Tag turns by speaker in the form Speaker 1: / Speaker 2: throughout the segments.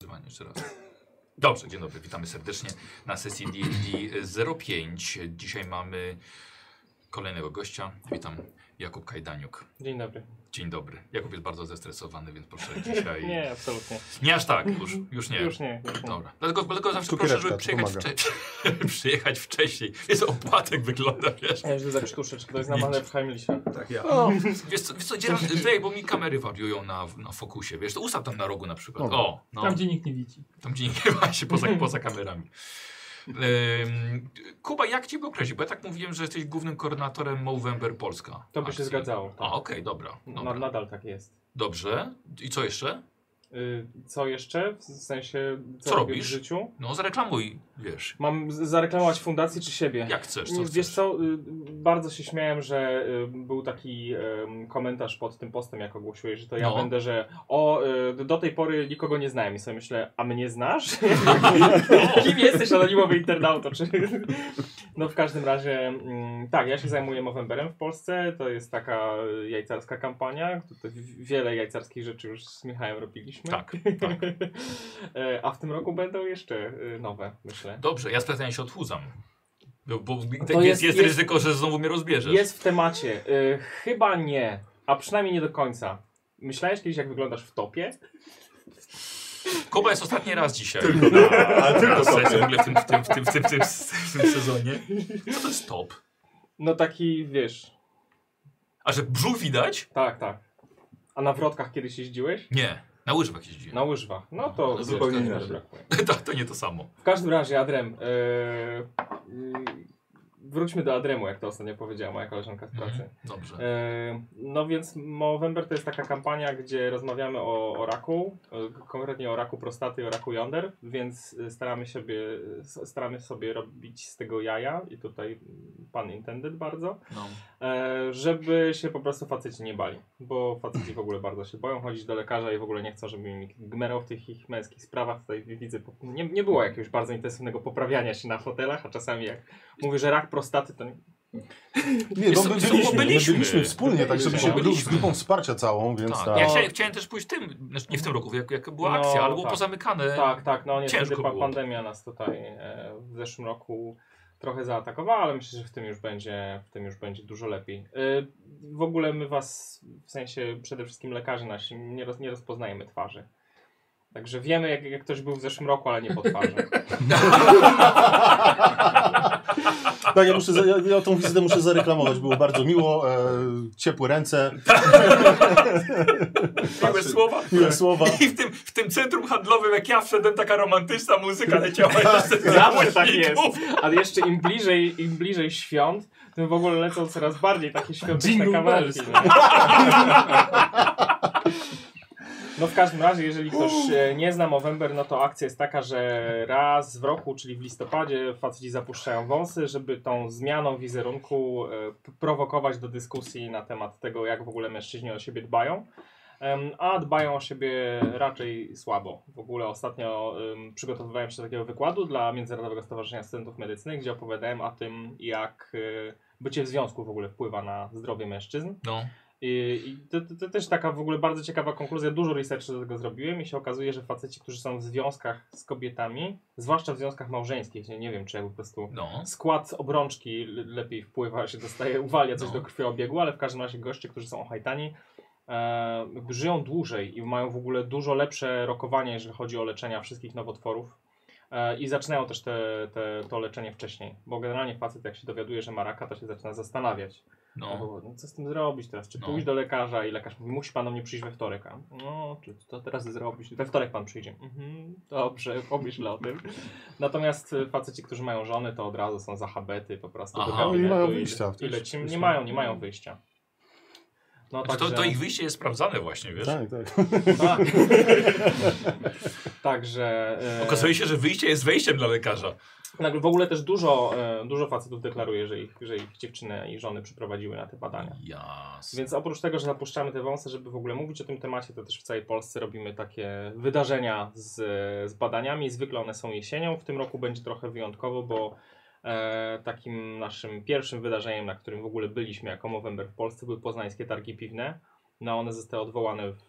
Speaker 1: Wzywanie jeszcze raz. Dobrze, dzień dobry, witamy serdecznie na sesji D&D 05. Dzisiaj mamy kolejnego gościa. Witam, Jakub Kajdaniuk.
Speaker 2: Dzień dobry.
Speaker 1: Dzień dobry. Jakub jest bardzo zestresowany, więc proszę dzisiaj...
Speaker 2: Nie, absolutnie.
Speaker 1: Nie aż tak, już, już nie.
Speaker 2: Już nie. Już nie.
Speaker 1: Dobra. Dlatego, dlatego zawsze
Speaker 3: Tu
Speaker 1: proszę,
Speaker 3: kirewka,
Speaker 1: żeby przyjechać,
Speaker 3: pomaga.
Speaker 1: wcze- przyjechać wcześniej. Jest opłatek wygląda, wiesz.
Speaker 2: Ja już za krztuszeczkę, to jest namane w Heimlicha.
Speaker 1: No.
Speaker 3: Tak, ja.
Speaker 1: Wiesz co, wiesz co dzielam, tutaj, bo mi kamery wariują na, na fokusie, wiesz, to ustaw tam na rogu na przykład.
Speaker 3: Dobra.
Speaker 1: O, no.
Speaker 4: Tam, gdzie nikt nie widzi.
Speaker 1: Tam gdzie nie ma się poza, poza kamerami. Ym, Kuba, jak cię by określić? Bo ja tak mówiłem, że jesteś głównym koordynatorem Movember Polska.
Speaker 2: To by się
Speaker 1: akcji.
Speaker 2: zgadzało.
Speaker 1: A,
Speaker 2: Tak.
Speaker 1: okej, dobra.
Speaker 2: Na,
Speaker 1: dobra.
Speaker 2: nadal tak jest.
Speaker 1: Dobrze. I co jeszcze?
Speaker 2: Y, co jeszcze? W sensie, co,
Speaker 1: Co
Speaker 2: robię
Speaker 1: robisz?
Speaker 2: w życiu?
Speaker 1: No zareklamuj, wiesz.
Speaker 2: Mam z- zareklamować fundację czy siebie?
Speaker 1: Jak chcesz, co
Speaker 2: Wiesz
Speaker 1: chcesz.
Speaker 2: co, y, bardzo się śmiałem, że y, był taki em, komentarz pod tym postem, jak ogłosiłeś, że to ja
Speaker 1: No.
Speaker 2: będę, że o, y, do tej pory nikogo nie znałem i sobie myślę, a mnie znasz? Kim jesteś, anonimowy internauto? Czy... No w każdym razie, mm, tak, ja się zajmuję Movemberem w Polsce, to jest taka y, jajcarska kampania, tutaj w- wiele jajcarskich rzeczy już z Michałem robiliśmy.
Speaker 1: Tak, tak.
Speaker 2: E, a w tym roku będą jeszcze y, nowe, myślę.
Speaker 1: Dobrze, ja specjalnie się odchudzam. Bo, bo tak
Speaker 2: jest-
Speaker 1: jest, jest,
Speaker 2: jest-
Speaker 1: ryzyko, że znowu mnie rozbierzesz.
Speaker 2: Jest w temacie. Y, chyba nie, a przynajmniej nie do końca. Myślałeś kiedyś, jak wyglądasz w topie?
Speaker 1: Kuba jest ostatni raz dzisiaj.
Speaker 3: Tylko na-
Speaker 1: A,
Speaker 3: a tylko
Speaker 1: teraz
Speaker 3: sobie.
Speaker 1: w ogóle w tym, w tym, w tym, w tym, w tym, w tym sezonie. Co to jest top?
Speaker 2: No taki, wiesz,
Speaker 1: A że brzuch widać?
Speaker 2: tak, tak. A na wrotkach kiedyś jeździłeś?
Speaker 1: Nie. Na łyżwach jeździłem.
Speaker 2: Na łyżwach. No to
Speaker 1: No,
Speaker 3: zupełnie
Speaker 2: wiesz,
Speaker 3: inaczej.
Speaker 2: brakuje.
Speaker 1: to, to nie to samo.
Speaker 2: W każdym razie, Adrem. y, y, wróćmy do Adremu, jak to ostatnio powiedziała moja koleżanka z pracy.
Speaker 1: Mhm. Dobrze.
Speaker 2: E, No więc Movember to jest taka kampania, gdzie rozmawiamy o, o raku, e, konkretnie o raku prostaty i o raku jąder, więc e, staramy, siebie, s- staramy sobie robić z tego jaja i tutaj mm, pan intended bardzo,
Speaker 1: No.
Speaker 2: e, żeby się po prostu faceci nie bali, bo faceci w ogóle bardzo się boją chodzić do lekarza i w ogóle nie chcą, żeby im gmerał w tych ich męskich sprawach. Tutaj widzę, po- nie, nie było jakiegoś bardzo intensywnego poprawiania się na fotelach, a czasami jak mówię, że rak prostaty, to nie-
Speaker 3: Nie, no, by,
Speaker 1: Są- są-
Speaker 3: byliśmy,
Speaker 1: byliśmy.
Speaker 3: byliśmy, byliśmy wspólnie, tak żeby się
Speaker 1: Byliśmy.
Speaker 3: byli z grupą wsparcia całą, więc
Speaker 1: Tak.
Speaker 3: tak.
Speaker 1: Ja chciałem, chciałem też pójść w tym, znaczy nie w tym roku, jak, jak była
Speaker 2: No,
Speaker 1: akcja, ale było
Speaker 2: tak.
Speaker 1: pozamykane.
Speaker 2: Tak, tak, no niestety
Speaker 1: Ciężko
Speaker 2: pa
Speaker 1: było.
Speaker 2: pandemia nas tutaj e, w zeszłym roku trochę zaatakowała, ale myślę, że w tym już będzie, w tym już będzie dużo lepiej. E, w ogóle my was, w sensie przede wszystkim lekarzy nasi, nie, roz, nie rozpoznajemy twarzy. Także wiemy, jak, jak ktoś był w zeszłym roku, ale nie po twarzy.
Speaker 1: No,
Speaker 3: Tak, ja, muszę, za- ja, ja tą wizytę muszę zareklamować, było bardzo miło, e, ciepłe ręce,
Speaker 1: Miłe słowa.
Speaker 3: miłe słowa.
Speaker 1: I w tym, w tym centrum handlowym, jak ja wszedłem, taka romantyczna muzyka leciała. jeszcze z
Speaker 2: Zawsze tak
Speaker 1: głośników.
Speaker 2: Ale jeszcze im bliżej, im bliżej świąt, tym w ogóle lecą coraz bardziej takie świąteczne
Speaker 4: Jingle
Speaker 2: kawałki.
Speaker 4: bells.
Speaker 2: No. no w każdym razie, jeżeli ktoś e, nie zna Movember, no to akcja jest taka, że raz w roku, czyli w listopadzie, faceci zapuszczają wąsy, żeby tą zmianą wizerunku e, p- prowokować do dyskusji na temat tego, jak w ogóle mężczyźni o siebie dbają. Em, a dbają o siebie raczej słabo. W ogóle ostatnio em, przygotowywałem się do takiego wykładu dla Międzynarodowego Stowarzyszenia Studentów Medycyny, gdzie opowiadałem o tym, jak y, bycie w związku w ogóle wpływa na zdrowie mężczyzn.
Speaker 1: No,
Speaker 2: I, i to, to, to też taka w ogóle bardzo ciekawa konkluzja. Dużo researchu do tego zrobiłem i się okazuje, że faceci, którzy są w związkach z kobietami, zwłaszcza w związkach małżeńskich, nie, nie wiem czy ja po prostu
Speaker 1: no.
Speaker 2: skład obrączki le- lepiej wpływa, się dostaje, uwalia coś
Speaker 1: No.
Speaker 2: do krwioobiegu, ale w każdym razie goście, którzy są ohajtani, e, żyją dłużej i mają w ogóle dużo lepsze rokowanie, jeżeli chodzi o leczenia wszystkich nowotworów. E, I zaczynają też te, te, to leczenie wcześniej, bo generalnie facet jak się dowiaduje, że ma raka, to się zaczyna zastanawiać.
Speaker 1: no.
Speaker 2: No, co z tym zrobić teraz? Czy
Speaker 1: No.
Speaker 2: pójść do lekarza i lekarz mówi, musi pan do mnie przyjść we wtorek. A? No, czy to teraz zrobić? We wtorek pan przyjdzie. Mhm, dobrze, pomyśl o tym. Natomiast y, faceci, którzy mają żony, to od razu są zachabety po prostu.
Speaker 1: Aha.
Speaker 2: do
Speaker 1: No i
Speaker 3: nie
Speaker 2: gabinetu
Speaker 3: mają
Speaker 2: i-
Speaker 3: wyjścia w
Speaker 2: I
Speaker 3: tym
Speaker 2: lecimy. Nie
Speaker 3: wszystkim.
Speaker 2: mają, nie mają wyjścia. No
Speaker 1: Znaczy, to, to ich wyjście jest sprawdzane właśnie, wiesz?
Speaker 3: Tak, tak.
Speaker 2: tak. Także... e,
Speaker 1: Okazuje się, że wyjście jest wejściem dla lekarza.
Speaker 2: Nagle w ogóle też dużo, e, dużo facetów deklaruje, że ich, że ich dziewczyny i żony przyprowadziły na te badania.
Speaker 1: Jasne.
Speaker 2: Więc oprócz tego, że zapuszczamy te wąsy, żeby w ogóle mówić o tym temacie, to też w całej Polsce robimy takie wydarzenia z, z badaniami. Zwykle one są jesienią. W tym roku będzie trochę wyjątkowo, bo e, takim naszym pierwszym wydarzeniem, na którym w ogóle byliśmy jako Movember w Polsce, były poznańskie targi piwne. No one zostały odwołane w,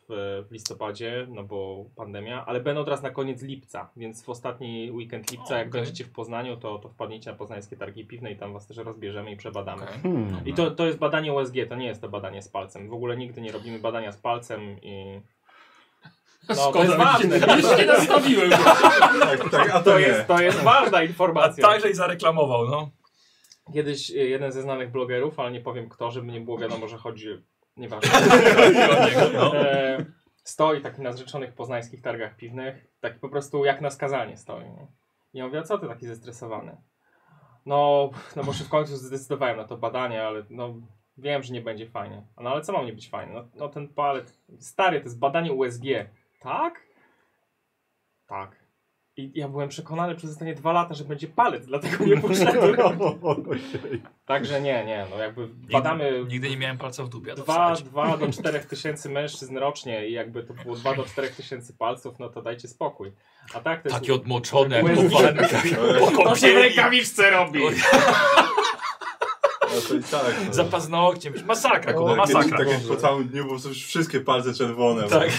Speaker 2: w listopadzie, no bo pandemia, ale będą teraz na koniec lipca, więc w ostatni weekend lipca,
Speaker 1: O,
Speaker 2: jak
Speaker 1: okej.
Speaker 2: będziecie w Poznaniu, to, to wpadnijcie na poznańskie targi piwne i tam was też rozbierzemy i przebadamy.
Speaker 1: Okej.
Speaker 3: Hmm.
Speaker 2: I to, to jest badanie USG, to nie jest to badanie z palcem. W ogóle nigdy nie robimy badania z palcem i... No, to jest ważne.
Speaker 4: Jeszcze nie nastawiłem go.
Speaker 3: Tak, tak, a
Speaker 2: To jest, to jest ważna
Speaker 4: A
Speaker 2: informacja.
Speaker 4: także i zareklamował, no.
Speaker 2: Kiedyś y, jeden ze znanych blogerów, ale nie powiem kto, żeby nie było wiadomo, że chodzi. Nieważne.
Speaker 1: No.
Speaker 2: e, stoi taki na zrzeczonych poznańskich targach piwnych, taki po prostu jak na skazanie stoi. Nie? I ja mówię, a co ty taki zestresowany? No, no bo się w końcu zdecydowałem na to badanie, ale no wiem, że nie będzie fajnie. A No ale co mam nie być fajne? No, no ten palet, stary, to jest badanie USG. Tak? Tak. I ja byłem przekonany przez ostatnie dwa lata, że będzie palet, dlatego nie
Speaker 5: No.
Speaker 2: poszedłem. Także nie, nie, no jakby badamy
Speaker 1: Nigdy, nigdy nie miałem palca w dupie. a to
Speaker 2: dwa,
Speaker 1: wsadź.
Speaker 2: dwa do czterech tysięcy mężczyzn rocznie i jakby to było dwa do czterech tysięcy palców, no to dajcie spokój. A tak to jest...
Speaker 1: Takie odmoczone, jak
Speaker 2: Łez-
Speaker 1: po walentkach,
Speaker 3: No
Speaker 1: po
Speaker 2: to się w
Speaker 1: kąpieli,
Speaker 2: rękawiczce robi!
Speaker 3: tak. no.
Speaker 1: za paznokciem. Masakra,
Speaker 3: O, tak.
Speaker 1: Kuba,
Speaker 3: kiedyś
Speaker 1: masakra.
Speaker 3: Takie po całym dniu, bo już wszystkie palce czerwone.
Speaker 1: Tak.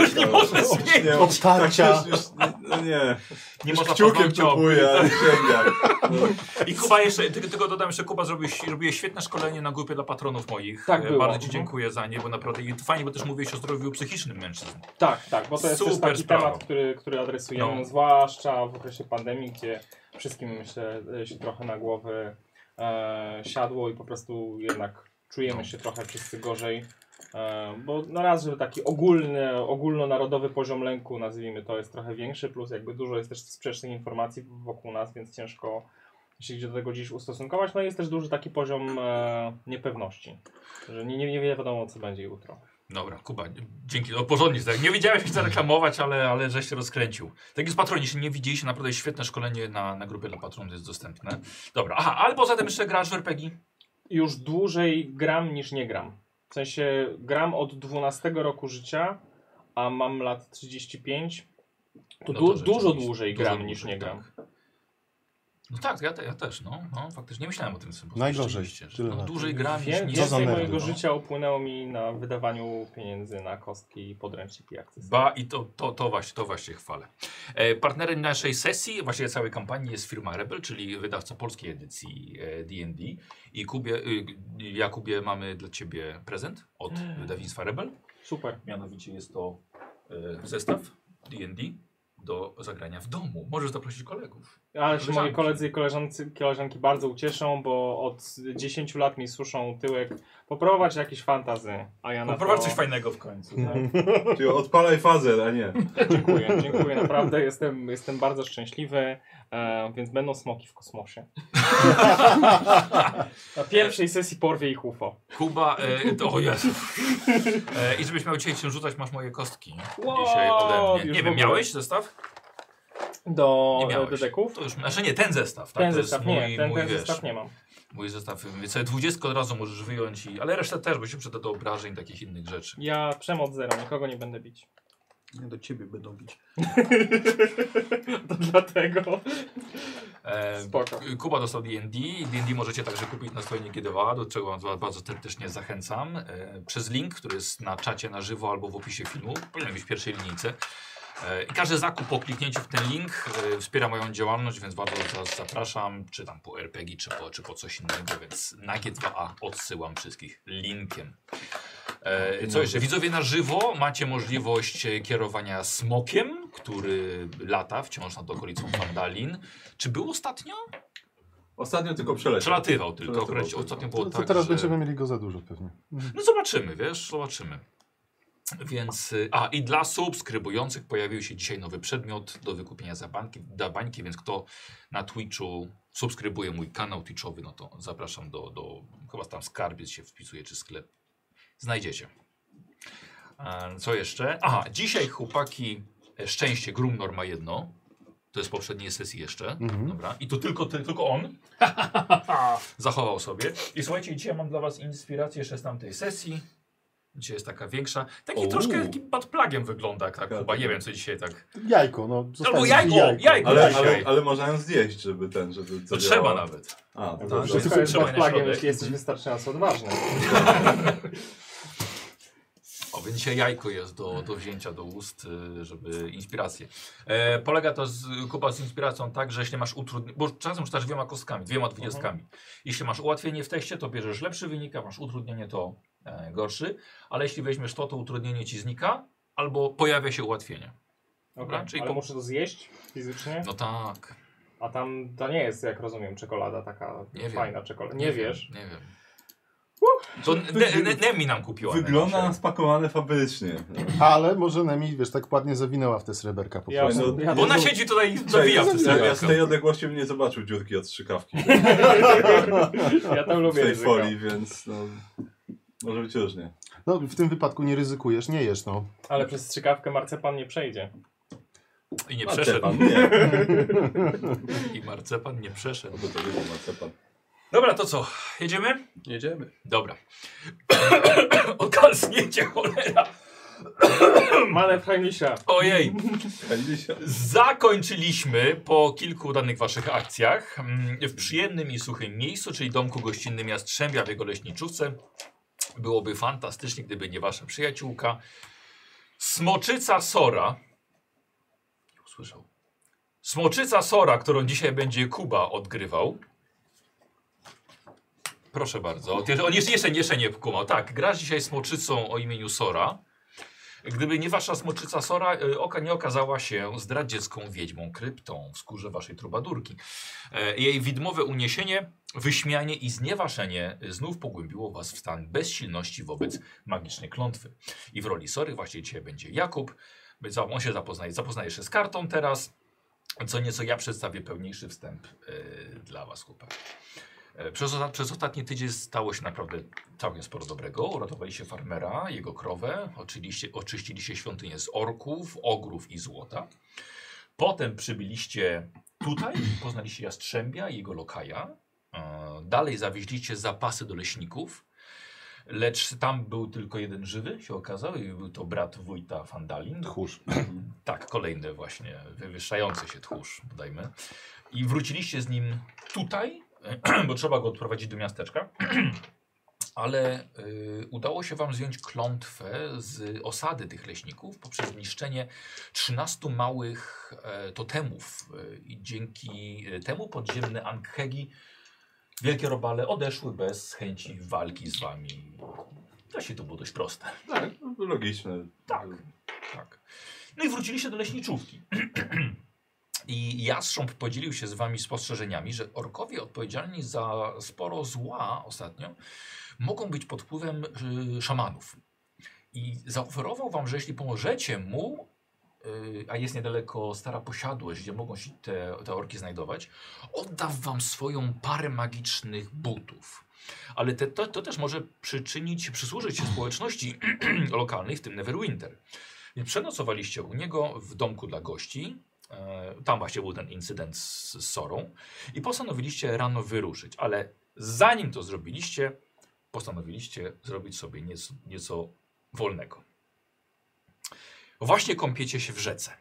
Speaker 3: Już nie
Speaker 1: można
Speaker 3: Nie,
Speaker 1: zmienić.
Speaker 3: tak,
Speaker 5: Obtarcia.
Speaker 3: już, już, no nie.
Speaker 1: Nie
Speaker 3: Już
Speaker 1: można
Speaker 3: kciukiem
Speaker 1: paznokcia
Speaker 3: kupuję, a nie sięgam. No.
Speaker 1: I Kuba jeszcze, tylko, tylko dodam jeszcze, Kuba zrobiłeś, robiłeś świetne szkolenie na grupie dla patronów moich.
Speaker 2: Tak
Speaker 1: E,
Speaker 2: było.
Speaker 1: Bardzo Ci
Speaker 2: Mhm.
Speaker 1: dziękuję za nie, bo naprawdę i to fajnie, bo też mówiłeś o zdrowiu psychicznym mężczyzn.
Speaker 2: Tak, tak, bo to jest też
Speaker 1: Super
Speaker 2: taki
Speaker 1: sprawa.
Speaker 2: temat, który, który adresujemy,
Speaker 1: No.
Speaker 2: zwłaszcza w okresie pandemii, gdzie wszystkim myślę e, się trochę na głowy e, siadło i po prostu jednak
Speaker 1: No.
Speaker 2: czujemy się trochę wszyscy gorzej. E, bo no raz, że taki ogólny, ogólnonarodowy poziom lęku, nazwijmy to, jest trochę większy, plus jakby dużo jest też sprzecznych informacji wokół nas, więc ciężko się gdzie do tego dziś ustosunkować. No i jest też duży taki poziom e, niepewności, że nie, nie, nie wiadomo, co będzie jutro.
Speaker 1: Dobra, Kuba, dzięki, no porządnie, tak. nie wiedziałem jak zareklamować, ale, ale żeś się rozkręcił. Tak jest patroni, jeśli nie widzieliście, naprawdę świetne szkolenie na, na grupie dla patronów jest dostępne. Dobra, aha, ale poza tym jeszcze grasz w RPG?
Speaker 2: już dłużej gram niż nie gram. W sensie gram od 12 roku życia, a mam lat 35. To,
Speaker 1: No
Speaker 2: du-
Speaker 1: rzeczywiście,
Speaker 2: dużo dłużej
Speaker 1: dużo
Speaker 2: gram
Speaker 1: dłużej,
Speaker 2: niż nie gram.
Speaker 1: Tak. No tak, ja, te, ja też, no, no faktycznie nie myślałem o tym symbolu.
Speaker 5: Najgorzej,
Speaker 1: Że,
Speaker 5: tyle
Speaker 1: no,
Speaker 5: lat.
Speaker 1: dłużej gram niż
Speaker 2: Wie,
Speaker 1: nie
Speaker 5: Co za
Speaker 2: więcej
Speaker 5: nerdy,
Speaker 2: mojego
Speaker 5: no.
Speaker 2: życia upłynęło mi na wydawaniu pieniędzy na kostki, podręczniki i akcesoria.
Speaker 1: Ba i to, to, to właśnie, to właśnie chwalę. E, partnerem naszej sesji, właściwie całej kampanii jest firma Rebel, czyli wydawca polskiej edycji e, D&D. I Kubie, y, Jakubie mamy dla Ciebie prezent od wydawnictwa Rebel.
Speaker 2: Super.
Speaker 1: Mm. Mianowicie jest to e, zestaw D&D do zagrania w domu. Możesz zaprosić kolegów.
Speaker 2: Ale się moi
Speaker 1: Koleżanki.
Speaker 2: koledzy i koleżanki, koleżanki bardzo ucieszą, bo od 10 lat mi suszą tyłek. Poprowadź jakieś fantazy, a ja na
Speaker 1: Poprowadź
Speaker 2: to...
Speaker 1: coś fajnego w końcu.
Speaker 2: Tak.
Speaker 3: Czyli odpalaj fazę, a nie.
Speaker 2: Dziękuję, dziękuję, naprawdę jestem, jestem bardzo szczęśliwy, e, więc będą smoki w kosmosie. Na pierwszej sesji porwie ich UFO.
Speaker 1: Kuba, e, to o Jezu. E, I żebyś miał dzisiaj się rzucać, masz moje kostki dzisiaj ode
Speaker 2: Wow,
Speaker 1: mnie.
Speaker 2: już
Speaker 1: Nie
Speaker 2: w
Speaker 1: wiem,
Speaker 2: ogóle.
Speaker 1: miałeś zestaw?
Speaker 2: Do
Speaker 1: Nie
Speaker 2: do
Speaker 1: miałeś.
Speaker 2: dedeków.
Speaker 1: To już, znaczy nie, ten zestaw. Tak?
Speaker 2: Ten
Speaker 1: to jest
Speaker 2: zestaw
Speaker 1: mój,
Speaker 2: nie, ten,
Speaker 1: mój,
Speaker 2: ten
Speaker 1: wiesz,
Speaker 2: zestaw nie mam.
Speaker 1: mój zestaw. Więc sobie 20 od razu możesz wyjąć, i, ale resztę też, bo się przyda do obrażeń, takich innych rzeczy.
Speaker 2: Ja przemoc zero, nikogo nie będę bić.
Speaker 5: Nie do ciebie będą bić.
Speaker 2: To dlatego.
Speaker 1: E,
Speaker 2: Spoko.
Speaker 1: Kuba dostał D&D. D&D możecie także kupić na stronie GDWA, do czego was bardzo serdecznie zachęcam. E, przez link, który jest na czacie na żywo albo w opisie filmu, powinien być w pierwszej linijce. E, I każdy zakup po kliknięciu w ten link e, wspiera moją działalność, więc bardzo was zapraszam, czy tam po RPG, czy po, czy po coś innego, więc na G2A odsyłam wszystkich linkiem. E, co jeszcze? Widzowie na żywo macie możliwość e, kierowania smokiem, który lata wciąż nad okolicą Wandalin. Czy był ostatnio?
Speaker 3: Ostatnio tylko przeleciał.
Speaker 1: Przelatywał tylko.
Speaker 3: Przelatywał
Speaker 1: Akurat
Speaker 3: tylko.
Speaker 1: ostatnio było
Speaker 5: To, to
Speaker 1: tak,
Speaker 5: teraz
Speaker 1: że...
Speaker 5: będziemy mieli go za dużo pewnie.
Speaker 1: No zobaczymy, wiesz, zobaczymy. Więc, y, a i dla subskrybujących pojawił się dzisiaj nowy przedmiot do wykupienia za bańki, dla bańki, więc kto na Twitchu subskrybuje mój kanał Twitchowy, no to zapraszam do, do chyba tam skarbiec się wpisuje, czy sklep. Znajdziecie. E, Co jeszcze? Aha, dzisiaj chłopaki, e, szczęście, Grumnor ma jedno. To jest poprzedniej sesji jeszcze.
Speaker 5: Mhm.
Speaker 1: Dobra. I to tylko, ty, tylko on zachował sobie. I słuchajcie, dzisiaj mam dla was inspirację jeszcze z tamtej sesji. Dzisiaj jest taka większa. Taki
Speaker 3: Ouu.
Speaker 1: troszkę takim bad plagiem wygląda, jak tak
Speaker 3: Tak.
Speaker 1: Kuba. Nie wiem, co dzisiaj tak.
Speaker 5: Jajko, no. zostawię
Speaker 1: jajko,
Speaker 5: jajko.
Speaker 1: jajko.
Speaker 3: Ale,
Speaker 1: Dzisiaj.
Speaker 3: ale, ale można ją zjeść, żeby ten, żeby
Speaker 1: To
Speaker 3: zadziałało.
Speaker 1: trzeba nawet.
Speaker 3: A, to
Speaker 5: Tak,
Speaker 3: dobrze.
Speaker 5: że
Speaker 2: Wszystko jest
Speaker 1: Trzymaj
Speaker 2: pod
Speaker 1: na
Speaker 2: flagiem,
Speaker 1: środek.
Speaker 2: jeśli jesteś wystarczająco odważny.
Speaker 1: jajko, więc dzisiaj jajko jest do, do wzięcia do ust, y, żeby inspirację. E, polega to z, kupa z inspiracją tak, że jeśli masz utrudnienie, bo czasem czytasz dwiema kostkami, dwiema dwudziestkami. Jeśli masz ułatwienie w tekście, to bierzesz lepszy wynik, a masz utrudnienie, to e, gorszy, ale jeśli weźmiesz to, to utrudnienie ci znika, albo pojawia się ułatwienie.
Speaker 2: Dobra,
Speaker 1: Dobra, czyli
Speaker 2: ale
Speaker 1: po-
Speaker 2: muszę to zjeść fizycznie,
Speaker 1: No tak,
Speaker 2: a tam to nie jest, jak rozumiem, czekolada taka
Speaker 1: Nie wiem.
Speaker 2: fajna czekolada. Nie, wiesz?
Speaker 1: Wiem, nie wiem. To ne, ne, Nemi nam kupiła.
Speaker 6: Wygląda na
Speaker 1: najnowsze.
Speaker 6: spakowane fabrycznie.
Speaker 5: Ale może Nemi, wiesz, tak ładnie zawinęła w te sreberka po
Speaker 2: Ja-
Speaker 5: prostu.
Speaker 6: No,
Speaker 2: ja-
Speaker 1: Bo ona siedzi tutaj i zawija
Speaker 6: Zabija
Speaker 1: w tym
Speaker 6: ja z
Speaker 1: serwisku.
Speaker 6: tej odległości bym nie zobaczył dziurki od strzykawki
Speaker 2: Ja tam
Speaker 6: w
Speaker 2: lubię
Speaker 6: tej
Speaker 2: języka.
Speaker 6: folii, więc no, może być różnie.
Speaker 5: No, w tym wypadku nie ryzykujesz, nie jesz, no.
Speaker 2: Ale przez strzykawkę marcepan nie przejdzie.
Speaker 1: I nie przeszedł.
Speaker 6: Marcepan, nie.
Speaker 1: I marcepan nie przeszedł.
Speaker 6: Oby to było marcepan.
Speaker 1: Dobra, to co? Jedziemy?
Speaker 7: Jedziemy.
Speaker 1: Dobra. Okalsniecie, cholera.
Speaker 2: Manewr Heimlicha.
Speaker 1: Ojej.
Speaker 6: Elisia.
Speaker 1: Zakończyliśmy po kilku udanych waszych akcjach mm, w przyjemnym i suchym miejscu, czyli domku gościnnym Jastrzębia w jego leśniczówce. Byłoby fantastycznie, gdyby nie wasza przyjaciółka. Smoczyca Sora. Nie usłyszał. Smoczyca Sora, którą dzisiaj będzie Kuba odgrywał. Proszę bardzo. On jeszcze, jeszcze, jeszcze nie kumał. Tak, grasz dzisiaj smoczycą o imieniu Sora. Gdyby nie wasza smoczyca Sora, y, oka nie okazała się zdradziecką wiedźmą kryptą w skórze waszej trubadurki. E, Jej widmowe uniesienie, wyśmianie i znieważenie znów pogłębiło was w stan bezsilności wobec magicznej klątwy. I w roli Sory właśnie dzisiaj będzie Jakub. By- za- On się zapoznaje, zapoznaje się z kartą teraz. Co nieco ja przedstawię pełniejszy wstęp y, dla was, chłopaki. E, Przez, osta- przez ostatni tydzień stało się naprawdę całkiem sporo dobrego. Uratowaliście farmera, jego krowę, oczywiście, oczyściliście świątynię z orków, ogrów i złota. Potem przybyliście tutaj, poznaliście Jastrzębia i jego lokaja. E, Dalej zawieźliście zapasy do leśników, lecz tam był tylko jeden żywy, się okazało, i był to brat wójta Fandalin.
Speaker 5: Tchórz.
Speaker 1: Tak, kolejny właśnie wywyższający się tchórz, dajmy. I wróciliście z nim tutaj, bo trzeba go odprowadzić do miasteczka. Ale y, udało się wam zdjąć klątwę z osady tych leśników poprzez zniszczenie 13 małych e, totemów. Y, I dzięki y, temu podziemne Ankhegi, wielkie robale odeszły bez chęci walki z wami. To się to było dość proste.
Speaker 6: Tak, logiczne.
Speaker 1: Tak. Tak. No i wróciliście do leśniczówki. I Jastrząb podzielił się z wami spostrzeżeniami, że orkowie odpowiedzialni za sporo zła ostatnio mogą być pod wpływem y, szamanów. I zaoferował wam, że jeśli pomożecie mu, y, a jest niedaleko stara posiadłość, gdzie mogą się te, te orki znajdować, odda wam swoją parę magicznych butów. Ale te, to, to też może przyczynić, się, przysłużyć się społeczności lokalnej, w tym Neverwinter. Więc przenocowaliście u niego w domku dla gości. E, Tam właśnie był ten incydent z z Sorą. I postanowiliście rano wyruszyć, ale zanim to zrobiliście, postanowiliście zrobić sobie nieco, nieco wolnego. Właśnie kąpiecie się w rzece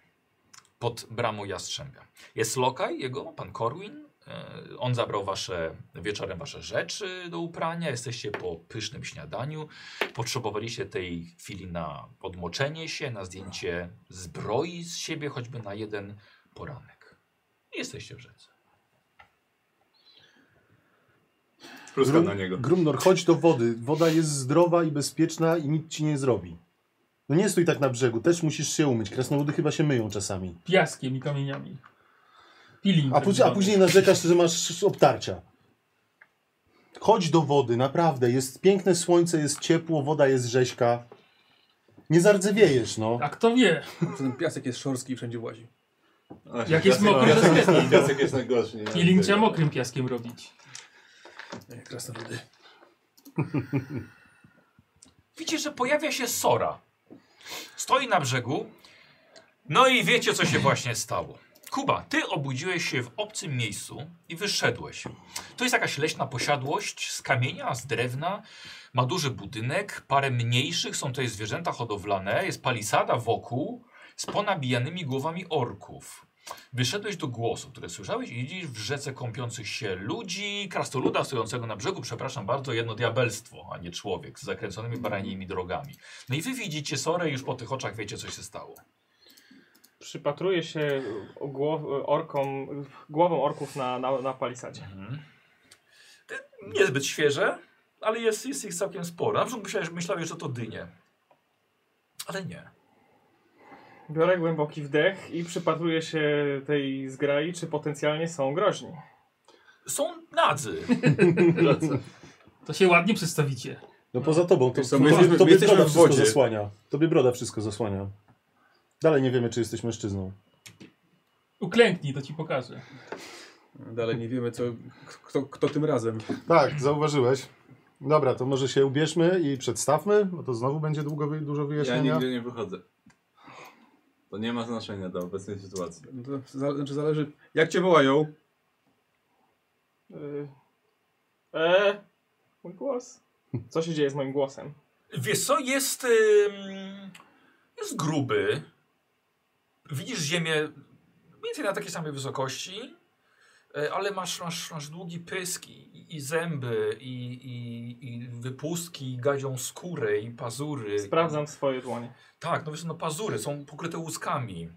Speaker 1: pod bramą Jastrzębia. Jest lokaj jego, pan Corwin. E, On zabrał wasze, wieczorem wasze rzeczy do uprania. Jesteście po pysznym śniadaniu. Potrzebowaliście tej chwili na odmoczenie się, na zdjęcie zbroi z siebie, choćby na jeden poranek. I Jesteście w rzece.
Speaker 6: Pluska na niego.
Speaker 5: Grumnor, chodź do wody. Woda jest zdrowa i bezpieczna i nic ci nie zrobi. No nie stój tak na brzegu, też musisz się umyć. Krasnoludy chyba się myją czasami.
Speaker 4: Piaskiem i kamieniami. Peeling.
Speaker 5: A,
Speaker 4: tak
Speaker 5: później, a
Speaker 4: zwany.
Speaker 5: później narzekasz, że masz obtarcia. Chodź do wody, naprawdę. Jest piękne słońce, jest ciepło, woda jest rzeźka. Nie zardzewiejesz, no.
Speaker 4: A kto wie?
Speaker 7: Ten piasek jest szorstki i wszędzie łazi.
Speaker 6: Właśnie,
Speaker 4: Jak jest
Speaker 6: piasek-
Speaker 4: mokry, to
Speaker 6: piasek-
Speaker 4: jest
Speaker 6: Piasek jest najgorszy. nie?
Speaker 4: Peeling trzeba mokrym piaskiem robić.
Speaker 7: Ej, Krasnoludy.
Speaker 1: Widzicie, że pojawia się Sora. Stoi na brzegu. No i wiecie, co się właśnie stało. Kuba, ty obudziłeś się w obcym miejscu i wyszedłeś. To jest jakaś leśna posiadłość z kamienia, z drewna. Ma duży budynek, parę mniejszych, są tutaj zwierzęta hodowlane, jest palisada wokół z ponabijanymi głowami orków. Wyszedłeś do głosu, które słyszałeś i widzisz w rzece kąpiących się ludzi, krastoluda stojącego na brzegu, przepraszam bardzo, jedno diabelstwo, a nie człowiek, z zakręconymi baranimi drogami. No i wy widzicie Sorę, już po tych oczach wiecie, co się stało.
Speaker 2: Przypatruję się głow, orkom, głową orków na, na, na palisadzie.
Speaker 1: Niezbyt świeże, ale jest, jest ich całkiem sporo. Na przykład myślałeś, myślałeś, że to dynie. Ale nie.
Speaker 2: Biorę głęboki wdech i przypatruję się tej zgrai, czy potencjalnie są groźni.
Speaker 1: Są nadzy.
Speaker 4: To się ładnie przedstawicie.
Speaker 5: No poza tobą, to,
Speaker 6: Wiesz co,
Speaker 5: to,
Speaker 6: my jesteśmy- my
Speaker 5: tobie
Speaker 6: jesteśmy
Speaker 5: broda
Speaker 6: w
Speaker 5: wszystko
Speaker 6: wodzie.
Speaker 5: zasłania. Tobie broda wszystko zasłania. Dalej nie wiemy, czy jesteś mężczyzną.
Speaker 4: Uklęknij, to ci pokażę.
Speaker 7: Dalej nie wiemy, co, kto, kto tym razem.
Speaker 5: Tak, zauważyłeś. Dobra, to może się ubierzmy i przedstawmy, bo to znowu będzie długo, wy- dużo
Speaker 6: Ja
Speaker 4: no,
Speaker 5: wyjaśnienia.
Speaker 6: nigdzie nie wychodzę. To nie ma znaczenia dla obecnej sytuacji.
Speaker 7: No To za, znaczy zależy, jak cię wołają.
Speaker 2: Yy. Eee, mój głos. Co się dzieje z moim głosem?
Speaker 1: Wiesz co, jest, ym, jest gruby. Widzisz ziemię mniej więcej na takiej samej wysokości, y, ale masz, masz, masz długi pysk i, i zęby, i, i, i wypustki, i gadzią skórę, i pazury.
Speaker 2: Sprawdzam swoje dłonie.
Speaker 1: Tak, no wiesz, no pazury są pokryte łuskami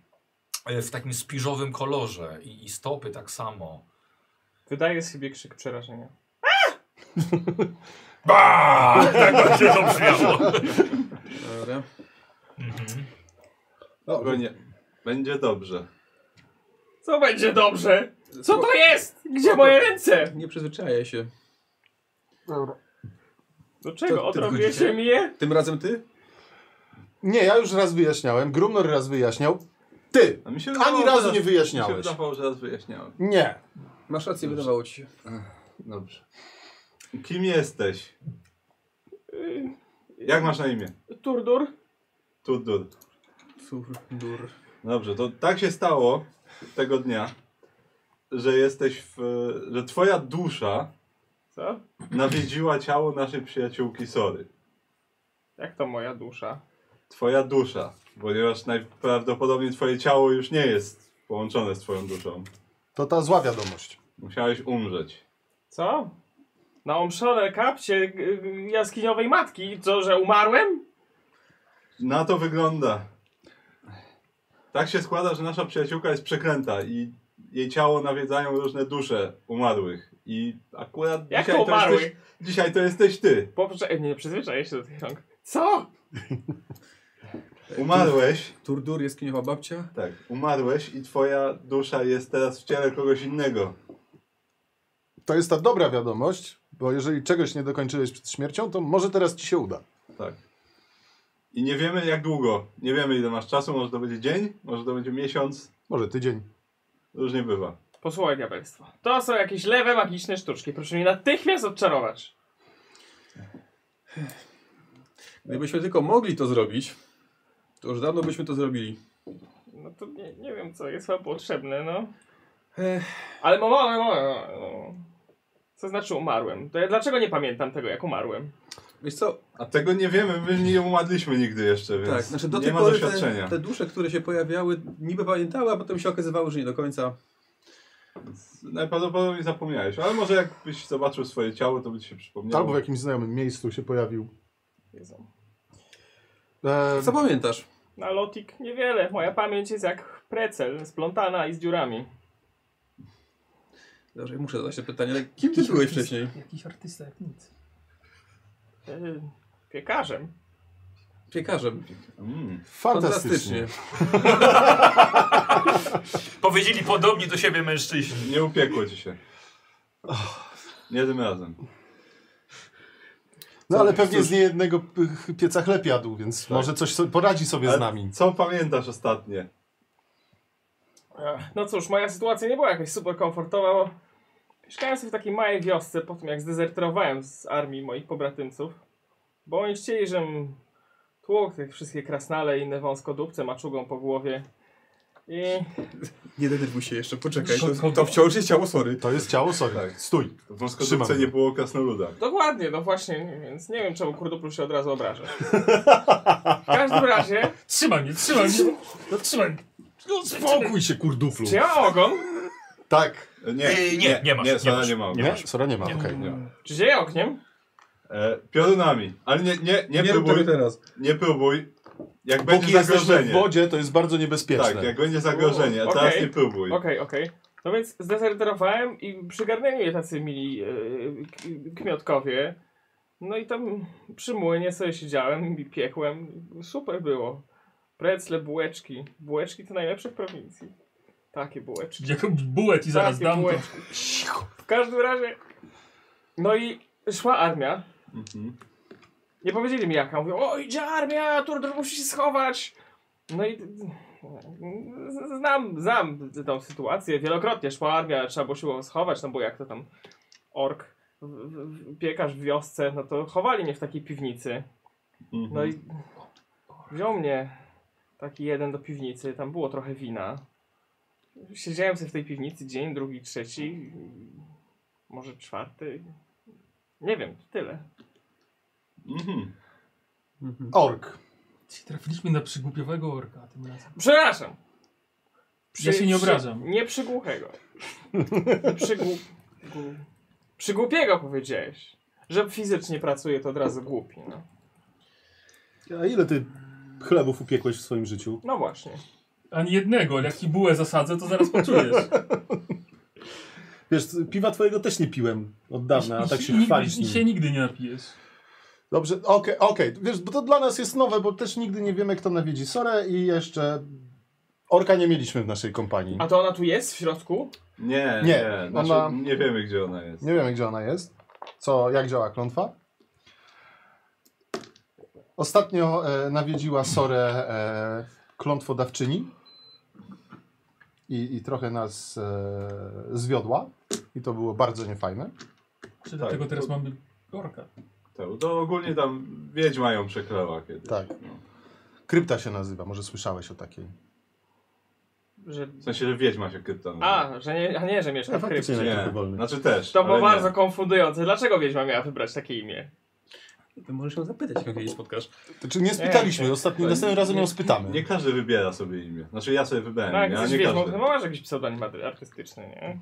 Speaker 1: y, w takim spiżowym kolorze i, i stopy tak samo.
Speaker 2: Wydaje z siebie krzyk przerażenia.
Speaker 1: Ba! Tak właśnie to brzmiało.
Speaker 7: Dobra.
Speaker 1: Mhm.
Speaker 6: Spokojnie. Będzie dobrze.
Speaker 2: Co będzie dobrze? Co to jest? Gdzie
Speaker 7: Spoko.
Speaker 2: moje ręce?
Speaker 7: Nie przyzwyczaję się.
Speaker 2: Do
Speaker 7: To-
Speaker 2: czego?
Speaker 7: to
Speaker 2: Odrobiecie
Speaker 7: wychodzicie?
Speaker 2: mi je?
Speaker 7: Tym razem ty?
Speaker 5: Nie, ja już raz wyjaśniałem, Grumnor raz wyjaśniał. Ty!
Speaker 6: A mi się
Speaker 5: Ani
Speaker 6: wydawało,
Speaker 5: razu
Speaker 6: że-
Speaker 5: nie
Speaker 6: Mi się
Speaker 5: wyjaśniałeś.
Speaker 6: wydawało, że raz wyjaśniałem.
Speaker 5: Nie.
Speaker 7: Masz rację, wydawało ci się.
Speaker 6: Dobrze. Kim jesteś? Y,
Speaker 2: Yy,
Speaker 6: Jak masz na imię?
Speaker 2: Turdur?
Speaker 6: Tudur.
Speaker 7: Tur, dur.
Speaker 6: Dobrze, to tak się stało tego dnia, że jesteś w... że twoja dusza
Speaker 2: Co?
Speaker 6: nawiedziła ciało naszej przyjaciółki Sory.
Speaker 2: Jak to moja dusza?
Speaker 6: Twoja dusza, ponieważ najprawdopodobniej twoje ciało już nie jest połączone z twoją duszą.
Speaker 5: To ta zła wiadomość.
Speaker 6: Musiałeś umrzeć.
Speaker 2: Co? Na omszone kapcie g- g- jaskiniowej matki? Co, że umarłem?
Speaker 6: Na to wygląda. Tak się składa, że nasza przyjaciółka jest przekręta i jej ciało nawiedzają różne dusze umarłych. I akurat
Speaker 2: Jak
Speaker 6: dzisiaj,
Speaker 2: to
Speaker 6: to
Speaker 2: umarły?
Speaker 6: jesteś, dzisiaj to jesteś ty.
Speaker 2: Poprze- e, nie, przyzwyczaję się do tych rąk. Co?
Speaker 6: Umarłeś,
Speaker 7: Tur, dur, jest kiniowa babcia.
Speaker 6: tak, umarłeś i twoja dusza jest teraz w ciele kogoś innego.
Speaker 5: To jest ta dobra wiadomość, bo jeżeli czegoś nie dokończyłeś przed śmiercią, to może teraz ci się uda.
Speaker 6: Tak. I nie wiemy jak długo, nie wiemy ile masz czasu, może to będzie dzień, może to będzie miesiąc,
Speaker 5: Może tydzień.
Speaker 6: różnie bywa.
Speaker 2: Posłuchaj diabelstwo. To są jakieś lewe magiczne sztuczki. Proszę mnie natychmiast odczarować.
Speaker 7: Gdybyśmy tylko mogli to zrobić, to już dawno byśmy to zrobili.
Speaker 2: No to nie, nie wiem co jest wam potrzebne, no.
Speaker 7: Ech,
Speaker 2: Ale mo, mo, mo, mo, mo. Co znaczy umarłem? To ja dlaczego nie pamiętam tego, jak umarłem?
Speaker 7: wiesz co,
Speaker 6: A tego nie wiemy, my nie umadliśmy nigdy jeszcze, więc
Speaker 7: tak, znaczy do
Speaker 6: nie
Speaker 7: tej
Speaker 6: ma
Speaker 7: pory
Speaker 6: doświadczenia.
Speaker 7: te, te dusze, które się pojawiały, niby pamiętały, a potem się okazywało, że nie do końca.
Speaker 6: Najprawdopodobniej zapomniałeś, ale może jakbyś zobaczył swoje ciało, to by ci się przypomniało.
Speaker 5: Albo w jakimś znajomym miejscu się pojawił.
Speaker 2: Jezu.
Speaker 5: Eee,
Speaker 7: Co pamiętasz?
Speaker 2: Na lotik niewiele. Moja pamięć jest jak precel, splątana i z dziurami.
Speaker 7: Dobrze, muszę zadać to pytanie, ale kim ty byłeś wcześniej?
Speaker 4: Jakiś artysta, jak nic.
Speaker 2: Yy, piekarzem.
Speaker 7: Piekarzem.
Speaker 6: Mm.
Speaker 5: fantastycznie.
Speaker 1: Powiedzieli podobni do siebie mężczyźni.
Speaker 6: Nie upiekło ci się. Nie tym razem.
Speaker 5: No ale pewnie z niejednego p- pieca chleb jadł, więc może coś so poradzi sobie
Speaker 6: Tak. Ale
Speaker 5: z nami.
Speaker 6: Co pamiętasz ostatnie?
Speaker 2: Ech, No cóż, moja sytuacja nie była jakaś super komfortowa, bo mieszkałem sobie w takiej małej wiosce po tym, jak zdezerterowałem z armii moich pobratymców. Bo oni chcieli, żebym tłukł tych wszystkie krasnale i inne wąskodupce maczugą po głowie. I
Speaker 7: Nie denerwuj się jeszcze, poczekaj. To, to wciąż jest ciało, sorry.
Speaker 5: To jest ciało, sorry.
Speaker 6: Tak.
Speaker 5: Stój.
Speaker 6: W
Speaker 5: Trzymam.
Speaker 6: wąskodupce nie było krasnoluda.
Speaker 2: Dokładnie, no właśnie, więc nie wiem czemu kurduplu się od razu obraża. W każdym razie,
Speaker 4: Trzymaj mnie, trzymaj mnie. No, trzymaj mnie.
Speaker 1: No, co, co, co?
Speaker 5: Spokój się, kurduflu.
Speaker 2: Czy ja mam ogon?
Speaker 5: Tak.
Speaker 6: E, Nie,
Speaker 7: E,
Speaker 1: Yy, nie, nie masz, nie
Speaker 6: Nie, Sara
Speaker 1: masz.
Speaker 6: nie ma.
Speaker 5: Nie? Sora nie ma, okej.
Speaker 6: Nie ma.
Speaker 2: Czy dzieje ogniem?
Speaker 6: E, piorunami. Ale nie, nie, nie,
Speaker 7: Nie rób
Speaker 6: próbuj.
Speaker 7: tego teraz.
Speaker 6: Nie próbuj. Jak
Speaker 5: Póki
Speaker 6: będzie
Speaker 5: jesteśmy w
Speaker 6: zagrożenie.
Speaker 5: wodzie, to jest bardzo niebezpieczne.
Speaker 6: Tak, jak będzie zagrożenie, a
Speaker 2: Okej.
Speaker 6: teraz nie próbuj.
Speaker 2: Okej, okej. No więc zdezerterowałem i przygarnęli mnie tacy mili yy, k- kmiotkowie. No i tam przy młynie sobie siedziałem i piekłem. Super było. Precle, bułeczki. Bułeczki to najlepsze w prowincji. Takie bułeczki.
Speaker 4: Jak bułek i zaraz
Speaker 2: Takie
Speaker 4: dam to.
Speaker 2: bułeczki. W każdym razie. No i szła armia.
Speaker 6: Mhm.
Speaker 2: Nie powiedzieli mi jaka. Mówią, o idzie armia, Turdor musi się schować. No i z- znam, znam tą sytuację. Wielokrotnie szła armia, trzeba było się było schować, no bo jak to tam ork, w- w- piekarz w wiosce, no to chowali mnie w takiej piwnicy.
Speaker 6: Mhm.
Speaker 2: No i wziął mnie taki jeden do piwnicy, tam było trochę wina. Siedziałem sobie w tej piwnicy dzień, drugi, trzeci, może czwarty. Nie wiem, tyle.
Speaker 6: Mhm.
Speaker 5: Ork.
Speaker 4: Ci Trafiliśmy na przygłupiowego orka tym razem.
Speaker 2: Przepraszam.
Speaker 4: Ja się nie obrażam.
Speaker 2: Przy, nie przygłuchego. Przygłu... gu- Przygłupiego powiedziałeś. Że fizycznie pracuje to od razu głupi. No,
Speaker 5: A ile ty chlebów upiekłeś w swoim życiu?
Speaker 2: no właśnie.
Speaker 4: Ani jednego, ale jak ci bułę zasadzę, to zaraz poczujesz.
Speaker 5: Wiesz, piwa twojego też nie piłem od dawna, a tak się
Speaker 4: nigdy,
Speaker 5: chwalisz
Speaker 4: I się
Speaker 5: nim.
Speaker 4: nigdy nie napijesz.
Speaker 5: Dobrze, okej, okej. Wiesz, bo to dla nas jest nowe, bo też nigdy nie wiemy, kto nawiedzi Sorę i jeszcze orka nie mieliśmy w naszej kompanii.
Speaker 2: A to ona tu jest w środku?
Speaker 6: Nie,
Speaker 5: Nie,
Speaker 6: nie. Znaczy,
Speaker 5: ona-
Speaker 6: Nie wiemy, gdzie ona jest.
Speaker 5: Nie wiemy, gdzie ona jest. Co, jak działa klątwa? Ostatnio e, nawiedziła Sorę e, klątwodawczyni i, i trochę nas e, zwiodła. I to było bardzo niefajne.
Speaker 4: Czy
Speaker 7: Tak.
Speaker 4: dlatego teraz mamy orka?
Speaker 6: To, to ogólnie tam wiedźma ją przeklała kiedyś.
Speaker 5: Tak.
Speaker 6: No.
Speaker 5: Krypta się nazywa, może słyszałeś o takiej.
Speaker 2: Że...
Speaker 6: W sensie, że wiedźma się krypta nazywa.
Speaker 2: A, że nie, a nie, że mieszka
Speaker 5: Ja
Speaker 2: w krypcie.
Speaker 5: faktycznie-
Speaker 6: nie.
Speaker 5: wolny.
Speaker 6: Znaczy też.
Speaker 2: To było
Speaker 6: ale nie.
Speaker 2: bardzo konfundujące. Dlaczego Wiedźma miała wybrać takie imię?
Speaker 7: To możesz ją zapytać, jak jej spotkasz.
Speaker 5: Znaczy nie spytaliśmy, ostatnim,
Speaker 6: nie,
Speaker 5: następnym razem ją spytamy.
Speaker 6: Nie każdy wybiera sobie imię. Znaczy ja sobie wybrałem,
Speaker 2: No jak
Speaker 6: imię, ale
Speaker 2: jesteś
Speaker 6: nie
Speaker 2: Wiedźmą,
Speaker 6: każdy.
Speaker 2: to masz jakiś pseudonim ady- artystyczny, nie?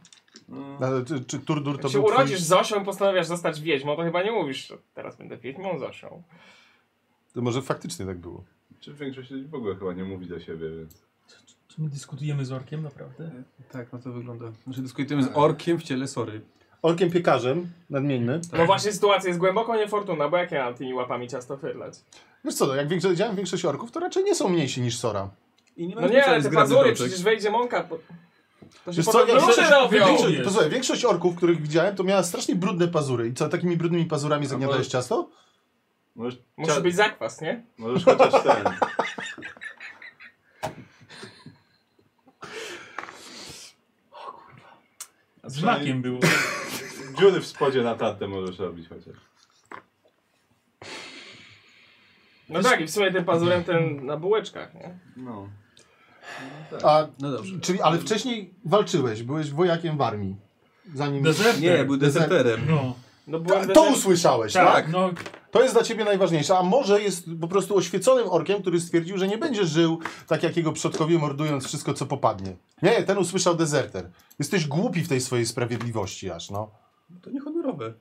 Speaker 6: No,
Speaker 5: Ale czy, czy Turdur to
Speaker 2: Jak się
Speaker 5: był twój,
Speaker 2: urodzisz Zosią i postanawiasz zostać Wiedźmą, to chyba nie mówisz, że teraz będę Wiedźmą Zosią.
Speaker 5: To może faktycznie tak było.
Speaker 6: Czy większość ludzi w ogóle chyba nie mówi do siebie, więc...
Speaker 4: Czy my dyskutujemy z orkiem, naprawdę?
Speaker 7: Tak, no to wygląda. Znaczy dyskutujemy z orkiem w ciele sory.
Speaker 5: Orkiem piekarzem, nadmieńmy.
Speaker 2: No właśnie sytuacja jest głęboko niefortunna, bo jak ja mam tymi łapami ciasto fyrlać?
Speaker 5: Wiesz co, no, jak większo- widziałem większość orków, to raczej nie są mniejsi niż Sora.
Speaker 7: I nie
Speaker 2: No nie, ale te pazury, przecież wejdzie mąka. Po... To się
Speaker 5: Wiesz co,
Speaker 2: potem
Speaker 5: jak
Speaker 2: ludzie
Speaker 5: chcesz-
Speaker 2: robią!
Speaker 4: większość- Jest.
Speaker 5: Posłuchaj, większość orków, których widziałem, to miała strasznie brudne pazury. I co, takimi brudnymi pazurami zagniatałeś
Speaker 6: bo-
Speaker 5: ciasto?
Speaker 6: Możesz,
Speaker 2: Musi
Speaker 6: cia-
Speaker 2: być zakwas, nie?
Speaker 6: możesz chociaż ten...
Speaker 4: Z makiem było.
Speaker 6: Dziury w spodzie na tatę możesz robić chociaż.
Speaker 2: No tak, i w sumie tym pazurem ten na bułeczkach, nie?
Speaker 6: No.
Speaker 5: A,
Speaker 7: No dobrze.
Speaker 5: czyli, ale wcześniej walczyłeś, byłeś wojakiem w armii. Zanim...
Speaker 4: Deserter.
Speaker 5: Tak.
Speaker 7: Nie, był deserterem.
Speaker 4: No,
Speaker 2: No byłem
Speaker 5: Ta, to
Speaker 2: deser-
Speaker 5: usłyszałeś, tak?
Speaker 4: tak, no,
Speaker 5: To jest dla ciebie najważniejsze, a może jest po prostu oświeconym orkiem, który stwierdził, że nie będzie żył tak jak jego przodkowie, mordując wszystko, co popadnie. Nie, ten usłyszał dezerter. Jesteś głupi w tej swojej sprawiedliwości aż, no.
Speaker 7: To niehonorowe.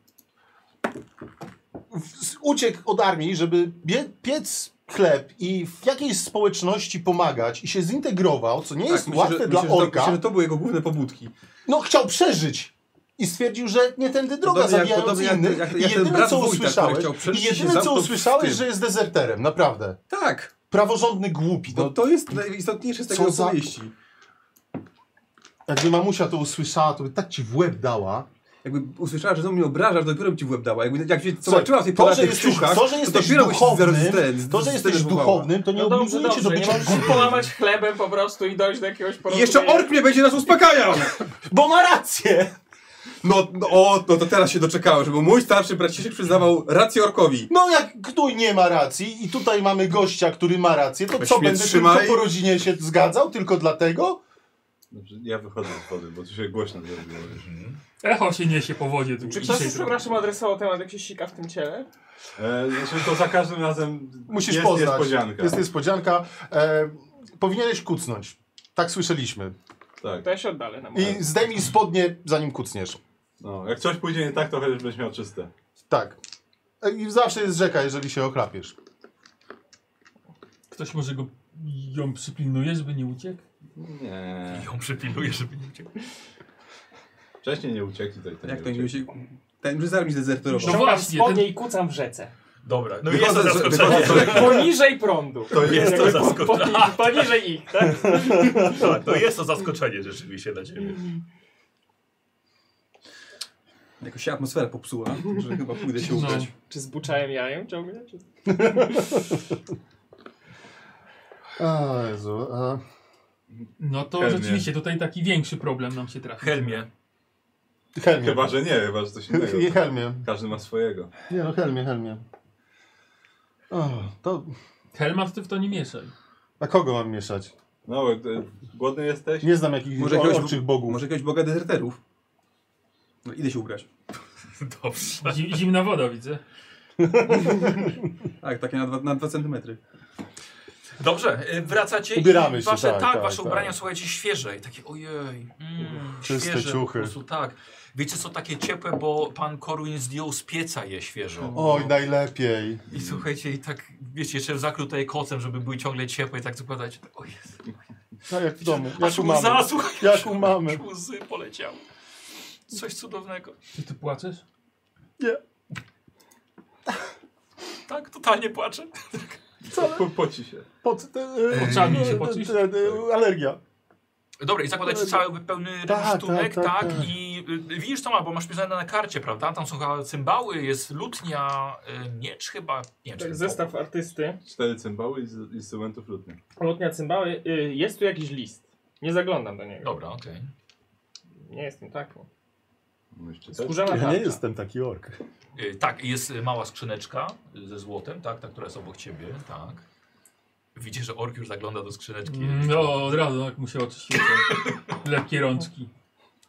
Speaker 5: W- Uciekł od armii, żeby bie- piec chleb i w jakiejś społeczności pomagać i się zintegrował, co nie jest
Speaker 7: Tak, myślę,
Speaker 5: łatwe
Speaker 7: że-
Speaker 5: dla
Speaker 7: myślę, że to-
Speaker 5: orka.
Speaker 7: Myślę, że to były jego główne pobudki.
Speaker 5: No, chciał przeżyć. I stwierdził, że nie tędy droga,
Speaker 7: Podobnie jak-
Speaker 5: zabijając
Speaker 7: podobnie jak-
Speaker 5: innych.
Speaker 7: jak-
Speaker 5: I
Speaker 7: jak ten
Speaker 5: jedyne,
Speaker 7: brat
Speaker 5: co
Speaker 7: wójta, który
Speaker 5: usłyszałeś,
Speaker 7: chciał przeżyć
Speaker 5: i
Speaker 7: i się
Speaker 5: jedyne, co
Speaker 7: zamknął w
Speaker 5: usłyszałeś,
Speaker 7: tym.
Speaker 5: że jest dezerterem, naprawdę.
Speaker 7: Tak,
Speaker 5: Praworządny głupi.
Speaker 7: bo
Speaker 5: No,
Speaker 7: to jest najistotniejsze z tego
Speaker 5: Co za-
Speaker 7: opowieści.
Speaker 5: Jakby mamusia to usłyszała, to by tak ci w łeb dała.
Speaker 7: Jakby usłyszała, że znowu mnie obrażasz, dopiero bym ci w łeb dała. Jakby, jak cię
Speaker 5: Słuchaj,
Speaker 7: zobaczyła w tej
Speaker 5: to, że
Speaker 7: polarnych
Speaker 5: jesteś,
Speaker 7: ciuchach,
Speaker 5: to, że jesteś
Speaker 7: dopiero byś
Speaker 5: duchownym,
Speaker 7: zaraz zdren-
Speaker 5: to, że jesteś
Speaker 7: zdenerwowała.
Speaker 5: duchownym, to nie
Speaker 2: No dobrze,
Speaker 5: obliguje cię do
Speaker 2: dobrze, nie
Speaker 5: bycia
Speaker 2: możesz połamać chlebem po prostu i dojść do jakiegoś
Speaker 7: I
Speaker 2: porozumienia.
Speaker 7: jeszcze ork mnie będzie nas uspokajał!
Speaker 5: Bo ma rację!
Speaker 7: No, no, o, no to teraz się doczekałem, żeby mój starszy braciszek przyznawał rację orkowi.
Speaker 5: No jak ktoś nie ma racji i tutaj mamy gościa, który ma rację, to
Speaker 7: Weź
Speaker 5: co,
Speaker 7: mnie
Speaker 5: będę
Speaker 7: trzymaj.
Speaker 5: tylko po rodzinie się zgadzał tylko dlatego?
Speaker 6: Dobrze, Znaczy, ja wychodzę z wody, bo tu się głośno zrobiło. już.
Speaker 4: echo się niesie po wodzie. Tu
Speaker 2: Czy ktoś
Speaker 4: dzisiaj
Speaker 2: już przepraszam adresował temat, jak się sika w tym ciele?
Speaker 6: E, znaczy to za każdym razem
Speaker 5: Musisz
Speaker 6: jest
Speaker 5: poznać.
Speaker 6: niespodzianka.
Speaker 5: Jest niespodzianka. E, powinieneś kucnąć. Tak słyszeliśmy.
Speaker 6: Tak.
Speaker 2: To ja się oddalę na moment.
Speaker 5: I zdejmij spodnie, zanim kucniesz.
Speaker 6: No, jak coś pójdzie nie tak, to chociaż będziesz miał czyste.
Speaker 5: Tak. I zawsze jest rzeka, jeżeli się oklapiesz.
Speaker 4: Ktoś może go ją przypilnuje, żeby nie uciekł?
Speaker 6: Nie.
Speaker 1: I ją przypilnuje, żeby nie uciekł.
Speaker 6: Wcześniej nie uciekli, to i tak
Speaker 7: Jak to
Speaker 6: nie
Speaker 7: nie
Speaker 6: uciekli.
Speaker 7: się... Ten Ryzar mi
Speaker 4: No
Speaker 7: zdezerterował.
Speaker 2: Ściągam
Speaker 4: właśnie,
Speaker 2: spodnie i kucam w rzece.
Speaker 1: Dobra, no
Speaker 7: Wychodzę
Speaker 1: jest to
Speaker 7: z-
Speaker 1: zaskoczenie.
Speaker 7: wychodzę
Speaker 2: Poniżej prądu.
Speaker 1: To jest to
Speaker 2: Jakby po-
Speaker 1: zaskoczenie.
Speaker 2: poni- Poniżej ich, tak?
Speaker 1: Tak, to jest to zaskoczenie rzeczywiście dla ciebie.
Speaker 7: Jakoś się atmosfera popsuła, także chyba pójdę się ukryć.
Speaker 2: Czy zbuczałem jajem ciągle? Czy...
Speaker 5: A, Jezu, a...
Speaker 4: No to
Speaker 6: Pewnie.
Speaker 4: rzeczywiście tutaj taki większy problem nam się trafi.
Speaker 1: Helmie,
Speaker 5: Helmie.
Speaker 6: Chyba, że nie, chyba, że coś innego.
Speaker 5: Nie, Helmie.
Speaker 6: Każdy ma swojego.
Speaker 5: Nie no, Helmie, Helmie. O, to...
Speaker 4: Helmat, ty w to nie mieszaj.
Speaker 5: A kogo mam mieszać?
Speaker 6: No, bo e, głodny jesteś?
Speaker 5: Nie znam jakichś może
Speaker 7: Może jakiegoś-
Speaker 5: orczych bogów.
Speaker 7: Może jakiegoś boga dezerterów? No idę się ubrać.
Speaker 1: dobrze.
Speaker 4: Zi- Zimna woda widzę.
Speaker 7: Tak, takie na 2 na dwa centymetry.
Speaker 1: Dobrze, y, wracacie
Speaker 5: Ubieramy
Speaker 1: i
Speaker 5: się,
Speaker 1: wasze,
Speaker 5: tak,
Speaker 1: tak,
Speaker 5: tak,
Speaker 1: wasze
Speaker 5: tak.
Speaker 1: ubrania słuchajcie świeże i takie ojej, mm,
Speaker 5: Czyste
Speaker 1: świeże,
Speaker 5: ciuchy.
Speaker 1: Po prostu, tak. Wiecie co, takie ciepłe, bo pan Korwin zdjął z pieca je świeżo.
Speaker 5: Oj, najlepiej.
Speaker 1: I słuchajcie, i tak, wiecie, jeszcze zakrył je kocem, żeby były ciągle ciepłe i tak zakładacie. Tak, o Jezu.
Speaker 5: Tak jak w domu. Jak
Speaker 1: Aż
Speaker 5: u
Speaker 1: łza,
Speaker 5: mamy.
Speaker 1: słuchaj,
Speaker 5: Jak u mamy.
Speaker 1: aż łzy poleciały. Coś cudownego.
Speaker 4: Czy ty płaczesz?
Speaker 1: Tak, totalnie płaczę.
Speaker 6: Po, poci się.
Speaker 5: Pod, e, e,
Speaker 4: Oczami się
Speaker 5: e,
Speaker 4: pocisz?
Speaker 5: e, e, Alergia.
Speaker 1: Dobra, i zakładacie cały pełny
Speaker 5: Tak,
Speaker 1: rynsztunek, tak,
Speaker 5: tak, tak, tak.
Speaker 1: I y, widzisz co ma, bo masz pisane na karcie, prawda? Tam są chyba cymbały, jest lutnia, y, miecz chyba, nie wiem, czy
Speaker 2: Tak,
Speaker 1: to-
Speaker 2: Zestaw artysty.
Speaker 6: Cztery cymbały i z- instrumentów lutni.
Speaker 2: Lutnia cymbały. Y, Jest tu jakiś list. Nie zaglądam do niego.
Speaker 1: Dobra, okej.
Speaker 2: Nie jestem taki.
Speaker 6: No, jeszcze też.
Speaker 2: Skórzana
Speaker 5: Ja
Speaker 2: tarcza.
Speaker 5: nie jestem taki ork.
Speaker 1: Y, Tak, jest y, mała skrzyneczka y, ze złotem, tak, ta, która jest obok ciebie, tak. Widzisz, że ork już zagląda do skrzyneczki.
Speaker 2: Mm,
Speaker 4: No, od razu, jak mu się oczy świecą. Lepkie rączki.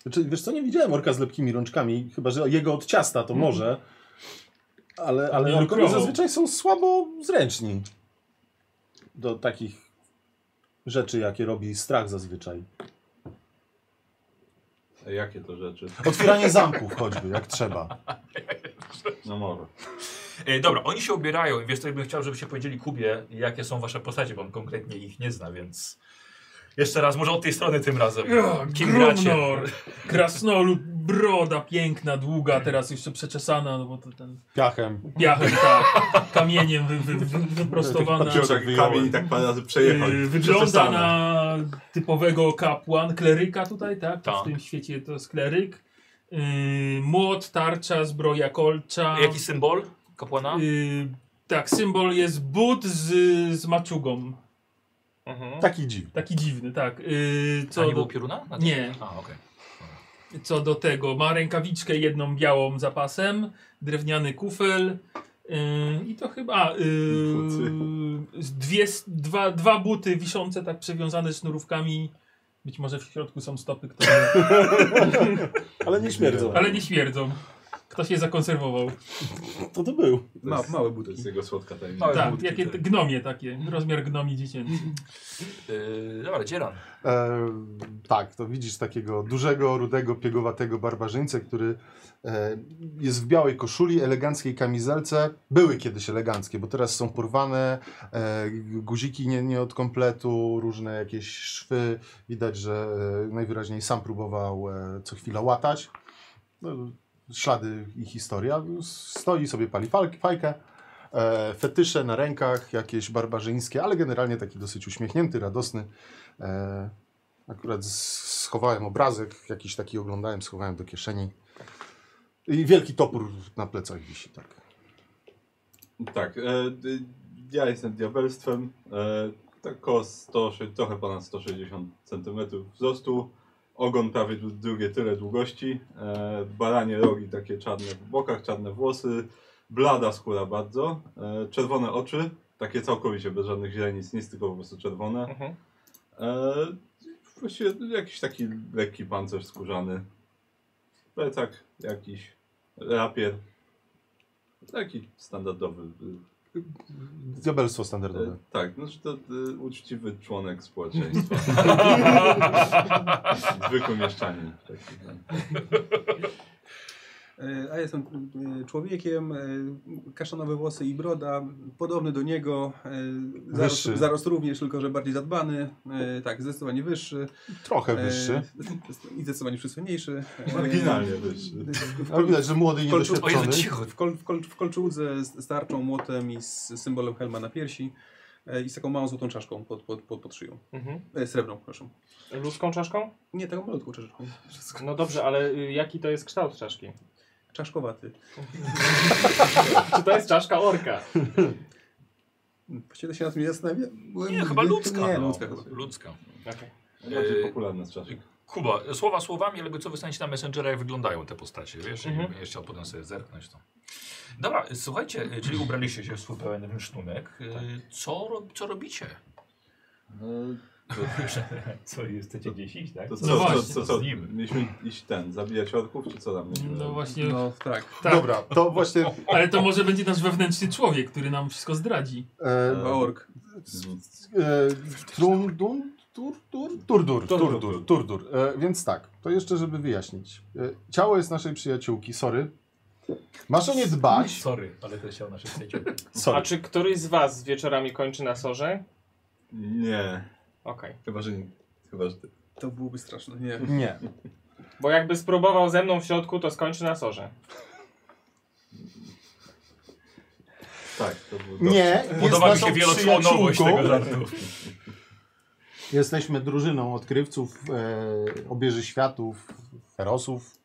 Speaker 5: Znaczy, wiesz co, nie widziałem orka z lepkimi rączkami, chyba że jego od ciasta to może. Ale, ale
Speaker 4: Nie
Speaker 5: orkowie
Speaker 4: lukrował.
Speaker 5: zazwyczaj są słabo zręczni do takich rzeczy, jakie robi strach zazwyczaj.
Speaker 6: A jakie to rzeczy?
Speaker 5: Otwieranie zamków choćby, jak trzeba.
Speaker 6: No może.
Speaker 1: Y, Dobra, oni się ubierają i wiesz, to bym chciał, żebyście powiedzieli Kubie, jakie są wasze postacie, bo on konkretnie ich nie zna, więc... Jeszcze raz, może od tej strony tym razem. Kim gracie?
Speaker 4: Grumnor, Krasnolud, broda piękna, długa, teraz jeszcze przeczesana, no bo to ten
Speaker 5: Piachem.
Speaker 4: piachem tak, kamieniem wy, wy, wy, wyprostowana.
Speaker 5: Tych
Speaker 6: Wziął tak
Speaker 5: wyjąłem.
Speaker 6: kamień i tak parę razy przejechał.
Speaker 4: Yy, wygląda
Speaker 6: Przesesane.
Speaker 4: na typowego kapłan, kleryka tutaj, tak?
Speaker 1: Tak.
Speaker 4: W tym świecie to jest kleryk. Yy, młot, tarcza, zbroja kolcza.
Speaker 1: Jaki symbol kapłana?
Speaker 4: Yy, tak, symbol jest but z, z maczugą.
Speaker 2: Mhm.
Speaker 5: Taki dziw.
Speaker 4: Taki dziwny, tak. Yy,
Speaker 1: Co A nie
Speaker 4: co,
Speaker 1: było
Speaker 4: do,
Speaker 1: pioruna? Na
Speaker 4: Nie.
Speaker 1: A, okej.
Speaker 4: co do tego, ma rękawiczkę jedną białą zapasem, drewniany kufel. Yy, I to chyba. a,
Speaker 6: Buty.
Speaker 4: Yy, z dwie, s- dwa, dwa buty wiszące, tak przewiązane sznurówkami. Być może w środku są stopy, które.
Speaker 5: Ale nie śmierdzą.
Speaker 4: Ale nie śmierdzą. Ktoś je zakonserwował.
Speaker 5: To to był.
Speaker 6: To
Speaker 7: Ma,
Speaker 6: jest-
Speaker 7: małe
Speaker 6: To
Speaker 7: buty.
Speaker 6: jest jego słodka
Speaker 1: Małe
Speaker 6: tajemnica.
Speaker 1: buty.
Speaker 4: Tak, jakie te gnomie takie. Rozmiar gnomi dziecięcy.
Speaker 1: Yy, dobra, Dzieran.
Speaker 5: E, tak, to widzisz takiego dużego, rudego, piegowatego barbarzyńcę, który e, jest w białej koszuli, eleganckiej kamizelce. Były kiedyś eleganckie, bo teraz są porwane, e, guziki nie, nie od kompletu, różne jakieś szwy. Widać, że e, najwyraźniej sam próbował e, co chwila łatać. No, ślady i historia. Stoi sobie, pali fal- fajkę. E, fetysze na rękach, jakieś barbarzyńskie, ale generalnie taki dosyć uśmiechnięty, radosny. E, akurat s- schowałem obrazek, jakiś taki oglądałem, schowałem do kieszeni. I wielki topór na plecach wisi, tak.
Speaker 6: Tak, e, d- ja jestem diabelstwem. E, tak około 100, trochę ponad 160 cm wzrostu. Ogon prawie dru- drugie tyle długości. E, baranie rogi takie czarne w bokach, czarne włosy. Blada skóra bardzo. E, czerwone oczy, takie całkowicie bez żadnych źrenic, nic, tylko po prostu czerwone.
Speaker 2: Mhm.
Speaker 6: E, właściwie jakiś taki lekki pancerz skórzany. Plecak jakiś, rapier. Taki standardowy y,
Speaker 5: Diabelstwo standardowe.
Speaker 6: E, tak, znaczy to e, uczciwy członek społeczeństwa. Zwykły mieszczanin. Taki,
Speaker 5: No,
Speaker 6: tak.
Speaker 7: E, A ja jestem e, człowiekiem, e, kaszanowe włosy i broda, podobny do niego, e,
Speaker 5: Wyższy.
Speaker 7: zarost, zarost również, tylko że bardziej zadbany, e, tak, zdecydowanie wyższy.
Speaker 5: Trochę
Speaker 7: e,
Speaker 5: wyższy.
Speaker 7: I zdecydowanie przystojniejszy. e,
Speaker 6: Marginalnie wyższy.
Speaker 7: w
Speaker 5: Ale
Speaker 7: kol-
Speaker 5: widać, że młody i
Speaker 7: w kolczu-
Speaker 1: O Jezu,
Speaker 5: niedoświadczony.
Speaker 1: cicho.
Speaker 7: W, kol, w, kol, w kolczudze z z tarczą, młotem i z symbolem helma na piersi e, i z taką małą złotą czaszką pod, pod, pod, pod szyją.
Speaker 2: Mhm.
Speaker 7: E, Srebrną, proszę.
Speaker 2: Ludzką czaszką?
Speaker 7: Nie, taką malutką czaszką.
Speaker 2: No dobrze, ale y, jaki to jest kształt czaszki?
Speaker 7: Czaszkowaty.
Speaker 2: Czy to jest czaszka orka?
Speaker 7: Właściwie to się nad tym nie zastanawiam. Byłem
Speaker 1: Nie,
Speaker 7: nigdy-
Speaker 1: chyba ludzka.
Speaker 7: Nie,
Speaker 1: no.
Speaker 7: ludzka chyba.
Speaker 1: Ludzka.
Speaker 2: Okej.
Speaker 6: Bardziej
Speaker 1: E,
Speaker 6: popularny z czaszek.
Speaker 1: Kuba, słowa słowami, ale jakby co wystaniecie na Messengera, jak wyglądają te postacie, wiesz?
Speaker 2: Mhm.
Speaker 1: Mhm. Będziesz chciał potem sobie zerknąć to. Dobra, y, słuchajcie, y, czyli ubraliście się w swój pełen sztunek. Y, Co, ro- co robicie?
Speaker 5: No,
Speaker 1: Co, jesteście gdzieś iść, tak?
Speaker 6: To
Speaker 4: No
Speaker 6: co, co,
Speaker 4: właśnie,
Speaker 6: co, co,
Speaker 1: z nim.
Speaker 6: mieliśmy iść ten, zabijać orków, czy co tam mieliśmy?
Speaker 4: No właśnie,
Speaker 7: No tak.
Speaker 4: tak.
Speaker 5: Dobra, to właśnie
Speaker 4: Ale to może będzie nasz wewnętrzny człowiek, który nam wszystko zdradzi.
Speaker 5: e,
Speaker 7: Chyba ork.
Speaker 5: E, Trundun? Tur, tur, turdur,
Speaker 6: Turdur.
Speaker 5: turdur, turdur. E, więc tak, to jeszcze żeby wyjaśnić. E, ciało jest naszej przyjaciółki, sorry. Masz o nie dbać.
Speaker 1: Sorry, ale to się o naszych sędziów.
Speaker 2: A
Speaker 5: Sorry.
Speaker 2: czy któryś z was wieczorami kończy na sorze?
Speaker 6: Nie,
Speaker 2: Okej.
Speaker 6: chyba, że nie. Chyba, że ty.
Speaker 7: To byłoby straszne, nie.
Speaker 5: Nie.
Speaker 2: Bo jakby spróbował ze mną w środku, to skończy na sorze.
Speaker 6: Tak, to było
Speaker 5: Nie, jest
Speaker 1: Podoba mi
Speaker 5: naszą
Speaker 1: się wieloczłonowość tego
Speaker 5: przyjaciółką.
Speaker 1: żartu.
Speaker 5: Jesteśmy drużyną odkrywców, e, obieży światów, ferosów.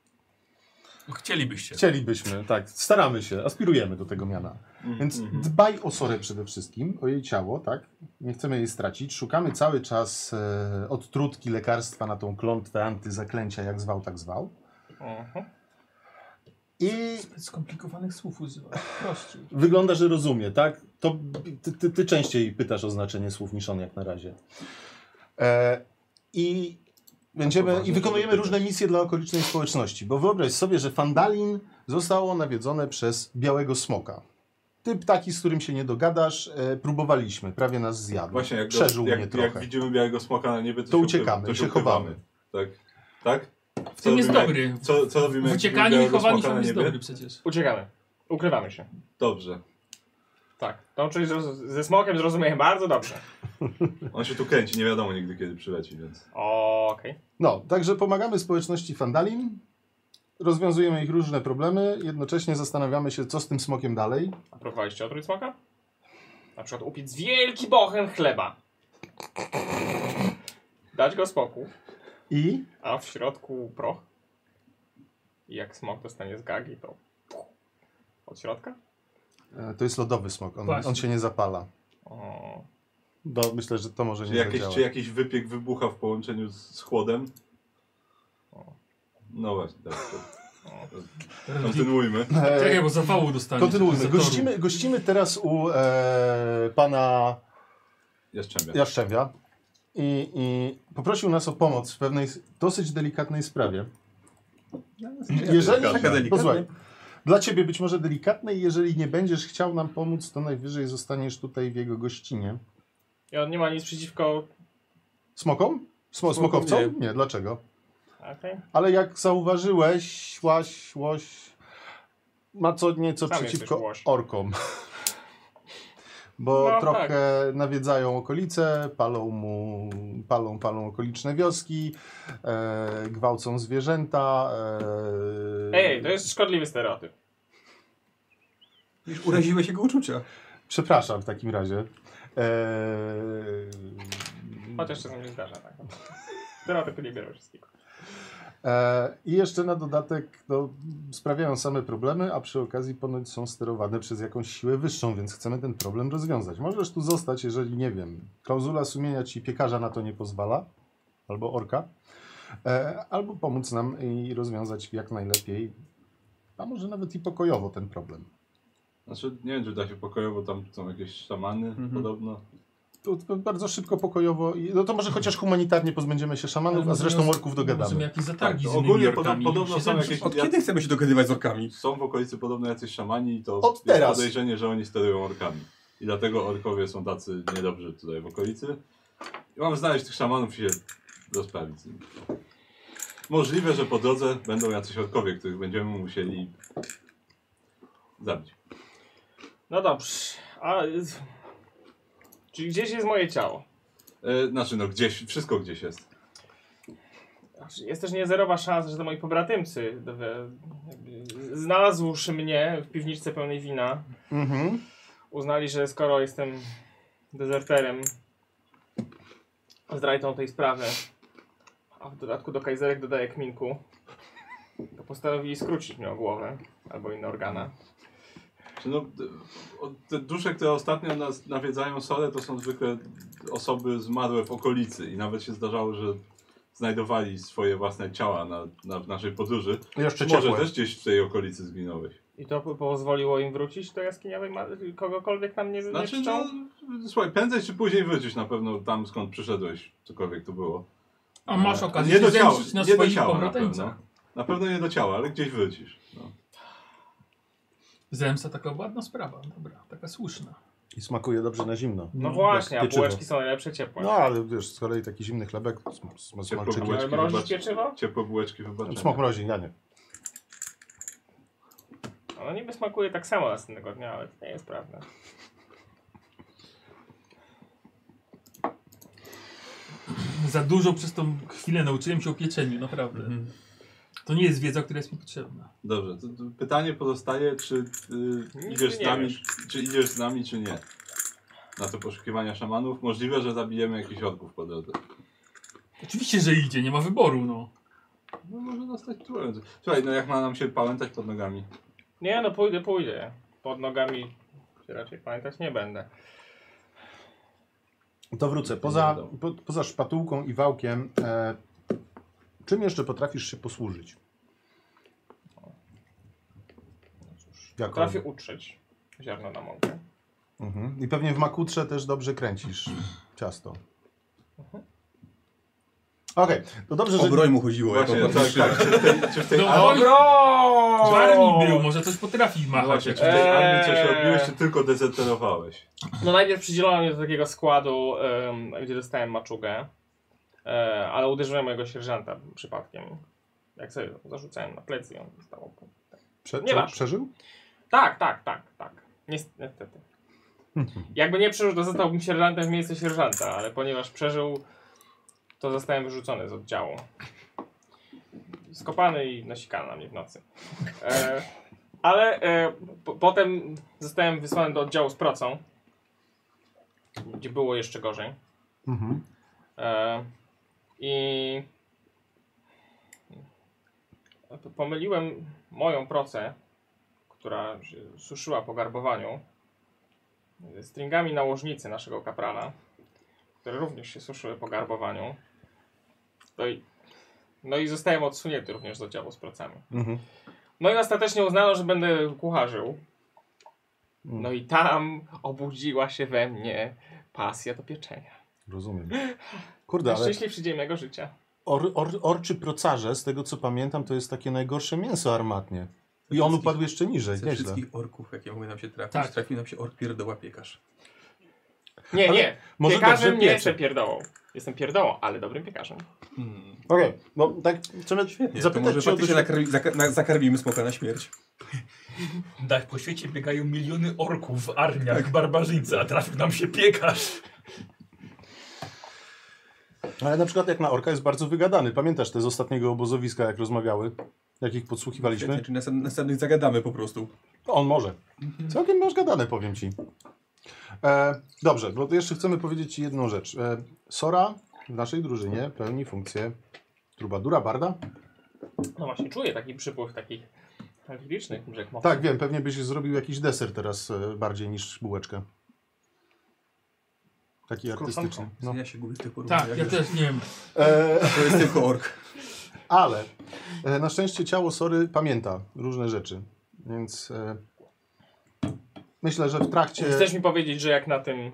Speaker 1: Chcielibyście.
Speaker 5: Chcielibyśmy, tak, staramy się, aspirujemy do tego miana.
Speaker 6: Mm,
Speaker 5: Więc
Speaker 6: mhm.
Speaker 5: dbaj o Sorę przede wszystkim, o jej ciało, tak? Nie chcemy jej stracić. Szukamy cały czas e, odtrutki lekarstwa na tą klątwę antyzaklęcia, jak zwał, tak zwał.
Speaker 2: Mhm.
Speaker 5: I
Speaker 4: Skomplikowanych słów używa. Prościej.
Speaker 5: wygląda, że rozumie, tak? To ty, ty, ty częściej pytasz o znaczenie słów niż on jak na razie. E, I będziemy i wykonujemy różne misje dla okolicznej społeczności, bo wyobraź sobie, że Fandalin zostało nawiedzone przez białego smoka. Typ taki, z którym się nie dogadasz, e, próbowaliśmy, prawie nas zjadł.
Speaker 6: Właśnie jak,
Speaker 5: Przeżył
Speaker 6: jak,
Speaker 5: mnie
Speaker 6: jak,
Speaker 5: trochę.
Speaker 6: widzimy białego smoka na niebie, to,
Speaker 5: To
Speaker 6: się
Speaker 5: uciekamy,
Speaker 6: ukrywa- to
Speaker 5: się chowamy.
Speaker 6: Tak? tak?
Speaker 4: W
Speaker 6: Co
Speaker 4: tym jest
Speaker 6: robimy?
Speaker 4: dobry.
Speaker 6: Co, co robimy?
Speaker 4: W
Speaker 6: jak widzimy
Speaker 4: uciekaniu i
Speaker 6: białego
Speaker 4: chowaniu
Speaker 6: smoka
Speaker 4: się
Speaker 6: na
Speaker 4: jest
Speaker 6: niebie?
Speaker 4: dobry przecież.
Speaker 2: Uciekamy. Ukrywamy się.
Speaker 6: Dobrze.
Speaker 2: Tak. Tą część zroz- ze smokiem zrozumiałem bardzo dobrze.
Speaker 6: On się tu kręci, nie wiadomo nigdy kiedy przyleci, więc.
Speaker 2: Okej.
Speaker 5: No, także pomagamy społeczności Fandalin, rozwiązujemy ich różne problemy, jednocześnie zastanawiamy się, co z tym smokiem dalej.
Speaker 2: A próbowaliście otruć smoka? Na przykład upiec wielki bochen chleba. Dać go smoku,
Speaker 5: I
Speaker 2: a w środku proch. I jak smok dostanie z gagi, to od środka?
Speaker 5: E, To jest lodowy smok, on,
Speaker 4: Właśnie.
Speaker 5: on się nie zapala.
Speaker 2: O,
Speaker 5: No, myślę, że to może
Speaker 6: Czy
Speaker 5: nie
Speaker 6: jakiś,
Speaker 5: zadziała.
Speaker 6: czy jakiś wypiek wybucha w połączeniu z, z chłodem? No właśnie, tak. To, to, kontynuujmy.
Speaker 5: E,
Speaker 4: Czekaj, bo zawału dostanie.
Speaker 5: kontynuujmy.
Speaker 4: Zatoru.
Speaker 5: Gościmy, gościmy teraz u e, pana
Speaker 6: Jaszczębia.
Speaker 5: Jaszczewia i, i poprosił nas o pomoc w pewnej s- dosyć delikatnej sprawie. Jeżeli,
Speaker 7: Taka delikatna.
Speaker 5: posłuchaj, dla ciebie być może delikatnej, jeżeli nie będziesz chciał nam pomóc, to najwyżej zostaniesz tutaj w jego gościnie.
Speaker 2: I on nie ma nic przeciwko.
Speaker 5: Smokom? Smo, smokowcom?
Speaker 7: nie.
Speaker 5: nie, dlaczego?
Speaker 2: Okej.
Speaker 5: Ale jak zauważyłeś, łaś, łoś ma co nieco
Speaker 2: Sam
Speaker 5: przeciwko
Speaker 2: jesteś łoś.
Speaker 5: orkom. Bo
Speaker 2: No,
Speaker 5: trochę nawiedzają okolice, palą, mu, palą, palą okoliczne wioski, e, gwałcą zwierzęta. E,
Speaker 2: Ej, to jest szkodliwy stereotyp.
Speaker 7: Już uraziłeś jego uczucia.
Speaker 5: Przepraszam w takim razie. E,
Speaker 2: Chociaż czasem się zdarza, tak. Stereotypy nie biorą wszystkiego.
Speaker 5: E, I jeszcze na dodatek no, sprawiają same problemy, a przy okazji ponoć są sterowane przez jakąś siłę wyższą, więc chcemy ten problem rozwiązać. Możesz tu zostać, jeżeli nie wiem. Klauzula sumienia ci piekarza na to nie pozwala, albo orka, e, albo pomóc nam i rozwiązać jak najlepiej, a może nawet i pokojowo ten problem.
Speaker 6: Znaczy, nie wiem, czy da się pokojowo, tam są jakieś szamany
Speaker 5: Mhm.
Speaker 6: podobno.
Speaker 5: To, to bardzo szybko, pokojowo, i, no to może chociaż humanitarnie pozbędziemy się szamanów, a
Speaker 4: Może
Speaker 5: zresztą
Speaker 4: nas-
Speaker 5: orków
Speaker 4: Możemy
Speaker 5: dogadamy.
Speaker 4: jakieś zatargi
Speaker 6: Tak,
Speaker 4: z innymi
Speaker 6: ogólnie
Speaker 4: orkami.
Speaker 6: podo- podobno
Speaker 4: Się
Speaker 6: są
Speaker 4: zemszczą.
Speaker 6: jakieś-
Speaker 7: Od kiedy chcemy się dogadywać z orkami?
Speaker 6: Są w okolicy podobno jacyś szamani i to
Speaker 5: Od
Speaker 6: jest
Speaker 5: teraz.
Speaker 6: podejrzenie, że oni sterują orkami. I dlatego orkowie są tacy niedobrzy tutaj w okolicy. I mam znaleźć tych szamanów i się rozprawić z nimi. Możliwe, że po drodze będą jacyś orkowie, których będziemy musieli zabić.
Speaker 2: No dobrze. A, y, czyli gdzieś jest moje ciało.
Speaker 6: E, znaczy no gdzieś, wszystko gdzieś jest.
Speaker 2: Znaczy, Jest też niezerowa szansa, że to moi pobratymcy we- jakby znalazłszy mnie w piwniczce pełnej wina,
Speaker 5: Mhm.
Speaker 2: uznali, że skoro jestem dezerterem, zdrajcą tej sprawy, a w dodatku do kajzerek dodaję kminku, to postanowili skrócić mnie o głowę albo inne organa.
Speaker 6: Czy no, d- o- te dusze, które ostatnio nas nawiedzają Solę, to są zwykle osoby zmarłe w okolicy i nawet się zdarzało, że znajdowali swoje własne ciała na, na, w naszej podróży.
Speaker 5: Jeszcze
Speaker 6: Może
Speaker 5: ciepłe.
Speaker 6: też gdzieś w tej okolicy zginąłeś.
Speaker 2: I to po- pozwoliło im wrócić do jaskiniowej ma- kogokolwiek nam nie, nie
Speaker 6: Znaczy,
Speaker 2: czczą?
Speaker 6: no, słuchaj, prędzej czy później wrócisz na pewno tam, skąd przyszedłeś, cokolwiek to było.
Speaker 4: A masz
Speaker 6: E,
Speaker 4: okazję
Speaker 6: nie
Speaker 4: się
Speaker 6: do ciała,
Speaker 4: zemścić na
Speaker 6: nie do
Speaker 4: swoich
Speaker 6: ciała na
Speaker 4: pobratymcach.
Speaker 6: pewno. Na pewno nie do ciała, ale gdzieś wrócisz. No.
Speaker 4: Zemsta taka ładna sprawa, no dobra, taka słuszna.
Speaker 5: I smakuje dobrze na zimno.
Speaker 2: No właśnie, a
Speaker 5: pieczywo.
Speaker 2: bułeczki są najlepsze ciepłe.
Speaker 5: No ale wiesz, z kolei taki zimny chlebek sm- sm- smalczyki.
Speaker 6: bułeczki,
Speaker 2: Ale mrozić
Speaker 6: wybacz.
Speaker 2: pieczywo?
Speaker 6: Ciepłe bułeczki
Speaker 2: tak.
Speaker 6: wybaczenia.
Speaker 5: Smok mrozi, ja nie.
Speaker 2: Ono niby smakuje tak samo następnego dnia, ale to nie jest prawda.
Speaker 4: Za dużo przez tą chwilę nauczyłem się o pieczeniu, naprawdę.
Speaker 6: Mhm.
Speaker 7: Mhm.
Speaker 4: To nie jest wiedza, która jest mi potrzebna.
Speaker 6: Dobrze, to, to pytanie pozostaje, czy y,
Speaker 2: Nic
Speaker 6: idziesz z
Speaker 2: nie
Speaker 6: nami,
Speaker 2: wiesz.
Speaker 6: czy idziesz z nami, czy nie. Na te poszukiwania szamanów. Możliwe, że zabijemy jakichś orków po drodze.
Speaker 4: Oczywiście, że idzie, nie ma wyboru, no.
Speaker 6: No może dostać trując. Słuchaj, no jak ma nam się pamiętać pod nogami?
Speaker 2: Nie no, pójdę, pójdę. Pod nogami się raczej pamiętać nie będę.
Speaker 5: To wrócę. Poza, po, poza szpatułką i wałkiem, e, czym jeszcze potrafisz się posłużyć? Jako...
Speaker 2: Potrafię utrzeć ziarno na mąkę.
Speaker 5: Mhm. I pewnie w makutrze też dobrze kręcisz ciasto.
Speaker 2: Mhm.
Speaker 5: Okej, to dobrze,
Speaker 7: O
Speaker 5: że...
Speaker 7: broń mu chodziło.
Speaker 6: Właśnie,
Speaker 7: jako
Speaker 6: tak, tak. Czy w tej, czy w tej
Speaker 4: No,
Speaker 6: armii-
Speaker 4: Oj!
Speaker 2: Ogrom!
Speaker 4: W armii był, może coś potrafi
Speaker 6: No
Speaker 4: machać.
Speaker 6: właśnie, czy w tej
Speaker 2: Eee.
Speaker 6: armii coś robiłeś, czy tylko dezerterowałeś?
Speaker 2: No najpierw przydzielono mnie do takiego składu, em, gdzie dostałem maczugę. E, ale uderzyłem mojego sierżanta przypadkiem. Jak sobie zarzucałem na plecy i on został.
Speaker 5: Prze,
Speaker 2: Nie
Speaker 5: prze,
Speaker 2: masz.
Speaker 5: przeżył?
Speaker 2: Tak, tak, tak, tak. Nies- Niestety. Jakby nie przeżył, to zostałbym sierżantem w miejscu sierżanta, ale ponieważ przeżył, to zostałem wyrzucony z oddziału. Skopany i nasikany na mnie w nocy. E, ale e, po, potem zostałem wysłany do oddziału z pracą, gdzie było jeszcze gorzej.
Speaker 5: Mhm.
Speaker 2: E, I pomyliłem moją procę, która się suszyła po garbowaniu, z stringami nałożnicy naszego kaprala, które również się suszyły po garbowaniu. No i, no i zostałem odsunięty również do działu z pracami.
Speaker 5: Mhm.
Speaker 2: No i ostatecznie uznano, że będę kucharzył.
Speaker 5: Mm.
Speaker 2: No i tam obudziła się we mnie pasja do pieczenia.
Speaker 5: Rozumiem. Kurde,
Speaker 2: Na
Speaker 5: ale
Speaker 2: szczęście przyziemnego życia.
Speaker 5: or, or, orczy procarze, z tego co pamiętam, to jest takie najgorsze mięso armatnie. I on upadł jeszcze niżej,
Speaker 7: Ze
Speaker 5: nieźle.
Speaker 7: wszystkich orków, jakie mogły nam się trafić,
Speaker 4: Tak.
Speaker 7: trafił nam się ork pierdoła piekarz.
Speaker 2: Nie,
Speaker 5: Ale
Speaker 2: nie.
Speaker 5: może dobrze
Speaker 2: Piekarzem nie
Speaker 5: piecze.
Speaker 2: jestem pierdołą. Jestem pierdołą, ale dobrym piekarzem.
Speaker 5: Okej, no tak chcemy
Speaker 7: Nie, to
Speaker 5: zapytać
Speaker 7: może
Speaker 5: cię o doświadczenie.
Speaker 7: faktycznie nakarmi, zaka- na, zakarmimy smoka na śmierć.
Speaker 8: Tak, po świecie biegają miliony orków w armiach, barbarzyńcy, a trafił nam się piekarz.
Speaker 5: Ale na przykład jak na orka jest bardzo wygadany. Pamiętasz te z ostatniego obozowiska, jak rozmawiały? Jak ich podsłuchiwaliśmy?
Speaker 7: Świetnie, czyli następ, następnych zagadamy po prostu.
Speaker 5: No, On może.
Speaker 7: Mhm.
Speaker 5: Całkiem masz gadane, powiem ci. E, dobrze, bo to jeszcze chcemy powiedzieć ci jedną rzecz. E, Sora w naszej drużynie pełni funkcję trubadura barda.
Speaker 2: No właśnie, czuję taki przypływ takich licznych brzeg mocy.
Speaker 5: Tak, wiem, pewnie byś zrobił jakiś deser teraz e, bardziej niż bułeczkę. Taki artystyczny. No.
Speaker 7: Ja się gubię w tych porównaniach.
Speaker 4: Tak, ja
Speaker 7: już.
Speaker 4: też nie wiem.
Speaker 5: E,
Speaker 7: To jest tylko ork.
Speaker 5: Ale e, na szczęście ciało Sory pamięta różne rzeczy, więc e, myślę, że w trakcie...
Speaker 2: Chcesz mi powiedzieć, że jak na tym...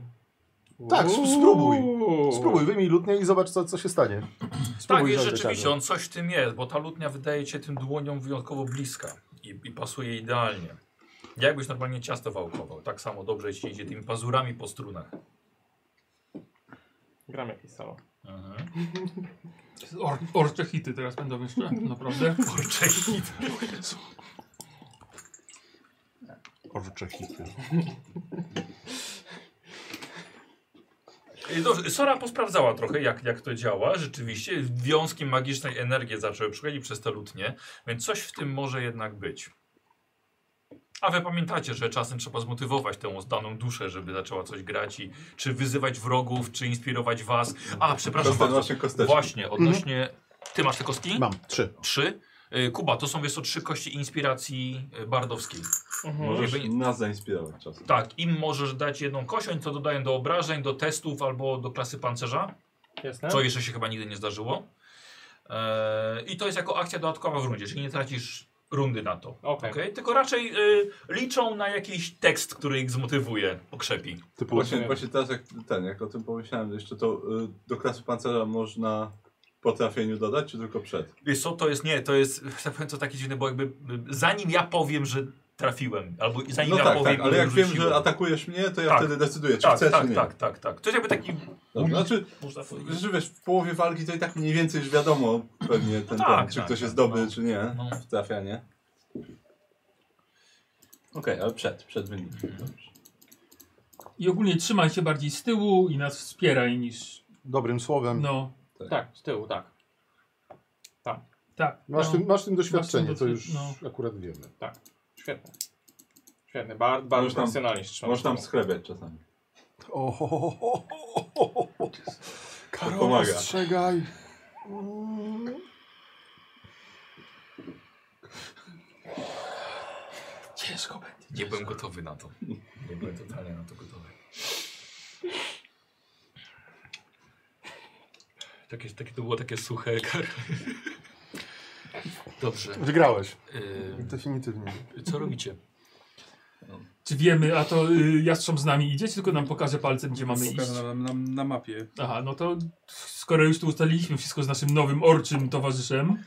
Speaker 5: Tak, sp- spróbuj.
Speaker 2: Uuu.
Speaker 5: Spróbuj, wyjmij lutnię i zobacz, co, co się stanie.
Speaker 8: Tak,
Speaker 5: Spróbuj
Speaker 8: jest
Speaker 5: żadne
Speaker 8: rzeczywiście,
Speaker 5: siadło.
Speaker 8: on coś w tym jest, bo ta lutnia wydaje się tym dłoniom wyjątkowo bliska i, i pasuje idealnie.
Speaker 1: Jakbyś normalnie ciasto wałkował. Tak samo dobrze jeśli idzie tymi pazurami po strunach.
Speaker 2: Gram jakieś solo.
Speaker 1: Mhm.
Speaker 4: Or, orcze hity teraz będą jeszcze, naprawdę.
Speaker 1: Kurczę,
Speaker 5: Orcze hity.
Speaker 1: I Dobrze, Sora posprawdzała trochę, jak, jak to działa. Rzeczywiście, wiązki magicznej energii zaczęły przychodzić przez te lutnie, więc coś w tym może jednak być. A wy pamiętacie, że czasem trzeba zmotywować tę daną duszę, żeby zaczęła coś grać i czy wyzywać wrogów, czy inspirować was. A, przepraszam
Speaker 6: Dostałem
Speaker 1: bardzo.
Speaker 6: nasze kosteczki.
Speaker 1: Właśnie, odnośnie... Ty masz te kostki?
Speaker 5: Mam trzy.
Speaker 1: Trzy. Y, Kuba, to są wiesz co, trzy kości inspiracji y, bardowskiej.
Speaker 2: Mhm.
Speaker 6: Możesz
Speaker 1: Jakby-
Speaker 6: nas zainspirować czasem.
Speaker 1: Tak, im możesz dać jedną kość, oni to dodają do obrażeń, do testów albo do klasy pancerza.
Speaker 2: Jasne?
Speaker 6: Tak.
Speaker 1: Co jeszcze się chyba nigdy nie zdarzyło. Eee, I to jest jako akcja dodatkowa w rundzie, czyli nie tracisz rundy na to.
Speaker 6: Tak.
Speaker 2: Okej.
Speaker 1: okej? Tylko raczej y, liczą na jakiś tekst, który ich zmotywuje, okrzepi.
Speaker 5: Typu
Speaker 6: Właśnie, właśnie teraz jak, ten, jak o tym pomyślałem, jeszcze to y, do klasy pancerza można po trafieniu dodać, czy tylko przed?
Speaker 1: Wiesz co, to jest nie, to jest tak powiem, to takie dziwne, bo jakby y, zanim ja powiem, że trafiłem, albo zanim
Speaker 6: No
Speaker 1: ja
Speaker 6: tak,
Speaker 1: powiem,
Speaker 6: tak, ale jak wiem,
Speaker 1: rzuciłem.
Speaker 6: że atakujesz mnie, to ja
Speaker 1: Tak.
Speaker 6: wtedy decyduję, czy
Speaker 1: tak,
Speaker 6: chcesz,
Speaker 1: tak,
Speaker 6: czy nie.
Speaker 1: tak, Mhm. tak, tak. To jest jakby taki...
Speaker 6: Dobra, znaczy,
Speaker 1: Można powiedzieć.
Speaker 6: że wiesz, w połowie walki to i tak mniej więcej już wiadomo pewnie ten,
Speaker 1: tak,
Speaker 6: ten czy
Speaker 1: tak,
Speaker 6: ktoś
Speaker 1: tak,
Speaker 6: jest dobry,
Speaker 1: no.
Speaker 6: czy nie
Speaker 1: No.
Speaker 6: w trafianie. Okej, ale przed, przed wynikiem.
Speaker 1: Mhm.
Speaker 6: Dobrze.
Speaker 4: I ogólnie trzymaj się bardziej z tyłu i nas wspieraj niż...
Speaker 5: Dobrym słowem.
Speaker 4: No,
Speaker 2: Tak, z tyłu, tak.
Speaker 4: tak.
Speaker 5: Masz,
Speaker 4: no.
Speaker 5: tym, masz tym doświadczenie,
Speaker 4: Masz
Speaker 5: to
Speaker 4: tym
Speaker 5: już
Speaker 4: doświad-
Speaker 5: akurat wiemy.
Speaker 2: Świetne. Świetne, bardzo, bardzo
Speaker 6: Możesz tam-
Speaker 2: profesjonalnie się trzymam.
Speaker 6: Możesz tam schlebiać czasami.
Speaker 5: O, ho, ho, ho, ho, ho, ho, ho. Karol,
Speaker 6: pomaga.
Speaker 5: ostrzegaj.
Speaker 4: Ciężko będzie.
Speaker 1: Nie byłem gotowy na to. Nie byłem totalnie na to gotowy. Takie, takie to było takie suche kar. Dobrze.
Speaker 5: Wygrałeś.
Speaker 1: Ym,
Speaker 5: Definitywnie.
Speaker 1: co robicie?
Speaker 4: Czy wiemy, a to y, Jastrząb z nami idzie, czy tylko nam pokaże palcem, gdzie mamy iść?
Speaker 7: Pokażę nam, nam na mapie.
Speaker 4: Aha, no to skoro już tu ustaliliśmy wszystko z naszym nowym orczym towarzyszem...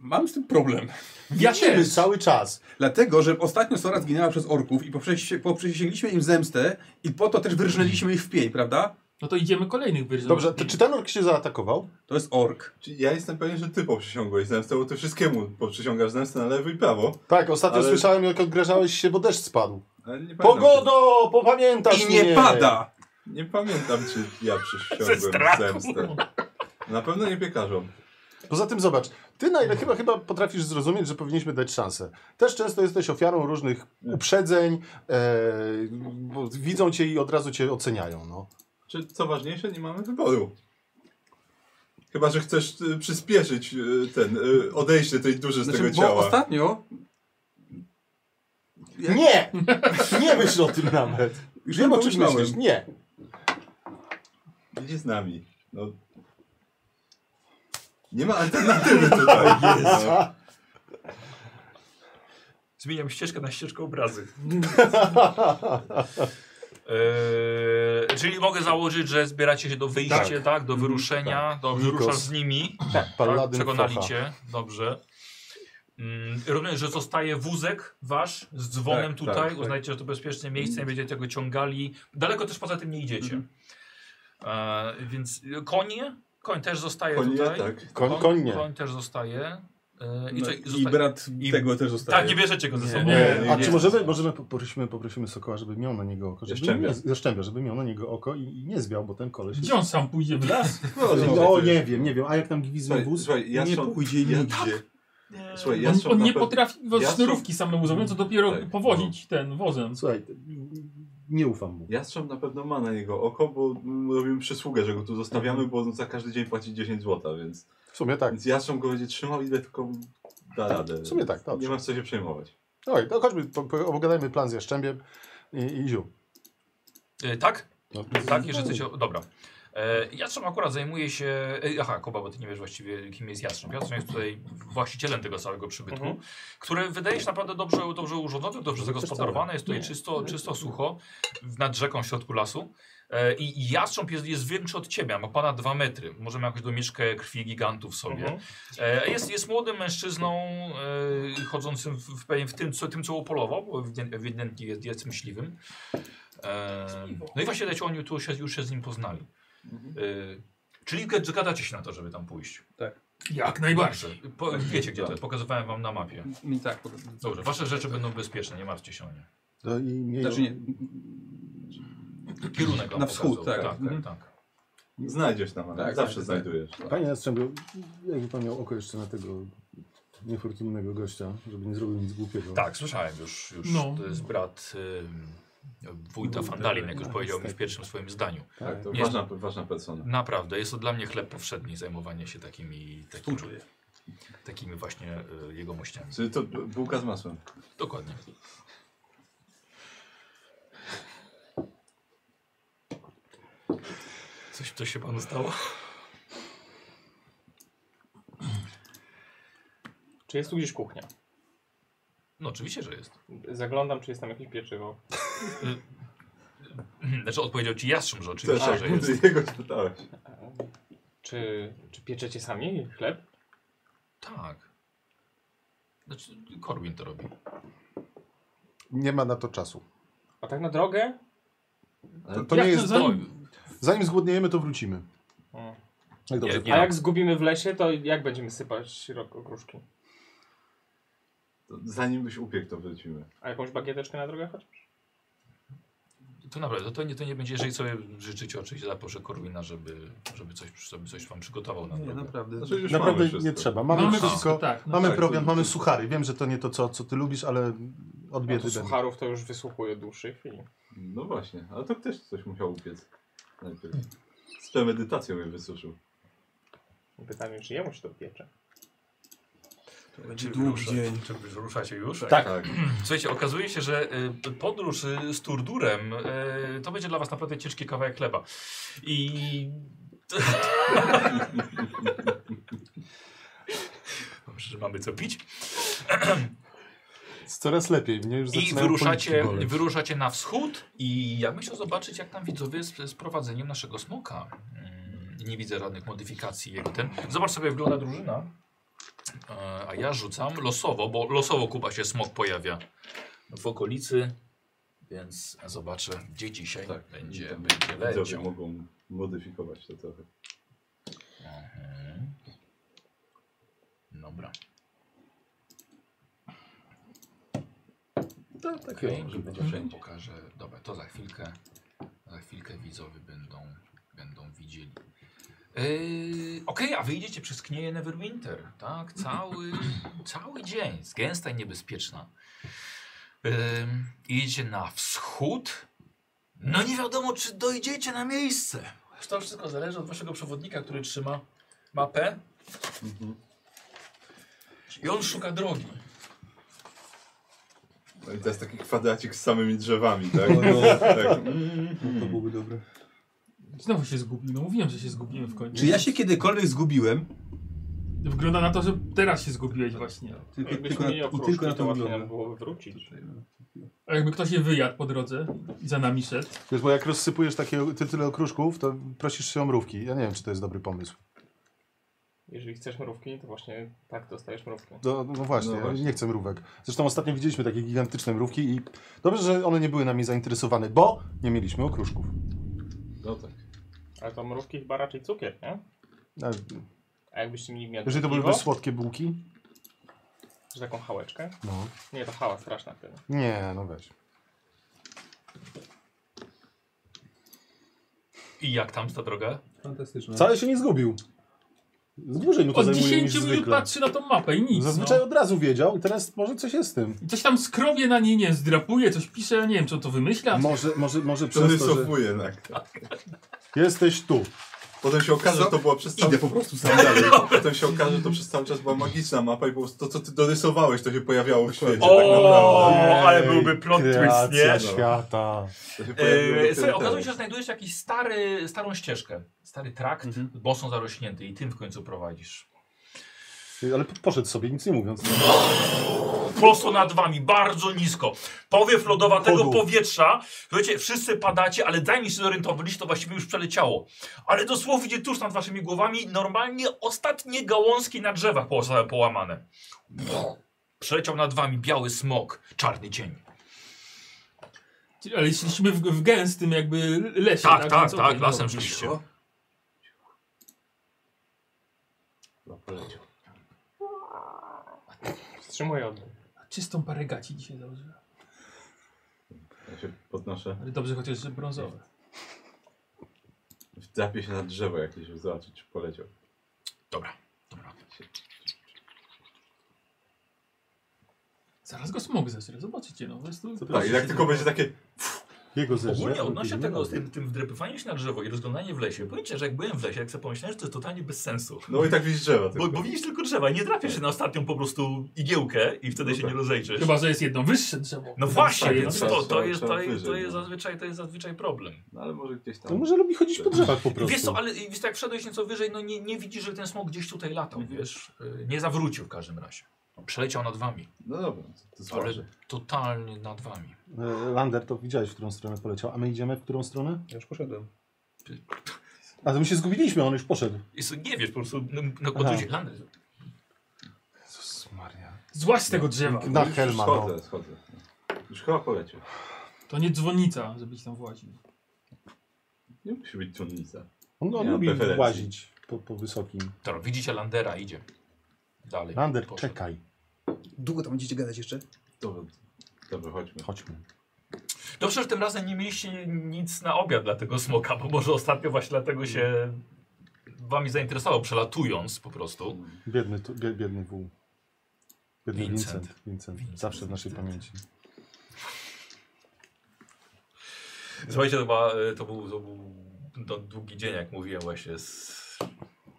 Speaker 7: Mam z tym problem.
Speaker 4: Ja
Speaker 5: Wiemy cały czas.
Speaker 7: Dlatego, że ostatnio Sora zginęła przez orków i poprzysię- poprzysięgliśmy im zemstę i po to też wyrżnęliśmy ich w pień, prawda?
Speaker 4: No to idziemy kolejnych wyrzutów.
Speaker 5: Dobrze, to, czy ten ork się zaatakował?
Speaker 7: To jest ork.
Speaker 6: Czyli Ja jestem pewien, że ty poprzysiągłeś zemstę, bo ty wszystkiemu poprzysiągasz zemstę na lewo i prawo.
Speaker 5: Tak, ostatnio
Speaker 6: Ale-
Speaker 5: słyszałem, jak odgrażałeś się, bo deszcz spadł.
Speaker 6: Ale nie pamiętam,
Speaker 5: Pogodo, popamiętasz
Speaker 7: I nie
Speaker 5: mnie.
Speaker 7: pada!
Speaker 6: Czy, nie pamiętam, czy ja
Speaker 1: Ze strachu.
Speaker 6: przysiągłem zemstę. Na pewno nie piekarzom.
Speaker 5: Poza tym zobacz, ty na ile chyba, chyba potrafisz zrozumieć, że powinniśmy dać szansę. Też często jesteś ofiarą różnych uprzedzeń, e, bo widzą cię i od razu cię oceniają. No.
Speaker 6: Czy co ważniejsze, nie mamy wyboru. Chyba, że chcesz y, przyspieszyć y, ten y, odejście tej duży z
Speaker 7: Znaczy,
Speaker 6: tego
Speaker 7: bo
Speaker 6: ciała.
Speaker 7: ostatnio Ja-
Speaker 5: Nie! Nie myśl o tym nawet.
Speaker 7: Już
Speaker 5: Wiem
Speaker 7: nie
Speaker 5: o czym
Speaker 7: pomyślałem.
Speaker 5: No, myślisz. Nie.
Speaker 6: Idzie z nami. No. Nie ma alternatywy tutaj. No.
Speaker 1: Zmieniam ścieżkę na ścieżkę obrazy. Eee, czyli mogę założyć, że zbieracie się do wyjścia, tak, do wyruszenia.
Speaker 6: Tak.
Speaker 1: Dobrze,
Speaker 5: Nikos.
Speaker 1: ruszasz z nimi. Tak,
Speaker 5: Paladyn
Speaker 1: przekonali
Speaker 5: Focha.
Speaker 1: cię, dobrze. Mm, rozumiem, że zostaje wózek wasz z dzwonem
Speaker 6: Tak,
Speaker 1: tutaj.
Speaker 6: tak, tak.
Speaker 1: Uznajcie, że to bezpieczne miejsce, nie będziecie tego ciągali. Daleko też poza tym nie idziecie. E, więc y, konie? Koń też zostaje
Speaker 6: Konie,
Speaker 1: tutaj.
Speaker 6: tak.
Speaker 5: Koń, koń nie.
Speaker 1: Koń też zostaje. E, I,
Speaker 7: No,
Speaker 1: co,
Speaker 7: I
Speaker 1: zosta-
Speaker 7: brat
Speaker 1: i-
Speaker 7: tego też zostaje.
Speaker 1: Tak, nie bierzecie go ze
Speaker 4: Nie,
Speaker 1: sobą.
Speaker 4: nie.
Speaker 5: E, A czy możemy, możemy poprosimy, poprosimy Sokoła, żeby miał na niego oko? Żeby
Speaker 6: Jaszczębia.
Speaker 5: nie, zaszczębia, żeby miał na niego oko i, i nie zbiał, bo ten koleś...
Speaker 4: Gdzie on sam pójdzie w las?
Speaker 5: No, o, nie wiem, nie wiem. A jak tam gwizdnął
Speaker 6: Słuchaj,
Speaker 5: wóz?
Speaker 6: słuchaj, ja
Speaker 7: nie
Speaker 6: są-
Speaker 7: pójdzie
Speaker 6: ja-
Speaker 7: nigdzie.
Speaker 6: Słuchaj, ja
Speaker 4: On,
Speaker 6: są
Speaker 4: on
Speaker 6: na
Speaker 4: nie
Speaker 6: pe-
Speaker 4: potrafi was
Speaker 6: Jastrząb-
Speaker 4: sznurówki samemu zrobić, co dopiero
Speaker 5: no.
Speaker 6: Tak,
Speaker 4: powozić ten wozem.
Speaker 5: Słuchaj, nie ufam mu.
Speaker 6: Jastrząb na pewno ma na niego oko, bo mm, robimy przysługę, że go tu zostawiamy, bo on za każdy dzień płaci 10 zł, więc,
Speaker 5: W sumie tak.
Speaker 6: więc Jastrząb go będzie trzymał ile tylko da radę.
Speaker 5: W sumie tak, dobrze.
Speaker 6: Nie masz co się przejmować.
Speaker 5: Oj, to chodźmy, po, po, obgadajmy plan z Jaszczębiem i, i ziół.
Speaker 1: E, tak?
Speaker 5: No,
Speaker 1: Tak, jeżeli chcecie. Dobra. E, Jastrząb akurat zajmuje się. e, Aha, Kuba, bo ty nie wiesz właściwie, kim jest Jastrząb. Jastrząb jest tutaj właścicielem tego całego przybytku, który wydaje się naprawdę dobrze, dobrze urządzony, dobrze zagospodarowany. Jest tutaj czysto, czysto sucho, w- nad rzeką w środku lasu. E, I i jastrząb jest, jest większy od ciebie, ma ponad dwa metry. Możemy jakąś domieszkę krwi gigantów sobie.
Speaker 2: Mhm.
Speaker 1: E, Jest, jest młodym mężczyzną e, chodzącym w, w, pewien- w tym, co, tym, co upolował, bo ewiden- ewidentnie jest, jest myśliwym. E, no i właśnie dajcie oni tu się, już się z nim poznali.
Speaker 7: Mhm.
Speaker 1: E, czyli g- zgadzacie się na to, żeby tam pójść.
Speaker 4: Jak najbardziej.
Speaker 1: Po, wiecie gdzie to jest, pokazywałem wam na mapie.
Speaker 7: Mi tak.
Speaker 1: Dobrze, wasze rzeczy będą bezpieczne, nie martwcie się o nie.
Speaker 5: To i nie,
Speaker 7: Znaczy nie.
Speaker 1: Kierunek wam
Speaker 7: Na wschód,
Speaker 1: pokazał.
Speaker 7: tak.
Speaker 1: tak,
Speaker 7: Mhm.
Speaker 1: tak.
Speaker 6: Znajdziesz tam, ale
Speaker 7: Tak,
Speaker 6: zawsze
Speaker 7: tak, tak.
Speaker 6: znajdujesz.
Speaker 5: Panie Jastrzębiu, jakby pan miał oko jeszcze na tego niefortunnego gościa, żeby nie zrobił nic głupiego.
Speaker 1: Tak, słyszałem już. już
Speaker 4: No.
Speaker 1: To jest brat ym, wójta Fandalin,
Speaker 7: tak.
Speaker 1: jak już powiedział mi w pierwszym swoim zdaniu.
Speaker 6: Tak, to
Speaker 1: Jest.
Speaker 6: ważna, ważna persona.
Speaker 1: Naprawdę, jest to dla mnie chleb powszedni, zajmowanie się takimi, takimi, takimi właśnie y, jegomościami.
Speaker 6: Czyli to bułka z masłem.
Speaker 1: Dokładnie. Coś, coś się panu stało?
Speaker 2: Czy jest tu gdzieś kuchnia?
Speaker 1: No oczywiście, że jest.
Speaker 2: Zaglądam, czy jest tam jakieś pieczywo.
Speaker 1: Znaczy odpowiedział ci jastrząb, że
Speaker 6: Też
Speaker 1: oczywiście,
Speaker 6: tak,
Speaker 1: że jest.
Speaker 6: ty jego spytałeś.
Speaker 2: Czy, czy pieczecie sami chleb?
Speaker 1: Tak. Znaczy Korwin to robi.
Speaker 5: Nie ma na to czasu.
Speaker 2: A tak na drogę?
Speaker 5: To, to
Speaker 4: Jak
Speaker 5: nie
Speaker 4: to
Speaker 5: jest...
Speaker 4: za-
Speaker 1: No,
Speaker 5: Zanim zgłodniejemy, to wrócimy.
Speaker 2: Mm.
Speaker 5: Jak dobrze.
Speaker 1: nie,
Speaker 2: A
Speaker 1: nie.
Speaker 2: jak zgubimy w lesie, to jak będziemy sypać rok okruszki?
Speaker 6: To Zanim byś upiekł, to wrócimy.
Speaker 2: A jakąś bagieteczkę na drogę chociaż?
Speaker 1: To naprawdę, to nie, to nie będzie, jeżeli sobie życzycie, oczywiście zaproszę Korwina, żeby, żeby coś, żeby coś wam przygotował na
Speaker 7: Nie,
Speaker 1: drogę.
Speaker 7: naprawdę.
Speaker 6: Znaczy już mamy
Speaker 5: Naprawdę nie
Speaker 6: wszystko.
Speaker 5: trzeba. Mamy, wszystko.
Speaker 4: tak. No.
Speaker 5: Mamy
Speaker 6: tak,
Speaker 5: prowiant,
Speaker 6: to-
Speaker 5: mamy suchary. Wiem, że to nie to, co, co ty lubisz, ale od
Speaker 2: No to
Speaker 5: biedy no
Speaker 2: sucharów to już wysłuchuję od dłuższej chwili.
Speaker 6: No właśnie, ale to ktoś coś musiał upiec. Najpierw. Z premedytacją je wysuszył.
Speaker 2: Pytanie, czy jemu się to piecze?
Speaker 7: To będzie długi
Speaker 1: rusza-
Speaker 7: dzień.
Speaker 1: Czy wy ruszacie już?
Speaker 6: Tak.
Speaker 1: Słuchajcie, okazuje się, że y, podróż y, z Turdurem y, to będzie dla was naprawdę ciężki kawałek chleba. I... Dobrze, że mamy co pić.
Speaker 5: Jest coraz lepiej. Mnie już
Speaker 1: I
Speaker 5: zaczynają
Speaker 1: wyruszacie,
Speaker 5: policzki boleć.
Speaker 1: wyruszacie na wschód i ja bym chciał zobaczyć, jak tam widzowie z, z prowadzeniem naszego smoka. Mm, Nie widzę żadnych modyfikacji jego ten. Zobacz sobie, jak wygląda drużyna. E, A ja rzucam losowo, bo losowo Kuba się smok pojawia w okolicy, więc zobaczę, gdzie dzisiaj
Speaker 6: Tak.
Speaker 1: będzie,
Speaker 6: Tam
Speaker 1: będzie
Speaker 6: Widzowie
Speaker 1: leciał.
Speaker 6: mogą modyfikować to trochę.
Speaker 1: Mhm. Dobra.
Speaker 5: Tak, tak,
Speaker 1: Okej,
Speaker 5: chyba, że będzie
Speaker 1: dobrze,
Speaker 5: wszędzie.
Speaker 1: pokażę. Dobra, to za chwilkę. Za chwilkę widzowie będą, będą widzieli. Yy, Okej, a wy idziecie przez knieję Neverwinter, tak? Cały, cały dzień. Jest gęsta i niebezpieczna. Yy, idziecie na wschód. No nie wiadomo, czy dojdziecie na miejsce. To wszystko zależy od waszego przewodnika, który trzyma mapę. I on szuka drogi.
Speaker 6: No i to jest taki kwadracik z samymi drzewami, tak?
Speaker 7: O nie.
Speaker 6: tak.
Speaker 7: To byłoby dobre.
Speaker 4: Znowu się zgubił. No mówiłem, że się zgubimy w końcu.
Speaker 7: Czy ja się kiedykolwiek zgubiłem?
Speaker 4: Wygląda na to, że teraz się zgubiłeś właśnie.
Speaker 7: Tylko, tylko,
Speaker 2: Jakbyśmy
Speaker 7: na,
Speaker 2: mieli
Speaker 7: No I
Speaker 2: okruszki,
Speaker 7: tylko na
Speaker 2: to
Speaker 7: to
Speaker 2: łatwiej nam
Speaker 7: wygląda.
Speaker 2: było wywrócić.
Speaker 4: A jakby ktoś je wyjadł po drodze i za nami szedł.
Speaker 5: Wiesz, bo jak rozsypujesz takie ty tyle okruszków, to prosisz się o mrówki. Ja nie wiem, czy to jest dobry pomysł.
Speaker 2: Jeżeli chcesz mrówki, to właśnie tak dostajesz mrówki.
Speaker 5: No, no właśnie,
Speaker 6: No
Speaker 5: ja
Speaker 6: właśnie.
Speaker 5: nie chcę mrówek. Zresztą ostatnio widzieliśmy takie gigantyczne mrówki i dobrze, że one nie były nami zainteresowane, bo nie mieliśmy okruszków.
Speaker 6: No tak.
Speaker 2: Ale to mrówki chyba raczej cukier, nie?
Speaker 5: A
Speaker 2: A jakbyście mieli miał
Speaker 5: Jeżeli to
Speaker 2: piwo,
Speaker 5: byłyby słodkie bułki,
Speaker 2: że taką hałeczkę?
Speaker 5: no.
Speaker 2: Nie, to hała straszna wtedy.
Speaker 5: Nie, no weź.
Speaker 1: I jak tam ta droga?
Speaker 7: Fantastyczne.
Speaker 5: Wcale się nie zgubił. Dłużej mu to
Speaker 4: Od
Speaker 5: zajmuje
Speaker 4: 10
Speaker 5: niż
Speaker 4: minut
Speaker 5: zwykle.
Speaker 4: patrzy na tą mapę i nic.
Speaker 5: Zazwyczaj
Speaker 4: No.
Speaker 5: od razu wiedział i teraz może coś jest z tym.
Speaker 4: I coś tam skrowie na niej, nie wiem, zdrapuje, coś pisze, ja nie Tak. wiem, co to wymyśla.
Speaker 5: Może, może, może
Speaker 6: To
Speaker 5: przez to, że
Speaker 6: rysowuje tak.
Speaker 5: jesteś tu.
Speaker 6: Potem się okaże,
Speaker 7: Co?
Speaker 6: że to była przez cały...
Speaker 7: Idę po prostu sam dalej.
Speaker 6: Potem się okaże, że to przez cały czas była magiczna mapa i po prostu to, co ty dorysowałeś, to się pojawiało w świecie.
Speaker 8: O,
Speaker 6: tak naprawdę.
Speaker 8: ale byłby plot twist, nie?
Speaker 5: Kreacja świata.
Speaker 6: To się pojawiło
Speaker 1: Yy,
Speaker 6: dopiero
Speaker 1: słuchaj, okazuje
Speaker 6: teraz.
Speaker 1: się, że znajdujesz jakiś stary, starą ścieżkę, stary trakt,
Speaker 7: Mhm.
Speaker 1: bosą zarośnięty i tym w końcu prowadzisz.
Speaker 5: Ale po- poszedł sobie, nic nie mówiąc.
Speaker 8: Prosto nad wami, bardzo nisko. Powiew lodowatego
Speaker 5: Podłóg.
Speaker 8: powietrza. Słuchajcie, wszyscy padacie, ale zanim się zorientowaliście, to właściwie już przeleciało. Ale dosłownie tuż nad waszymi głowami normalnie ostatnie gałązki na drzewach po- zostały połamane. Przeleciał nad wami biały smok, czarny cień.
Speaker 4: Ale szliśmy w, w gęstym jakby lesie.
Speaker 8: Tak, tak,
Speaker 4: Więc
Speaker 8: tak,
Speaker 4: okej,
Speaker 8: lasem
Speaker 4: dobra.
Speaker 8: szliście.
Speaker 7: no?
Speaker 6: No,
Speaker 2: Wstrzymuję oddech.
Speaker 4: Czystą parę gaci dzisiaj założyłem.
Speaker 6: Ja się podnoszę.
Speaker 4: Ale dobrze, chociaż że brązowe.
Speaker 6: Wdrapię się na drzewo jakieś, żeby zobaczyć, czy poleciał.
Speaker 1: Dobra, dobra.
Speaker 4: Zaraz go smog zesrę, zobaczycie no. po prostu-
Speaker 6: Tak, i jak tylko będzie takie...
Speaker 5: Jego zerze.
Speaker 8: Ogólnie odnośnie tego z tym, tym wdrepywaniem się na drzewo i rozglądaniem w lesie, powiem ci, że jak byłem w lesie, jak sobie pomyślałem, że to jest totalnie bez sensu.
Speaker 6: No i tak widzisz drzewa.
Speaker 8: Bo,
Speaker 6: tylko.
Speaker 8: bo widzisz tylko drzewa i nie trafisz się na ostatnią po prostu igiełkę i wtedy
Speaker 6: No
Speaker 8: się
Speaker 6: tak.
Speaker 8: nie rozejrzysz.
Speaker 4: Chyba, że jest jedno wyższe drzewo.
Speaker 8: No właśnie,
Speaker 6: tak,
Speaker 8: więc
Speaker 6: tak,
Speaker 8: to,
Speaker 6: trzeba-
Speaker 8: to, jest,
Speaker 6: trzeba
Speaker 8: to, jest, to,
Speaker 6: wyżej,
Speaker 8: jest
Speaker 6: no.
Speaker 8: zazwyczaj, to jest zazwyczaj problem.
Speaker 6: No ale może gdzieś tam...
Speaker 5: No może lubi chodzić po drzewach po prostu.
Speaker 8: Wiesz co, ale
Speaker 1: tak
Speaker 8: wiesz, jak wszedłeś nieco wyżej, no nie, nie widzisz, że ten smok gdzieś tutaj latał, wiesz? Y, Nie zawrócił w każdym razie.
Speaker 1: Przeleciał nad wami,
Speaker 6: No dobra, to- to
Speaker 1: ale
Speaker 6: zważy.
Speaker 1: totalnie nad wami.
Speaker 5: E, Lander, to widziałeś, w którą stronę poleciał, a my idziemy w którą stronę?
Speaker 7: Ja już poszedłem.
Speaker 5: A to my się zgubiliśmy, on już poszedł.
Speaker 1: I so- nie wiesz, po prostu no, no, odwrócił landę.
Speaker 5: Jezus Maria.
Speaker 4: Złaź z tego drzewa.
Speaker 5: Na
Speaker 6: Już
Speaker 5: Helma, no.
Speaker 6: Schodzę, schodzę. Już chyba poleciał.
Speaker 4: To nie dzwonica, żebyś tam właził.
Speaker 6: Nie musi być czunnica.
Speaker 5: On, on
Speaker 6: Nie mam
Speaker 5: lubi
Speaker 6: preferencji.
Speaker 5: łazić po, po wysokim.
Speaker 1: Dobra, widzicie Landera, idzie. Dalej.
Speaker 5: Lander,
Speaker 1: Poszedł.
Speaker 5: czekaj,
Speaker 7: Długo tam będziecie gadać jeszcze?
Speaker 6: Dobra, dobra, chodźmy.
Speaker 5: chodźmy.
Speaker 1: Dobrze, że tym razem nie mieliście nic na obiad dla tego smoka, bo może ostatnio właśnie dlatego się wami zainteresował, przelatując po prostu.
Speaker 5: Biedny, tu- bie- biedny wół. Biedny
Speaker 1: Vincent.
Speaker 5: Vincent. Vincent.
Speaker 1: Vincent,
Speaker 5: Zawsze w naszej
Speaker 1: Vincent.
Speaker 5: pamięci.
Speaker 1: Słuchajcie, to, była, e, to był, to był no, długi dzień, jak mówiłem właśnie. Z...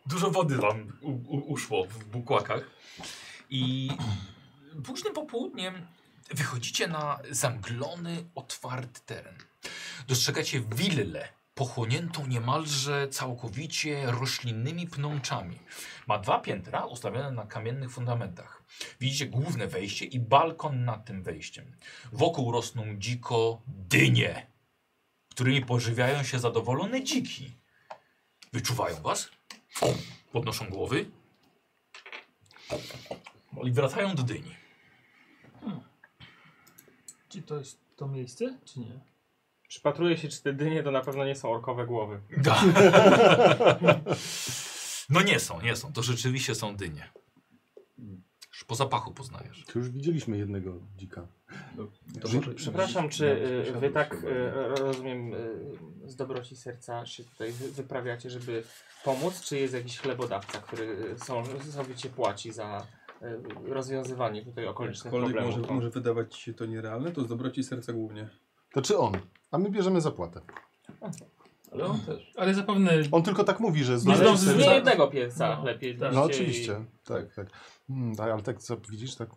Speaker 1: Dużo wody wam u, u, uszło w bukłakach. I późnym popołudniem wychodzicie na zamglony, otwarty teren. Dostrzegacie willę pochłoniętą niemalże całkowicie roślinnymi pnączami. Ma dwa piętra ustawione na kamiennych fundamentach. Widzicie główne wejście i balkon nad tym wejściem. Wokół rosną dziko dynie którymi pożywiają się zadowolone dziki. Wyczuwają was, podnoszą głowy i wracają do dyni.
Speaker 4: Czy to jest to miejsce, czy nie?
Speaker 2: Przypatruję się, czy te dynie to na pewno nie są orkowe głowy.
Speaker 1: Da. No nie są, nie są. To rzeczywiście są dynie. Już po zapachu poznajesz.
Speaker 5: Tu już widzieliśmy jednego dzika.
Speaker 6: To
Speaker 5: Że-
Speaker 6: może-
Speaker 2: Przepraszam, czy y,
Speaker 6: Siadł
Speaker 2: wy tak,
Speaker 6: chyba.
Speaker 2: y, ro- rozumiem, y, z dobroci serca się tutaj wy- wyprawiacie, żeby pomóc, czy jest jakiś chlebodawca, który y, są, sowicie płaci za y, rozwiązywanie tutaj okolicznych
Speaker 7: Kolej
Speaker 2: problemów? No.
Speaker 7: może, może wydawać się to nierealne, to z dobroci serca głównie.
Speaker 5: To czy on? A my bierzemy zapłatę.
Speaker 6: Ale on też.
Speaker 4: Ale zapewne
Speaker 5: On tylko tak mówi, że
Speaker 4: Nie
Speaker 2: Ale
Speaker 4: zdąży
Speaker 2: nie
Speaker 4: zrzucać.
Speaker 2: jednego pieca
Speaker 4: No,
Speaker 2: lepiej.
Speaker 4: tak.
Speaker 5: No
Speaker 2: liście i-
Speaker 5: oczywiście, tak, tak. Mm, tak, ale tak, co, widzisz, tak,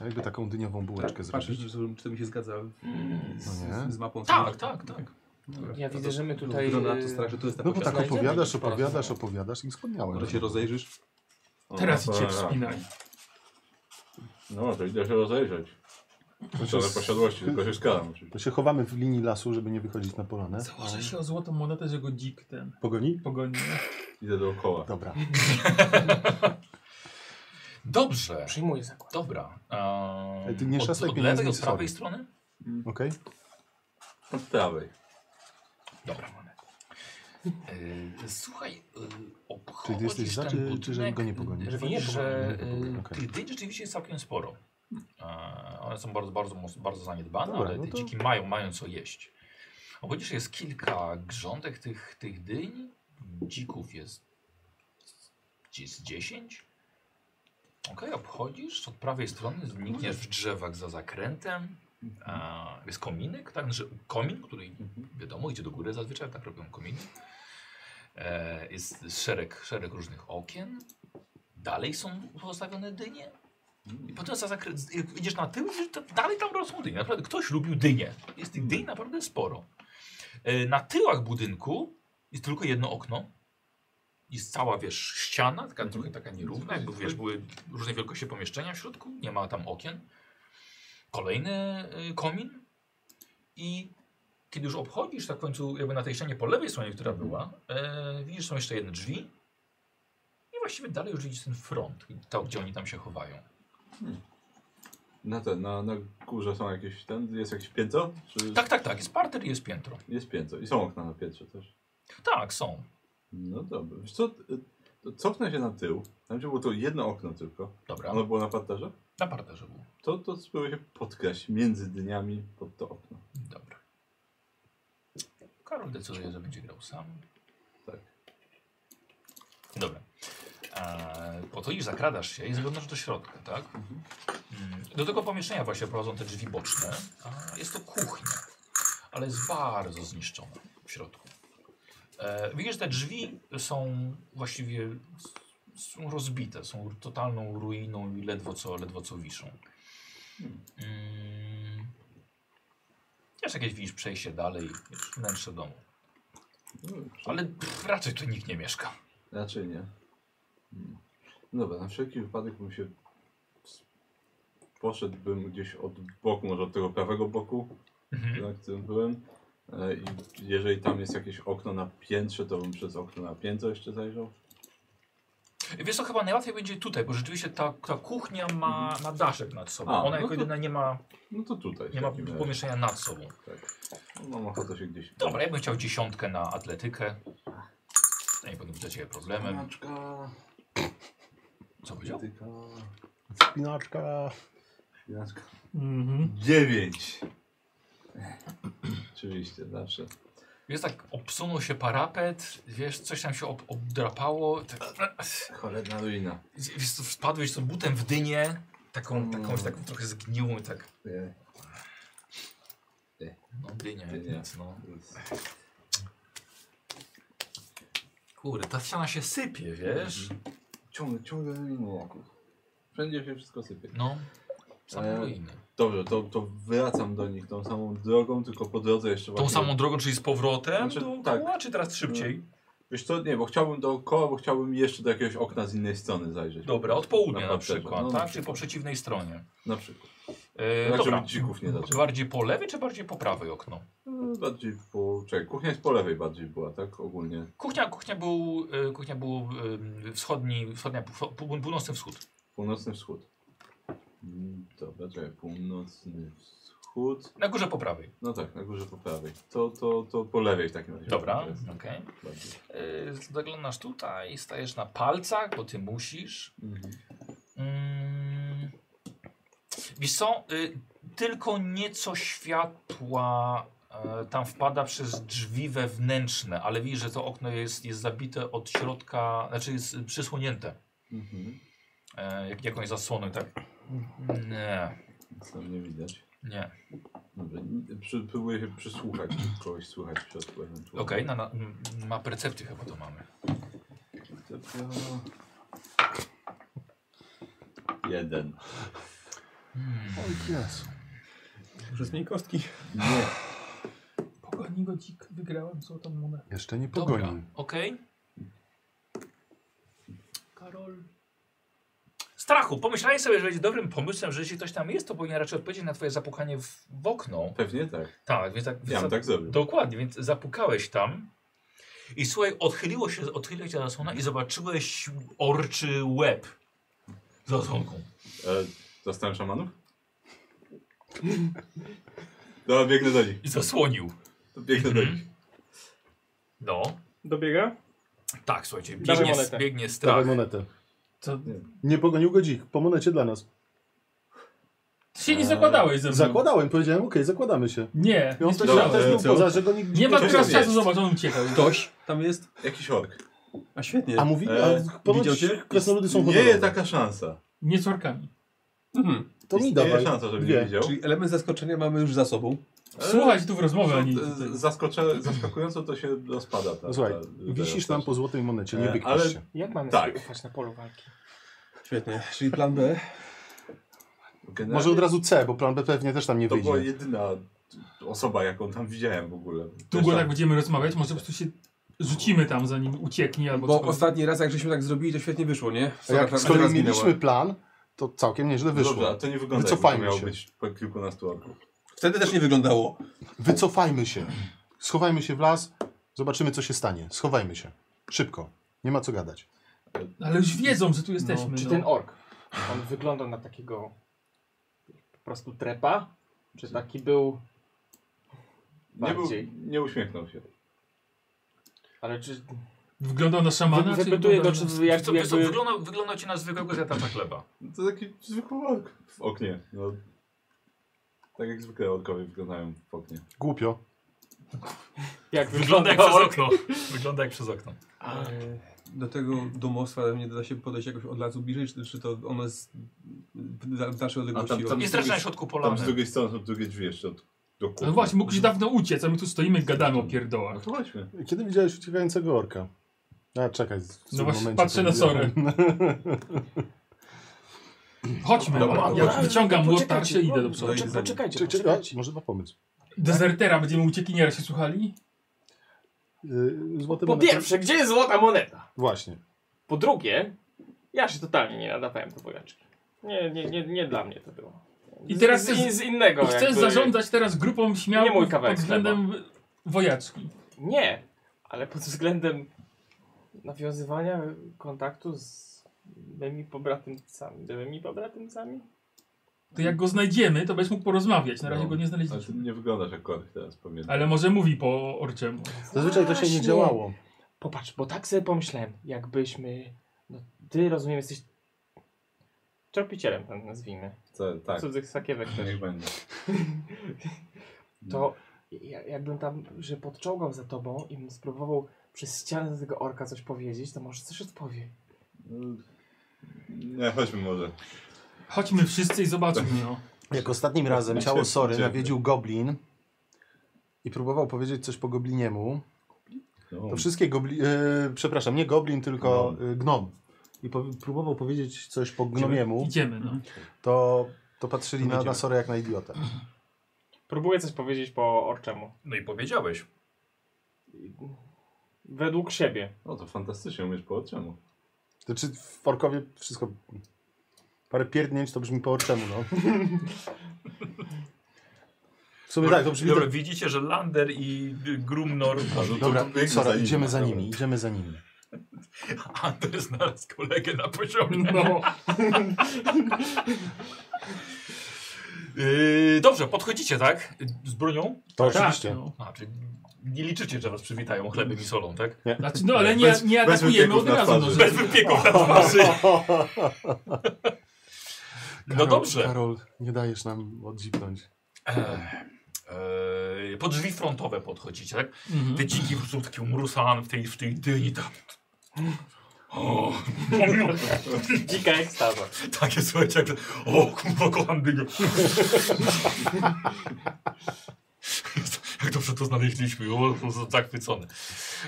Speaker 5: jakby taką dyniową bułeczkę
Speaker 7: Patrzę,
Speaker 5: zrobić.
Speaker 7: czy, czy to mi się zgadza
Speaker 5: No nie.
Speaker 7: z, z mapą.
Speaker 1: Tak, tak, tak.
Speaker 7: Dobra.
Speaker 2: Ja
Speaker 7: No to-
Speaker 2: widzę, że my tutaj,
Speaker 7: Wygląda na
Speaker 2: y,
Speaker 7: to strach, że to jest ta
Speaker 5: No bo
Speaker 7: pociąga.
Speaker 5: tak
Speaker 2: Znajdziemy
Speaker 5: opowiadasz,
Speaker 2: i
Speaker 5: opowiadasz,
Speaker 2: porozmawiamy.
Speaker 5: opowiadasz i skłodniałem.
Speaker 7: Może się rozejrzysz?
Speaker 4: teraz
Speaker 6: O,
Speaker 4: idźcie
Speaker 6: pa-
Speaker 4: wspinać.
Speaker 6: No to idę się rozejrzeć. To na posiadłości, tylko się skalam
Speaker 5: To
Speaker 6: oczywiście.
Speaker 5: się chowamy w linii lasu, żeby nie wychodzić na polanę.
Speaker 4: Założę się o złotą monetę, że go dzik ten
Speaker 5: Pogoni?
Speaker 4: pogoni.
Speaker 6: Idę dookoła.
Speaker 5: Dobra.
Speaker 1: Dobrze.
Speaker 2: Przyjmuję zakład.
Speaker 1: Dobra.
Speaker 5: Ej, ty
Speaker 1: Um,
Speaker 5: nie
Speaker 1: od,
Speaker 5: szasaj
Speaker 1: od
Speaker 5: pieniędzmi,
Speaker 1: lewej, od
Speaker 5: sorry.
Speaker 1: prawej strony?
Speaker 5: Okej?
Speaker 6: Od prawej.
Speaker 1: Dobra. Yy, słuchaj, yy,
Speaker 5: Czy ty jesteś za,
Speaker 1: ten
Speaker 5: czy-
Speaker 1: budynek,
Speaker 5: czy żeby go No nie pogonić?
Speaker 1: Że widzisz, że
Speaker 5: Nie pogonił,
Speaker 1: yy,
Speaker 5: okej.
Speaker 1: tych dyń rzeczywiście jest całkiem sporo. E, one są bardzo, bardzo, mos- bardzo zaniedbane,
Speaker 5: Dobra,
Speaker 1: ale
Speaker 5: no
Speaker 1: te
Speaker 5: to-
Speaker 1: dziki mają, mają co jeść. A chociaż jest kilka grządek tych, tych dyń, dzików jest, jest 10. Okej, obchodzisz, od prawej strony znikniesz w drzewach za zakrętem. A, jest kominek, tak? Znaczy, komin, który wiadomo idzie do góry zazwyczaj, tak robią kominy. E, jest szereg, szereg różnych okien. Dalej są pozostawione dynie. I potem za zakry- jak idziesz na tył, i to dalej tam rosną dynie. Naprawdę ktoś lubił dynie. Jest tych dyń naprawdę sporo. E, Na tyłach budynku jest tylko jedno okno. Jest cała, wiesz, ściana, taka trochę taka nierówna, jakby, wiesz, były różne wielkości pomieszczenia w środku, nie ma tam okien. Kolejny y, komin i kiedy już obchodzisz tak w końcu jakby na tej ścianie po lewej stronie, która była, e, widzisz, są jeszcze jedne drzwi i właściwie dalej już widzisz ten front, to gdzie oni tam się chowają.
Speaker 6: Na ten, na, na górze są jakieś ten, jest jakieś piętro? Czy...
Speaker 1: Tak, tak, tak, jest parter i jest piętro.
Speaker 6: Jest piętro i są okna na piętrze też.
Speaker 1: Tak, są.
Speaker 6: No dobra. Wiesz co, y, to cofnę się na tył. Tam gdzie było to jedno okno tylko.
Speaker 1: Dobra,
Speaker 6: Ono było na parterze.
Speaker 1: na parterze było.
Speaker 6: To, to spróbuję się podkraść między dniami pod to okno.
Speaker 1: Dobra. Karol decyduje, że będzie grał sam.
Speaker 6: Tak.
Speaker 1: Dobra. Eee, po to iż zakradasz się i zaglądasz do środka, tak? Mm, Do tego pomieszczenia właśnie prowadzą te drzwi boczne. A jest to kuchnia, ale jest bardzo zniszczona w środku. E, widzisz, te drzwi są właściwie s- są rozbite, są totalną ruiną i ledwo co, ledwo co wiszą. Mm. Wiesz, jakieś widzisz przejście dalej, wiesz, wnętrze domu.
Speaker 6: No, czy-
Speaker 1: Ale pff, raczej tu nikt nie mieszka.
Speaker 6: Raczej nie. Hmm. Dobra, na wszelki wypadek bym się... Poszedłbym gdzieś od boku, może od tego prawego boku, na którym byłem. E, I jeżeli tam jest jakieś okno na piętrze, to bym przez okno na piętro jeszcze zajrzał.
Speaker 1: Wiesz co, chyba najłatwiej będzie tutaj, bo rzeczywiście ta, ta kuchnia ma, ma daszek nad sobą.
Speaker 6: Mhm. A,
Speaker 1: Ona
Speaker 6: no
Speaker 1: jako
Speaker 6: to-
Speaker 1: jedyna nie ma,
Speaker 6: No to tutaj. w
Speaker 1: nie ma
Speaker 6: takim razie.
Speaker 1: pomieszczenia nad sobą.
Speaker 6: Tak. No, Mam ochotę się gdzieś...
Speaker 1: Dobra, ja bym chciał dziesiątkę na atletykę. To nie powinno być dla Ciebie
Speaker 6: No.
Speaker 1: problemem.
Speaker 6: Pinaczka,
Speaker 1: Co powiedział?
Speaker 6: patyka,
Speaker 5: Pinaczka.
Speaker 6: pinaczka.
Speaker 4: Mhm.
Speaker 6: Dziewięć. Oczywiście, zawsze.
Speaker 1: Wiesz, tak obsunął się parapet, wiesz, coś tam się ob, obdrapało. Tak,
Speaker 6: Cholerna ruina.
Speaker 1: wiesz, co, wpadłeś z butem w dynię, taką, taką,
Speaker 6: Mm.
Speaker 1: taką trochę zgniłą i tak.
Speaker 6: Nie,
Speaker 1: No dynia,
Speaker 6: Dynia.
Speaker 1: nic, no.
Speaker 6: to jest-
Speaker 1: Kurde, ta ściana się sypie, wiesz?
Speaker 6: Ciągle, ciągle ruiny jakieś. Wszędzie się wszystko sypie.
Speaker 1: No, same
Speaker 6: E,
Speaker 1: ruiny.
Speaker 6: Dobrze, to, to wracam do nich tą samą drogą, tylko po drodze jeszcze
Speaker 1: Tą
Speaker 6: właśnie...
Speaker 1: samą drogą, czyli z powrotem
Speaker 6: Znaczy,
Speaker 1: do
Speaker 6: tak.
Speaker 1: tak. czy teraz szybciej?
Speaker 6: Wiesz co, nie, bo chciałbym dookoła, bo chciałbym jeszcze do jakiegoś okna z innej strony zajrzeć.
Speaker 1: Dobra, od południa na,
Speaker 6: parterze.
Speaker 1: przykład,
Speaker 6: No,
Speaker 1: tak? Czyli
Speaker 6: na
Speaker 1: po
Speaker 6: przykład.
Speaker 1: przeciwnej stronie.
Speaker 6: Na przykład.
Speaker 1: E,
Speaker 6: Tak,
Speaker 1: dobra.
Speaker 6: żeby dzików nie zaczęło.
Speaker 1: Bardziej po lewej, czy bardziej po prawej okno?
Speaker 6: No, Bardziej po... Czekaj, kuchnia jest po lewej bardziej była, tak? Ogólnie.
Speaker 1: Kuchnia, kuchnia był, e, kuchnia był e, wschodni, wschodnia, pół- pół- północny wschód.
Speaker 6: Północny wschód. Mm, Dobra, czekaj, północny wschód.
Speaker 1: Na górze po prawej.
Speaker 6: No tak, na górze po prawej. To, to, to po lewej w takim razie.
Speaker 1: Dobra,
Speaker 6: Bardziej.
Speaker 1: okej.
Speaker 6: Bardziej.
Speaker 1: E, Zaglądasz tutaj, stajesz na palcach, bo ty musisz.
Speaker 6: Mhm.
Speaker 1: Mm. Wiesz co, y, tylko nieco światła e, tam wpada przez drzwi wewnętrzne, ale widzisz, że to okno jest, jest zabite od środka, znaczy jest przysłonięte
Speaker 6: Mhm.
Speaker 1: e, jak, jakąś zasłoną i tak. Nie,
Speaker 6: Nic tam nie widać.
Speaker 1: nie.
Speaker 6: Dobrze, n- przy, próbuję się przysłuchać, czy kogoś słychać w środku ewentualnie.
Speaker 1: Okej, na, na, m- ma percepcję chyba to mamy.
Speaker 6: Dobra. Jeden.
Speaker 7: Może zmień kostki.
Speaker 6: Nie.
Speaker 4: Pogoni go dzik, wygrałem złotą monetę.
Speaker 5: Jeszcze nie
Speaker 1: Dobra,
Speaker 5: pogonił.
Speaker 1: okej. Karol. Strachu, pomyślałeś sobie, że będzie dobrym pomysłem, że jeśli ktoś tam jest, to powinien raczej odpowiedzieć na twoje zapukanie w, w okno.
Speaker 6: Pewnie tak.
Speaker 1: Tak, więc tak.
Speaker 6: Ja
Speaker 1: za-
Speaker 6: bym tak zrobił.
Speaker 1: Dokładnie, więc zapukałeś tam. I słuchaj, odchyliło się, odchyliła się zasłona i zobaczyłeś orczy łeb za zasłonką.
Speaker 6: E, Zastałem szamanów? Dobra, No, biegnę do nich.
Speaker 1: I zasłonił.
Speaker 6: To biegnę do nich.
Speaker 1: Mhm. No,
Speaker 2: Dobiega?
Speaker 1: tak, słuchajcie,
Speaker 2: Dawaj
Speaker 1: biegnie,
Speaker 2: monetę.
Speaker 1: biegnie
Speaker 6: Tak.
Speaker 1: strach.
Speaker 5: Dawaj monetę.
Speaker 6: Nie.
Speaker 5: Nie pogonił go dzik. Po monecie dla
Speaker 6: Mhm.
Speaker 5: nas.
Speaker 4: Ty się nie zakładałeś ze mną.
Speaker 5: Zakładałem, powiedziałem, okej, zakładamy się.
Speaker 4: Nie,
Speaker 5: I on
Speaker 4: nie
Speaker 5: też,
Speaker 6: Dobra,
Speaker 5: on
Speaker 4: słyszałem.
Speaker 5: też był
Speaker 6: co?
Speaker 5: poza, że go nikt
Speaker 4: Nie ma
Speaker 6: to
Speaker 4: teraz
Speaker 6: jest.
Speaker 4: czasu, zobacz, on uciekał.
Speaker 7: Ktoś tam jest.
Speaker 6: Jakiś ork.
Speaker 7: A świetnie.
Speaker 5: A mówi,
Speaker 6: E,
Speaker 5: a ponoć
Speaker 7: widział cię?
Speaker 5: krasnoludy są
Speaker 6: Nie tak jest
Speaker 5: hodowlane.
Speaker 6: taka szansa.
Speaker 4: Nie z orkami.
Speaker 7: Mhm.
Speaker 5: To mi
Speaker 6: Nie
Speaker 5: dawaj.
Speaker 6: jest szansa, żeby nie
Speaker 5: Dwie.
Speaker 6: widział.
Speaker 7: Czyli element zaskoczenia mamy już za sobą.
Speaker 4: Słuchać tu w rozmowę, a nie
Speaker 6: Z-
Speaker 4: tutaj.
Speaker 6: zaskocze- Zaskakująco to się rozpada. Ta,
Speaker 5: Słuchaj,
Speaker 6: ta, ta
Speaker 5: Wisisz nam po złotej monecie, nie
Speaker 6: E,
Speaker 5: wykpisz
Speaker 6: ale-
Speaker 5: się.
Speaker 2: Jak mamy
Speaker 6: Tak.
Speaker 2: sobie ufać na polu walki?
Speaker 7: Świetnie, czyli plan B.
Speaker 6: Generalnie
Speaker 5: Może od razu C, bo plan B pewnie też tam nie
Speaker 6: To była
Speaker 5: wyjdzie.
Speaker 6: jedyna osoba, jaką tam widziałem w ogóle. Też
Speaker 4: Długo
Speaker 6: tam-
Speaker 4: tak będziemy rozmawiać, może po prostu się rzucimy tam, zanim ucieknie albo
Speaker 7: Bo
Speaker 4: cokolwiek.
Speaker 7: ostatni raz, jak żeśmy tak zrobili, to świetnie wyszło, nie?
Speaker 5: A Jak z kolei mieliśmy plan, to całkiem nieźle
Speaker 6: No Dobra, a
Speaker 5: wyszło.
Speaker 6: to nie wygląda jakby to
Speaker 5: Wycofajmy
Speaker 6: miało
Speaker 5: się.
Speaker 6: być po kilkunastu orków.
Speaker 7: Wtedy też nie wyglądało.
Speaker 5: Wycofajmy się. Schowajmy się w las, zobaczymy co się stanie. Schowajmy się. Szybko. Nie ma co gadać.
Speaker 4: Ale już wiedzą, że tu jesteśmy.
Speaker 2: Czy
Speaker 4: no.
Speaker 2: ten ork, on wygląda na takiego po prostu trepa? Czy taki był
Speaker 6: Nie, był,
Speaker 2: bardziej?
Speaker 6: nie uśmiechnął się.
Speaker 2: Ale czy...
Speaker 4: Wyglądał na szamana? czy
Speaker 2: Zapytuję go,
Speaker 4: wyglądał
Speaker 2: czy
Speaker 4: na-
Speaker 2: jak,
Speaker 1: Wiesz co, wiesz co,
Speaker 2: jakby...
Speaker 1: wygląda, wygląda ci na zwykłego zjadacza tak chleba.
Speaker 6: No To taki zwykły ork w oknie. No. Tak jak zwykle orkowie wyglądają w oknie.
Speaker 5: Głupio.
Speaker 2: Jak
Speaker 1: Wygląda jak przez okno. Wygląda jak przez okno.
Speaker 7: Do tego domostwa nie da się podejść jakoś od razu bliżej, czy, czy to ono jest w da- w dalszej odległości?
Speaker 6: tam- tam
Speaker 7: od-
Speaker 1: Jest strasznie na środku
Speaker 6: Tam z
Speaker 1: polany.
Speaker 6: drugiej strony są drugie drzwi jeszcze od, do kuchni.
Speaker 4: No właśnie, mógł się dawno uciec, a my tu stoimy i gadamy o
Speaker 6: No
Speaker 4: pierdołach.
Speaker 6: to chodźmy.
Speaker 5: Kiedy widziałeś uciekającego orka? A czekaj. w tym
Speaker 4: No właśnie,
Speaker 5: momencie
Speaker 4: patrzę na
Speaker 5: powiedziałem.
Speaker 4: Chodźmy,
Speaker 6: Dobra,
Speaker 4: ja
Speaker 6: dobra.
Speaker 4: wyciągam młot,
Speaker 5: tak
Speaker 2: Poczekajcie,
Speaker 4: tarczę i idę do
Speaker 2: no,
Speaker 4: przodu.
Speaker 2: poczek-
Speaker 7: Idę za nim.
Speaker 2: Poczekajcie,
Speaker 5: Czek- czek-
Speaker 2: poczekajcie.
Speaker 5: a, Znaczy, Może ma pomysł.
Speaker 4: Dezertera, będziemy uciekiniera się słuchali?
Speaker 5: Yy, Złote
Speaker 2: Po
Speaker 5: monety-
Speaker 2: pierwsze, gdzie jest złota moneta?
Speaker 5: Właśnie.
Speaker 2: Po drugie, ja się totalnie nie nadawałem do wojaczki. Nie, nie, nie, nie dla mnie to było.
Speaker 4: I teraz
Speaker 2: z,
Speaker 4: chcesz-
Speaker 2: z, z innego
Speaker 4: I chcesz
Speaker 2: No, jakby-
Speaker 4: zarządzać teraz grupą
Speaker 2: Nie mój
Speaker 4: śmiałków pod
Speaker 2: kawałek
Speaker 4: względem wojaczki.
Speaker 2: Nie, ale pod względem nawiązywania kontaktu z mymi pobratymcami. Byłymi pobratymcami?
Speaker 4: To jak go znajdziemy, to będziesz mógł porozmawiać. Na razie
Speaker 6: No,
Speaker 4: go nie
Speaker 6: Ale ty
Speaker 4: znaleźliśmy.
Speaker 6: nie wyglądasz jak ork teraz, pamiętam.
Speaker 4: Ale może mówi po orczemu.
Speaker 5: Zazwyczaj to się nie
Speaker 2: Właśnie.
Speaker 5: działało.
Speaker 2: Popatrz, bo tak sobie pomyślałem, jakbyśmy. No, ty rozumiem, jesteś. Czerpicielem, tak nazwijmy.
Speaker 6: Co, tak,
Speaker 2: Cudzych sakiewek
Speaker 6: to
Speaker 2: też.
Speaker 6: niech będzie.
Speaker 2: To ja, jakbym tam, że podczołgał za tobą i bym spróbował przez ścianę do tego orka coś powiedzieć, to może coś odpowie.
Speaker 6: No, Nie, chodźmy może.
Speaker 4: Chodźmy wszyscy i zobaczmy, no.
Speaker 5: Jak ostatnim razem ciało Sory
Speaker 6: Dziękuję.
Speaker 5: nawiedził goblin i próbował powiedzieć coś po gobliniemu,
Speaker 6: No.
Speaker 5: to wszystkie goblin... e, przepraszam, nie goblin, tylko e, gnom. I po, próbował powiedzieć coś po gnomiemu,
Speaker 4: Idziemy, no.
Speaker 5: to, to patrzyli
Speaker 7: To
Speaker 5: na, na
Speaker 7: będziemy.
Speaker 5: Sorę jak na idiotę.
Speaker 2: Próbuję coś powiedzieć po orczemu.
Speaker 1: No i powiedziałeś.
Speaker 2: Według siebie.
Speaker 6: No to fantastycznie, umiesz po czemu?
Speaker 5: To czy Znaczy, w Orkowie wszystko... Parę pierdnięć to brzmi po orczemu, no. W sumie tak, to brzmi...
Speaker 1: Dobra,
Speaker 5: tak-
Speaker 1: widzicie, że Lander i y, Grumnor
Speaker 5: Dobra,
Speaker 6: to biegnę
Speaker 5: Sora,
Speaker 6: za nimi.
Speaker 5: idziemy za
Speaker 6: Dobra.
Speaker 5: nimi, idziemy za nimi.
Speaker 1: Ander znalazł kolegę na poziomie.
Speaker 4: no.
Speaker 1: Yy, dobrze, podchodzicie, tak? Z bronią?
Speaker 5: To
Speaker 4: Tak,
Speaker 5: oczywiście.
Speaker 4: no.
Speaker 1: A, czyli nie liczycie, że was przywitają chlebem i solą, tak?
Speaker 4: Znaczy, no ale nie,
Speaker 6: Bez-
Speaker 4: nie
Speaker 6: bez
Speaker 4: atakujemy
Speaker 6: wypieków na
Speaker 4: od razu. No,
Speaker 6: twarzy.
Speaker 4: że-
Speaker 1: Bez wypieków na twarzy. No dobrze.
Speaker 5: Karol, nie dajesz nam odzipnąć.
Speaker 1: Eee, pod drzwi frontowe podchodzicie, tak?
Speaker 4: Mhm.
Speaker 1: Te dziki po prostu taki umrusan w tej, w tej dyni tam. O,
Speaker 2: Dzika ekstaza.
Speaker 1: takie słuchajcie, jak... O, kurwa, kocham dynię. Jak dobrze to znaleźliśmy, o, po prostu zachwycony.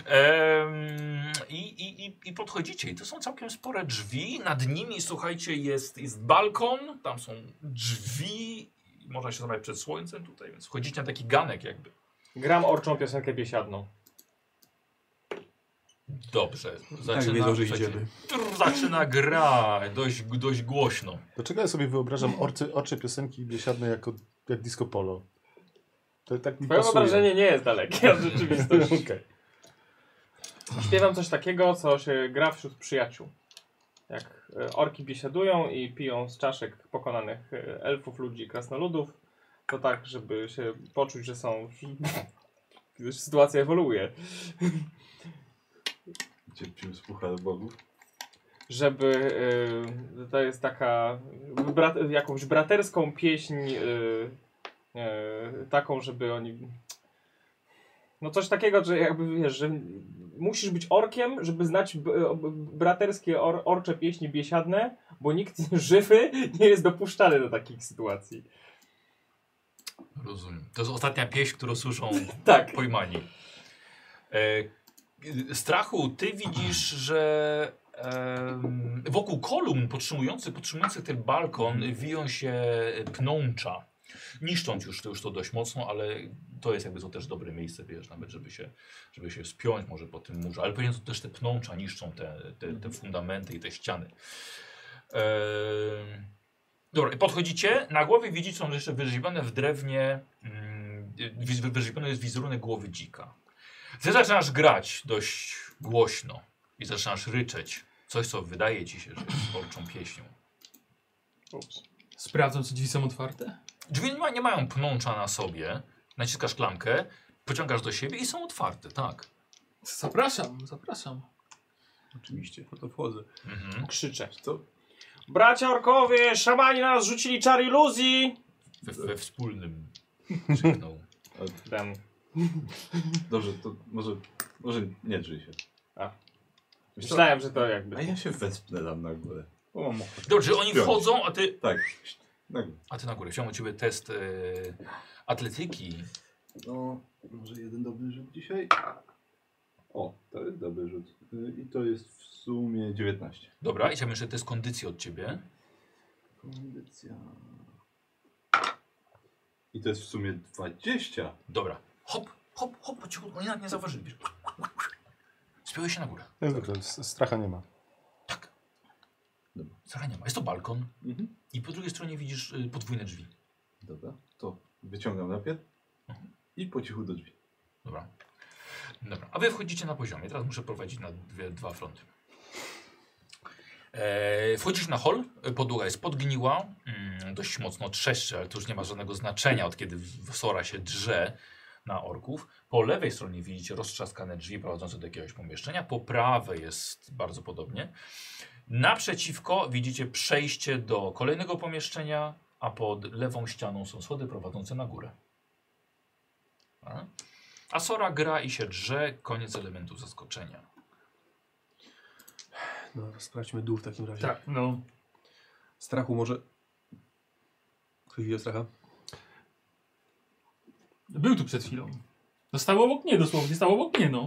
Speaker 1: Em, i, i, i- I podchodzicie i to są całkiem spore drzwi. Nad nimi, słuchajcie, jest, jest balkon, tam są drzwi. Można się znaleźć przed słońcem tutaj, więc wchodzicie na taki ganek jakby.
Speaker 2: Gram orczą piosenkę biesiadną.
Speaker 1: Dobrze, zaczyna,
Speaker 7: Tak wiedzą, że
Speaker 1: słuchajcie,
Speaker 7: idziemy.
Speaker 1: trrr, zaczyna gra dość, dość głośno.
Speaker 5: Dlaczego ja sobie wyobrażam orcy, orcze piosenki biesiadne jako jak disco polo? To tak mi
Speaker 2: Twoje
Speaker 5: pasuje.
Speaker 2: wyobrażenie nie jest dalekie od rzeczywistości.
Speaker 5: Okej.
Speaker 2: Śpiewam coś takiego, co się gra wśród przyjaciół. Jak e, orki biesiadują i piją z czaszek pokonanych e, elfów, ludzi i krasnoludów, to tak, żeby się poczuć, że są... Gdyż sytuacja ewoluuje.
Speaker 6: Gdzie pił z puchar bogów?
Speaker 2: Żeby... e, to jest taka... Brat, jakąś braterską pieśń e, e, taką, żeby oni... No coś takiego, że jakby wiesz, że musisz być orkiem, żeby znać b- b- braterskie or, orcze pieśni biesiadne, bo nikt żywy nie jest dopuszczany do takich sytuacji.
Speaker 1: Rozumiem. To jest ostatnia pieśń, którą słyszą
Speaker 2: Tak.
Speaker 1: pojmani. E, strachu, ty widzisz, że em, wokół kolumn podtrzymujących, podtrzymujących ten balkon wiją się pnącza. Niszcząc już to, już to dość mocno, ale to jest jakby to też dobre miejsce, wiesz, nawet żeby się, żeby się spiąć może po tym murze. Ale pewnie to też te pnącza niszczą te, te, te fundamenty i te ściany. E, dobra, podchodzicie, na głowie widzicie, są jeszcze wyrzeźbione w drewnie, mm, wi- wyrzeźbiony jest wizerunek głowy dzika. Ty zaczynasz grać dość głośno i zaczynasz ryczeć. Coś, co wydaje ci się, że jest orczą pieśnią.
Speaker 4: Sprawdzam, czy drzwi są otwarte.
Speaker 1: Drzwi nie, ma, nie mają pnącza na sobie. Naciskasz klamkę, pociągasz do siebie i są otwarte, tak.
Speaker 4: Zapraszam, zapraszam.
Speaker 7: Oczywiście, no to wchodzę.
Speaker 1: Mhm.
Speaker 2: Krzyczę.
Speaker 6: Co?
Speaker 2: Bracia orkowie, szamani na nas rzucili czar iluzji!
Speaker 1: We, we wspólnym krzyknął.
Speaker 2: Dam.
Speaker 6: Dobrze, to może, może nie drzyj się.
Speaker 2: A.
Speaker 6: Wiesz co?
Speaker 2: Myślałem, że to jakby...
Speaker 6: A ja się wespnę tam na górę. Bo mam ochotę.
Speaker 1: Dobrze, oni
Speaker 6: Wspiąć.
Speaker 1: wchodzą, a ty,
Speaker 6: Tak. Na górę.
Speaker 1: a ty na górę. Chciałem u ciebie test e, atletyki.
Speaker 6: No, może jeden dobry rzut dzisiaj? O, to jest dobry rzut. Y, I to jest w sumie 19.
Speaker 1: Dobra, i chciałbym jeszcze test kondycji od ciebie.
Speaker 6: Kondycja. I to jest w sumie 20.
Speaker 1: Dobra. Hop, hop, hop, po cichu. Oni nawet nie zauważyli. Wiesz. Spiąłeś się na górę.
Speaker 5: Jak zwykle, s- stracha nie ma.
Speaker 1: Tak.
Speaker 6: Dobra.
Speaker 1: Sara nie ma. Jest to balkon.
Speaker 6: Mhm.
Speaker 1: I po drugiej stronie widzisz y, podwójne drzwi.
Speaker 6: Dobra, to wyciągam najpierw i po cichu do drzwi.
Speaker 1: Dobra. Dobra. A wy wchodzicie na poziomie. Teraz muszę prowadzić na dwie, dwa fronty. E, wchodzisz na hol. E, Podłoga jest podgniła. Mm, dość mocno trzeszczy, ale to już nie ma żadnego znaczenia, od kiedy w- sora się drze na orków. Po lewej stronie widzicie roztrzaskane drzwi prowadzące do jakiegoś pomieszczenia. Po prawej jest bardzo podobnie. Naprzeciwko widzicie przejście do kolejnego pomieszczenia, a pod lewą ścianą są schody prowadzące na górę. Tak? A? A Sora gra i się drze, koniec elementu zaskoczenia.
Speaker 7: No, sprawdźmy dół w takim razie.
Speaker 4: Tak, no.
Speaker 7: Strachu może... Ktoś widział stracha?
Speaker 4: Był tu przed chwilą. No stał obok mnie dosłownie, stał obok mnie, no.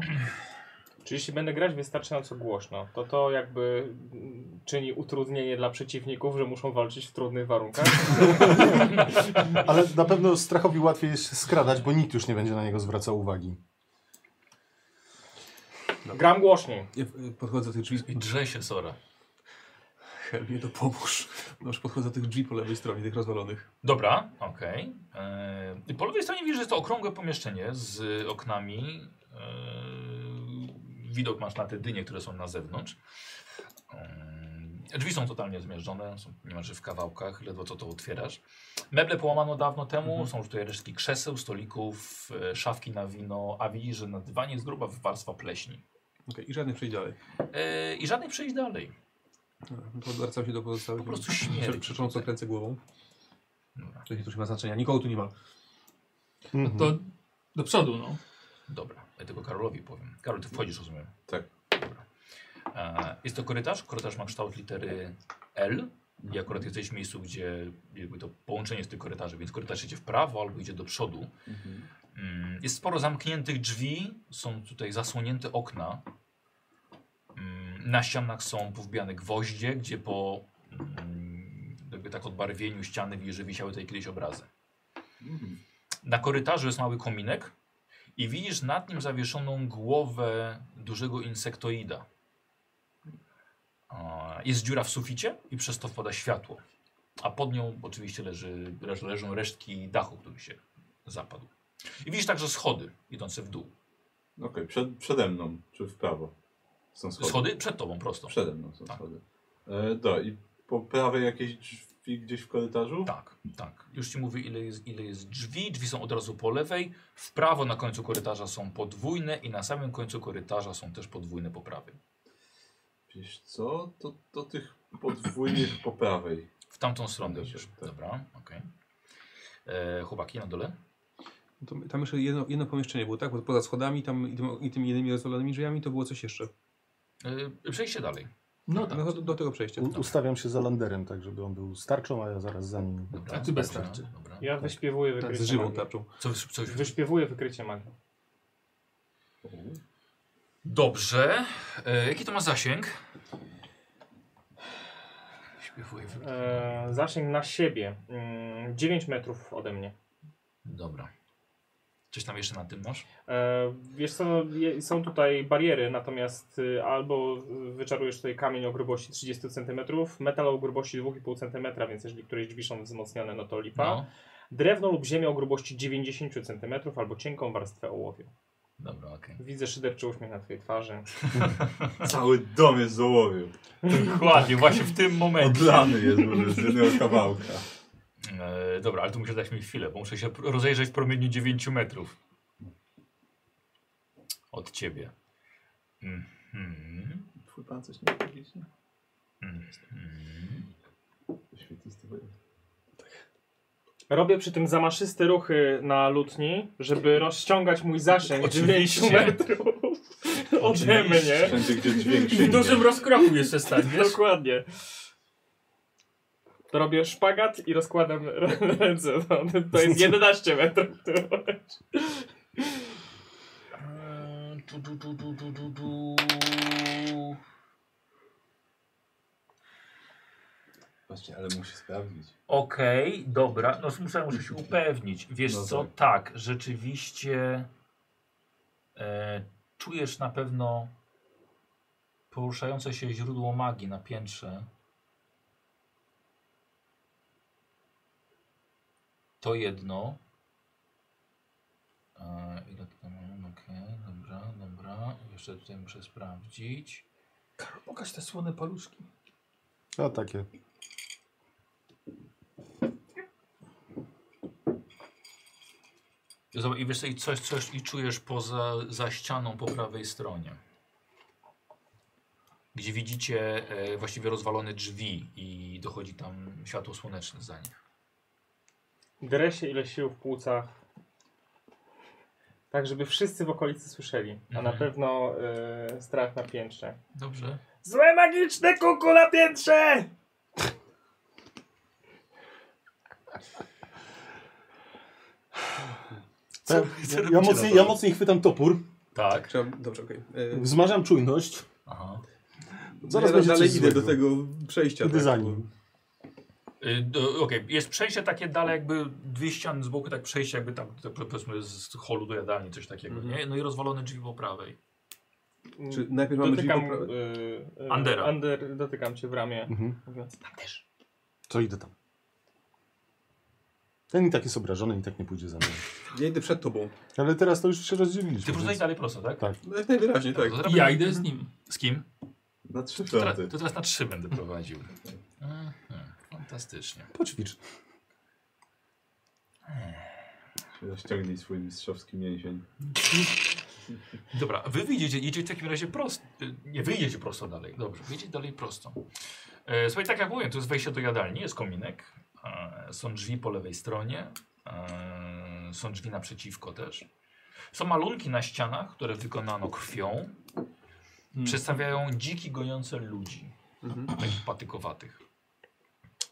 Speaker 2: Czy jeśli będę grać wystarczająco głośno, to to jakby mm, czyni utrudnienie dla przeciwników, że muszą walczyć w trudnych warunkach?
Speaker 5: Ale na pewno strachowi łatwiej jest się skradać, bo nikt już nie będzie na niego zwracał uwagi.
Speaker 7: No.
Speaker 2: Gram głośniej.
Speaker 7: Ja y, podchodzę do tych drzwi
Speaker 1: I
Speaker 7: i
Speaker 1: drze się Sora.
Speaker 7: Helmie to pomóż. No już podchodzę do tych drzwi po lewej stronie, tych rozwalonych.
Speaker 1: Dobra, okej. Yy, Po lewej stronie widzisz, że jest to okrągłe pomieszczenie z oknami. Yy, Widok masz na te dynie, które są na zewnątrz. Yy, Drzwi są totalnie zmierzone, są niemalże w kawałkach, ledwo co to otwierasz. Meble połamano dawno temu, są już tutaj resztki krzeseł, stolików, e, szafki na wino, a widzisz, że na dywanie jest gruba warstwa pleśni.
Speaker 7: Okej, i żadnych przejść dalej.
Speaker 1: Yy, I żadnych przejść dalej.
Speaker 7: Dobra, no to Odwracam się do pozostałych.
Speaker 1: Po prostu śmierdzi.
Speaker 7: Przecząco kręcę głową.
Speaker 1: Dobra.
Speaker 7: To nie, to już nie ma znaczenia, nikogo tu nie ma.
Speaker 5: Mhm.
Speaker 4: To do przodu, no.
Speaker 1: Dobra, ja tego Karolowi powiem. Karol, ty wchodzisz, rozumiem.
Speaker 6: Tak.
Speaker 1: Dobra. E, jest to korytarz. Korytarz ma kształt litery L. I akurat jesteś w miejscu, gdzie jakby to połączenie jest tych korytarzy, więc korytarz idzie w prawo albo idzie do przodu.
Speaker 6: Mhm.
Speaker 1: Mm, jest sporo zamkniętych drzwi, są tutaj zasłonięte okna. Mm, na ścianach są powbijane gwoździe, gdzie po mm, jakby tak odbarwieniu ściany widzisz, że wisiały tutaj kiedyś obrazy.
Speaker 6: Mhm.
Speaker 1: Na korytarzu jest mały kominek i widzisz nad nim zawieszoną głowę dużego insektoida. A, Jest dziura w suficie i przez to wpada światło. A pod nią oczywiście leży, leż- leżą resztki dachu, który się zapadł. I widzisz także schody idące w dół.
Speaker 6: Okej, przed, przede mną, czy w prawo? Są schody.
Speaker 1: Schody przed tobą prosto.
Speaker 6: Przede mną są
Speaker 1: Tak.
Speaker 6: schody. E, do, i po prawej jakieś drzwi gdzieś w korytarzu?
Speaker 1: Tak, tak. Już ci mówię, ile jest, ile jest drzwi. Drzwi są od razu po lewej. W prawo na końcu korytarza są podwójne i na samym końcu korytarza są też podwójne po prawej.
Speaker 6: Wiesz co? To, to tych podwójnych po prawej.
Speaker 1: W tamtą stronę
Speaker 6: Dobrze,
Speaker 1: idziesz.
Speaker 6: tak.
Speaker 1: Dobra, okej. E, Chłopaki na dole?
Speaker 7: No To, tam jeszcze jedno, jedno pomieszczenie było, tak? Bo poza schodami tam i, tym, i tymi innymi rozwalonymi drzwiami to było coś jeszcze.
Speaker 1: E, Przejdźcie dalej.
Speaker 4: No tak.
Speaker 7: No to do, do tego przejścia.
Speaker 5: U, ustawiam się za landerem, tak żeby on był starczą, a ja zaraz za nim.
Speaker 1: Dobra,
Speaker 4: A ty bez
Speaker 1: dobra,
Speaker 4: tarczy.
Speaker 1: Dobra.
Speaker 2: Ja wyśpiewuję
Speaker 7: Tak,
Speaker 2: wykrycie
Speaker 7: z żywą
Speaker 2: magii.
Speaker 7: tarczą.
Speaker 1: Co, wy- co, wy-
Speaker 2: Wyśpiewuję wykrycie magii.
Speaker 1: Dobrze. E, jaki to ma zasięg? Śpiewuję. wy-
Speaker 2: E, zasięg na siebie. Mm, 9 metrów ode mnie.
Speaker 1: Dobra. Coś tam jeszcze na tym masz?
Speaker 2: E, wiesz co, je, są tutaj bariery, natomiast y, albo y, wyczarujesz tutaj kamień o grubości 30 cm, metal o grubości 2,5 cm, więc jeżeli któreś drzwi są wzmocnione, no to lipa.
Speaker 1: No.
Speaker 2: Drewno lub ziemia o grubości 90 cm albo cienką warstwę ołowiu.
Speaker 1: Dobra, okej.
Speaker 2: Widzę szyderczy uśmiech na twojej twarzy.
Speaker 6: Cały dom jest z ołowiu.
Speaker 1: Dokładnie, właśnie w tym momencie.
Speaker 6: Odlany jest może z jednego kawałka.
Speaker 1: E, dobra, ale tu musisz dać mi chwilę, bo muszę się pr- rozejrzeć w promieniu 9 metrów. Od ciebie. Mhm.
Speaker 6: Twój pan coś nie powiedzieć?
Speaker 1: Mhm.
Speaker 6: Świetlisty
Speaker 2: Robię przy tym zamaszyste ruchy na lutni, żeby rozciągać mój zasięg
Speaker 1: Oczywiście.
Speaker 2: 9 metrów ode mnie.
Speaker 6: Wszędzie gdzie dźwięk
Speaker 4: I w dużym
Speaker 6: sięgnie.
Speaker 4: rozkroku jeszcze stać, wiesz?
Speaker 2: Dokładnie. To Robię szpagat i rozkładam r- ręce. No, to jest 11 metrów.
Speaker 1: Eee, tu, tu, tu, tu, tu, tu, tu.
Speaker 6: Właśnie, ale musi sprawdzić.
Speaker 1: Okej, dobra. No muszę, muszę się upewnić. Wiesz
Speaker 6: No
Speaker 1: co,
Speaker 6: tak.
Speaker 1: tak, rzeczywiście e, czujesz na pewno poruszające się źródło magii na piętrze. To jedno. E, ile to tam mam? Okej, dobra, dobra. Jeszcze tutaj muszę sprawdzić.
Speaker 4: Pokaż te słone paluszki.
Speaker 5: No takie.
Speaker 1: Zobacz, I wiesz co, i coś, coś i czujesz poza za ścianą po prawej stronie. Gdzie widzicie e, właściwie rozwalone drzwi i dochodzi tam światło słoneczne za nich.
Speaker 2: Drę się ile sił w płucach. Tak, żeby wszyscy w okolicy słyszeli. A na
Speaker 1: Mhm.
Speaker 2: pewno y, strach na piętrze.
Speaker 1: Dobrze.
Speaker 2: Złe magiczne kuku na piętrze!
Speaker 5: Ja,
Speaker 1: co
Speaker 5: ja,
Speaker 1: robicie
Speaker 5: mocniej,
Speaker 1: na
Speaker 5: ja
Speaker 1: to?
Speaker 5: mocniej chwytam topór,
Speaker 1: Tak.
Speaker 7: Trzeba, dobrze, okej. E,
Speaker 5: wzmażam czujność.
Speaker 1: Aha.
Speaker 5: Zaraz
Speaker 7: ja
Speaker 5: będzie
Speaker 7: dalej
Speaker 5: coś
Speaker 7: idę do
Speaker 5: złego.
Speaker 7: tego przejścia.
Speaker 5: Idę
Speaker 7: tak,
Speaker 5: za
Speaker 7: bo-
Speaker 5: nim.
Speaker 1: Y, do- Okej, jest przejście takie dalej, jakby dwie ściany z boku, tak przejście jakby tam tak powiedzmy z holu do jadalni, coś takiego,
Speaker 7: Mhm.
Speaker 1: nie? No i rozwalone drzwi po prawej.
Speaker 7: Czy najpierw mamy drzwi
Speaker 2: Dotykam,
Speaker 7: po prawej?
Speaker 2: y, y,
Speaker 1: Andera.
Speaker 2: Ander, dotykam cię w ramię.
Speaker 5: Mhm.
Speaker 2: Mówiąc, tam też.
Speaker 5: Co idę tam? Ten i tak jest obrażony i tak nie pójdzie za mną.
Speaker 7: Ja idę przed tobą.
Speaker 5: Ale teraz to już się
Speaker 1: Ty po
Speaker 5: rozdzieliliśmy.
Speaker 1: prostu
Speaker 5: więc-
Speaker 1: idź dalej prosto, tak?
Speaker 5: Tak.
Speaker 7: No, jak najwyraźniej, tak.
Speaker 1: To
Speaker 4: I
Speaker 1: zrobię-
Speaker 4: ja idę z nim.
Speaker 1: Z kim?
Speaker 6: Na trzy
Speaker 1: To, teraz-
Speaker 6: fronty.
Speaker 1: to teraz na trzy będę prowadził. Mhm, fantastycznie.
Speaker 5: Poćwicz.
Speaker 6: Rozciągnij swój mistrzowski mięsień.
Speaker 1: Dobra, wy wyjdziecie, idziecie w takim razie prosto. y, Nie, wyjdziecie prosto dalej. Dobrze, wyjdziecie dalej prosto. E, słuchaj, tak jak mówiłem, to jest wejście do jadalni, jest kominek. E, są drzwi po lewej stronie. E, są drzwi naprzeciwko też. Są malunki na ścianach, które wykonano krwią. Przedstawiają dziki goniące ludzi.
Speaker 7: Mhm.
Speaker 1: Takich patykowatych.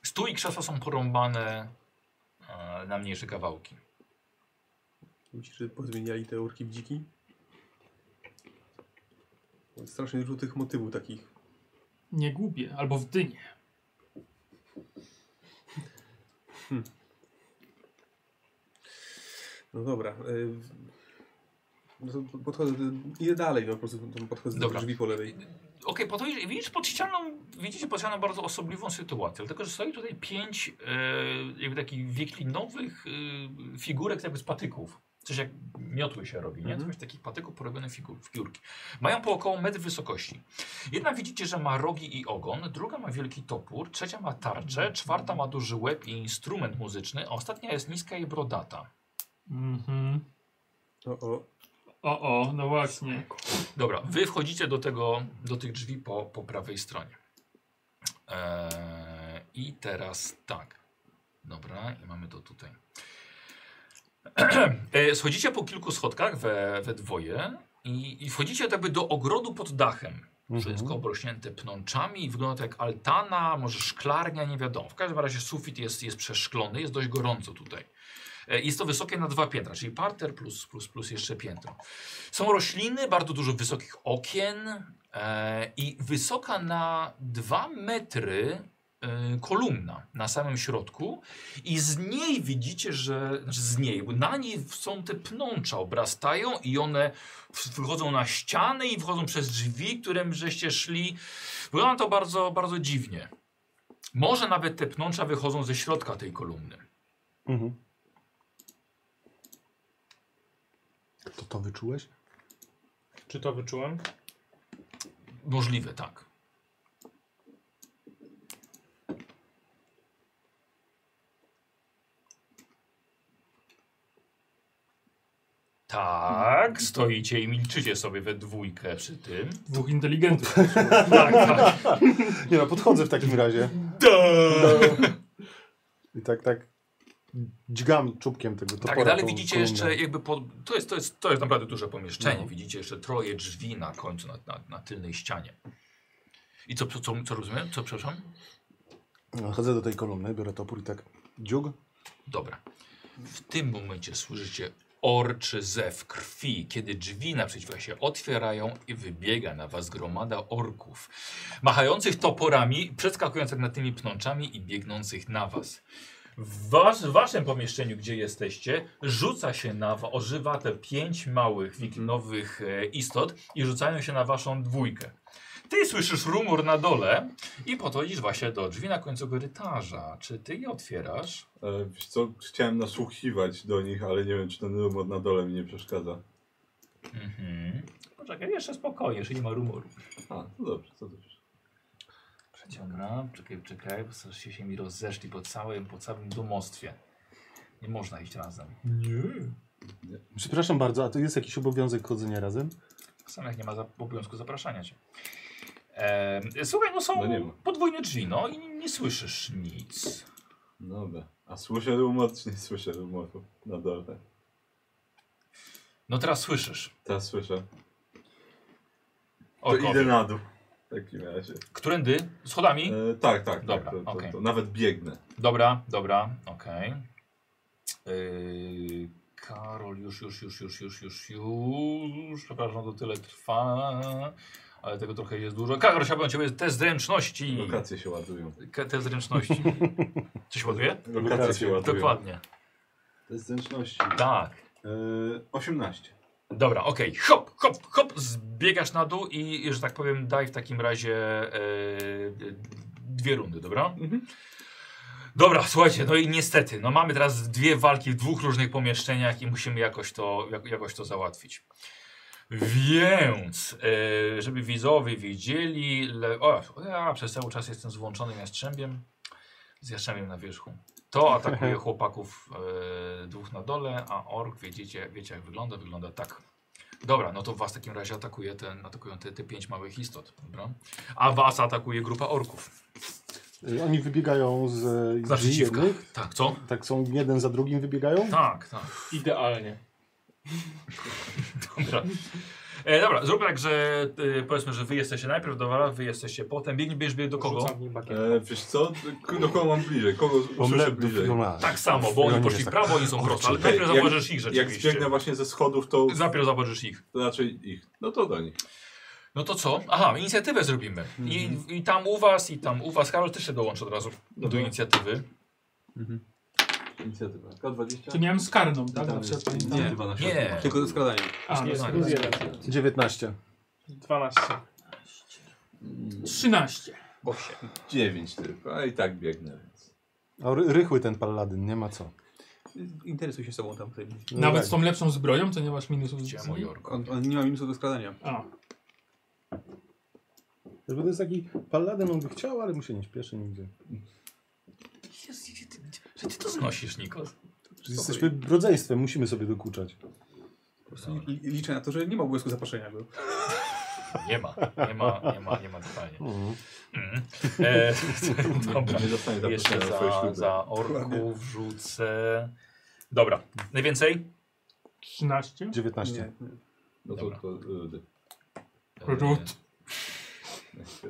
Speaker 1: Stół i krzesła są porąbane e, na mniejsze kawałki.
Speaker 7: Myślisz, że pozmieniali te urki w dziki? Strasznie dużo tych motywów takich.
Speaker 4: Nie gubię, albo w dynie.
Speaker 7: No dobra. y, w- No to podchodzę, do- idę dalej, no po prostu tam podchodzę
Speaker 1: Dobra.
Speaker 7: do drzwi po lewej.
Speaker 1: Okej, po to widzisz- widzisz pod ścianą, widzicie pod ścianą bardzo osobliwą sytuację, dlatego że stoi tutaj pięć e, jakby takich wieklinowych e, figurek jakby z patyków. Coś jak miotły się robi, nie?
Speaker 7: Mhm.
Speaker 1: Coś takich patyków porobionych figur, figurki. Mają po około metr wysokości. Jedna widzicie, że ma rogi i ogon, druga ma wielki topór, trzecia ma tarczę, czwarta ma duży łeb i instrument muzyczny, a ostatnia jest niska i brodata.
Speaker 4: Mhm.
Speaker 7: O, o.
Speaker 4: O, o, no właśnie.
Speaker 1: Dobra, wy wchodzicie do, tego, do tych drzwi po, po prawej stronie. Eee, I teraz tak. Dobra, i mamy to tutaj. Eee, schodzicie po kilku schodkach we, we dwoje i, i wchodzicie jakby do tak ogrodu pod dachem.
Speaker 5: Mhm,
Speaker 1: Wszystko obrośnięte pnączami i wygląda to jak altana, może szklarnia, nie wiadomo. W każdym razie sufit jest, jest przeszklony, jest dość gorąco tutaj. E, Jest to wysokie na dwa piętra, czyli parter plus, plus, plus jeszcze piętro. Są rośliny, bardzo dużo wysokich okien e, i wysoka na dwa metry e, kolumna na samym środku i z niej widzicie, że znaczy z niej, bo na niej są te pnącza, obrastają i one w- wychodzą na ściany i wchodzą przez drzwi, którym żeście szli. Wygląda to bardzo, bardzo dziwnie. Może nawet te pnącza wychodzą ze środka tej kolumny.
Speaker 5: mhm. To to wyczułeś?
Speaker 2: Czy to wyczułem?
Speaker 1: Możliwe, tak. Tak, stoicie i milczycie sobie we dwójkę przy tym.
Speaker 4: Dwóch inteligentów.
Speaker 1: Tak, tak.
Speaker 5: Nie no, podchodzę w takim razie. I tak, tak dźgam czubkiem tego topora.
Speaker 1: tak dalej
Speaker 5: tą
Speaker 1: widzicie
Speaker 5: kolumnę. No.
Speaker 1: jeszcze jakby pod, to, jest, to, jest, to jest naprawdę duże pomieszczenie. Widzicie jeszcze troje drzwi na końcu, na, na, na tylnej ścianie. I co, co, co, co rozumiem? Co, przepraszam?
Speaker 5: No, Chodzę do tej kolumny, biorę topór i tak dziug.
Speaker 1: Dobra. W tym momencie słyszycie orczy zew krwi, kiedy drzwi naprzeciwko się otwierają i wybiega na was gromada orków, machających toporami, przeskakujących nad tymi pnączami i biegnących na was. W, was, w waszym pomieszczeniu, gdzie jesteście, rzuca się na wa- ożywa te pięć małych wikinowych e, istot i rzucają się na waszą dwójkę. Ty słyszysz rumor na dole i podchodzisz właśnie do drzwi na końcu korytarza. Czy ty je otwierasz?
Speaker 6: E, wiesz co, chciałem nasłuchiwać do nich, ale nie wiem, czy ten rumor na dole mi nie przeszkadza.
Speaker 1: Mhm. Poczekaj, jeszcze spokojnie, jeszcze nie ma rumoru.
Speaker 6: A, no dobrze, co to wiesz?
Speaker 1: Przeciągam, czekaj, czekaj, bo strasznie się mi rozeszli po całym, po całym domostwie. Nie można iść razem.
Speaker 5: Przepraszam bardzo, a to jest jakiś obowiązek chodzenia razem?
Speaker 1: Sam jak nie ma za, obowiązku zapraszania cię. Ehm, słuchaj, no są
Speaker 6: No nie ma.
Speaker 1: podwójne drzwi, no i nie słyszysz nic.
Speaker 6: No Dobra. A słyszę rumor, czy nie słyszę rumoru na dole?
Speaker 1: No teraz słyszysz.
Speaker 6: Teraz słyszę. To
Speaker 1: Orkowie.
Speaker 6: idę na dół. W takim razie.
Speaker 1: Którędy? Schodami?
Speaker 6: E, tak, tak.
Speaker 1: Dobra,
Speaker 6: tak, to, to,
Speaker 1: okej.
Speaker 6: to nawet biegnę.
Speaker 1: Dobra, dobra, okej. Yy, Karol, już, już, już, już, już, już, już. Przepraszam, to tyle trwa. Ale tego trochę jest dużo. Karol, chciałbym od ciebie te zręczności.
Speaker 6: Lokacje się ładują.
Speaker 1: Ka- Te zręczności. Co się ładuje?
Speaker 6: Lokacje się ładują.
Speaker 1: Dokładnie.
Speaker 6: To jest zręczności.
Speaker 1: Tak.
Speaker 6: E, 18.
Speaker 1: Dobra, okej. Hop, hop, hop. Zbiegasz na dół i, że tak powiem, daj w takim razie yy, dwie rundy, dobra?
Speaker 6: Mhm.
Speaker 1: Dobra, słuchajcie, no i niestety, no mamy teraz dwie walki w dwóch różnych pomieszczeniach i musimy jakoś to, jak, jakoś to załatwić. Więc, e, żeby widzowie widzieli, le, o, ja przez cały czas jestem z włączonym jastrzębiem, z jastrzębiem na wierzchu. To atakuje chłopaków e, dwóch na dole, a ork, wiecie, wiecie jak wygląda, wygląda tak. Dobra, no to was w takim razie atakuje ten, atakują te, te pięć małych istot, dobra? A was atakuje grupa orków.
Speaker 5: Y, Oni wybiegają z y, z drzwi
Speaker 1: Naprzeciwka.
Speaker 5: jednych,
Speaker 1: Tak, co?
Speaker 5: tak są jeden za drugim wybiegają.
Speaker 1: Tak, tak.
Speaker 2: Idealnie.
Speaker 1: Dobra. E, dobra, zróbmy tak, że e, powiedzmy, że wy jesteście najpierw, dobra, wy jesteście potem. Biegnie, będziesz biegł do kogo?
Speaker 2: Rzucam w nim bakietem.
Speaker 6: E, wiesz co? K- Do kogo mam bliżej? Kogo usłyszę
Speaker 5: Omlet
Speaker 6: bliżej?
Speaker 1: Tak samo, bo oni
Speaker 5: Oni
Speaker 1: poszli w
Speaker 5: tak-
Speaker 1: prawo, oni są prosto, ale
Speaker 6: kurczę.
Speaker 1: najpierw
Speaker 6: Jak-
Speaker 1: zauważysz ich
Speaker 6: Jak
Speaker 1: rzeczywiście.
Speaker 6: zbiegnę właśnie ze schodów, to
Speaker 1: Najpierw zauważysz ich.
Speaker 6: raczej ich. No to do nich.
Speaker 1: No to co? Aha, inicjatywę zrobimy. I, I tam u was, i tam u was. Karol, ty się dołącz od razu do
Speaker 6: Dobra.
Speaker 1: inicjatywy.
Speaker 6: Inicjatywa. K20.
Speaker 4: Czy miałem z karną, tak? Zawsze pamiętam.
Speaker 6: Nie, chyba na środku.
Speaker 1: Nie.
Speaker 7: Tylko ze skradaniem.
Speaker 4: A,
Speaker 1: Nie,
Speaker 4: no,
Speaker 1: nie,
Speaker 2: Plus
Speaker 1: nie.
Speaker 2: jeden.
Speaker 5: 19.
Speaker 2: 12.
Speaker 4: 13.
Speaker 6: 9 tylko, a i tak biegnę. Więc.
Speaker 5: A ry- rychły ten paladyn, nie ma co.
Speaker 7: Interesuj się sobą tam tym.
Speaker 5: No
Speaker 4: Nawet
Speaker 5: tak.
Speaker 4: z tą lepszą zbroją, to nie masz minusów.
Speaker 1: Gdzie mój orko?
Speaker 7: On, on nie ma minusów do skradania.
Speaker 4: A,
Speaker 5: Bo to jest taki paladyn, on by chciał, ale mu się nie śpieszy nigdzie.
Speaker 1: Jezu, gdzie ty, gdzie- że ty to znosisz, Nikos?
Speaker 5: Czyli jesteśmy rodzeństwem, musimy sobie dokuczać.
Speaker 7: Po prostu li- li- liczę na to, że nie ma obowiązku zaproszenia go.
Speaker 1: Nie ma, nie ma, nie ma, nie ma totalnie.
Speaker 5: Mhm.
Speaker 1: Mm. E, dobra.
Speaker 6: Nie zostanie
Speaker 1: Jeszcze
Speaker 6: zaproszony na swoje
Speaker 1: za,
Speaker 6: śluby.
Speaker 1: za orków rzucę. Dobra, najwięcej?
Speaker 4: 13.
Speaker 5: 19.
Speaker 7: Nie, nie.
Speaker 6: No to,
Speaker 1: Dobra.
Speaker 6: to, y,
Speaker 4: Rzut.